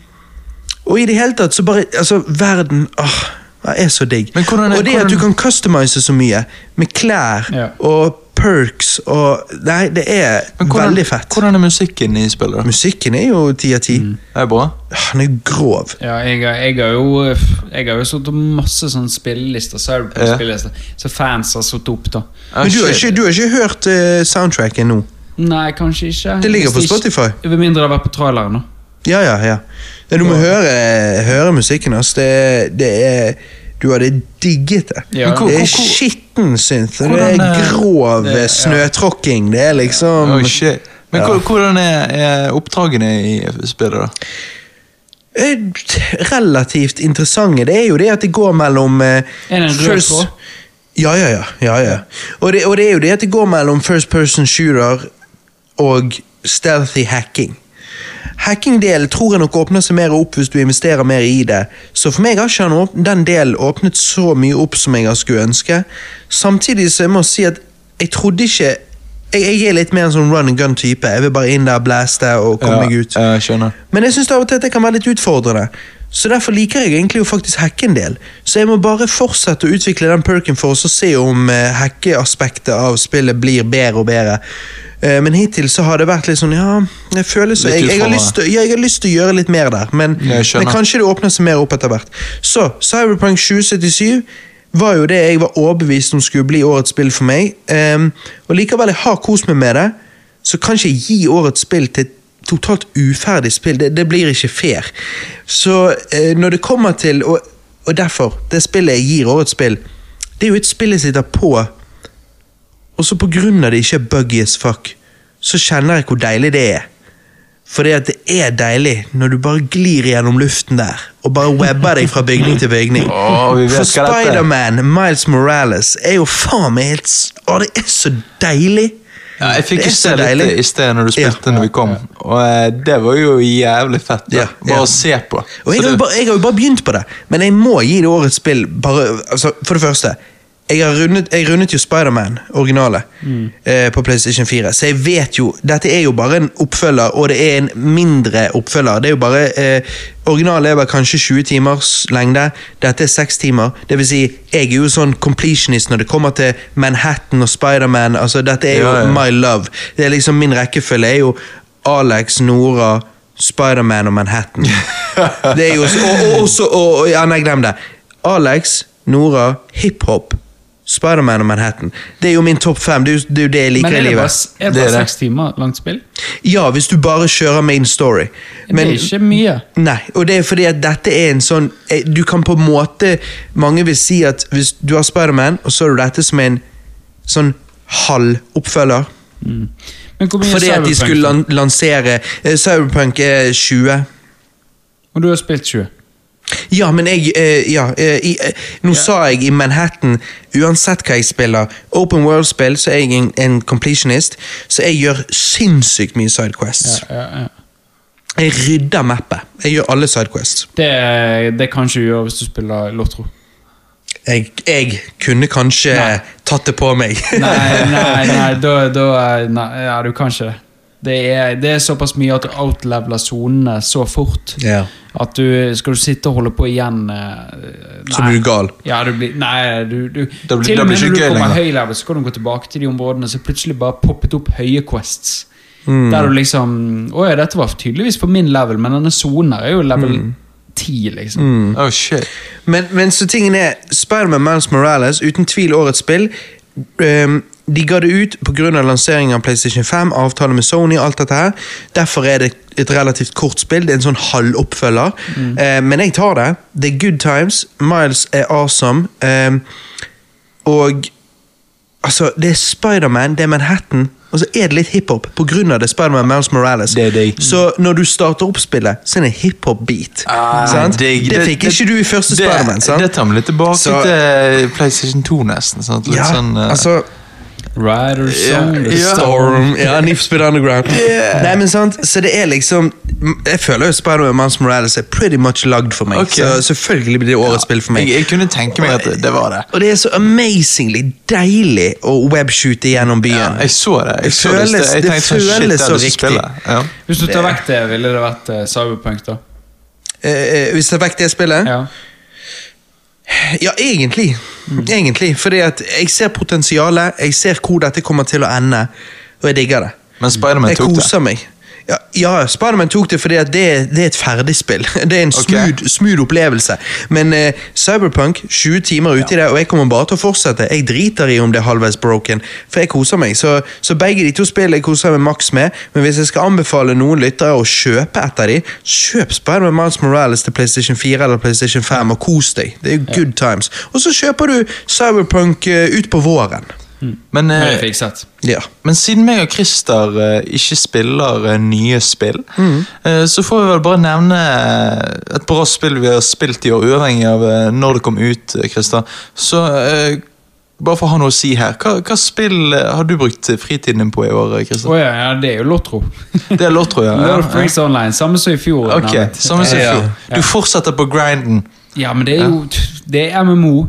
Speaker 2: og i det hele tatt så bare Altså, verden åh, den er så digg.
Speaker 1: Men hvordan er-
Speaker 2: og det at du
Speaker 1: hvordan-
Speaker 2: kan customize så mye med klær
Speaker 3: Ja.
Speaker 2: og perks og Nei, det er
Speaker 1: Men hvordan,
Speaker 2: veldig fett.
Speaker 1: hvordan Mm. er musikken i spillet? da?
Speaker 2: Musikken er jo ti av ti.
Speaker 1: Er det bra?
Speaker 2: Han er grov.
Speaker 3: Ja, jeg, har- jeg har jo Jeg har jo satt opp masse sånne spillelister, Cyberpunk-spillelister, så fans har satt opp, da.
Speaker 1: Ah,
Speaker 2: Men du har
Speaker 1: shit.
Speaker 2: ikke, du har ikke hørt eh, soundtracken nå?
Speaker 3: Nei, kanskje ikke.
Speaker 2: Det ligger
Speaker 3: Hvis
Speaker 2: på
Speaker 3: ikke-
Speaker 2: Spotify.
Speaker 3: Med mindre det har vært på traileren, da.
Speaker 2: Ja, ja, ja. ja du må høre, høre musikken hans. Det, det er Du hadde digget det.
Speaker 3: Ja. Men hvor-
Speaker 1: hvor-
Speaker 2: Det er
Speaker 1: hvor-
Speaker 2: skitten synth. Det
Speaker 1: Hvordan,
Speaker 2: er
Speaker 1: eh,
Speaker 2: grov
Speaker 3: det- ja.
Speaker 2: snøtråkking. Det er liksom
Speaker 1: Oi, shit. Men hvor- hvordan er, er oppdragene i spillet, da?
Speaker 2: eh, relativt interessante. Det er jo det at det går mellom eh,
Speaker 3: Er det en rød
Speaker 2: first-
Speaker 3: tråd?
Speaker 2: Ja, ja, ja. ja, ja. Og, det, og det er jo det at det går mellom first person shooter og stealthy hacking. Hacking-delen tror jeg nok åpner seg mer opp hvis du investerer mer i det. Så for meg har ikke han åp- den delen åpnet så mye opp som jeg skulle ønske. Samtidig så jeg må si at jeg trodde ikke Jeg, jeg er litt mer en sånn run and gun-type. Jeg vil bare inn der, blaste og komme meg ut.
Speaker 1: Ja, jeg skjønner.
Speaker 2: Men jeg syns av og til at det kan være litt utfordrende. Så derfor liker jeg egentlig å faktisk hacke en del. Så jeg må bare fortsette å utvikle den perken for oss og se om eh, hackeaspektet av spillet blir bedre og bedre. Eh, men hittil så har det vært litt sånn ja, jeg føler så
Speaker 1: Litt
Speaker 2: jeg, jeg, har
Speaker 1: utfordrende.
Speaker 2: lyst til, ja, jeg har lyst til å gjøre litt mer der, men,
Speaker 1: Ja, jeg skjønner.
Speaker 2: men kanskje det åpner seg mer opp etter hvert. Så Cyberpunk 2077 var jo det jeg var overbevist om skulle bli årets spill for meg. Ehm, og likevel jeg har kost meg med det, så kan ikke jeg gi årets spill til et totalt uferdig spill. Det, det blir ikke fair. Så eh, når det kommer til og, og derfor, det spillet jeg gir årets spill, det er jo et spill jeg sitter på, og så på grunn av det ikke er buggy as fuck, så kjenner jeg hvor deilig det er. Fordi at det er deilig når du bare glir gjennom luften der, og bare webber deg fra bygning til bygning.
Speaker 1: Åh, vi vet hva
Speaker 2: For
Speaker 1: dette er.
Speaker 2: Spiderman, Miles Morales, er jo faen meg helt s- Å, det er så deilig!
Speaker 1: Ja, jeg fikk
Speaker 2: Det er
Speaker 1: jo
Speaker 2: så
Speaker 1: se litt
Speaker 2: deilig.
Speaker 1: i sted når du spilte når vi kom, og eh, det var jo jævlig fett. Da.
Speaker 2: Ja,
Speaker 1: Bare
Speaker 2: ja.
Speaker 1: å se på.
Speaker 2: Og jeg
Speaker 1: Så
Speaker 2: har, jo
Speaker 1: det-
Speaker 2: bare, jeg har jo bare begynt på det, men jeg må gi det årets spill. Bare, altså, for det første, Jeg, har rundet, jeg rundet jo Spiderman, originale,
Speaker 1: Mm.
Speaker 2: eh, på PlayStation 4. Så jeg vet jo Dette er jo bare en oppfølger, og det er en mindre oppfølger. Det er jo bare eh, Originalen er vel kanskje 20 timers lengde. Dette er 6 timer. Det vil si, jeg er jo sånn completionist når det kommer til Manhattan og Spiderman. Altså, dette er jo
Speaker 1: Ja, ja.
Speaker 2: my love. Det er liksom Min rekkefølge er jo Alex, Nora, Spiderman og Manhattan. Det er jo så, og, og, også- og, og, Ja, nei, glem det. Alex, Nora, hiphop, Spiderman og Manhattan. Det er jo min topp fem. Det er jo det, er jo det jeg
Speaker 3: Men
Speaker 2: liker
Speaker 3: er
Speaker 2: i
Speaker 3: det bare,
Speaker 2: livet.
Speaker 3: s- er det
Speaker 1: Det er
Speaker 3: bare
Speaker 1: det.
Speaker 3: seks timer langt spill?
Speaker 2: Ja, hvis du bare kjører main story. Men-
Speaker 3: det er ikke mye.
Speaker 2: Nei, og det er fordi at dette er en sånn eh, Du kan på en måte Mange vil si at hvis du har Spiderman, og så har du dette som en sånn halv oppfølger.
Speaker 3: Men hvor mye
Speaker 2: Fordi at de
Speaker 3: Cyberpunk
Speaker 2: skulle lan lansere eh, Cyberpunk er 20.
Speaker 3: Og du har spilt 20.
Speaker 2: Ja, men jeg eh, Ja, eh, i, eh, nå sa jeg i Manhattan Uansett hva jeg spiller, open world-spill, så er jeg en, en completionist, så jeg gjør sinnssykt mye sidequests.
Speaker 3: Ja, ja.
Speaker 2: Jeg rydder mappet. Jeg gjør alle sidequests.
Speaker 3: Det, det kan ikke du gjøre hvis du spiller Lotro.
Speaker 2: Jeg, jeg kunne kanskje
Speaker 3: Nei.
Speaker 2: tatt det på meg.
Speaker 1: *laughs*
Speaker 3: Nei, nei, nei, da, da eh, nei, ja, du kan ikke det. Det er, det er såpass mye at du outleveler sonene så fort
Speaker 2: *laughs* Ja.
Speaker 3: at du skal du sitte og holde på igjen eh,
Speaker 2: Så
Speaker 3: nei.
Speaker 2: blir du gal.
Speaker 3: Ja, du blir Nei, du, du
Speaker 1: Da blir-
Speaker 3: Til
Speaker 1: da
Speaker 3: og
Speaker 1: blir
Speaker 3: med
Speaker 1: ikke
Speaker 3: når du
Speaker 1: gøy
Speaker 3: kommer
Speaker 1: lenger.
Speaker 3: høy level, så kan du gå tilbake til de områdene, så plutselig bare poppet opp høye quests.
Speaker 1: Mm.
Speaker 3: Der du liksom Å ja, dette var tydeligvis på min level, men denne sonen her er jo level
Speaker 1: Mm.
Speaker 3: 10, liksom.
Speaker 1: Oh, shit.
Speaker 2: Men, men så tingen er, Spiderman Miles Morales, uten tvil årets spill. ehm, de ga det ut pga. lanseringen av PlayStation 5, avtale med Sony, alt dette her. Derfor er det et relativt kort spill. Det er en sånn halvoppfølger.
Speaker 1: Mm.
Speaker 2: Eh, men jeg tar det. Det er good times. Miles er awesome. ehm, og Altså, det er Spiderman, det er Manhattan, og så er det litt hiphop pga. det Spiderman Miles Morales.
Speaker 1: Det er digg.
Speaker 2: Så når du starter opp spillet, så er det en hiphop-beat.
Speaker 1: Ah,
Speaker 2: sant?
Speaker 1: digg.
Speaker 2: det fikk ikke du i første
Speaker 1: det-
Speaker 2: Spiderman. sant?
Speaker 1: Det tar meg litt tilbake
Speaker 2: Så- eh,
Speaker 1: til PlayStation 2, nesten. Sant? Litt
Speaker 2: Ja,
Speaker 1: sånn eh,
Speaker 2: altså
Speaker 3: Rider Song,
Speaker 1: Ja,
Speaker 3: the
Speaker 1: ja.
Speaker 3: Storm.
Speaker 2: Storm,
Speaker 1: *laughs*
Speaker 2: ja, Need for Speed Underground. Nei, men sant, så det er liksom Jeg føler jo Spider-Man Miles Morales er pretty much lagd for meg.
Speaker 1: Ok.
Speaker 2: Så selvfølgelig blir det årets spill for meg.
Speaker 1: jeg, jeg kunne tenke meg at det var det.
Speaker 2: Og det er så amazingly deilig å webshoote gjennom byen.
Speaker 1: Jeg så det. Jeg
Speaker 2: Det
Speaker 1: så det, i sted.
Speaker 2: føles-
Speaker 1: jeg
Speaker 2: det
Speaker 1: tenkte sånn, shit,
Speaker 2: føles
Speaker 1: det er
Speaker 2: så
Speaker 1: det som
Speaker 2: riktig.
Speaker 1: spiller. Ja.
Speaker 3: Hvis du tar vekk det, ville det vært eh, Cyberpunk, da?
Speaker 2: Eh, eh, hvis jeg tar vekk det spillet?
Speaker 3: Ja.
Speaker 2: Ja, egentlig.
Speaker 1: Mm.
Speaker 2: Egentlig, Fordi at jeg ser potensialet, jeg ser hvor dette kommer til å ende, og jeg digger det.
Speaker 1: Men Spiderman
Speaker 2: Jeg
Speaker 1: tok det.
Speaker 2: koser meg. Ja, ja Spiderman tok det fordi at det, det er et ferdigspill. *laughs* Det er en smooth, smooth opplevelse. Men eh, Cyberpunk, 20 timer ute i det, og jeg kommer bare til å fortsette. Jeg driter i om det er halvveis broken, for jeg koser meg. Så, så begge de to spillene jeg koser meg maks med, men hvis jeg skal anbefale noen lyttere å kjøpe et av de, kjøp Spiderman Miles Morales til PlayStation 4 eller PlayStation 5 og kos deg. Det er jo good times. Og så kjøper du Cyberpunk eh, ut på våren.
Speaker 1: Men,
Speaker 3: Men
Speaker 1: eh,
Speaker 3: det fikk sett.
Speaker 2: Ja.
Speaker 1: men siden meg og Christer eh, ikke spiller eh, nye spill, eh, så får vi vel bare nevne eh, et bra spill vi har spilt i år, uavhengig av eh, når det kom ut, eh, Christer. Så eh, bare for å ha noe å si her, hva, hva spill eh, har du brukt eh, fritiden din på i år, eh, Christer?
Speaker 3: Å ja, ja, det er jo Lotro.
Speaker 1: Det er lov, tror jeg.
Speaker 3: Lord of the Rings Online, samme som i fjor.
Speaker 1: Ok,
Speaker 3: nevnt.
Speaker 1: samme som i
Speaker 2: Ja.
Speaker 1: fjor. Du fortsetter på grinden.
Speaker 3: Ja, men det er jo Det er MMO.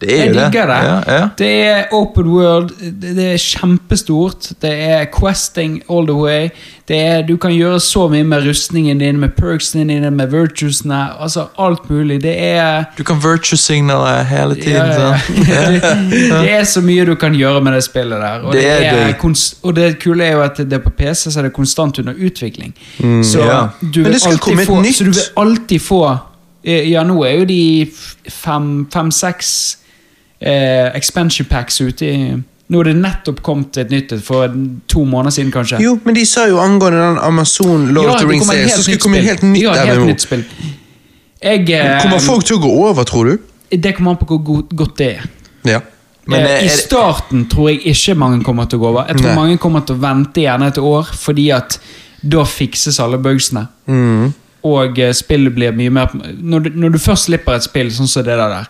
Speaker 1: Det er
Speaker 3: jeg
Speaker 1: jo det.
Speaker 3: digger det.
Speaker 1: Ja, ja.
Speaker 3: Det er open world, det det er kjempestort. Det er questing all the way. Det er, du kan gjøre så mye med rustningen din, med perksene dine, med virtuesene. Altså alt mulig. Det er
Speaker 1: Du kan virtue signale hele tiden.
Speaker 3: ja, ja,
Speaker 1: sant?
Speaker 3: ja. *laughs* Det, det er så mye du kan gjøre med det spillet der. Og det,
Speaker 1: Det er
Speaker 3: er
Speaker 1: det.
Speaker 3: kons- og det kule er jo at det er på PC, så er det konstant under utvikling. så,
Speaker 1: ja.
Speaker 3: du
Speaker 2: Mm, Men
Speaker 3: vil
Speaker 2: det skal komme
Speaker 3: alltid
Speaker 2: et
Speaker 3: få,
Speaker 2: nytt.
Speaker 3: så du vil alltid få eh, Ja, nå er jo de f- fem- fem-seks eh, expansion packs ute i Nå er det nettopp kommet et nytt et for to måneder siden, kanskje.
Speaker 2: Jo, men de sa jo angående den Amazon Lord of the Rings-serien, så skulle det komme et helt nytt
Speaker 3: ja, helt
Speaker 2: MMO.
Speaker 3: nytt spill. Jeg, eh,
Speaker 2: Kommer folk til å gå over, tror du?
Speaker 3: det kommer an på hvor god- godt det er.
Speaker 2: Ja.
Speaker 1: Men
Speaker 3: Eh,
Speaker 1: er-
Speaker 3: I
Speaker 1: er-
Speaker 3: starten tror jeg ikke mange kommer til å gå over. Jeg tror
Speaker 2: Nei.
Speaker 3: mange kommer til å vente gjerne et år, fordi at da fikses alle bugsene.
Speaker 2: Mm.
Speaker 3: Og eh, spillet blir mye mer når du, når du først slipper et spill, sånn som det der, der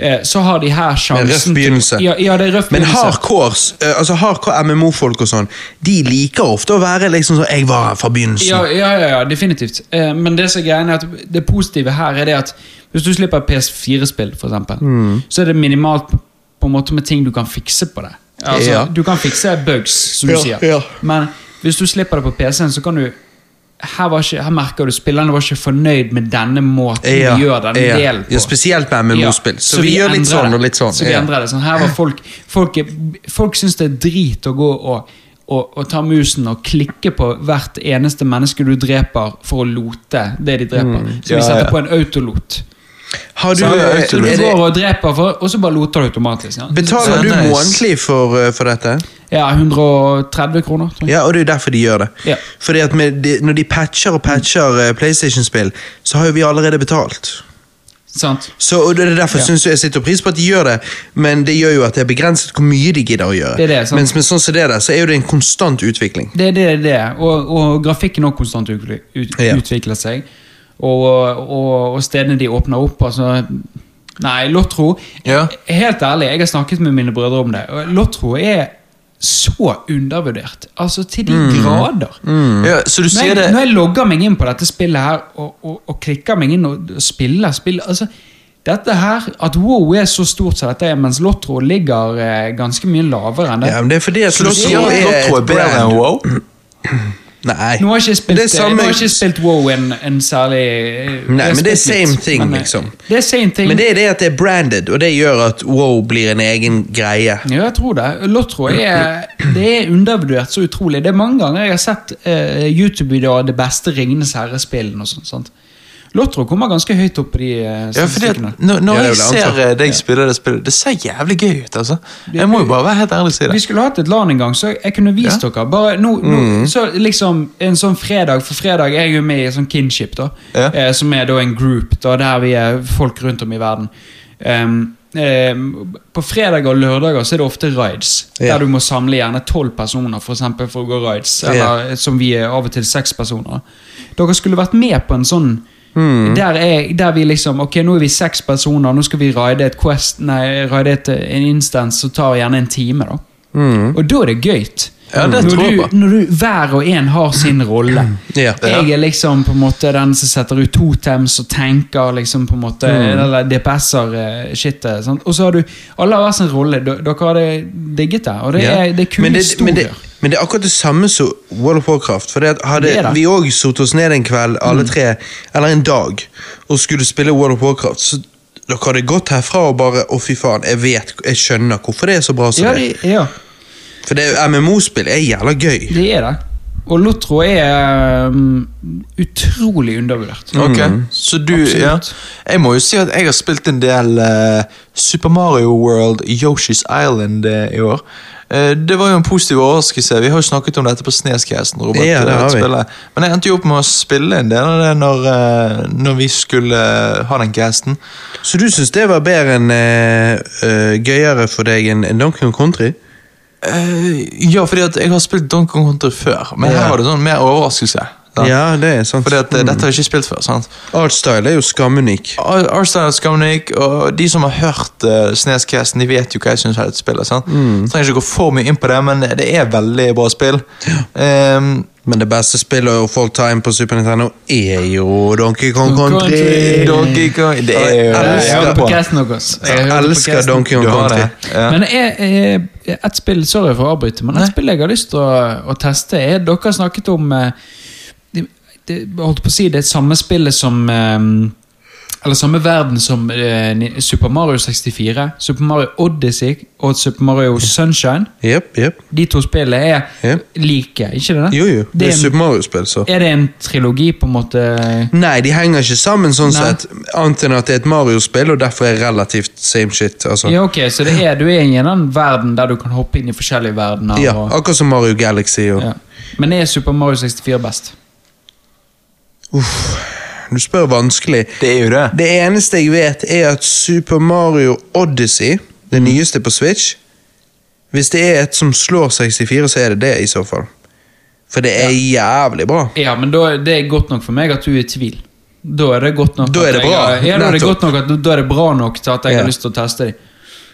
Speaker 3: eh, så har de her sjansen
Speaker 2: Det er røff
Speaker 3: til-
Speaker 2: begynnelse.
Speaker 3: Ja, ja, det er røff
Speaker 2: Men
Speaker 3: begynnelse.
Speaker 2: hardcores, eh, altså hardcore MMO-folk og sånn, de liker ofte å være liksom sånn 'Jeg var her fra begynnelsen'.
Speaker 3: Ja, ja, ja, ja definitivt. Eh, men det som er greien er at det
Speaker 2: Mm.
Speaker 3: positive her er det at hvis du slipper et PS4-spill, for eksempel, så er det minimalt på på en måte med ting du kan fikse på det. Altså,
Speaker 2: Ja.
Speaker 3: Du kan fikse bugs, som du
Speaker 2: Ja,
Speaker 3: sier.
Speaker 2: ja.
Speaker 3: Men hvis du slipper det på PC-en, så kan du her, var ikke, her merker du spillerne var ikke fornøyd med denne måten
Speaker 2: Ja,
Speaker 3: vi gjør denne
Speaker 2: ja.
Speaker 3: delen på.
Speaker 2: Ja, spesielt med MMO-spill.
Speaker 3: Ja,
Speaker 2: Så, vi, gjør litt
Speaker 3: endrer
Speaker 2: sånn
Speaker 3: det.
Speaker 2: og litt sånn.
Speaker 3: Så vi
Speaker 2: Ja.
Speaker 3: endrer det. Sånn, her var folk Folk, er- folk syns det er drit å gå og, og, og ta musen og klikke på hvert eneste menneske du dreper, for å lote det de dreper.
Speaker 2: Mm,
Speaker 3: så vi
Speaker 1: ja,
Speaker 3: setter
Speaker 1: ja.
Speaker 3: på en autolot.
Speaker 2: Har du,
Speaker 3: Så
Speaker 2: er,
Speaker 3: du går
Speaker 2: det,
Speaker 3: og dreper, for, og så bare loter du automatisk. Ja.
Speaker 2: betaler du
Speaker 1: Nice.
Speaker 2: månedlig for, eh, for dette?
Speaker 3: Ja, 130 kroner, tror jeg.
Speaker 2: Ja, og det er jo derfor de gjør det.
Speaker 3: Mm. Ja.
Speaker 2: Fordi at med de, Når de patcher og patcher eh, PlayStation-spill, så har jo vi allerede betalt.
Speaker 3: Sant?
Speaker 2: Så og det er Derfor
Speaker 3: Ja.
Speaker 2: synes jeg jeg setter pris på at de gjør det, men det gjør jo at det er begrenset hvor mye de gidder å gjøre.
Speaker 3: Det er det, sant.
Speaker 2: Mens med sånn som det der, så er jo det en konstant utvikling.
Speaker 3: Det er det det er. Og, og grafikken også konstant utvikler, ut,
Speaker 2: Ja.
Speaker 3: utvikler seg. Og, og, og stedene de åpner opp altså, Nei, Lotro
Speaker 1: Ja.
Speaker 3: Helt ærlig, jeg har snakket med mine brødre om det. og Lotro er så undervurdert. Altså til de grader.
Speaker 1: Ja, så Mm. du
Speaker 3: Når
Speaker 1: sier
Speaker 3: jeg,
Speaker 1: det
Speaker 3: når jeg logger meg inn på dette spillet her og, og, og klikker meg inn og spiller spill altså, Dette her, At WoW er så stort som dette er, mens Lotro ligger eh, ganske mye lavere enn det.
Speaker 2: Ja, men det er fordi at
Speaker 1: Så du sier
Speaker 2: Lotto
Speaker 1: at Lotto er
Speaker 2: et
Speaker 1: bedre enn
Speaker 2: brand.
Speaker 1: Wow?
Speaker 2: Nei.
Speaker 3: Nå har jeg ikke spilt, eh,
Speaker 2: Det er samme-
Speaker 3: nå har jeg ikke spilt WoW en, en særlig eh, jeg har
Speaker 2: men det er
Speaker 3: spilt
Speaker 2: same
Speaker 3: litt,
Speaker 2: thing,
Speaker 3: men, eh,
Speaker 2: liksom.
Speaker 3: Det er same thing.
Speaker 2: Men det er det at det er branded, og det gjør at wow blir en egen greie.
Speaker 3: Ja, jeg tror det. Lotro er, det er undervurdert så utrolig. Det er mange ganger jeg har sett eh, YouTube-videoer av det beste Ringenes herre-spillene og sånn. sant? Lotro kommer ganske høyt opp på de eh,
Speaker 1: Ja, fordi at
Speaker 3: statistikkene.
Speaker 1: når, når
Speaker 2: Ja, det er
Speaker 1: jeg
Speaker 2: vel antatt.
Speaker 1: ser eh, deg spille det spillet, det ser jævlig gøy ut, altså. Jeg må jo bare være helt ærlig og si det.
Speaker 3: Vi skulle hatt et LAN en gang, så jeg kunne vist dere. Bare nå, nå,
Speaker 1: Mm.
Speaker 3: så liksom En sånn fredag, for fredag er jeg jo med i en sånn kinship, da.
Speaker 1: Ja.
Speaker 3: Eh, som er da en group, da, der vi er folk rundt om i verden. Ehm, ehm, på fredager og lørdager så er det ofte rides.
Speaker 2: Ja.
Speaker 3: Der du må samle gjerne tolv personer for, eksempel, for å gå rides.
Speaker 2: Ja.
Speaker 3: Eller eh, som vi er av og til seks personer. Dere skulle vært med på en sånn
Speaker 1: Mm.
Speaker 3: der, er, der vi liksom Ok, nå er vi seks personer, nå skal vi ride et quest Nei, ride et, en instans som tar gjerne en time, da. Og da er det gøy.
Speaker 1: Ja, det tror jeg
Speaker 3: når, du,
Speaker 1: på.
Speaker 3: når du hver og en har sin rolle.
Speaker 2: Ja.
Speaker 3: Jeg er liksom på en måte den som setter ut totems og tenker liksom på en måte Eller DPS-er-shitet. Og så har du Alle har hver sin rolle. D- Dere har det digget det, og det
Speaker 2: Ja.
Speaker 3: er, det er kule
Speaker 2: men det,
Speaker 3: historier.
Speaker 2: men, det, men det er akkurat det samme som World of Warcraft. For det at hadde
Speaker 3: Det Mm. er det.
Speaker 2: vi òg satt oss ned en kveld, alle tre, eller en dag, og skulle spille World of Warcraft, så dere hadde gått herfra og bare Å, fy faen, jeg vet, jeg skjønner hvorfor det er så bra som
Speaker 3: ja,
Speaker 2: det.
Speaker 3: det, ja,
Speaker 2: er. For det MMO-spill er jævla gøy.
Speaker 3: det er det. Og Lotro er um, utrolig undervurdert.
Speaker 1: Ok,
Speaker 2: Mm.
Speaker 1: så du, ja.
Speaker 3: Absolutt.
Speaker 1: Jeg må jo si at jeg har spilt en del eh, Super Mario World Yoshi's Island eh, i år. Eh, det var jo en positiv overraskelse. Vi har jo snakket om dette på Snescasten. Robert,
Speaker 2: Ja, det
Speaker 1: eh,
Speaker 2: har vi.
Speaker 1: spillet. Men jeg endte jo opp med å spille en del av det når, eh, når vi skulle eh, ha den casten.
Speaker 2: Så du syns det var bedre enn eh, eh, gøyere for deg enn enn Donkey Kong Country?
Speaker 1: Eh, ja, fordi at jeg har spilt Donkey Kong Country før, men
Speaker 2: Ja.
Speaker 1: her var det sånn mer overraskelse. sant?
Speaker 2: Ja, det er sant.
Speaker 1: Fordi at eh, dette har jeg ikke spilt før. sant?
Speaker 2: Artstyle er jo skamunik.
Speaker 1: Ar- Arsenal Skamnik og de som har hørt uh, Snescasten, de vet jo hva jeg syns om dette spillet. sant?
Speaker 2: Mm.
Speaker 1: Trenger ikke gå for mye inn på det, men det er veldig bra spill. Ehm,
Speaker 2: Men det beste spillet of all time på Super Nintendo er jo Donkey Kong
Speaker 3: Donkey
Speaker 2: Country.
Speaker 3: Country.
Speaker 1: Donkey Kong Det er jo
Speaker 2: Ja,
Speaker 3: Jeg
Speaker 2: elsker-
Speaker 3: hørte
Speaker 1: det er
Speaker 3: på
Speaker 1: bra.
Speaker 3: casten deres. Jeg hørte
Speaker 2: Jeg
Speaker 3: på
Speaker 2: elsker
Speaker 3: casten.
Speaker 2: Donkey Kong
Speaker 1: Du har
Speaker 2: Country.
Speaker 1: det. Ja.
Speaker 3: Men er, er, et spill, sorry for å avbryte, men et spill jeg har lyst til å, å teste er, Dere har snakket om eh, det, det, holdt på å si, det er samme spillet som eh, Eller samme verden som eh, Ni- Super Mario 64, Super Mario Odyssey og Super Mario Sunshine.
Speaker 2: Jep, jep.
Speaker 3: De to spillene er
Speaker 2: Ja.
Speaker 3: like, ikke det?
Speaker 2: Jo, jo. Det,
Speaker 3: Det
Speaker 2: er
Speaker 3: er-
Speaker 2: Super Mario-spill, så.
Speaker 3: Er det en trilogi, på en måte?
Speaker 2: Nei, de henger ikke sammen sånn
Speaker 3: Nei.
Speaker 2: sett, annet enn at det er et Mario-spill, og derfor er relativt same shit. Altså.
Speaker 3: Ja, ok, Så det er, du er i en annen verden der du kan hoppe inn i forskjellige verdener?
Speaker 2: Ja,
Speaker 3: og-
Speaker 2: akkurat som Mario Galaxy. Og...
Speaker 3: Ja. Men er Super Mario 64 best?
Speaker 2: Du spør vanskelig.
Speaker 1: Det er jo det.
Speaker 2: Det eneste jeg vet, er at Super Mario Odyssey,
Speaker 3: Mm.
Speaker 2: det nyeste på Switch Hvis det er et som slår 64, så er det det, i så fall. For det er jævlig bra.
Speaker 3: Ja, men da, det er godt nok for meg at du er i tvil. Da er det godt nok
Speaker 2: Da
Speaker 3: at
Speaker 2: er det
Speaker 3: jeg
Speaker 2: bra,
Speaker 3: har- Ja, da er det
Speaker 2: nettopp.
Speaker 3: godt nok at, da er det bra nok til at jeg
Speaker 2: Ja.
Speaker 3: har lyst til å teste dem.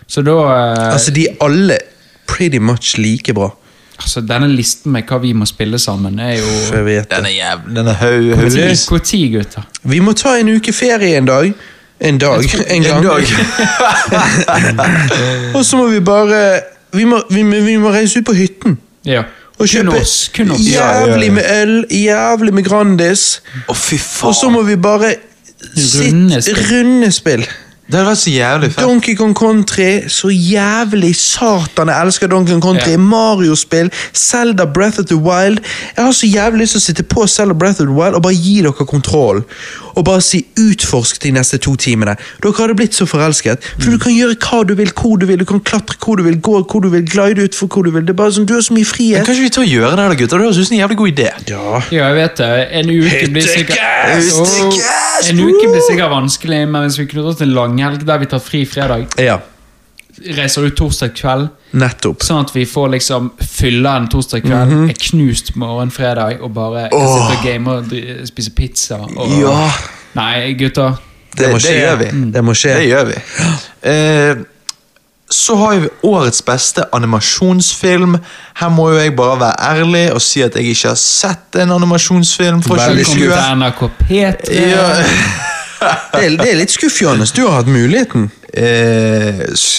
Speaker 3: Så da eh,
Speaker 2: Altså, de er alle pretty much like bra.
Speaker 3: altså, Denne listen med hva vi må spille sammen, er
Speaker 2: Så
Speaker 3: jo
Speaker 2: jeg vet det.
Speaker 1: Den er jævlig Den er høy,
Speaker 3: Hvor
Speaker 1: høyløs.
Speaker 3: ti- Hvor ti, gutter?
Speaker 2: Vi må ta en uke ferie en dag, En dag. En gang.
Speaker 1: En dag.
Speaker 2: Og så må vi bare vi må, vi, må- vi må reise ut på hytten.
Speaker 3: Ja.
Speaker 2: Og
Speaker 3: Kun
Speaker 2: kjøpe
Speaker 3: oss. Kun oss.
Speaker 1: Ja.
Speaker 2: jævlig med øl, jævlig med Grandis.
Speaker 1: *laughs* Å, fy
Speaker 2: Og så
Speaker 1: faen.
Speaker 2: må vi bare
Speaker 3: Rundespill.
Speaker 2: Rundespill.
Speaker 1: Det hadde vært så jævlig fett.
Speaker 2: Donkey Kong Country, så jævlig satan jeg elsker Donkey Kong Country.
Speaker 3: Ja.
Speaker 2: Mario-spill, Zelda Breath of the Wild. Jeg har så jævlig lyst til å sitte på Zelda Breath of the Wild og bare gi dere kontroll. Og bare si 'utforsk' de neste to timene. Dere hadde blitt så forelsket. For
Speaker 1: Mm.
Speaker 2: du kan gjøre hva du vil, hvor du vil, du kan klatre hvor du vil, gå hvor du vil, glide utfor hvor du vil. Det er bare sånn, Du har så mye
Speaker 1: Men
Speaker 2: frihet.
Speaker 1: kan ikke vi ta og gjøre det, da, gutter? Det høres ut som en jævlig god idé.
Speaker 2: Ja.
Speaker 3: Ja, jeg vet det. En uke blir sikkert
Speaker 2: Hyttekast!
Speaker 3: Åh,
Speaker 1: Hyttekast,
Speaker 3: En uke blir sikkert vanskelig, men hvis vi kunne dratt en langhelg der vi tar fri fredag,
Speaker 2: ja.
Speaker 3: reiser ut torsdag kveld,
Speaker 2: Nettopp.
Speaker 3: sånn at vi får liksom fylle en torsdag kveld, er knust morgen fredag og bare kan
Speaker 1: Mhm. Åh.
Speaker 3: sitte og game og dri- spise pizza og
Speaker 1: Ja.
Speaker 3: Nei, gutter.
Speaker 1: Det,
Speaker 2: må
Speaker 1: det,
Speaker 2: skje. Mm.
Speaker 1: gjør vi.
Speaker 2: Det må skje.
Speaker 1: Det gjør vi. Eh, så har vi årets beste animasjonsfilm. Her må jo jeg bare være ærlig og si at jeg ikke har sett en animasjonsfilm. fra
Speaker 2: Veldig
Speaker 3: Velkommen til
Speaker 1: 2020.
Speaker 3: NRK P3.
Speaker 1: Ja,
Speaker 2: Det er, det er litt skuffende. Du har hatt muligheten.
Speaker 1: eh, s-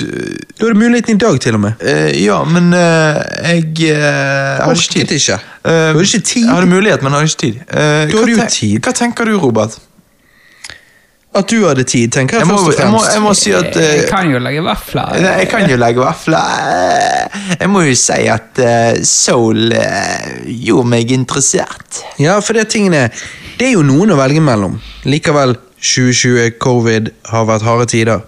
Speaker 2: Du hadde muligheten i dag, til og med.
Speaker 1: Eh, ja, men eh, jeg eh, hadde ikke tid.
Speaker 2: Orket ikke.
Speaker 1: Eh,
Speaker 2: Du hadde ikke tid.
Speaker 1: Jeg hadde mulighet, men jeg hadde ikke tid. Eh,
Speaker 2: Du hadde jo
Speaker 1: hva,
Speaker 2: tid.
Speaker 1: hva tenker du, Robert?
Speaker 2: At du hadde tid, tenker
Speaker 1: Jeg
Speaker 2: jeg,
Speaker 1: må,
Speaker 2: først og
Speaker 1: jeg, må,
Speaker 2: fremst.
Speaker 1: jeg må si at eh,
Speaker 3: Jeg kan jo lage vafler.
Speaker 1: Nei, Jeg kan jo legge vafler. Jeg må jo si at eh, Soul eh, gjorde meg interessert.
Speaker 2: Ja, for det tingene Det er jo noen å velge mellom. Likevel, 2020, covid, har vært harde tider.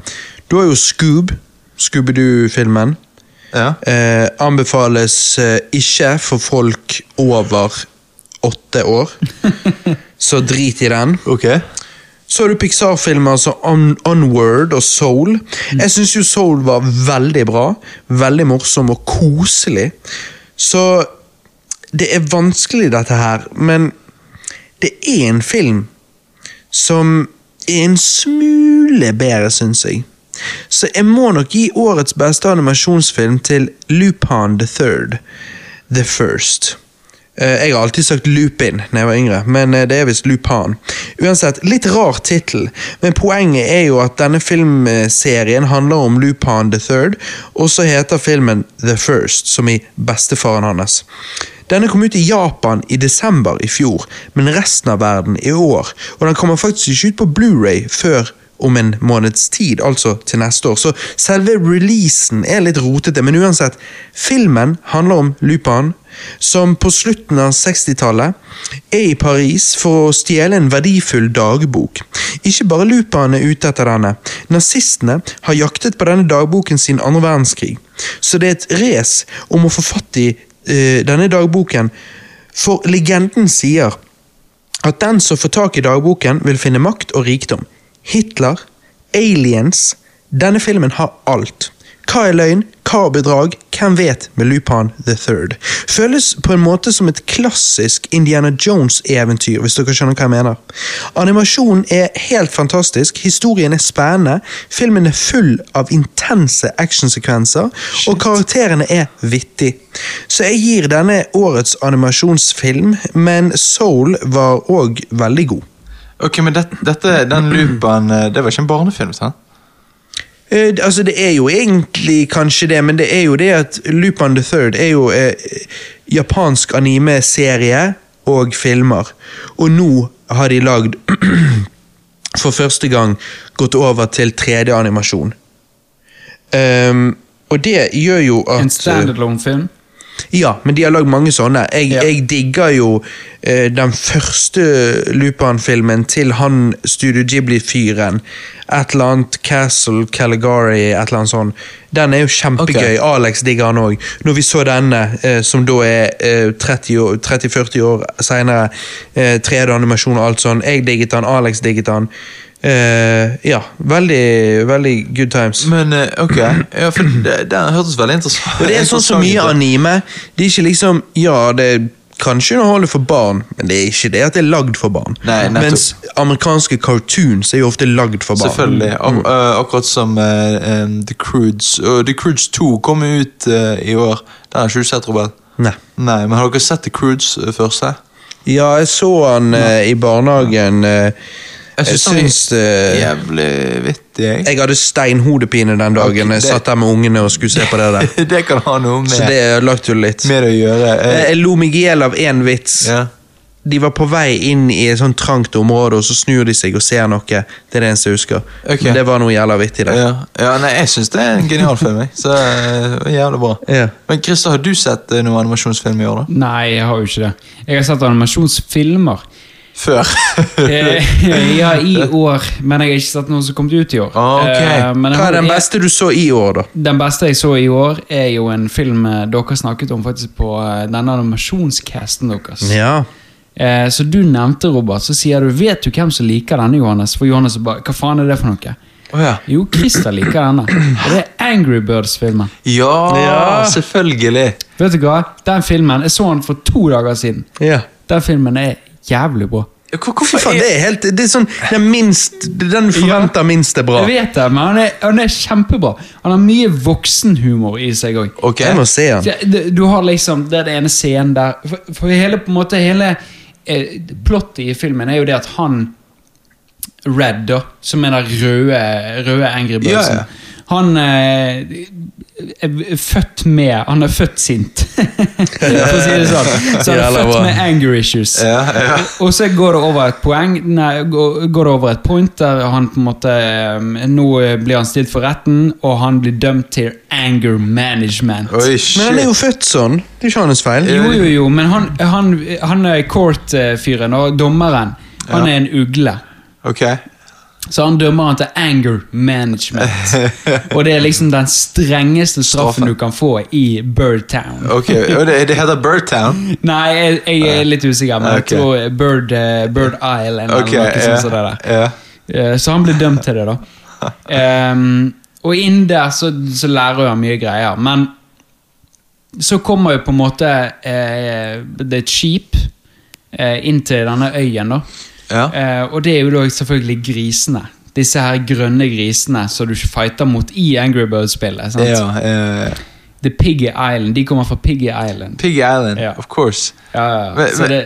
Speaker 2: Du har jo Scoob, Scooby-Doo-filmen.
Speaker 1: Ja.
Speaker 2: Eh, anbefales eh, ikke for folk over åtte
Speaker 1: *laughs*
Speaker 2: år. Så drit i den.
Speaker 1: Ok.
Speaker 2: Så har du Pixar-filmer som On Onward og Soul. Jeg syns jo Soul var veldig bra. Veldig morsom og koselig. Så det er vanskelig, dette her, men det er en film som er en smule bedre, syns jeg. Så jeg må nok gi årets beste animasjonsfilm til Lupin the Third. The First. Eh, Jeg har alltid sagt Lupin når jeg var yngre, men eh, det er visst Lupin. Uansett, litt rar tittel, men poenget er jo at denne filmserien handler om Lupin the Third, og så heter filmen The First, som i bestefaren hans. Denne kom ut i Japan i desember i fjor, men resten av verden i år, og den kommer faktisk ikke ut på Blu-ray før om en måneds tid, altså til neste år. Så selve releasen er litt rotete, men uansett. Filmen handler om Lupin, som på slutten av 60-tallet er i Paris for å stjele en verdifull dagbok. Ikke bare Lupin er ute etter denne. Nazistene har jaktet på denne dagboken siden andre verdenskrig, så det er et race om å få fatt i eh, denne dagboken, for legenden sier at den som får tak i dagboken, vil finne makt og rikdom. Hitler, aliens Denne filmen har alt. Hva er løgn, hva er bedrag, hvem vet med Lupin the Third. Føles på en måte som et klassisk Indiana Jones-eventyr, hvis dere skjønner hva jeg mener. Animasjonen er helt fantastisk, historien er spennende, filmen er full av intense actionsekvenser, og karakterene er vittig. Så jeg gir denne årets animasjonsfilm, men Soul var òg veldig god.
Speaker 1: Ok, men det, dette, den loopen, eh, det var ikke en barnefilm, sant?
Speaker 2: Eh, d- altså, det er jo egentlig kanskje det, men det er jo det at Lupin the Third er jo eh, japansk anime-serie og filmer. Og nå har de lagd *clears throat* for første gang gått over til 3D-animasjon. Ehm, og det gjør jo at
Speaker 3: En standalone-film.
Speaker 2: Ja, men de har lagd mange sånne. Jeg,
Speaker 3: Ja.
Speaker 2: jeg digger jo eh, den første Lupin-filmen til han Studio Ghibli-fyren. Et eller annet Castle Caligari, et eller annet sånt. Den er jo kjempegøy. Alex digger han òg. Når vi så denne, eh, som da er eh, 30 år- 30-40 år seinere, eh, 3D-animasjon og alt sånn. Jeg digget han, Alex digget han. Eh, ja, veldig, veldig good times.
Speaker 1: Men eh, ok, ja, for det, den hørtes veldig interessant
Speaker 2: Og det er sånn så mye
Speaker 1: interessant ut.
Speaker 2: anime. Det er ikke liksom Ja, det er kanskje underholder for barn, men det er ikke det at det er lagd for barn.
Speaker 1: Nei, nettopp.
Speaker 2: Mens amerikanske cartoons er jo ofte lagd for barn.
Speaker 1: Selvfølgelig. Ak eh, akkurat som eh, eh, The Crudes. Og The Crudes 2 kom jo ut eh, i år. Den har ikke du sett, Robert?
Speaker 2: Nei.
Speaker 1: Nei, men har dere sett The Crudes eh, først? her?
Speaker 2: Ja, jeg så han eh, i barnehagen. eh,
Speaker 1: Jeg
Speaker 2: Jeg
Speaker 1: syns den
Speaker 2: syns
Speaker 1: er
Speaker 2: eh,
Speaker 1: jævlig vittig, jeg.
Speaker 2: Jeg hadde steinhodepine den dagen
Speaker 1: Ok,
Speaker 2: jeg
Speaker 1: det-
Speaker 2: satt der med ungene og skulle se på det der.
Speaker 1: Det kan ha noe *laughs* med,
Speaker 2: Så det ødelagte jo litt.
Speaker 1: med det å gjøre.
Speaker 2: Jeg
Speaker 1: Jeg,
Speaker 2: jeg lo meg i hjel av én vits.
Speaker 1: ja.
Speaker 2: De var på vei inn i et sånt trangt område, og så snur de seg og ser noe. Det er det eneste jeg husker.
Speaker 1: Ok.
Speaker 2: Men det var noe jævla vittig der.
Speaker 1: Ja. ja, nei, jeg syns det er en genial film. Jeg. Så eh, jævlig bra.
Speaker 2: Ja.
Speaker 1: Men Christer, har du sett eh, noen animasjonsfilm i år, da?
Speaker 3: Nei, jeg har jo ikke det. Jeg har sett animasjonsfilmer.
Speaker 1: Før?
Speaker 3: Eh, *laughs* ja, i år, men jeg har ikke sett noen som kom ut i år.
Speaker 1: Ah, ok.
Speaker 3: Eh, men jeg
Speaker 2: Hva
Speaker 3: har-
Speaker 2: er den
Speaker 3: jeg-
Speaker 2: beste du så i år, da?
Speaker 3: Den beste jeg så i år, er jo en film eh, dere snakket om faktisk på eh, denne animasjonscasten deres.
Speaker 2: Ja.
Speaker 3: Eh, så du nevnte, Robert, så sier du 'Vet du hvem som liker denne, Johannes?' For Johannes bare 'Hva faen er det for noe?'
Speaker 1: Å ja.
Speaker 3: Jo, Christer liker denne. Og det er Angry Birds-filmen.
Speaker 1: *laughs* *laughs* Ja,
Speaker 2: Ja.
Speaker 1: selvfølgelig.
Speaker 3: Vet du hva? Den filmen, Jeg så den for to dager siden.
Speaker 2: ja.
Speaker 3: Den filmen er jævlig bra.
Speaker 1: Ja, hvor- Hvorfor
Speaker 2: Fy faen, det er helt Det er sånn Den minst Den du forventer minst er bra.
Speaker 3: Jeg vet det, men han er, han er kjempebra. Han har mye voksenhumor i seg òg.
Speaker 1: Ok.
Speaker 2: Jeg må se den.
Speaker 3: Ja, det- Du har liksom det er den ene scenen der For, for hele på en måte hele eh, plottet i filmen er jo det at han Red, da, som er den røde, røde Angry Birdsen
Speaker 1: Ja, ja.
Speaker 3: Han eh, er født med Han er født sint, *laughs* for å si det sånn. Så han er
Speaker 2: Jævla
Speaker 3: født
Speaker 2: bra.
Speaker 3: med anger issues.
Speaker 1: Ja, ja.
Speaker 3: Og så går det over et poeng Nei, går går det over et point der han på en måte eh, Nå eh, blir han stilt for retten, og han blir dømt til anger management.
Speaker 1: Oi,
Speaker 2: Men han
Speaker 1: shit.
Speaker 2: er jo født sånn. Det er ikke hans feil.
Speaker 1: Eh,
Speaker 3: Jo, jo, jo, men han, han, han er court-fyren og dommeren. Han er en ugle.
Speaker 1: Ok.
Speaker 3: Så han dømmer han til anger
Speaker 1: *laughs*
Speaker 3: management. Og det er liksom den strengeste straffen
Speaker 1: Straffen.
Speaker 3: du kan få i Birdtown.
Speaker 1: *laughs* Ok, og det, det heter Birdtown?
Speaker 3: Nei, jeg, jeg er litt usikker, men jeg
Speaker 1: Ok.
Speaker 3: tror Bird, eh, Bird Island eller
Speaker 1: Ok,
Speaker 3: noe sånt som det der.
Speaker 1: ja.
Speaker 3: Eh, Så han ble dømt til det, da.
Speaker 1: *laughs*
Speaker 3: Ehm, og inn der så, så lærer jo han mye greier, men så kommer jo på en måte eh, det er et skip eh, inn til denne øyen, da.
Speaker 1: Ja.
Speaker 3: Eh, og det er jo da selvfølgelig grisene. Disse her grønne grisene som du ikke fighter mot i Angry Birds-spillet. sant?
Speaker 1: ja. eh,
Speaker 3: The Piggy Island. De kommer fra Piggy Island.
Speaker 1: Pig Island,
Speaker 3: Ja.
Speaker 1: of course.
Speaker 3: Ja, ja, ja.
Speaker 1: Men-
Speaker 3: Så
Speaker 1: men-
Speaker 3: det,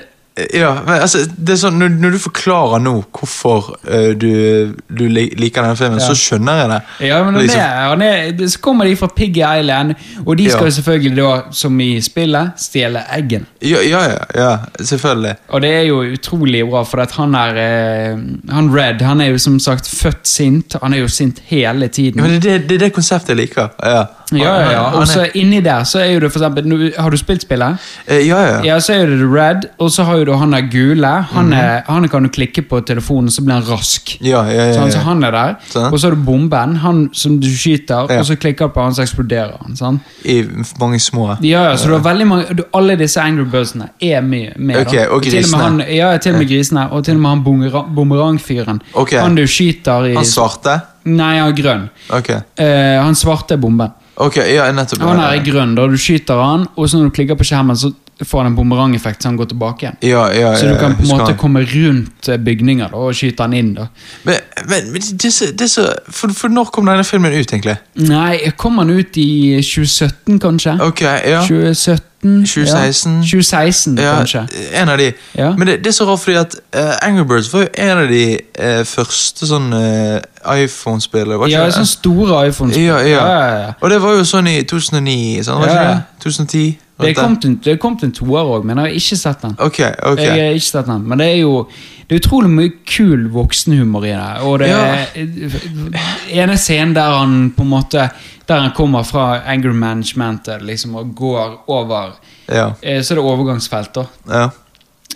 Speaker 1: Ja, men altså, det er sånn, når, når du forklarer nå hvorfor eh, du, du li- liker den filmen,
Speaker 3: Ja.
Speaker 1: så skjønner jeg det.
Speaker 3: Ja, men han
Speaker 1: Liksom,
Speaker 3: er, han er, så kommer de fra Piggy Island, og de skal
Speaker 1: Ja.
Speaker 3: jo selvfølgelig da, som i spillet, stjele eggene.
Speaker 1: ja, ja, ja, ja, selvfølgelig.
Speaker 3: Og det er jo utrolig bra, for at han er eh, Han Red han er jo som sagt født sint. Han er jo sint hele
Speaker 1: Ja, men
Speaker 3: tiden.
Speaker 1: det, er det, det er det konseptet jeg liker. Ja,
Speaker 3: Ja, ja, ja.
Speaker 1: Han-
Speaker 3: Og
Speaker 1: han
Speaker 3: så
Speaker 1: er-
Speaker 3: inni der så er jo det for eksempel nå- Har du spilt spillet?
Speaker 1: eh, ja, ja. Mhm.
Speaker 3: Ja, så er det The Red, og så har jo du han der gule. Han, er, han kan du klikke på telefonen, så blir han rask.
Speaker 1: Ja, ja, ja,
Speaker 3: Sånn, så
Speaker 1: ja.
Speaker 3: han er der.
Speaker 1: Sant.
Speaker 3: Og så har du bomben, han som du skyter,
Speaker 1: Ja.
Speaker 3: og så klikker du på han, så eksploderer han. sant?
Speaker 1: I mange små
Speaker 3: Ja, ja, så du har veldig mange du, Alle disse Angry Birdsene er med. med da.
Speaker 1: Ok, og
Speaker 3: Til og med
Speaker 1: grisene.
Speaker 3: han, ja, til og med grisene, og til og med han boomerang- bumerangfyren.
Speaker 1: Ok.
Speaker 3: Han du skyter i
Speaker 1: Han svarte?
Speaker 3: Nei, han er grønn.
Speaker 1: Ok,
Speaker 3: Eh, han svarte er bomben.
Speaker 1: ok, ja, nettopp.
Speaker 3: Han her er grønn, da. Du skyter han, og så når du klikker på skjermen, så får han en bumerangeffekt, så han går tilbake igjen.
Speaker 1: Ja, ja, ja,
Speaker 3: Så du kan på en
Speaker 1: husker
Speaker 3: måte
Speaker 1: han.
Speaker 3: komme rundt eh, bygninger da, og skyte han inn. da.
Speaker 1: Men, men, men det, er så- det er så for, for når kom denne filmen ut, egentlig?
Speaker 3: Nei, kom han ut i 2017, kanskje?
Speaker 1: Ok, ja.
Speaker 3: 2017? Ja.
Speaker 1: 2016.
Speaker 3: 2016,
Speaker 1: Ja,
Speaker 3: kanskje.
Speaker 1: en av de.
Speaker 3: Ja.
Speaker 1: Men det, det er så rart, fordi at eh, Angry Birds var jo en av de eh, første sånn eh, iPhone-spillene. var ikke
Speaker 3: Ja,
Speaker 1: det?
Speaker 3: sånn store iPhones.
Speaker 1: ja, ja.
Speaker 3: ja, ja.
Speaker 1: Og det var jo sånn i 2009, sant? Var ikke
Speaker 3: Ja.
Speaker 1: det? 2010?
Speaker 3: Det
Speaker 1: rundt
Speaker 3: kom til, det kom til en toer òg, men jeg har ikke sett den.
Speaker 1: der. Ok, ok.
Speaker 3: Jeg har ikke sett den, Men det er jo det er utrolig mye kul voksenhumor i det. Og det er ene scenen der han på en måte Der han kommer fra anger management liksom, og går over
Speaker 1: Ja,
Speaker 3: eh, Så er det overgangsfelt, da.
Speaker 1: ja.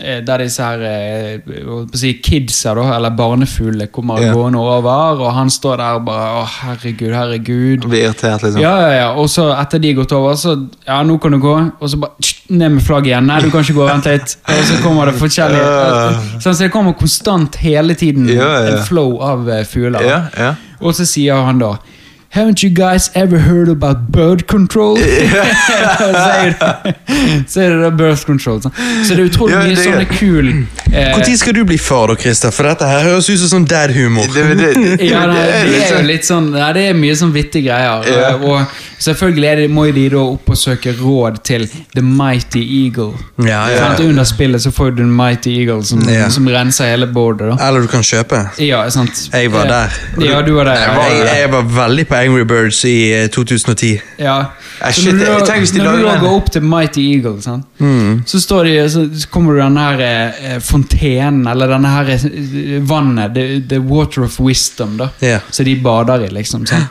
Speaker 3: eh, Der disse her eh, hva skal jeg si, kidsa, da, eller barnefuglene, kommer
Speaker 1: Ja.
Speaker 3: gående over, og han står der og bare Å, herregud, herregud.
Speaker 1: Jeg Blir irritert, liksom.
Speaker 3: Ja, ja, ja. Og så etter de har gått over, så Ja, nå kan du gå. Og så bare tsk, ned med flagget igjen. Nei, du kan ikke gå. Vent litt. Og så kommer det forskjellige
Speaker 1: Ja.
Speaker 3: Sånn, Så det kommer konstant hele tiden
Speaker 1: Ja, ja, ja.
Speaker 3: en flow av eh, fugler.
Speaker 1: Ja, ja.
Speaker 3: Og så sier han da Haven't you guys ever heard about bird control? *laughs* så, er det, så er det da birth control. sant? Så det er utrolig
Speaker 1: Ja,
Speaker 3: mye
Speaker 1: det er-
Speaker 3: sånne kul eh,
Speaker 2: Når skal du bli far, da, Christer? For dette her høres ut som sånn dad-humor.
Speaker 1: Det, det, det,
Speaker 3: ja, nei, det
Speaker 1: litt
Speaker 3: er jo
Speaker 1: sånn-
Speaker 3: litt sånn nei, Det er mye sånn vittige greier.
Speaker 1: Ja.
Speaker 3: Og selvfølgelig er det, må jo de da opp og søke råd til The Mighty Eagle.
Speaker 2: Ja, ja.
Speaker 3: Sant? Under spillet så får du The Mighty Eagle som,
Speaker 2: Ja.
Speaker 3: som renser hele bordet. da
Speaker 2: Eller du kan kjøpe.
Speaker 3: Ja, sant
Speaker 2: Jeg var
Speaker 3: Eh,
Speaker 2: der.
Speaker 3: Ja, du var der.
Speaker 2: Jeg
Speaker 3: ja.
Speaker 2: var, jeg var veldig på Angry Birds i eh, 2010.
Speaker 3: Ja.
Speaker 1: Eh,
Speaker 3: Så
Speaker 1: shit,
Speaker 3: når
Speaker 1: jeg-
Speaker 3: du,
Speaker 1: tenk hvis de
Speaker 3: når du
Speaker 1: lager
Speaker 3: da
Speaker 1: den.
Speaker 3: går opp til Mighty Eagle, sant? så, står de, så så kommer det denne her eh, fontenen, eller denne her eh, vannet, the, the water of wisdom, da.
Speaker 2: Ja.
Speaker 3: Så de bader i, liksom. sant?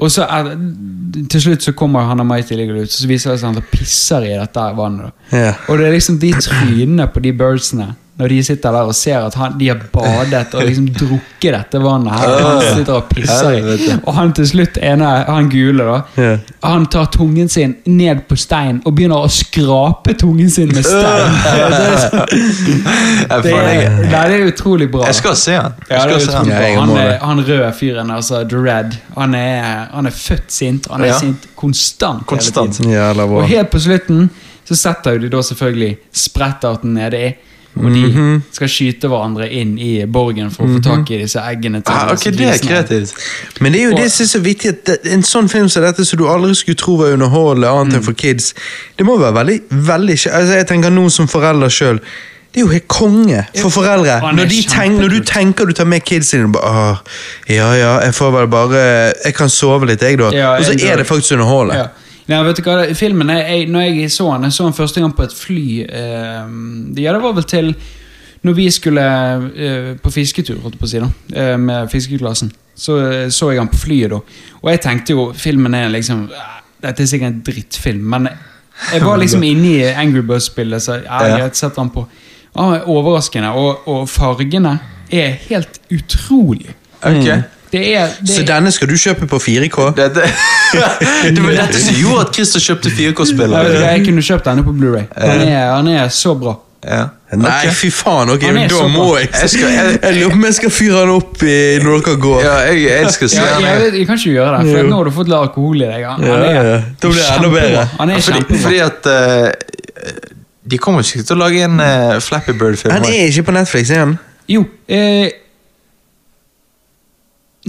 Speaker 3: Og så er, det- til slutt så kommer han og Mighty Eagle ut, så viser det seg at han pisser i dette her vannet. da.
Speaker 2: Ja.
Speaker 3: Og det er liksom de trynene på de birdsene når de sitter der og ser at han, de har badet og liksom drukket dette vannet. her, og
Speaker 1: Ah.
Speaker 3: Han sitter og pisser i. Og han til slutt, ene, han gule, da,
Speaker 2: Ja.
Speaker 3: han tar tungen sin ned på stein og begynner å skrape tungen sin med stein. *laughs* Det er, så-
Speaker 1: Ah. Jeg
Speaker 3: det
Speaker 1: får
Speaker 3: er,
Speaker 1: legge-
Speaker 3: nei, det er utrolig bra.
Speaker 1: Jeg skal se han. Jeg
Speaker 3: Ja, det
Speaker 1: skal
Speaker 3: er
Speaker 1: se han.
Speaker 3: utrolig
Speaker 2: Ja, jeg
Speaker 3: bra. Han,
Speaker 2: må
Speaker 3: er,
Speaker 2: det.
Speaker 3: han røde fyren, altså Dread, han er, han er født sint. Han er
Speaker 1: Ja.
Speaker 3: sint konstant. hele
Speaker 1: Konstant.
Speaker 3: tiden.
Speaker 2: Sånn Jævla bra.
Speaker 3: Og helt på slutten så setter jo de da selvfølgelig sprettarten nede i. Og de
Speaker 1: Mhm.
Speaker 3: skal skyte hverandre inn i borgen for å få tak i disse eggene. til
Speaker 1: Ah, ok,
Speaker 3: disse
Speaker 1: det er
Speaker 3: grisene.
Speaker 1: kreativt.
Speaker 2: Men det er jo
Speaker 3: Og-
Speaker 2: det som er så vittig at det- en sånn film som dette, som du aldri skulle tro var underholdende annet
Speaker 3: Mm.
Speaker 2: enn for kids, det må være veldig, veldig kje- altså Jeg tenker nå som forelder sjøl. Det er jo helt konge for foreldre.
Speaker 3: Han er
Speaker 2: Når, de tenk,
Speaker 3: kjempekult.
Speaker 2: når du tenker du tar med kids dine og bare «Åh, Ja ja, jeg får vel bare Jeg kan sove litt, jeg, da.
Speaker 3: Ja,
Speaker 2: og så
Speaker 3: jeg
Speaker 2: er
Speaker 3: dør.
Speaker 2: det faktisk underholdende.
Speaker 3: Ja. Nei, vet du hva, det- filmen, jeg, jeg, når jeg så den, jeg så den første gang på et fly eh, Ja, det var vel til når vi skulle eh, på fisketur, holdt jeg på å si, da, eh, med fiskeklassen. Så eh, så jeg den på flyet, da. Og jeg tenkte jo filmen er liksom eh, Dette er sikkert en drittfilm, men jeg var liksom inne i Angry Birds-spillet, så ja,
Speaker 1: Ja.
Speaker 3: jeg har sett den på. Ja, den er overraskende. Og, og fargene er helt utrolig.
Speaker 1: Ok.
Speaker 3: Det er, det
Speaker 2: Mm. Så
Speaker 3: er
Speaker 2: denne skal du kjøpe på 4K?
Speaker 1: Dette, *laughs* det var dette som gjorde at Christer kjøpte 4K-spiller.
Speaker 3: Jeg, vet ikke, jeg kunne kjøpt denne på Blu-ray Han, er- han er så bra.
Speaker 1: Ja.
Speaker 2: Nei,
Speaker 1: Ok.
Speaker 2: fy faen, ok,
Speaker 3: Han er
Speaker 2: da
Speaker 3: såpass.
Speaker 2: må jeg
Speaker 1: Jeg skal- jeg-
Speaker 2: *laughs* Jeg lurer på om jeg skal fyre han opp i, når dere går.
Speaker 1: Ja, jeg, jeg skal se
Speaker 3: Ja,
Speaker 1: han.
Speaker 3: jeg,
Speaker 1: jeg.
Speaker 3: vet- jeg kan ikke gjøre det, for
Speaker 2: Jo.
Speaker 3: nå har du fått litt alkohol i deg. Han,
Speaker 2: Ja,
Speaker 3: han er,
Speaker 2: ja. Da blir det enda
Speaker 3: kjempebra.
Speaker 2: bedre.
Speaker 3: Han er
Speaker 1: Fordi,
Speaker 3: kjempebra.
Speaker 1: fordi at eh, De kommer ikke til å lage en eh, Flappy Bird-film.
Speaker 2: Han er ikke på Netflix, er han?
Speaker 3: Jo eh,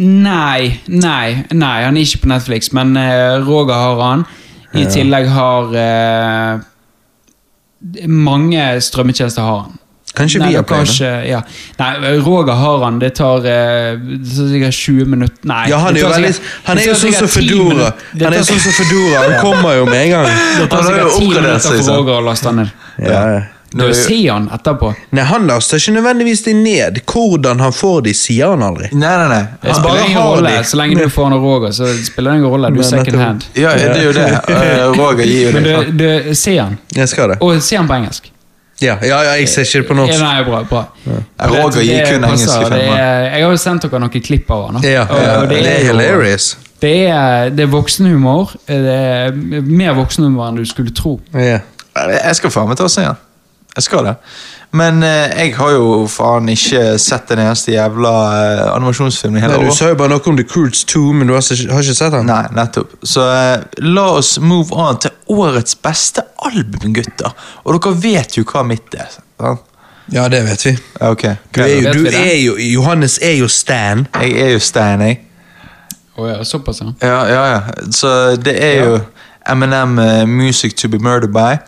Speaker 3: Nei, nei, nei, han er ikke på Netflix, men eh, Roger har han. I tillegg har eh, Mange strømmetjenester har han.
Speaker 2: Kanskje
Speaker 3: nei,
Speaker 2: Viaplay, da?
Speaker 3: kanskje, ja. nei, Roger har han. Det tar eh, det tar sikkert 20 minutter Nei.
Speaker 2: Ja, han er
Speaker 3: det
Speaker 2: jo
Speaker 3: tar
Speaker 2: veldig
Speaker 3: sikkert-
Speaker 2: Han
Speaker 3: det
Speaker 2: er jo
Speaker 3: tar
Speaker 2: sånn som
Speaker 3: sikkert 10
Speaker 2: Foodora.
Speaker 3: minutter. Det
Speaker 2: Han er
Speaker 3: tar
Speaker 2: sånn som Foodora. Han kommer jo med en *laughs* gang.
Speaker 3: Det tar
Speaker 1: Han har jo
Speaker 3: sikkert Altså, ti
Speaker 1: oppgradert
Speaker 3: minutter
Speaker 1: seg,
Speaker 3: for
Speaker 1: sant?
Speaker 3: Roger å laste den ned.
Speaker 2: Ja.
Speaker 3: Du
Speaker 1: Nå-
Speaker 3: ser han etterpå.
Speaker 2: Nei, han laster ikke nødvendigvis de ned. Hvordan han får de, sier han aldri.
Speaker 1: Nei, nei, nei.
Speaker 3: Det
Speaker 2: bare
Speaker 3: spiller ingen
Speaker 2: har
Speaker 3: rolle.
Speaker 2: de.
Speaker 3: Så lenge du får han og Roger, så spiller det ingen rolle. Du er
Speaker 2: Men
Speaker 3: second
Speaker 2: nettopp.
Speaker 3: hand.
Speaker 1: Ja, det er jo det. Eh, Roger gir jo
Speaker 3: Men
Speaker 1: det.
Speaker 3: du, du ser han.
Speaker 2: Jeg skal det.
Speaker 3: Og ser han på engelsk.
Speaker 2: Ja, ja, ja jeg ser ikke det på
Speaker 3: Ja,
Speaker 2: norsk.
Speaker 3: nei, bra, bra.
Speaker 1: Ja, Roger
Speaker 3: Det-
Speaker 1: gir
Speaker 3: det
Speaker 1: kun
Speaker 3: passer,
Speaker 1: engelske
Speaker 3: det
Speaker 1: filmer.
Speaker 3: er- Jeg har jo sendt dere noen klipp av han. da.
Speaker 2: Ja,
Speaker 3: Og-
Speaker 2: ja,
Speaker 3: og
Speaker 2: det er
Speaker 3: jo-
Speaker 2: hilarious.
Speaker 3: Det er, det er voksenhumor. Det er mer voksenhumor enn du skulle tro.
Speaker 2: Ja.
Speaker 1: Jeg skal faen meg ta og se den. Jeg skal det. Men eh, jeg har jo faen ikke sett en eneste jævla eh, animasjonsfilm i
Speaker 2: Nei,
Speaker 1: hele
Speaker 2: du
Speaker 1: år.
Speaker 2: sa jo bare noe om The Croods 2, men du har ikke, har ikke sett den?
Speaker 1: Nei, nettopp. Så eh, la oss move on til årets beste album, gutter. Og dere vet jo hva mitt er. sant?
Speaker 2: Ja, det vet vi.
Speaker 1: Ja, Ok,
Speaker 2: Du er
Speaker 1: greit.
Speaker 2: jo,
Speaker 3: Vet
Speaker 2: du
Speaker 3: vi det?
Speaker 2: er jo Johannes er jo Stan.
Speaker 1: Jeg er jo Stein, jeg.
Speaker 3: Å ja, såpass, ja.
Speaker 1: Ja, ja, ja. Så det er jo Eminem eh, 'Music To Be Murdered By'.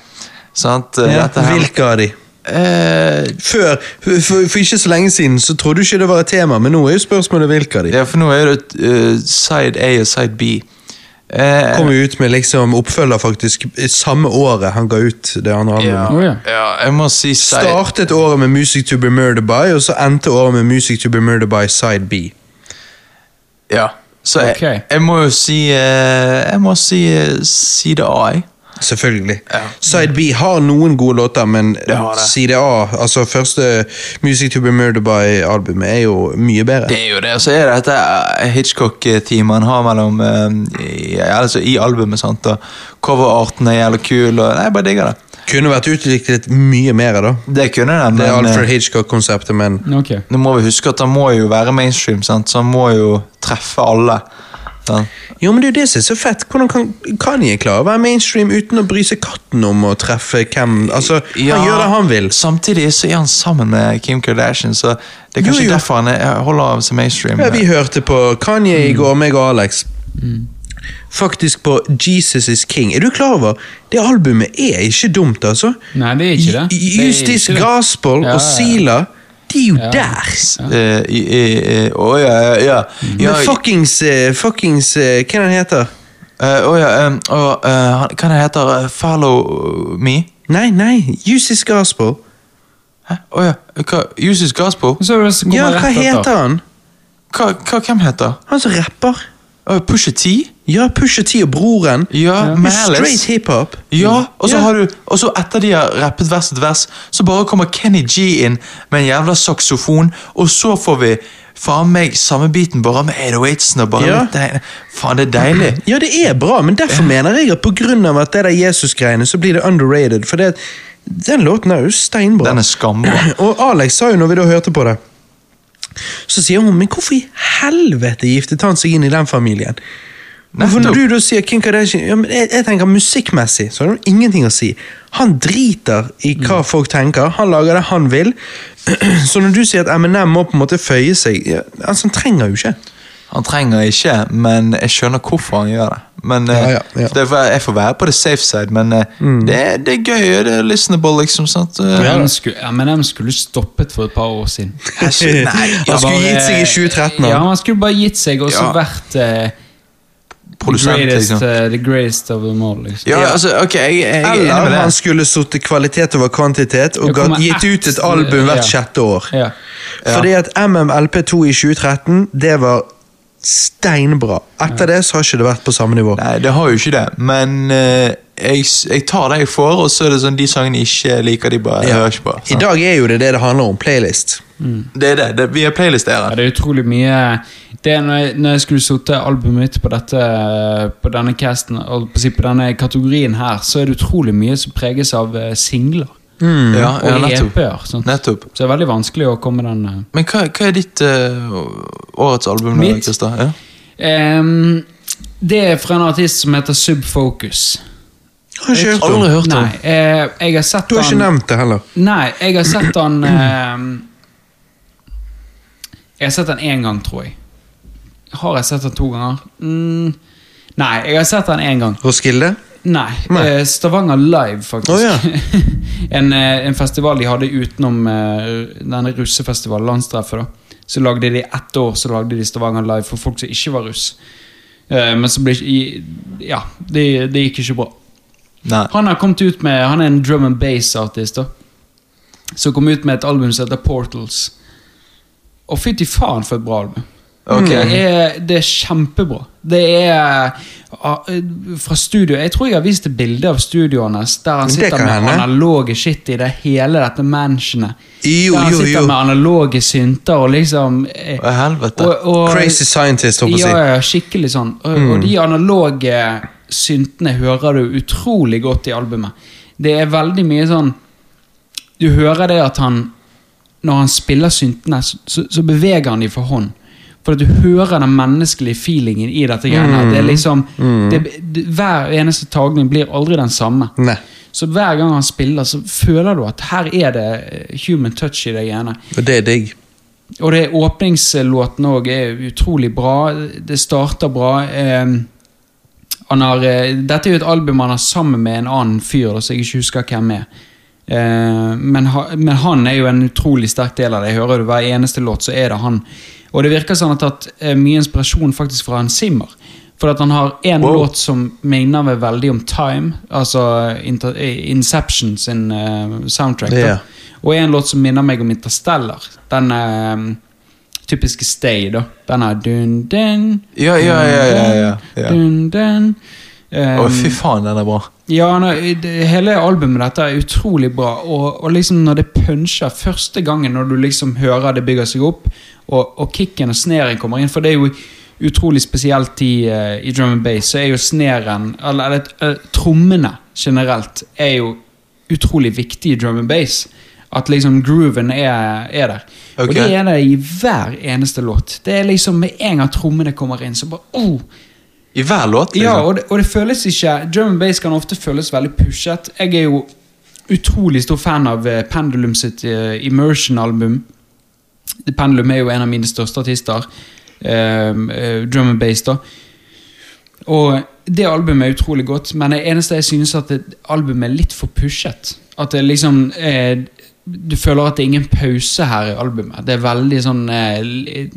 Speaker 1: Sant? Eh, Dette her
Speaker 2: Hvilke av de?
Speaker 1: Eh,
Speaker 2: Før, for, for for ikke så lenge siden, så trodde du ikke det var et tema, men nå er jo spørsmålet hvilke av de.
Speaker 1: Ja, for nå er det eh, side A og side B. Eh,
Speaker 2: Kom jo ut med liksom oppfølger faktisk i samme året han ga ut det andre albumet.
Speaker 1: ja,
Speaker 3: Å, ja.
Speaker 1: ja, jeg må si side
Speaker 2: Startet året med Music to be murdered by, og så endte året med Music to be murdered by side B.
Speaker 1: Ja. Så jeg,
Speaker 3: Ok.
Speaker 1: jeg må jo si eh, Jeg må si eh, side A, jeg.
Speaker 2: Selvfølgelig. Side B har noen gode låter, men
Speaker 1: har det.
Speaker 2: side A, altså første Music to be murdered by-albumet, er jo mye bedre.
Speaker 1: Det er jo det. Og så er det dette eh, Hitchcock-teamet han har mellom eh, i, altså, i albumet. sant? Og coverarten er jævlig kul. Og, nei, jeg bare digger det.
Speaker 2: Kunne vært utviklet mye mer, da.
Speaker 1: Det kunne den,
Speaker 2: Det er
Speaker 1: men
Speaker 2: Alfred
Speaker 1: eh,
Speaker 2: Hitchcock-konseptet, men
Speaker 3: Ok.
Speaker 1: nå må vi huske at han må jo være mainstream, sant? så han må jo treffe alle. sant?
Speaker 2: Jo, men det er jo det som er så fett. Hvordan kan Kanye klare å være mainstream uten å bry seg katten om å treffe hvem Altså, han gjør det han vil.
Speaker 1: Samtidig så er han sammen med Kim Kardashian, så det er
Speaker 2: Jo,
Speaker 1: kanskje
Speaker 2: jo.
Speaker 1: derfor han er, holder av seg mainstream.
Speaker 2: Ja,
Speaker 3: Mm.
Speaker 2: vi hørte på Kanye i går, meg og Alex. Faktisk på Jesus is King. Er du klar over? Det albumet er ikke dumt, altså.
Speaker 3: Nei, det er ikke det. Det er
Speaker 2: Justice
Speaker 3: ikke det.
Speaker 2: Gospel
Speaker 3: Ja, ja, ja.
Speaker 2: og Sila, de er jo der.
Speaker 1: Eh, i, i, i, å, ja, ja, ja. ja
Speaker 2: Mm-hmm. Men fuckings, eh, fuckings eh, Hva er det han heter?
Speaker 1: eh, å, ja em, og, eh, han- hva det heter det? Follow me?
Speaker 2: Nei, nei, Justice Gospel.
Speaker 1: Hæ? Å ja. Hva, Jesus Gospel?
Speaker 3: Så er det som kommer
Speaker 2: Ja,
Speaker 3: rett
Speaker 2: hva
Speaker 3: etter.
Speaker 2: heter han?
Speaker 1: Hva, hva, hvem heter
Speaker 2: Han som rapper.
Speaker 1: uh, Pusha T?
Speaker 2: Ja, Pusha T og broren.
Speaker 1: Ja,
Speaker 2: Det er
Speaker 1: Malice.
Speaker 2: Straight hiphop.
Speaker 1: Ja, og så
Speaker 2: Ja.
Speaker 1: har du Og så etter de har rappet vers etter vers, så bare kommer Kenny G inn med en jævla saksofon, og så får vi faen meg samme biten, bare med 808-sen og bare
Speaker 2: Ja.
Speaker 1: litt deilig. Faen, det er deilig.
Speaker 2: Ja, det er bra, men derfor mener jeg at på grunn av at det der Jesus-greiene, så blir det underrated. For det, den låten er jo steinbra.
Speaker 1: Den er skambra.
Speaker 2: *clears throat* Og Alex sa jo, når vi da hørte på det, så sier hun Men hvorfor i helvete giftet han seg inn i den familien? Og for når
Speaker 1: Nettopp.
Speaker 2: du da sier Kim Kardashian ja, men jeg, jeg tenker Musikkmessig så har det jo ingenting å si. Han driter i hva
Speaker 1: Mm.
Speaker 2: folk tenker, han lager det han vil. *clears throat* Så når du sier at Eminem må på en måte føye seg ja, altså, Han trenger jo ikke.
Speaker 1: Han trenger ikke, men jeg skjønner hvorfor han gjør det. Men eh,
Speaker 2: Ja, ja, ja.
Speaker 1: Det er for- jeg får være på the safe side, men eh, det, er- det er gøy, og det er listenable, liksom. sant? Eh,
Speaker 3: M&M skulle, M&M skulle stoppet for et par år siden.
Speaker 1: jeg- Nei,
Speaker 2: Han skulle
Speaker 3: Bare- eh,
Speaker 2: gitt seg i 2013.
Speaker 3: Ja,
Speaker 2: han.
Speaker 3: han skulle bare gitt seg, og så
Speaker 1: Ja.
Speaker 3: vært eh,
Speaker 1: Produsent,
Speaker 3: the, greatest,
Speaker 1: liksom.
Speaker 3: eh, the greatest of them all. Liksom.
Speaker 1: Ja, altså, ok, jeg, jeg er enig
Speaker 2: Eller
Speaker 1: med
Speaker 2: han
Speaker 1: det.
Speaker 2: skulle sittet kvalitet over kvantitet og
Speaker 3: Det kommer
Speaker 2: gatt- gitt ut et
Speaker 3: ett-
Speaker 2: album hvert
Speaker 3: ja.
Speaker 2: sjette år.
Speaker 3: Ja.
Speaker 2: Fordi at MMLP2 i 2013, det var steinbra. Etter det så har ikke det vært på samme nivå.
Speaker 1: Nei, det har jo ikke det, men eh, jeg, s- jeg tar det jeg får, og så er det sånn de sangene jeg ikke liker, de bare jeg hører ikke på.
Speaker 2: I
Speaker 1: sant?
Speaker 2: dag er jo det det det handler om, playlist.
Speaker 1: Det er det. det vi er
Speaker 3: Ja,
Speaker 1: playlist-æren.
Speaker 3: det er utrolig mye Det er når jeg, når jeg skulle sorte albumet mitt på dette På denne casten og på å si på denne kategorien her, så er det utrolig mye som preges av eh, singler
Speaker 1: Ja,
Speaker 3: og
Speaker 1: ja, nettopp.
Speaker 3: EP-er. sant?
Speaker 1: nettopp.
Speaker 3: Så det er veldig vanskelig å komme den eh.
Speaker 1: Men hva, hva er ditt eh, årets album? da,
Speaker 3: Mitt?
Speaker 1: Christer? Ja?
Speaker 3: Ehm, Det er fra en artist som heter Subfocus.
Speaker 2: Har ikke hørt om.
Speaker 1: Aldri hørt om.
Speaker 3: Nei, eh, jeg har sett
Speaker 2: Du har ikke
Speaker 3: han-
Speaker 2: nevnt det heller.
Speaker 3: Nei, jeg har
Speaker 2: *clears throat*
Speaker 3: sett han eh, Jeg har sett han én gang, tror jeg. Har jeg sett han to ganger? Mm, nei, jeg har sett han én gang.
Speaker 2: Roskilde?
Speaker 3: Nei.
Speaker 2: Nei.
Speaker 3: eh, Stavanger Live, faktisk.
Speaker 2: Å, ja.
Speaker 3: *laughs* en, eh, en festival de hadde utenom eh, denne russefestivalen, Landstreffet. da. Så lagde de ett år så lagde de Stavanger Live for folk som ikke var russ. Eh, Men så ble ikke i- Ja, det det gikk ikke bra.
Speaker 1: Nei.
Speaker 3: Han har kommet ut med Han er en drum and bass-artist. da Som kom ut med et album som heter Portals. Og fytti faen for et bra album.
Speaker 1: Ok.
Speaker 3: Det, er, det er kjempebra. Det er ah, fra studio Jeg tror jeg har vist et bilde av studioet hans der han
Speaker 2: Det
Speaker 3: sitter
Speaker 2: kan
Speaker 3: med
Speaker 2: hende.
Speaker 3: analoge shit i det hele dette mansionet.
Speaker 2: Jo,
Speaker 3: der han
Speaker 2: jo,
Speaker 3: sitter
Speaker 2: jo.
Speaker 3: med analoge synter og liksom eh,
Speaker 1: Å, helvete.
Speaker 3: og- og-
Speaker 2: Crazy Scientist, holdt jeg
Speaker 3: ja,
Speaker 2: på å si. Mm.
Speaker 3: ja, skikkelig sånn. Og, og de analoge syntene hører du utrolig godt i albumet. Det er veldig mye sånn Du hører det at han Når han spiller syntene, så, så- så beveger han de for hånd. For at du hører den menneskelige feelingen i dette greiene. her. Det
Speaker 2: Mm.
Speaker 3: er liksom det, det, Hver eneste tagning blir aldri den samme.
Speaker 2: Nei.
Speaker 3: Så hver gang han spiller, så føler du at her er det eh, human touch i det greiene.
Speaker 2: Og det er digg.
Speaker 3: Og det åpningslåten òg er utrolig bra. Det starter bra. Eh, han har, eh, dette er jo et album han har sammen med en annen fyr, da, så jeg ikke husker hvem er. Eh, men, ha, men han er jo en utrolig sterk del av det. Jeg hører det hver eneste låt, så er det han. Og det virker som han har tatt eh, mye inspirasjon faktisk fra en Simmer. For at han har en
Speaker 1: Wow.
Speaker 3: låt som minner meg veldig om Time, altså Inter eh, Inception sin eh, soundtrack. Da.
Speaker 2: Ja.
Speaker 3: Og en låt som minner meg om Interstellar. Den eh, typiske Stay, da. Den er dun, dun,
Speaker 1: Ja, ja, ja, ja, ja, ja.
Speaker 3: Dun, dun. Eh,
Speaker 1: Å, fy faen, den er bra.
Speaker 3: ja, nei, det, hele albumet dette er utrolig bra, og, og liksom når det puncher første gangen, når du liksom hører det bygger seg opp, og, og kicken og sneren kommer inn, for det er jo utrolig spesielt i, eh, i drum and bass, så er jo sneren, eller, eller eh, trommene generelt, er jo utrolig viktig i drum and bass. At liksom grooven er, er der.
Speaker 1: Ok.
Speaker 3: Og det er det i hver eneste låt. Det er liksom med en gang trommene kommer inn, så bare oh,
Speaker 1: I hver låt? liksom.
Speaker 3: Ja, og det, og det føles ikke Drum and bass kan ofte føles veldig pushet. Jeg er jo utrolig stor fan av eh, Pendulum sitt eh, Immersion-album. Pendulum er jo en av mine største artister. eh, eh, drum and bass, da. Og det albumet er utrolig godt, men det eneste jeg synes at det, albumet er litt for pushet. At det liksom eh, Du føler at det er ingen pause her i albumet. Det er veldig sånn eh, li-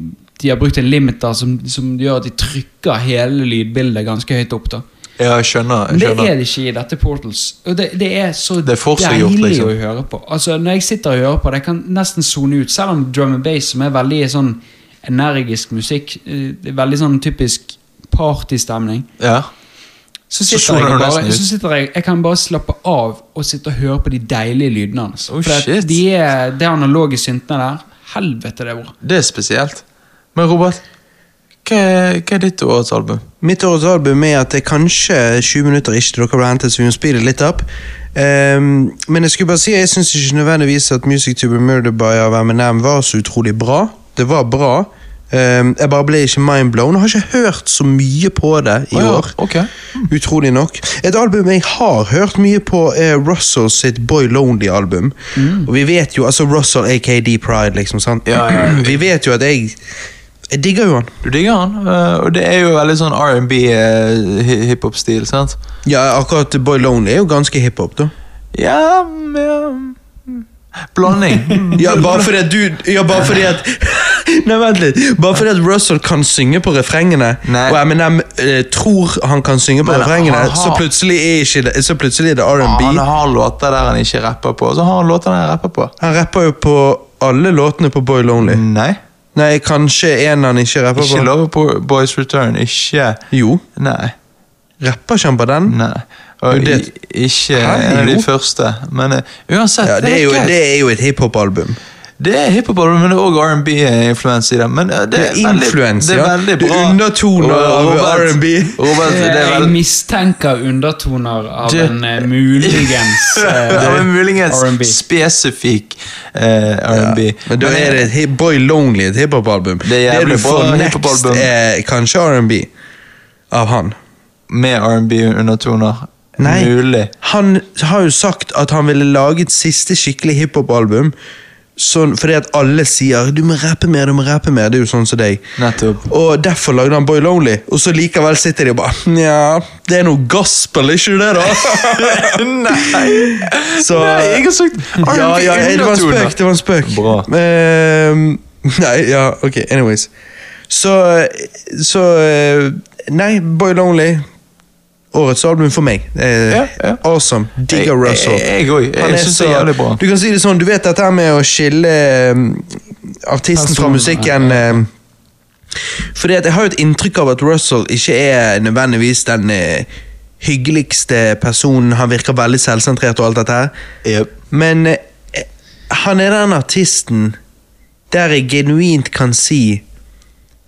Speaker 3: De har brukt en limiter som, som gjør at de trykker hele lydbildet ganske høyt opp. da
Speaker 1: Ja, jeg skjønner. Jeg
Speaker 3: men det
Speaker 1: skjønner.
Speaker 3: er det ikke i dette Portals. Og det, det er så
Speaker 1: Det er forseggjort,
Speaker 3: deilig
Speaker 1: liksom.
Speaker 3: å høre på. Altså, Når jeg sitter og hører på det, jeg kan nesten sone ut. Selv om drum and bass, som er veldig sånn energisk musikk, eh, det er veldig sånn typisk partystemning,
Speaker 1: Ja.
Speaker 3: så
Speaker 1: Så
Speaker 3: sitter,
Speaker 1: soner
Speaker 3: jeg,
Speaker 1: du
Speaker 3: bare,
Speaker 1: nesten ut.
Speaker 3: så sitter jeg Jeg kan bare slappe av og sitte og høre på de deilige lydene hans.
Speaker 1: Oh,
Speaker 3: For at
Speaker 1: shit.
Speaker 3: de er, det analoge syntene der Helvete, det er bra.
Speaker 1: Det er spesielt. Men Robert, hva er, hva er ditt årets album?
Speaker 2: Mitt årets album er at det er kanskje 20 minutter ikke til dere ble hentet, så vi må speede litt opp. Ehm, men jeg skulle bare si, jeg syns ikke nødvendigvis at Music to be murdered by av Eminem var så utrolig bra. Det var bra. Ehm, jeg bare ble ikke mindblown. Jeg har ikke hørt så mye på det i
Speaker 1: Å ja,
Speaker 2: år.
Speaker 1: ok.
Speaker 2: Utrolig nok. Et album jeg har hørt mye på, er Russell sitt Boy Lonely-album. Og vi vet jo, altså Russell AKD Pride, liksom, sant?
Speaker 1: Mm. Ja, ja, ja.
Speaker 2: *clears throat* Vi vet jo at jeg Jeg digger jo han.
Speaker 1: Du digger han, eh, og det er jo veldig sånn R&B-hiphop-stil, eh, sant?
Speaker 2: Ja, akkurat Boy Lonely er jo ganske hiphop, da.
Speaker 1: Ja, mm, ja mm. Blanding. *laughs* Mm.
Speaker 2: Ja, bare fordi at du Ja, bare fordi at *laughs* Nei, vent litt. Bare fordi at Russell kan synge på refrengene,
Speaker 1: Nei.
Speaker 2: og Eminem eh, tror han kan synge på
Speaker 1: Men
Speaker 2: refrengene,
Speaker 1: han har-
Speaker 2: så plutselig er, ikke det, så plutselig er det R&B.
Speaker 1: Han har låter der han ikke rapper på, og så har han låter der han rapper på.
Speaker 2: han rapper jo på alle låtene på Boy Lonely.
Speaker 1: Nei.
Speaker 2: Nei, kanskje en han ikke rapper
Speaker 1: Ikke
Speaker 2: på.
Speaker 1: Love Bo- Boys Return. Ikke
Speaker 2: Jo,
Speaker 1: Nei.
Speaker 2: rapper ikke han på den?
Speaker 1: Nei. Og
Speaker 2: Jo, det-
Speaker 1: i- ikke
Speaker 2: Hæ,
Speaker 1: en av de
Speaker 2: jo.
Speaker 1: første, men eh, uansett
Speaker 2: Ja, det er jo,
Speaker 1: greit.
Speaker 2: det er jo et hiphop-album.
Speaker 1: Det er hiphop, men det er òg R&B-influens i det. Men eh, det
Speaker 2: Det
Speaker 1: er,
Speaker 2: er
Speaker 1: veldig,
Speaker 2: influens,
Speaker 1: det er
Speaker 2: ja.
Speaker 1: veldig
Speaker 2: Det
Speaker 1: bra.
Speaker 2: er undertoner av
Speaker 1: Robert-
Speaker 2: R&B.
Speaker 1: Robert, Altså, det er
Speaker 3: Jeg
Speaker 1: veldig
Speaker 3: mistenker undertoner av
Speaker 1: Det-
Speaker 3: en eh, muligens
Speaker 1: *laughs*
Speaker 3: eh,
Speaker 1: det er muligens
Speaker 3: R&B.
Speaker 1: spesifikk eh, R&B. eh,
Speaker 2: Men da er det et hi- Boy Lonely et hiphop-album.
Speaker 1: er
Speaker 2: Det,
Speaker 1: jævlig
Speaker 2: du
Speaker 1: bra
Speaker 2: får next,
Speaker 1: hiphop-album.
Speaker 2: er kanskje R&B av han.
Speaker 1: Med R&B-undertoner.
Speaker 2: Nei.
Speaker 1: Mulig.
Speaker 2: Han har jo sagt at han ville lage et siste skikkelig hiphop-album. Sånn, fordi at alle sier 'du må rappe mer', du må rappe mer. Det er jo sånn som deg. *laughs*
Speaker 1: Nettopp.
Speaker 2: Og derfor lagde han Boy Lonely, og så likevel sitter de og bare Nja, det er noe gospel, ikke det, da?
Speaker 1: *laughs* Nei!
Speaker 2: Så
Speaker 1: Nei, jeg har sagt *laughs*
Speaker 2: Ja, ja, det var en
Speaker 1: R&B-undertoner.
Speaker 2: spøk. Det var en spøk.
Speaker 1: Bra.
Speaker 2: Ehm, nei, ja, ok, anyways. Så, så eh, Nei, Boy Lonely. Årets album for meg. Eh,
Speaker 1: Ja, ja.
Speaker 2: Awesome. Digger
Speaker 1: Jeg-
Speaker 2: Russell.
Speaker 1: jeg- jeg òg. Jeg
Speaker 2: Han er
Speaker 1: synes det er
Speaker 2: så-
Speaker 1: jævlig bra.
Speaker 2: Du kan si det sånn, du vet dette her med å skille eh, artisten fra
Speaker 3: Personen,
Speaker 2: musikken eh, fordi at jeg har jo et inntrykk av at Russell ikke er nødvendigvis den eh, hyggeligste personen. Han virker veldig selvsentrert og alt dette her.
Speaker 1: Jep.
Speaker 2: Men eh, han er den artisten der jeg genuint kan si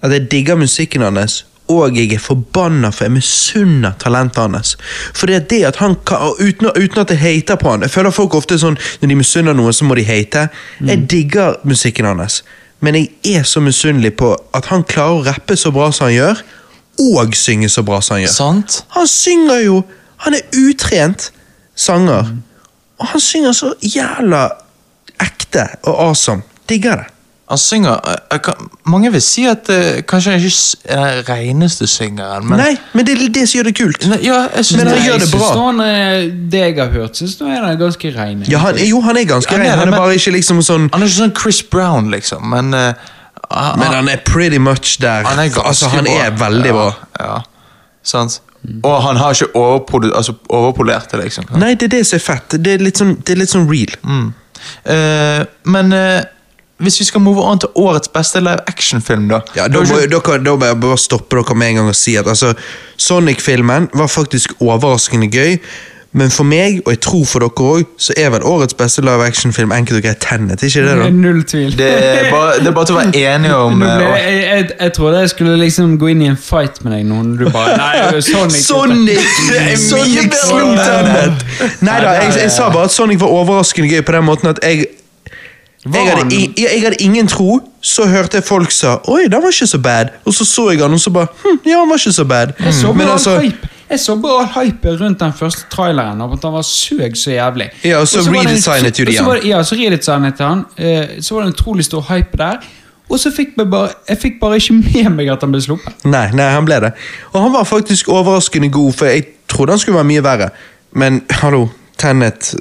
Speaker 2: at jeg digger musikken hans, og jeg er forbanna for jeg misunner talentet hans. For det er det at han kan, og uten, uten at jeg hater på han Jeg føler folk ofte er sånn når de misunner noe, så må de hate. Jeg digger musikken hans, men jeg er så misunnelig på at han klarer å rappe så bra som han gjør, og synge så bra som han gjør.
Speaker 1: Sant?
Speaker 2: Han synger jo Han er utrent sanger. Og han synger så jævla ekte og awesome. Digger det.
Speaker 1: Han synger eh, jeg kan, Mange vil si at eh, kanskje han ikke s- er den reneste syngeren, men
Speaker 2: Nei, men det er det som gjør det kult.
Speaker 1: Nei, ja, jeg synes
Speaker 2: Men han
Speaker 1: det-
Speaker 2: gjør
Speaker 3: jeg
Speaker 2: det bra.
Speaker 3: synes nå han er- det jeg har hørt, syns nå er han ganske rein.
Speaker 2: Ja, han, jo, han er ganske
Speaker 1: Han er
Speaker 2: rein.
Speaker 1: det,
Speaker 2: Han er
Speaker 1: men-
Speaker 2: bare ikke liksom sånn
Speaker 1: Han er ikke sånn Chris Brown, liksom, men eh, han,
Speaker 2: Men han er pretty much der.
Speaker 1: han er ganske
Speaker 2: altså, han
Speaker 1: bra.
Speaker 2: er veldig bra.
Speaker 1: Ja, ja. Sant? Og han har ikke overprodu, altså, overpolert det, liksom.
Speaker 2: Nei, det er det som er fett. Det er litt sånn, det er litt sånn real.
Speaker 1: Mm. Eh, men eh, hvis vi skal move on til årets beste live action-film, da
Speaker 2: Ja,
Speaker 1: Det
Speaker 2: da,
Speaker 1: er
Speaker 2: må,
Speaker 1: jo ikke-
Speaker 2: da, kan, da må jeg bare stoppe dere med en gang og si at altså, Sonic-filmen var faktisk overraskende gøy, men for meg, og jeg tror for dere òg, så er vel årets beste live action-film enkelt og greit Tenet. Ikke det, da?
Speaker 3: *laughs* Null tvil.
Speaker 1: det,
Speaker 3: *laughs*
Speaker 1: er bare, det er bare til å være enige om
Speaker 2: *laughs*
Speaker 3: Nå
Speaker 1: eh,
Speaker 3: ble,
Speaker 1: og-
Speaker 3: jeg, jeg, jeg trodde jeg skulle liksom gå inn i en fight med deg nå. når Du bare, nei,
Speaker 2: *laughs*
Speaker 3: Sonic,
Speaker 1: Det er mye
Speaker 2: Sonic
Speaker 1: bedre
Speaker 2: slo
Speaker 1: enn
Speaker 2: Tenet! Nei da, jeg, jeg sa bare at Sonic var overraskende gøy på den måten at jeg
Speaker 3: Var
Speaker 2: jeg hadde,
Speaker 3: han-
Speaker 2: i- jeg, jeg hadde ingen tro Så hørte jeg folk sa 'oi, den var ikke så bad', og så så jeg han, og så bare hm, 'ja, han var ikke så bad'.
Speaker 3: Jeg så
Speaker 2: Men
Speaker 3: bare
Speaker 2: altså-
Speaker 3: all hype Jeg så bare all hype rundt den første traileren om at han var søg så jævlig.
Speaker 2: Ja, og så
Speaker 3: var det en-
Speaker 2: redesignet jo de
Speaker 3: og så var
Speaker 2: han.
Speaker 3: det- Ja, så redesignet han. eh, Så var det en utrolig stor hype der. Og så fikk jeg bare, jeg fikk bare ikke med meg at han ble sluppet.
Speaker 2: Nei, nei, han ble det. Og han var faktisk overraskende god, for jeg trodde han skulle være mye verre. Men hallo, Tennet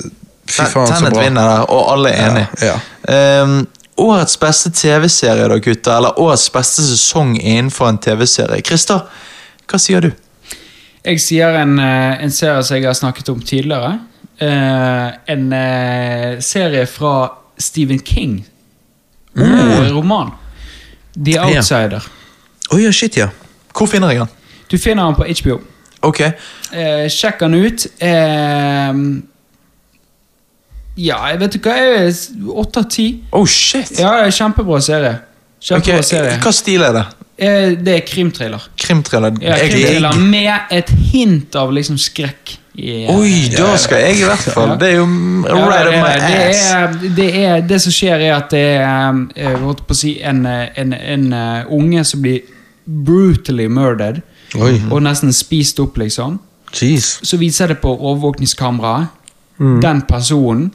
Speaker 2: Fy faen, så
Speaker 1: Tennet
Speaker 2: bra.
Speaker 1: vinner der, og alle er enige.
Speaker 2: ja.
Speaker 1: Ehm, årets beste TV-serie, da, gutter? Eller årets beste sesong innenfor en TV-serie? Christer, hva sier du?
Speaker 3: Jeg sier en, eh, en serie som jeg har snakket om tidligere. Eh, en eh, serie fra Stephen King.
Speaker 1: Mm.
Speaker 3: Og en roman. The Outsider.
Speaker 2: Oi, ja, shit, ja.
Speaker 1: Hvor finner jeg den?
Speaker 3: Du finner den på HBO.
Speaker 1: Ok,
Speaker 3: Eh, sjekk den ut. Eh, ja, jeg vet ikke hva jeg er. Åtte av ti.
Speaker 1: Oh, shit!
Speaker 3: Ja, det er kjempebra serie.
Speaker 1: Ok,
Speaker 3: Kjempebra serie.
Speaker 1: Hva stil er det?
Speaker 3: Eh, det er krimthriller.
Speaker 1: Krimthriller?
Speaker 3: Ja,
Speaker 1: Jeg
Speaker 3: krimthriller
Speaker 1: digger-
Speaker 3: med et hint av liksom skrekk. i-
Speaker 1: Oi, da skal jeg i hvert fall.
Speaker 3: Ja.
Speaker 1: Det er jo
Speaker 3: Ja,
Speaker 1: right up
Speaker 3: det,
Speaker 1: my
Speaker 3: er- det,
Speaker 1: ass.
Speaker 3: er, det, er, det som skjer, er at det er eh, jeg holdt på å si, en, eh, en, en eh, unge som blir brutally murdered.
Speaker 2: Oi.
Speaker 3: Og nesten spist opp, liksom.
Speaker 2: Jeez.
Speaker 3: Så viser det på overvåkningskameraet. Den personen.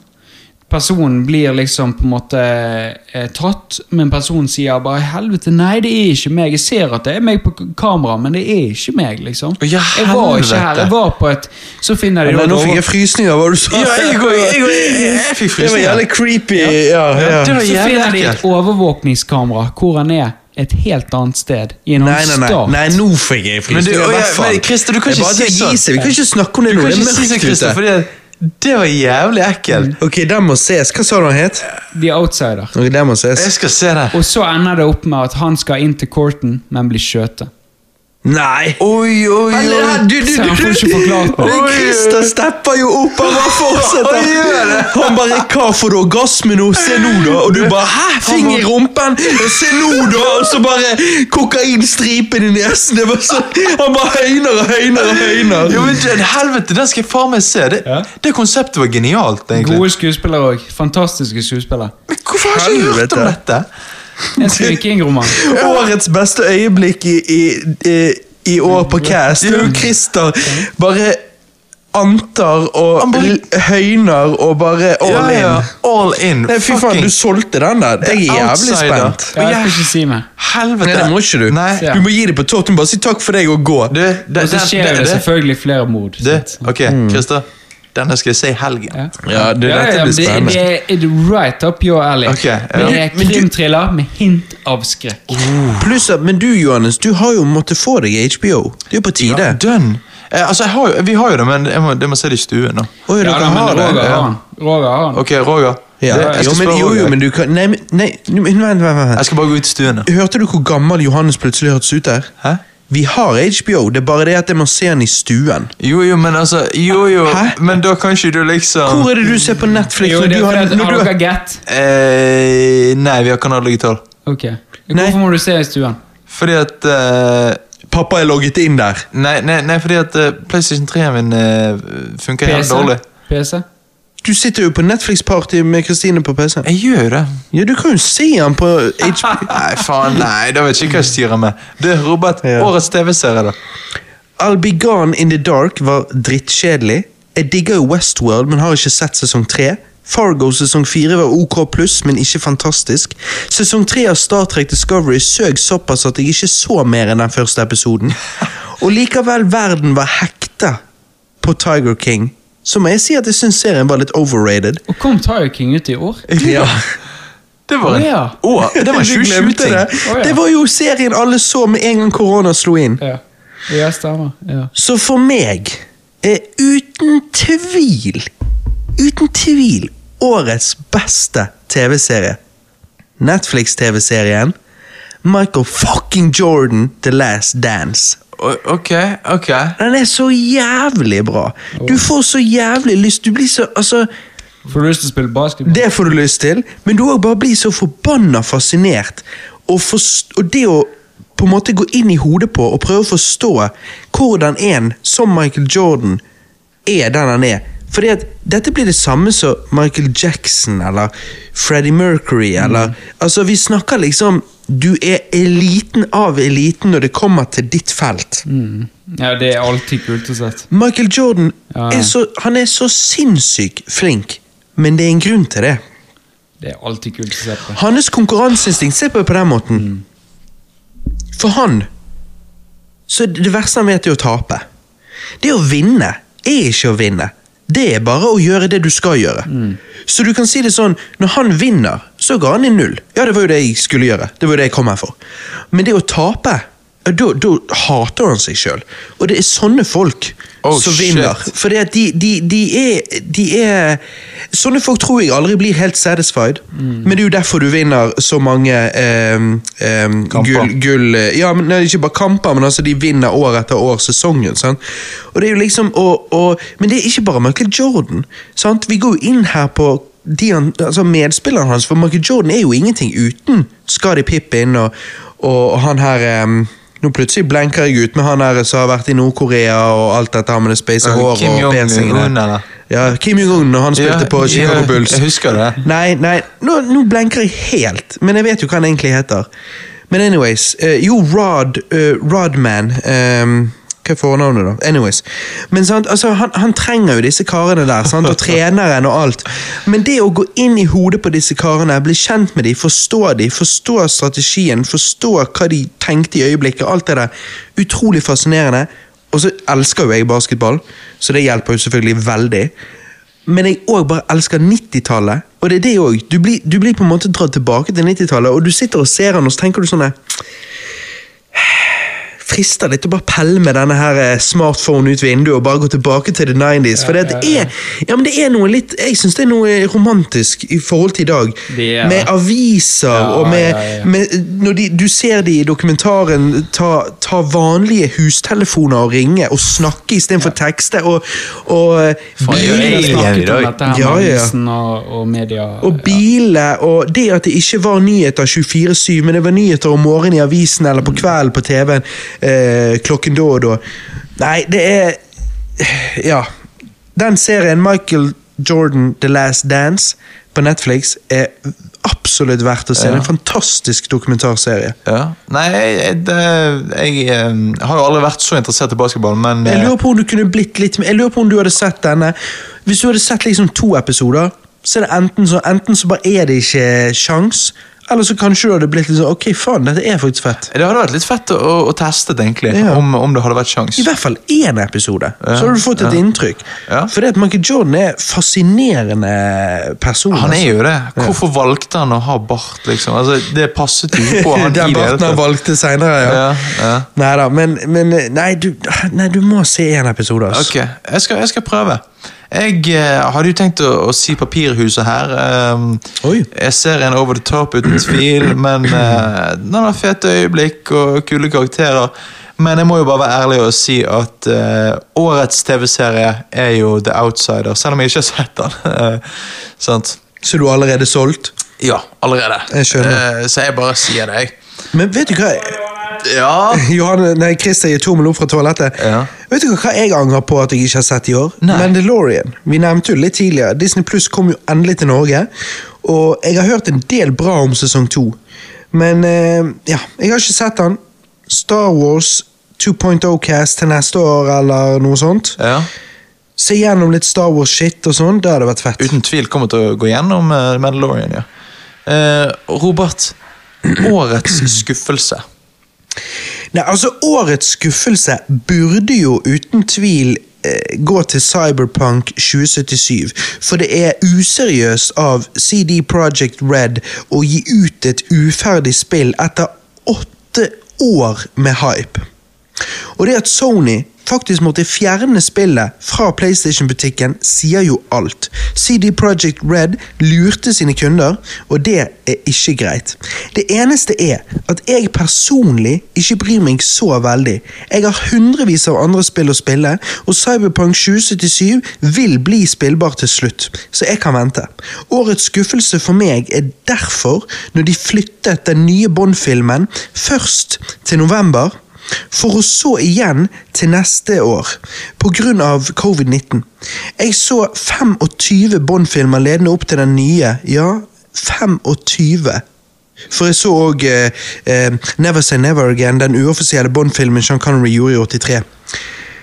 Speaker 3: Personen blir liksom på en måte eh, tatt, men personen sier bare 'helvete, nei, det er ikke meg'. Jeg ser at det er meg på k- kamera, men det er ikke meg, liksom.
Speaker 1: Ja,
Speaker 3: jeg var ikke her.
Speaker 1: helvete.
Speaker 3: Jeg var på et Så finner de
Speaker 2: Nei,
Speaker 3: et
Speaker 2: nå
Speaker 3: over-
Speaker 2: fikk jeg frysninger, hva du sa.
Speaker 1: Ja, jeg, går- jeg, går- jeg, jeg fikk
Speaker 2: det var
Speaker 1: frysninger.
Speaker 2: jævlig creepy. Ja, ja.
Speaker 1: Det var
Speaker 3: Så
Speaker 1: jævlig
Speaker 3: finner de et
Speaker 1: ekkelt.
Speaker 3: overvåkningskamera hvor han er et helt annet sted. I en
Speaker 2: Nei, nei,
Speaker 3: annen
Speaker 2: nei,
Speaker 3: stat.
Speaker 2: nei, nå fikk jeg
Speaker 1: Men du,
Speaker 2: frysninger.
Speaker 1: å,
Speaker 2: i
Speaker 1: ja,
Speaker 2: hvert fall.
Speaker 1: men Christer, du kan
Speaker 2: Det er
Speaker 1: ikke
Speaker 2: bare
Speaker 1: si
Speaker 2: til
Speaker 1: sånn.
Speaker 2: å gi seg. Vi kan ikke snakke om det
Speaker 1: Du
Speaker 2: nå.
Speaker 1: kan
Speaker 2: Det er
Speaker 1: ikke si det,
Speaker 2: mørkt
Speaker 1: Christer,
Speaker 2: ute.
Speaker 1: fordi at det var jævlig ekkelt.
Speaker 2: Ok, den må ses. Hva sa du han het?
Speaker 3: The Outsider.
Speaker 2: Ok, den må ses.
Speaker 1: Jeg skal se det.
Speaker 3: Og så ender det opp med at han skal inn til courten, men blir skjøtet.
Speaker 2: Nei!
Speaker 1: Oi, oi,
Speaker 2: Men,
Speaker 1: oi.
Speaker 2: ja, du, du,
Speaker 3: Så
Speaker 2: du,
Speaker 3: han får
Speaker 2: du,
Speaker 3: ikke forklart meg.
Speaker 2: Men Christer stepper jo opp, han bare fortsetter.
Speaker 1: Han gjør det.
Speaker 2: Han bare 'Hva får du orgasme nå? Se nå, da.' Og du bare 'Hæ? Finger i rumpen? Se nå, da!' Og så bare kokainstripen i nesen. Det var så, han bare høyner og høyner og høyner.
Speaker 1: Jo, men det- helvete, den skal jeg faen meg se. Det,
Speaker 3: Ja.
Speaker 1: det konseptet var genialt, egentlig.
Speaker 3: Gode skuespillere òg. Fantastiske skuespillere.
Speaker 1: Men hvorfor har jeg ikke hørt om
Speaker 2: Helvete.
Speaker 1: dette?
Speaker 2: *laughs*
Speaker 3: En Stephen King-roman.
Speaker 2: Årets beste øyeblikk i, i, i, i år på Cast. Det er jo Christer bare antar og
Speaker 1: Han bare-
Speaker 2: l- høyner og bare all
Speaker 1: Ja, ja,
Speaker 2: in.
Speaker 1: All in.
Speaker 2: Nei, fy faen,
Speaker 1: Fucking
Speaker 2: du solgte den der. Jeg er jævlig
Speaker 1: outsider.
Speaker 2: spent.
Speaker 3: Ja, Jeg skal ikke si mer.
Speaker 1: Helvete.
Speaker 2: Nei, det må ikke du.
Speaker 1: Nei.
Speaker 3: Ja.
Speaker 2: Du må gi det på tåten. Bare si takk for deg og gå.
Speaker 1: Du, det,
Speaker 3: Og så
Speaker 1: den-
Speaker 3: skjer
Speaker 1: det-
Speaker 3: det
Speaker 1: det-
Speaker 3: selvfølgelig flere mord. sant?
Speaker 1: Det, ok, Christer. Denne skal jeg se i helgen.
Speaker 3: Ja.
Speaker 2: Mm. Ja, det,
Speaker 3: Ja, ja,
Speaker 2: dette
Speaker 3: men
Speaker 2: blir
Speaker 3: det,
Speaker 2: spennende.
Speaker 3: det er right up your alley.
Speaker 1: Ok, ja.
Speaker 3: Men det er
Speaker 2: Men du-
Speaker 3: krimthriller med hint av skrekk.
Speaker 2: Pluss at, Men du, Johannes, du har jo måttet få deg HBO. Det er jo på tide.
Speaker 1: Ja, done. Eh, altså, jeg har, jo- vi har jo det, men jeg må, det må se det i stuen. da.
Speaker 2: Oi,
Speaker 3: Ja,
Speaker 2: dere
Speaker 3: da, men
Speaker 2: har det.
Speaker 3: Roger
Speaker 1: ja.
Speaker 3: har han. Roger har han.
Speaker 1: Ok, Roger.
Speaker 2: Ja.
Speaker 1: Det- jeg
Speaker 2: Jo,
Speaker 1: skal
Speaker 2: men,
Speaker 1: spørre
Speaker 2: jo, jo,
Speaker 1: Roger.
Speaker 2: men du kan Nei, men- nei, men vent, vent, vent.
Speaker 1: Jeg skal bare gå ut i stuen. da.
Speaker 2: Hørte du hvor gammel Johannes plutselig hørtes ut der?
Speaker 1: Hæ?
Speaker 2: Vi har HBO, det er bare det at jeg må se den i stuen.
Speaker 1: Jo, jo, men altså Jo, jo,
Speaker 2: Hæ?
Speaker 1: men da kan ikke du liksom
Speaker 2: Hvor er det du ser på Netflix?
Speaker 3: Jo,
Speaker 2: når
Speaker 3: det
Speaker 2: du
Speaker 3: er
Speaker 2: har,
Speaker 3: fordi at-
Speaker 2: når
Speaker 3: Har
Speaker 2: du
Speaker 3: dere
Speaker 2: har...
Speaker 3: gett?
Speaker 1: Eh, nei, vi har Kanal Digital.
Speaker 3: Ok.
Speaker 2: Nei.
Speaker 3: Hvorfor må du se i stuen?
Speaker 1: Fordi at eh,
Speaker 2: Pappa er logget inn der.
Speaker 1: Nei, nei, nei fordi at eh, PlayStation 3-en min eh, funker helt
Speaker 3: PC?
Speaker 1: dårlig.
Speaker 3: PC?
Speaker 2: Du sitter jo på Netflix-party med Kristine på PC.
Speaker 1: Jeg gjør jo det.
Speaker 2: Ja, du kan jo se den på HBO.
Speaker 1: *laughs* Nei, faen, nei, da vet jeg ikke hva jeg styrer med. Du, Robert,
Speaker 2: Ja.
Speaker 1: årets TV-serie, da.
Speaker 2: I'll Be Gone In The Dark var drittkjedelig. Jeg digger jo Westworld, men har ikke sett sesong tre. Fargo sesong fire var OK pluss, men ikke fantastisk. Sesong tre av Star Trek Discovery søg såpass at jeg ikke så mer enn den første episoden. Og likevel, verden var hekta på Tiger King. Så må jeg si at jeg syns serien var litt overrated.
Speaker 3: Og kom Tiger King ut i år?
Speaker 2: Ja.
Speaker 1: Det var
Speaker 3: Å,
Speaker 1: en
Speaker 3: ja.
Speaker 1: Å, det var en
Speaker 2: *laughs* Du glemte
Speaker 1: 2020-ting.
Speaker 2: det.
Speaker 3: Å, ja.
Speaker 2: Det var jo serien alle så med en gang korona slo inn.
Speaker 3: Ja. Ja, stemmer. Ja.
Speaker 2: Så for meg er uten tvil Uten tvil årets beste TV-serie. Netflix-TV-serien Michael fucking Jordan The Last Dance.
Speaker 1: O- Ok, ok.
Speaker 2: Den er så jævlig bra. Du får så jævlig lyst. Du blir så Altså,
Speaker 3: Får du lyst til å spille basketball?
Speaker 2: det får du lyst til, men du òg bare blir så forbanna fascinert. Og, forst- og det å på en måte gå inn i hodet på og prøve å forstå hvordan en som Michael Jordan er den han er, Fordi at dette blir det samme som Michael Jackson eller Freddie Mercury
Speaker 3: Mm.
Speaker 2: eller Altså, vi snakker liksom Du er eliten av eliten når det kommer til ditt felt.
Speaker 3: Mm. Ja, det er alltid kult å sett.
Speaker 2: Michael Jordan
Speaker 3: Ja.
Speaker 2: er så, han er så sinnssykt flink, men det er en grunn til det.
Speaker 3: Det er alltid kult å se på.
Speaker 2: Hans konkurranseinstinkt, se på det på den måten.
Speaker 1: Mm.
Speaker 2: For han, så er det det verste han vet er å tape. Det å vinne er ikke å vinne. Det er bare å gjøre det du skal gjøre.
Speaker 1: Mm.
Speaker 2: Så du kan si det sånn, når han vinner, så ga han i null. Ja, det var jo det jeg skulle gjøre. Det var jo det jeg kom her for. Men det å tape, ja, da da hater han seg sjøl. Og det er sånne folk
Speaker 1: Oh,
Speaker 2: som
Speaker 1: shit.
Speaker 2: vinner. Fordi at de, de, de, er, de er Sånne folk tror jeg aldri blir helt satisfied. Men det er jo derfor du vinner så mange ehm, ehm,
Speaker 1: Kamper.
Speaker 2: gull, gull eh, Ja, men nei, ikke bare kamper, men altså de vinner år etter år sesongen. Sant? Og det er jo liksom og, og, Men det er ikke bare Michael Jordan. Sant? Vi går jo inn her på de han, altså medspillerne hans, for Michael Jordan er jo ingenting uten Skadi Pippin og, og han her ehm, nå plutselig blenker jeg ut med han her som har vært i Nord-Korea og alt dette her med det speisa
Speaker 1: Ja,
Speaker 2: håret
Speaker 1: Kim
Speaker 2: og
Speaker 1: Jong-un,
Speaker 2: piercingene.
Speaker 1: eller?
Speaker 2: Ja, Kim Jong-un, når han spilte
Speaker 1: Ja,
Speaker 2: på Chicago
Speaker 1: ja,
Speaker 2: Bulls.
Speaker 1: jeg husker det.
Speaker 2: Nei, nei, nå, nå blenker jeg helt, men jeg vet jo hva han egentlig heter. Men anyways, eh, jo, Rod, eh, Rodman ehm, Hva er fornavnet, da? Anyways. Men sant, altså, han, han trenger jo disse karene der, sant,
Speaker 1: *laughs*
Speaker 2: og treneren og alt. Men det å gå inn i hodet på disse karene, bli kjent med dem, forstå dem, forstå strategien, forstå hva de tenkte i øyeblikket, alt det der, utrolig fascinerende. Og så elsker jo jeg basketball, så det hjelper jo selvfølgelig veldig. Men jeg òg bare elsker 90-tallet. Og det er det òg. Du, blir- du blir på en måte dratt tilbake til 90-tallet, og du sitter og ser han, og så tenker du sånn her, Frister litt å bare pelle med denne her eh, smartphone ut vinduet og bare gå tilbake til the 90s. for det, at det, er, ja, men det er noe litt Jeg syns det er noe romantisk i forhold til i dag.
Speaker 3: Det er det.
Speaker 2: Med aviser
Speaker 3: Ja,
Speaker 2: og med,
Speaker 3: ja, ja.
Speaker 2: med når de, Du ser de i dokumentaren ta, ta vanlige hustelefoner og ringe og snakke istedenfor for tekste og, og eh,
Speaker 3: Faen, jeg har
Speaker 1: Bil-
Speaker 3: snakket om
Speaker 1: Ja,
Speaker 3: dette her med
Speaker 2: ja, ja.
Speaker 3: avisen og, og media.
Speaker 2: Og biler, og det at det ikke var nyheter 24-7, men det var nyheter om morgenen i avisen eller på kvelden på TV-en eh, klokken da og da. Nei, det er eh, Ja. Den serien, Michael Jordan The Last Dance, på Netflix, er absolutt verdt å se. Det er en fantastisk dokumentarserie.
Speaker 1: Ja. Nei, jeg, det, jeg eh, har jo aldri vært så interessert i basketball, men
Speaker 2: Jeg
Speaker 1: eh,
Speaker 2: lurer på om du kunne blitt litt mer- Jeg lurer på om du hadde sett denne Hvis du hadde sett liksom to episoder Så er det enten så, enten så bare er det ikke sjans Eller så kanskje du hadde blitt litt sånn Ok, faen, dette er faktisk fett
Speaker 1: det hadde vært litt fett å, å teste det, egentlig.
Speaker 2: Ja.
Speaker 1: Om, om det hadde vært sjans.
Speaker 2: I hvert fall én episode Så hadde du fått et inntrykk
Speaker 1: Ja.
Speaker 2: Fordi at Michael Jordan er fascinerende person
Speaker 1: Han er jo det. Hvorfor valgte han å ha bart, liksom? Altså, det passet jo
Speaker 2: *laughs*
Speaker 1: ikke på han i det
Speaker 2: Den
Speaker 1: hele
Speaker 2: barten han
Speaker 1: tatt.
Speaker 2: valgte senere ja.
Speaker 1: Ja, ja.
Speaker 2: Neida, men, men nei, du, nei, du må se en episode altså.
Speaker 1: Ok, jeg skal, jeg skal prøve. Jeg eh, hadde jo tenkt å, å si Papirhuset her. ehm,
Speaker 2: Oi.
Speaker 1: Jeg ser en over the top uten
Speaker 2: *clears throat*
Speaker 1: tvil, men eh, den har fete øyeblikk og kule karakterer. Men jeg må jo bare være ærlig og si at eh, årets TV-serie er jo The Outsider, selv om jeg ikke har sett den. *laughs* Eh, Sant?
Speaker 2: Så du er allerede solgt
Speaker 1: Ja, allerede.
Speaker 2: Jeg skjønner.
Speaker 1: Eh, Så jeg bare sier det, jeg.
Speaker 2: Men vet du hva
Speaker 1: Ja,
Speaker 2: *laughs* Johanne, nei, Christer gir tommel opp fra toalettet.
Speaker 1: Ja.
Speaker 2: Vet du hva hva jeg angrer på at jeg ikke har sett i år?
Speaker 1: Nei.
Speaker 2: Mandalorian. Vi nevnte jo litt tidligere. Disney Pluss kom jo endelig til Norge. Og jeg har hørt en del bra om sesong to. Men eh, ja, jeg har ikke sett den. Star Wars 2.0-cast til neste år eller noe sånt.
Speaker 1: ja.
Speaker 2: Se gjennom litt Star Wars-shit og sånn. Det hadde vært fett.
Speaker 1: uten tvil kommer til å gå gjennom eh, Mandalorian, ja. Eh, Robert, årets skuffelse.
Speaker 2: Nei, altså Årets skuffelse burde jo uten tvil eh, gå til Cyberpunk 2077. For det er useriøst av CD Project Red å gi ut et uferdig spill etter åtte år med hype. Og det at Sony faktisk måtte fjerne spillet fra PlayStation-butikken, sier jo alt. CD Project Red lurte sine kunder, og det er ikke greit. Det eneste er at jeg personlig ikke bryr meg så veldig. Jeg har hundrevis av andre spill å spille, og Cyberpunk 2077 vil bli spillbar til slutt, så jeg kan vente. Årets skuffelse for meg er derfor når de flyttet den nye Bond-filmen først til november for å så igjen til neste år, pga. covid-19. Jeg så 25 Bond-filmer ledende opp til den nye. Ja, 25. For jeg så òg Never Say Never Again, den uoffisielle Bond-filmen Sean Connery gjorde i 83.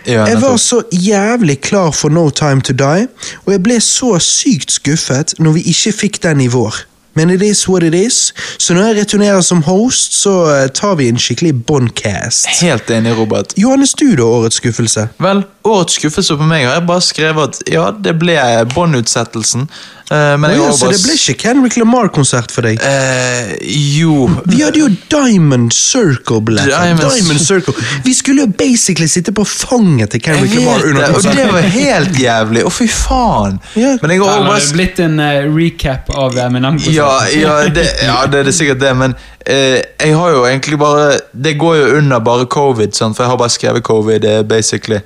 Speaker 1: Ja,
Speaker 2: Jeg var
Speaker 1: nettopp.
Speaker 2: så jævlig klar for No Time To Die, og jeg ble så sykt skuffet når vi ikke fikk den i vår. Men it is what it is, så når jeg returnerer som host, så eh, tar vi en skikkelig bondcast.
Speaker 1: Helt enig, Robert.
Speaker 2: Johannes, du da, årets skuffelse?
Speaker 1: Vel, årets skuffelse på meg har jeg bare skrevet at ja, det ble Bond-utsettelsen. eh, men
Speaker 2: Å
Speaker 1: jeg
Speaker 2: ja,
Speaker 1: har
Speaker 2: så
Speaker 1: bare
Speaker 2: det ble
Speaker 1: s-
Speaker 2: ikke Kendrick Lamar-konsert for deg?
Speaker 1: Eh, jo
Speaker 2: Vi hadde jo Diamond Circle-billetter.
Speaker 1: Eh, Diamond-
Speaker 2: Diamond. Circle. Vi skulle jo basically sitte på fanget til
Speaker 1: Jeg
Speaker 2: Kendrick Lamar
Speaker 1: vet det,
Speaker 2: under
Speaker 1: og det
Speaker 2: konserten.
Speaker 1: var helt jævlig. Å, fy faen!
Speaker 2: Ja.
Speaker 1: Men jeg har også
Speaker 3: Eller
Speaker 1: bare
Speaker 3: det er blitt en eh, recap av Eminem-konserten.
Speaker 1: Ja, ja, det, ja, det er det sikkert det, men eh, jeg har jo egentlig bare Det går jo under bare covid, sant? for jeg har bare skrevet covid, eh, basically.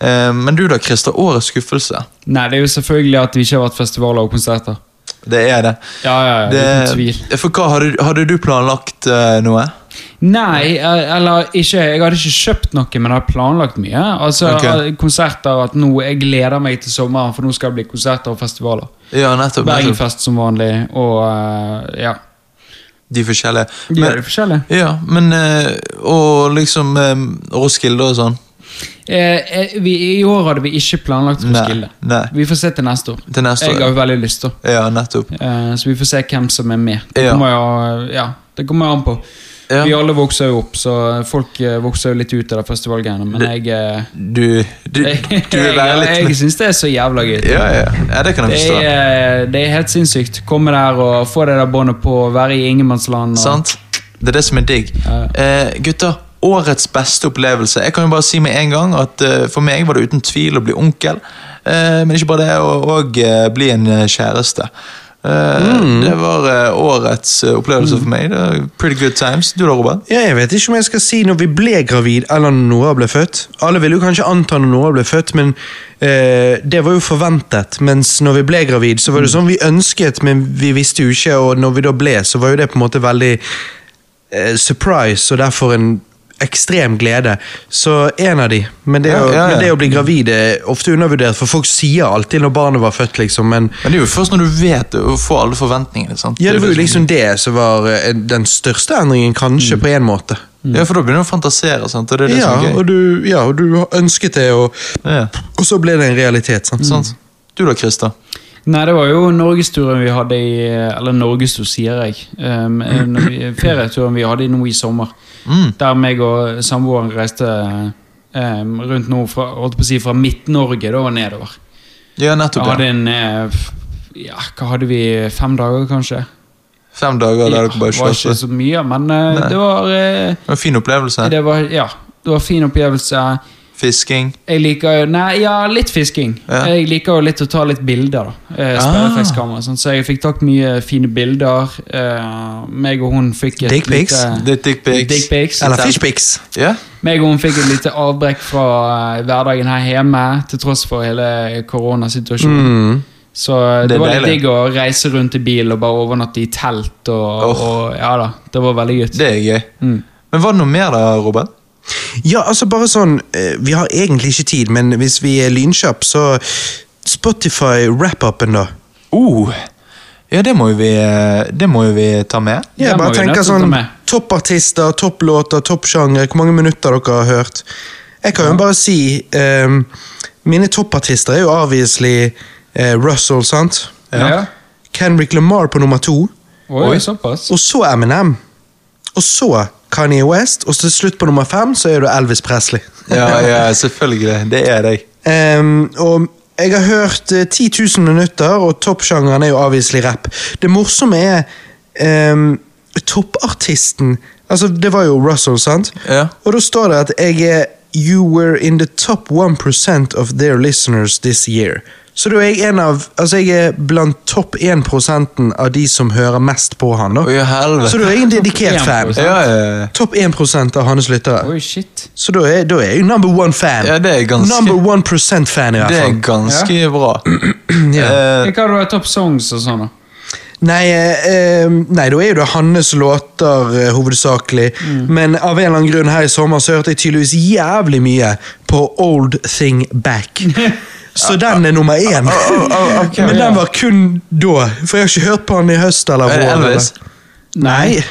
Speaker 1: Eh, men du da, Christer. Årets skuffelse.
Speaker 3: *laughs* Nei, det er jo selvfølgelig at det ikke har vært festivaler og konserter.
Speaker 1: Det er det.
Speaker 3: Ja, ja, ja, uten
Speaker 1: det
Speaker 3: tvil.
Speaker 1: for hva, hadde, hadde du planlagt eh, noe?
Speaker 3: Nei, eh, eller ikke Jeg hadde ikke kjøpt noe, men jeg har planlagt mye. Altså,
Speaker 1: Ok.
Speaker 3: eh, Konserter at nå Jeg gleder meg til sommeren, for nå skal det bli konserter og festivaler.
Speaker 1: Ja, nettopp. nettopp.
Speaker 3: Bergenfest som vanlig, og eh, ja.
Speaker 1: De forskjellige.
Speaker 3: De gjør
Speaker 1: Men,
Speaker 3: det forskjellig.
Speaker 1: ja, men eh, Og liksom eh, Roskilde og sånn.
Speaker 3: Eh, eh, vi, I år hadde vi ikke planlagt Roskilde.
Speaker 1: nei.
Speaker 3: Vi får se til neste år.
Speaker 1: Til neste
Speaker 3: jeg
Speaker 1: år.
Speaker 3: har jo veldig lyst, da.
Speaker 1: Ja, nettopp.
Speaker 3: Eh, så vi får se hvem som er med. Det
Speaker 1: Ja.
Speaker 3: kommer jo ja, det kommer jo an på.
Speaker 1: Ja.
Speaker 3: Vi alle vokser jo opp, så folk eh, vokser jo litt ut av det festivalgreiene. Men jeg, eh,
Speaker 1: Du, du,
Speaker 3: *laughs* jeg,
Speaker 1: du vil være
Speaker 3: jeg,
Speaker 1: litt
Speaker 3: syns det er så jævla gøy.
Speaker 1: Ja, ja. ja det kan
Speaker 3: Det
Speaker 1: jeg forstå.
Speaker 3: er, eh, det er helt sinnssykt. Komme der og få det der båndet på, være i ingenmannsland. og-
Speaker 1: Sant? Det er det som er digg.
Speaker 3: Ja,
Speaker 1: Eh, gutter, årets beste opplevelse. Jeg kan jo bare si med en gang at eh, for meg var det uten tvil å bli onkel. Eh, men ikke bare det, å og, eh, bli en eh, kjæreste. Eh,
Speaker 3: Mm.
Speaker 1: Det var eh, årets eh, opplevelse for meg. Det var pretty good times. Du da, Robert?
Speaker 2: Ja, jeg vet ikke om jeg skal si når vi ble gravid eller når Nora ble født. Alle ville jo kanskje anta når Nora ble født, men eh, det var jo forventet. Mens når vi ble gravid, så var
Speaker 1: Mm.
Speaker 2: det sånn vi ønsket, men vi visste jo ikke. Og når vi da ble, så var jo det på en måte veldig eh, surprise, og derfor en ekstrem glede. Så en av de. Men det,
Speaker 1: Ja,
Speaker 2: å,
Speaker 1: ja, ja.
Speaker 2: Men det å bli gravid er ofte undervurdert, for folk sier alltid når barnet var født, liksom. Men
Speaker 1: Men det er jo først når du vet det, og får alle forventningene. sant?
Speaker 2: ja, det var jo
Speaker 1: som-
Speaker 2: liksom det som var eh, den største endringen, kanskje,
Speaker 1: Mm.
Speaker 2: på en måte.
Speaker 3: liksom-
Speaker 1: Ja, for da begynner du å fantasere, sant? og det er det
Speaker 2: Ja
Speaker 1: som er gøy.
Speaker 2: og, du, ja, og du har ønsket det, og,
Speaker 1: Ja,
Speaker 2: og så ble det en realitet.
Speaker 3: Mm.
Speaker 2: Sant?
Speaker 1: sant? Du da, Christer?
Speaker 3: Nei, det var jo norgesturen vi hadde i eh, Eller norgestur, sier jeg. Um, når vi- ferieturen vi hadde nå i sommer.
Speaker 1: Mm.
Speaker 3: Der meg og samboeren reiste um, rundt nå fra, holdt på å si, fra Midt-Norge da og nedover.
Speaker 1: Ja,
Speaker 3: Jeg
Speaker 1: nettopp.
Speaker 3: hadde
Speaker 1: Ja.
Speaker 3: en eh, Ja, hva hadde vi? Fem dager, kanskje?
Speaker 1: Fem dager der dere bare
Speaker 3: det var ikke
Speaker 1: slåss.
Speaker 3: så mye, men eh,
Speaker 1: Nei.
Speaker 3: det var eh,
Speaker 1: Det var En fin opplevelse.
Speaker 3: Det var Ja. Det var fin opplevelse.
Speaker 1: Fisking.
Speaker 3: Jeg liker jo Nei, ja, litt fisking.
Speaker 1: Ja. Ah.
Speaker 3: Jeg liker jo litt å ta litt bilder. da eh, Sperreflekskamera. sånn, Så jeg fikk tatt mye fine bilder. Eh, meg og hun fikk et
Speaker 2: Dick pics?
Speaker 3: lite-
Speaker 1: Dick dick pics.
Speaker 3: Dick pics.
Speaker 2: Eller fishpics.
Speaker 1: Ja,
Speaker 3: Meg og hun fikk et lite avbrekk fra eh, hverdagen her hjemme, til tross for hele koronasituasjonen.
Speaker 2: Mm.
Speaker 3: Så eh,
Speaker 1: Det
Speaker 3: det,
Speaker 1: er
Speaker 3: var litt
Speaker 1: deilig.
Speaker 3: digg å reise rundt i bil og bare overnatte i telt. Og,
Speaker 1: Åh.
Speaker 3: og ja da, det var veldig gøy.
Speaker 1: det er gøy.
Speaker 3: Mm.
Speaker 1: Men var det noe mer da, Robert?
Speaker 2: Ja, altså bare sånn eh, Vi har egentlig ikke tid, men hvis vi er lynkjapp, så Spotify wrap-upen, da.
Speaker 1: Uh, ja, det må jo vi, eh, det må jo vi ta med.
Speaker 2: Jeg
Speaker 3: Den må
Speaker 2: bare
Speaker 3: vi
Speaker 2: tenker
Speaker 3: nødt til å ta
Speaker 2: sånn
Speaker 3: med.
Speaker 2: Toppartister, topplåter, toppsjangre. Hvor mange minutter dere har hørt. Jeg kan jo bare si ehm, Mine toppartister er jo obviously eh, Russell, sant?
Speaker 3: Ja.
Speaker 2: Kendrick Lamar på nummer to.
Speaker 3: Oi,
Speaker 1: Oi.
Speaker 3: såpass.
Speaker 2: Og så Eminem. Og så Kanye West. Og så til slutt på nummer fem så er det Elvis Presley.
Speaker 1: Ja, ja, *laughs* selvfølgelig. Det er deg.
Speaker 2: Ehm, og jeg har hørt eh, 10 000 minutter, og toppsjangeren er jo avviselig rapp. Det morsomme er ehm, toppartisten Altså, det var jo Russell, sant?
Speaker 1: Ja.
Speaker 2: Og da står det at jeg er You were in the top 1% of their listeners this year. Så da er jeg en av Altså, jeg er blant topp 1 av de som hører mest på han, da.
Speaker 1: Oi, helvete.
Speaker 2: Så du er jeg en dedikert
Speaker 3: 1%.
Speaker 2: fan.
Speaker 1: Ja, ja, ja.
Speaker 2: Topp 1 av hans lyttere.
Speaker 3: Oi, shit.
Speaker 2: Så da er, da er jeg jo number one fan.
Speaker 1: Ja, det er ganske-
Speaker 2: Number one percent fan, i hvert
Speaker 1: Det er
Speaker 2: fall.
Speaker 1: ganske bra.
Speaker 2: *clears throat* Ja.
Speaker 1: Eh,
Speaker 3: Hva var topp songs og sånn? da?
Speaker 2: Nei, eh, eh, nei, da er jo det hans låter eh, hovedsakelig. Men av en eller annen grunn her i sommer så hørte jeg tydeligvis jævlig mye på Old Thing *laughs* Back. Så den er nummer én.
Speaker 1: oh, ok.
Speaker 2: Men den var kun da, for jeg har ikke hørt på den i høst eller
Speaker 1: Er det
Speaker 2: vår. eller-
Speaker 1: Elvis?
Speaker 2: Nei.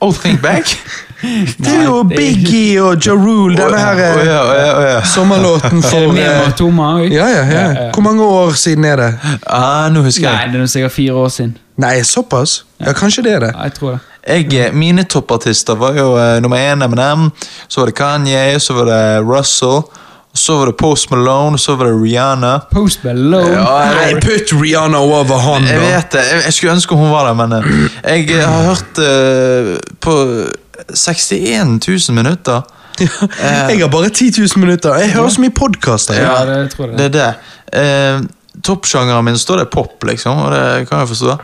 Speaker 1: Oh, think back?
Speaker 2: Det er jo
Speaker 3: Nei, det er-
Speaker 2: Biggie og Ja Rule, *laughs* denne her eh,
Speaker 1: Å, ja, å, ja, å, ja.
Speaker 2: *laughs* sommerlåten for
Speaker 3: Er det med
Speaker 2: eh,
Speaker 3: Matoma òg?
Speaker 2: ja, ja, ja. Hvor mange år siden er det?
Speaker 1: Ah, nå husker
Speaker 3: Nei,
Speaker 1: jeg.
Speaker 3: det er noe sikkert fire år siden.
Speaker 2: Nei, såpass? Ja, kanskje det er det.
Speaker 3: Ja, jeg tror det.
Speaker 1: jeg eh, mine toppartister var jo eh, nummer én Eminem, så var det Kanye, så var det Russell, så var det Post Malone, så var det Rihanna.
Speaker 3: Post Malone.
Speaker 1: Ja,
Speaker 2: Nei,
Speaker 1: Ah, jeg,
Speaker 2: putt Rihanna over han,
Speaker 1: jeg
Speaker 2: da.
Speaker 1: vet det. Jeg, jeg skulle ønske hun var der, men eh, jeg eh, har hørt eh, på 61 000
Speaker 2: *laughs*
Speaker 1: minutter. Eh,
Speaker 2: Jeg har bare 10 000 minutter. Jeg hører så mye podkaster.
Speaker 3: Ja. det tror jeg
Speaker 1: Det er det. Eh, Toppsjangeren min står det pop, liksom, og det kan jeg forstå.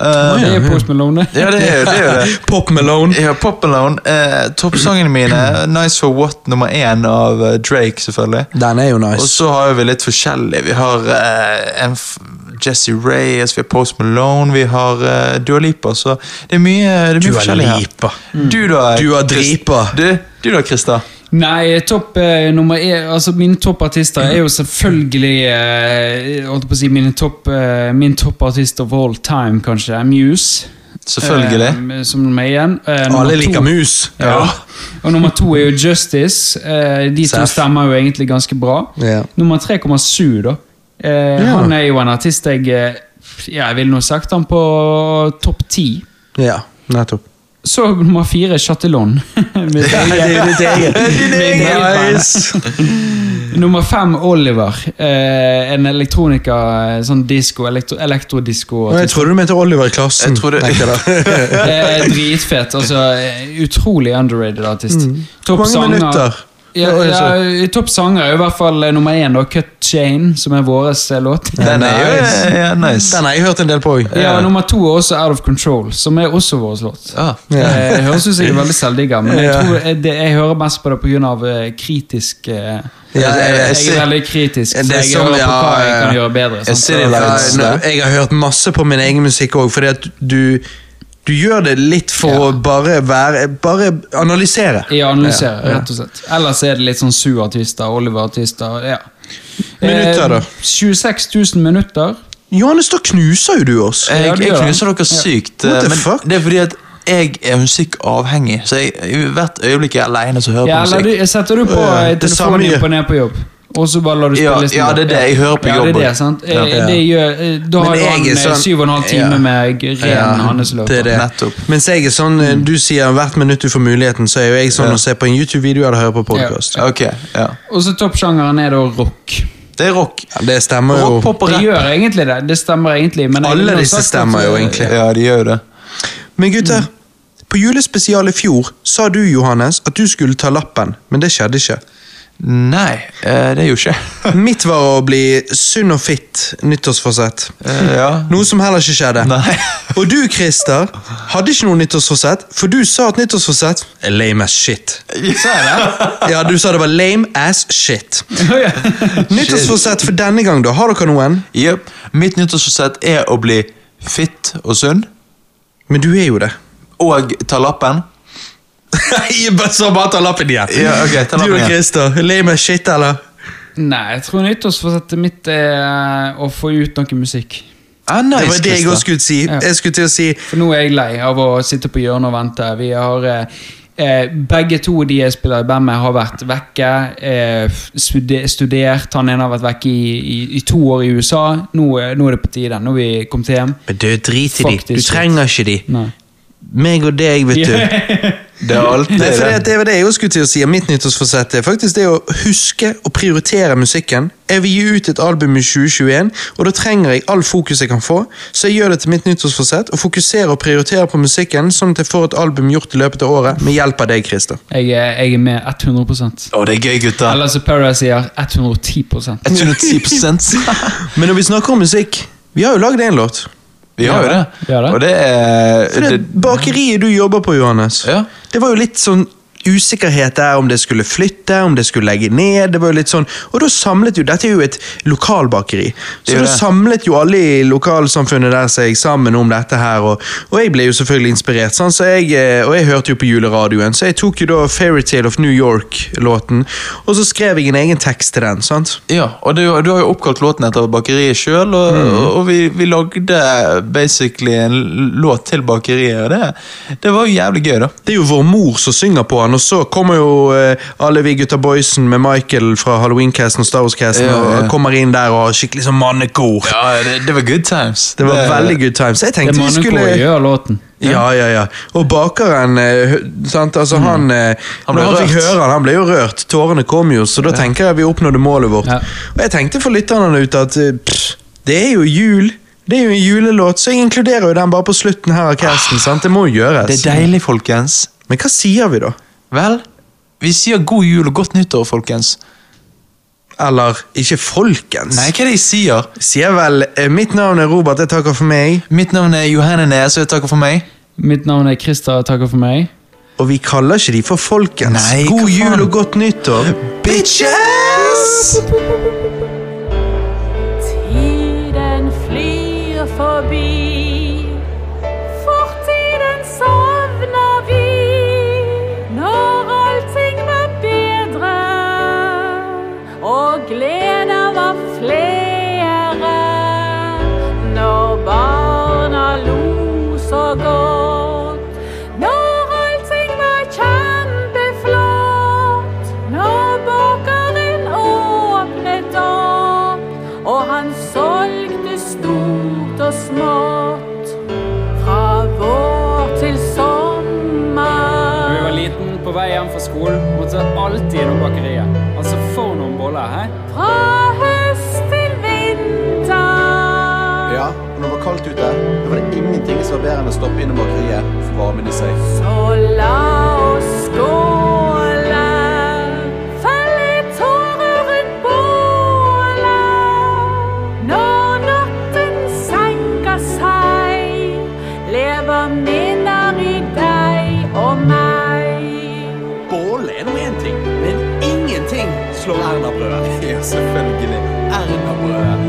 Speaker 1: Eh,
Speaker 3: Det er Post Malone.
Speaker 1: ja, det er jo det. Er jo
Speaker 2: *laughs*
Speaker 1: det.
Speaker 2: Pop Malone.
Speaker 1: Ja, Pop Alone. Eh, Toppsangene mine Nice for What nummer én av eh, Drake, selvfølgelig.
Speaker 2: Den er jo
Speaker 1: Og
Speaker 2: nice.
Speaker 1: så har jo vi litt forskjellig. Vi har eh, en f Jesse Reyes, vi har Post Malone, vi har eh, Dua Lipa. Så det er mye, det er mye
Speaker 2: Dua
Speaker 1: forskjellig her.
Speaker 2: Lipa.
Speaker 3: Mm.
Speaker 1: Du da,
Speaker 2: Dua
Speaker 1: Chris-
Speaker 2: Dripa.
Speaker 1: Du, du da, Christer.
Speaker 3: Nei, topp eh, nummer én Altså, mine toppartister er jo selvfølgelig eh, Holdt på å si mine topp eh, Min toppartist of all time, kanskje. Muse.
Speaker 1: Selvfølgelig.
Speaker 3: Eh, som nummer én. Eh, nummer
Speaker 2: Alle
Speaker 3: to-
Speaker 2: liker mus.
Speaker 3: Ja. Og nummer to er jo Justice. Eh, de to
Speaker 2: Seff.
Speaker 3: stemmer jo egentlig ganske bra.
Speaker 2: Ja.
Speaker 3: Nummer tre kommer Sue, da. Eh,
Speaker 2: Ja.
Speaker 3: Han er jo en artist jeg eh, Ja, jeg ville nå sagt han på topp ti.
Speaker 2: ja, nettopp.
Speaker 3: Så nummer fire Chatillon. *laughs* Mitt eget- *laughs* Min eget band.
Speaker 2: Nice.
Speaker 3: Nummer fem, Oliver. Eh, en elektroniker, eh, sånn disco, elektro, elektrodisko.
Speaker 2: Og Jeg trodde du mente Oliver Klassen.
Speaker 1: Jeg tror det-
Speaker 2: tenkte jeg da.
Speaker 3: Eh, dritfett. Altså, eh, utrolig underrated artist.
Speaker 2: Hvor
Speaker 3: Topp
Speaker 2: Mm. mange
Speaker 3: sanger-
Speaker 2: minutter?
Speaker 3: Ja,
Speaker 2: Oi,
Speaker 3: ja,
Speaker 2: sorry.
Speaker 3: i Topp sanger er i hvert fall eh, nummer én, da, Cut Chain, som er vår eh, låt.
Speaker 1: Den er jo
Speaker 2: nice.
Speaker 1: ja, nice.
Speaker 2: Den har jeg hørt en del på òg.
Speaker 3: Ja, Nummer to er også Out of Control, som er også vår låt.
Speaker 1: Ah.
Speaker 2: Ja.
Speaker 3: Eh, Det høres ut som jeg er veldig selvdigga, men jeg,
Speaker 2: Ja.
Speaker 3: tror eh, det, jeg hører mest på det pga. kritisk eh,
Speaker 2: Ja, jeg- jeg
Speaker 3: Jeg er
Speaker 2: ser-
Speaker 3: veldig kritisk,
Speaker 2: Det
Speaker 3: så
Speaker 2: er
Speaker 3: jeg
Speaker 2: som-
Speaker 3: hører på hva jeg
Speaker 2: ja,
Speaker 3: kan
Speaker 2: ja.
Speaker 3: gjøre bedre.
Speaker 1: Jeg
Speaker 3: sant?
Speaker 1: ser det
Speaker 2: Ja,
Speaker 1: lights
Speaker 2: nå-
Speaker 1: der.
Speaker 2: jeg har hørt masse på min egen musikk òg, fordi at du du gjør det litt for
Speaker 3: Ja.
Speaker 2: å bare være Bare analysere.
Speaker 3: Ja, analysere, rett og slett. Ellers er det litt sånn Sue-artister, Oliver-artister. ja.
Speaker 2: Minutter, da?
Speaker 3: Eh, 26 000 minutter.
Speaker 2: Johannes, da knuser jo du oss.
Speaker 3: Ja,
Speaker 1: Jeg,
Speaker 3: du
Speaker 1: jeg
Speaker 3: gjør det.
Speaker 1: knuser dere sykt, eh,
Speaker 2: What the
Speaker 1: men
Speaker 2: fuck?
Speaker 1: det er fordi at jeg er musikkavhengig. Så jeg, i hvert øyeblikk jeg er aleine, så hører
Speaker 3: Ja,
Speaker 1: jeg på
Speaker 3: eller
Speaker 1: musikk.
Speaker 3: du, setter du på
Speaker 2: Ja,
Speaker 3: eh,
Speaker 2: det samme
Speaker 3: telefonen
Speaker 2: gjør-
Speaker 3: din på ned på jobb, og så bare lar du
Speaker 1: Ja,
Speaker 3: spillelisten
Speaker 1: ja,
Speaker 3: gå.
Speaker 1: det er det. Jeg hører på
Speaker 3: ja,
Speaker 1: jobben.
Speaker 3: Det er det, sant? Eh,
Speaker 1: Ja.
Speaker 3: Det gjør, eh, da
Speaker 2: Men
Speaker 3: har jo
Speaker 2: jeg
Speaker 3: han
Speaker 2: er
Speaker 3: eh,
Speaker 2: sånn-
Speaker 3: syv og en halv time
Speaker 2: Ja.
Speaker 3: med g- ren hans låt.
Speaker 2: det er det.
Speaker 1: Nettopp.
Speaker 2: Mens jeg er sånn, eh, du sier hvert minutt du får muligheten, så er jo jeg sånn
Speaker 1: Ja.
Speaker 2: å se på en YouTube-video eller høre på podkast. Ja.
Speaker 1: Ok, ja.
Speaker 3: Og så toppsjangeren er da rock.
Speaker 1: Det er rock.
Speaker 2: det stemmer
Speaker 1: Rock,
Speaker 2: jo.
Speaker 1: pop og
Speaker 3: Det
Speaker 1: rap.
Speaker 3: gjør egentlig det. Det stemmer egentlig. Men jeg
Speaker 2: Alle
Speaker 3: ville nok
Speaker 2: disse
Speaker 3: sagt at,
Speaker 2: stemmer jo
Speaker 3: eh,
Speaker 2: egentlig.
Speaker 1: Ja, de gjør jo det.
Speaker 2: Men gutter, på julespesial i fjor sa du, Johannes, at du skulle ta lappen, men det
Speaker 1: *laughs*
Speaker 2: skjedde ikke.
Speaker 1: Nei, eh, det er jo
Speaker 3: *laughs*
Speaker 1: ikke.
Speaker 2: Mitt var å bli sunn og fit nyttårsforsett.
Speaker 1: Eh, Ja.
Speaker 2: Noe som heller ikke skjedde.
Speaker 1: Nei.
Speaker 2: Og du, Christer, hadde ikke noe nyttårsforsett, for du sa at nyttårsforsett er lame as shit.
Speaker 1: Sa jeg det?
Speaker 2: Ja, du sa det var lame as shit.
Speaker 1: Oh,
Speaker 3: ja.
Speaker 2: Nyttårsforsett for denne gang, da. Har dere noen?
Speaker 1: Jepp. Mitt nyttårsforsett er å bli fit og sunn,
Speaker 2: Men du er jo *laughs* det.
Speaker 1: og ta lappen.
Speaker 2: Nei, bare- så bare ta lappen igjen.
Speaker 1: Ja, ok, ta lappen
Speaker 2: du og
Speaker 1: igjen.
Speaker 2: Christer, lame as shit, eller?
Speaker 3: Nei, jeg tror nyttårsforsettet mitt er eh, å få ut noe musikk.
Speaker 1: Ah, nice,
Speaker 2: det var det jeg
Speaker 1: Christer.
Speaker 2: også skulle si.
Speaker 3: Ja.
Speaker 2: Jeg skulle til å si
Speaker 3: For nå er jeg lei av å sitte på hjørnet og vente. Vi har eh, eh, Begge to de jeg spiller i band med, har vært vekke. Eh, f- stude- studert. Han ene har vært vekke i, i, i to år i USA. Nå, eh, nå er det på tide. Nå er vi kommet hjem.
Speaker 2: Men du, drit
Speaker 3: i de. Fuck this Du shit. trenger
Speaker 2: ikke de.
Speaker 3: *laughs* Nei.
Speaker 2: Meg og deg, vet
Speaker 1: Det er alltid
Speaker 2: Nei, for
Speaker 1: det.
Speaker 2: det, det var det jeg også skulle til å si om mitt nyttårsforsett. er faktisk det å huske å prioritere musikken. Jeg vil gi ut et album i 2021, og da trenger jeg all fokus jeg kan få. Så jeg gjør det til mitt nyttårsforsett å fokusere og prioritere på musikken, sånn at jeg får et album gjort i løpet av året med hjelp av deg, Christer.
Speaker 3: Jeg, er- jeg er med 100
Speaker 1: Å, det er gøy, gutter.
Speaker 3: Eller som Paradise sier, 110
Speaker 1: *laughs* 110
Speaker 2: Men når vi snakker om musikk, vi har jo lagd én låt.
Speaker 1: Vi har jo det.
Speaker 3: Vi har det.
Speaker 1: Og det er
Speaker 2: For det,
Speaker 1: det-
Speaker 2: bakeriet du jobber på, Johannes,
Speaker 1: Ja.
Speaker 2: det var jo litt sånn usikkerhet der om det skulle flytte, om det skulle legge ned. det var jo litt sånn, Og da samlet jo Dette er jo et lokalbakeri.
Speaker 1: Det
Speaker 2: Så
Speaker 1: er jo
Speaker 2: da
Speaker 1: det.
Speaker 2: samlet jo alle i lokalsamfunnet der seg sammen om dette her, og, og jeg ble jo selvfølgelig inspirert, sånn, så jeg, eh, og jeg hørte jo på juleradioen, så jeg tok jo da Fairytale of New York-låten, og så skrev jeg en egen tekst til den, sant?
Speaker 1: Ja, og du, du har jo oppkalt låten etter bakeriet sjøl, og, og vi, vi lagde basically en l- låt til bakeriet, og det, det var jo jævlig gøy, da.
Speaker 2: Det er jo vår mor som synger på han, og så kommer jo eh, alle vi gutta boysen med Michael fra Halloweencasten og Star Wars-casten
Speaker 1: Ja, ja.
Speaker 2: og kommer inn der og har skikkelig sånn mannekor.
Speaker 1: Ja, det, var good times.
Speaker 2: Det var veldig good times. Jeg
Speaker 3: Det
Speaker 2: tenkte vi
Speaker 3: mannen
Speaker 2: skulle
Speaker 3: skulle... gjør låten.
Speaker 2: Ja, ja, ja. Og bakeren eh, hø- sant? Altså, han, eh,
Speaker 1: Mm. Han
Speaker 2: når
Speaker 1: ble
Speaker 2: han fikk
Speaker 1: rørt.
Speaker 2: høre han, han ble jo rørt. Tårene kom jo, så da tenker jeg vi oppnådde målet vårt.
Speaker 3: Ja.
Speaker 2: Og jeg tenkte for lytterne ute at eh, pff, det er jo jul. Det er jo en julelåt, så jeg inkluderer jo den bare på slutten her av casten. sant? Det må jo
Speaker 1: Ah. Det er
Speaker 2: gjøres.
Speaker 1: deilig, folkens.
Speaker 2: Men hva sier vi, da?
Speaker 1: Vel, vi sier god jul og godt nyttår, folkens.
Speaker 2: Eller ikke folkens.
Speaker 1: Nei, hva er det jeg sier?
Speaker 2: Sier vel eh, Mitt navn er Robert, jeg takker for meg.
Speaker 1: Mitt navn er Johanne Næs, og jeg takker for meg.
Speaker 3: Mitt navn er Christer, takker for meg.
Speaker 2: Og vi kaller ikke de for folkens.
Speaker 1: Nei,
Speaker 2: God
Speaker 1: hva faen?
Speaker 2: jul og godt nyttår.
Speaker 1: Bitches!
Speaker 4: Tiden flyr forbi, fortiden savner vi. Når allting var bedre, og gleder var flere. Når barna lo så godt, når allting var kjempeflott. Når bakeren åpnet opp, og han solgte stort og smått. Fra vår til sommer.
Speaker 5: Når vi var liten, på vei hjem fra skolen, måtte jeg alltid innom bakeriet. Altså, for noen boller, hæ?
Speaker 4: Fra høst til vinter.
Speaker 6: Ja, og når det var kaldt ute, da var det ingenting som var bedre enn å stoppe innom bakeriet for varmen i seg.
Speaker 4: Så la oss skåle. Felle tårer rundt bålet. Når natten senker seg, lever minner i deg og meg.
Speaker 6: Bål er nå én ting, men ingenting slår Erna-brødet. Ja, selvfølgelig. Erna-brødet.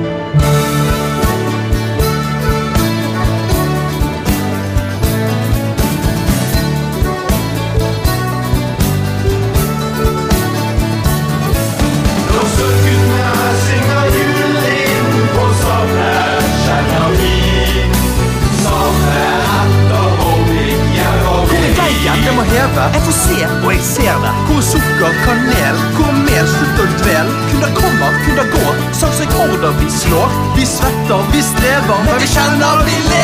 Speaker 7: Deigen, det må heve. Jeg får se, og jeg ser det. Hvor er sukker, kanel, hvor er mer slutt og dvel? Kunder kommer, kunder går, sånn som jeg order vi slår. Vi svetter, vi strever, men vi kjenner vi lever.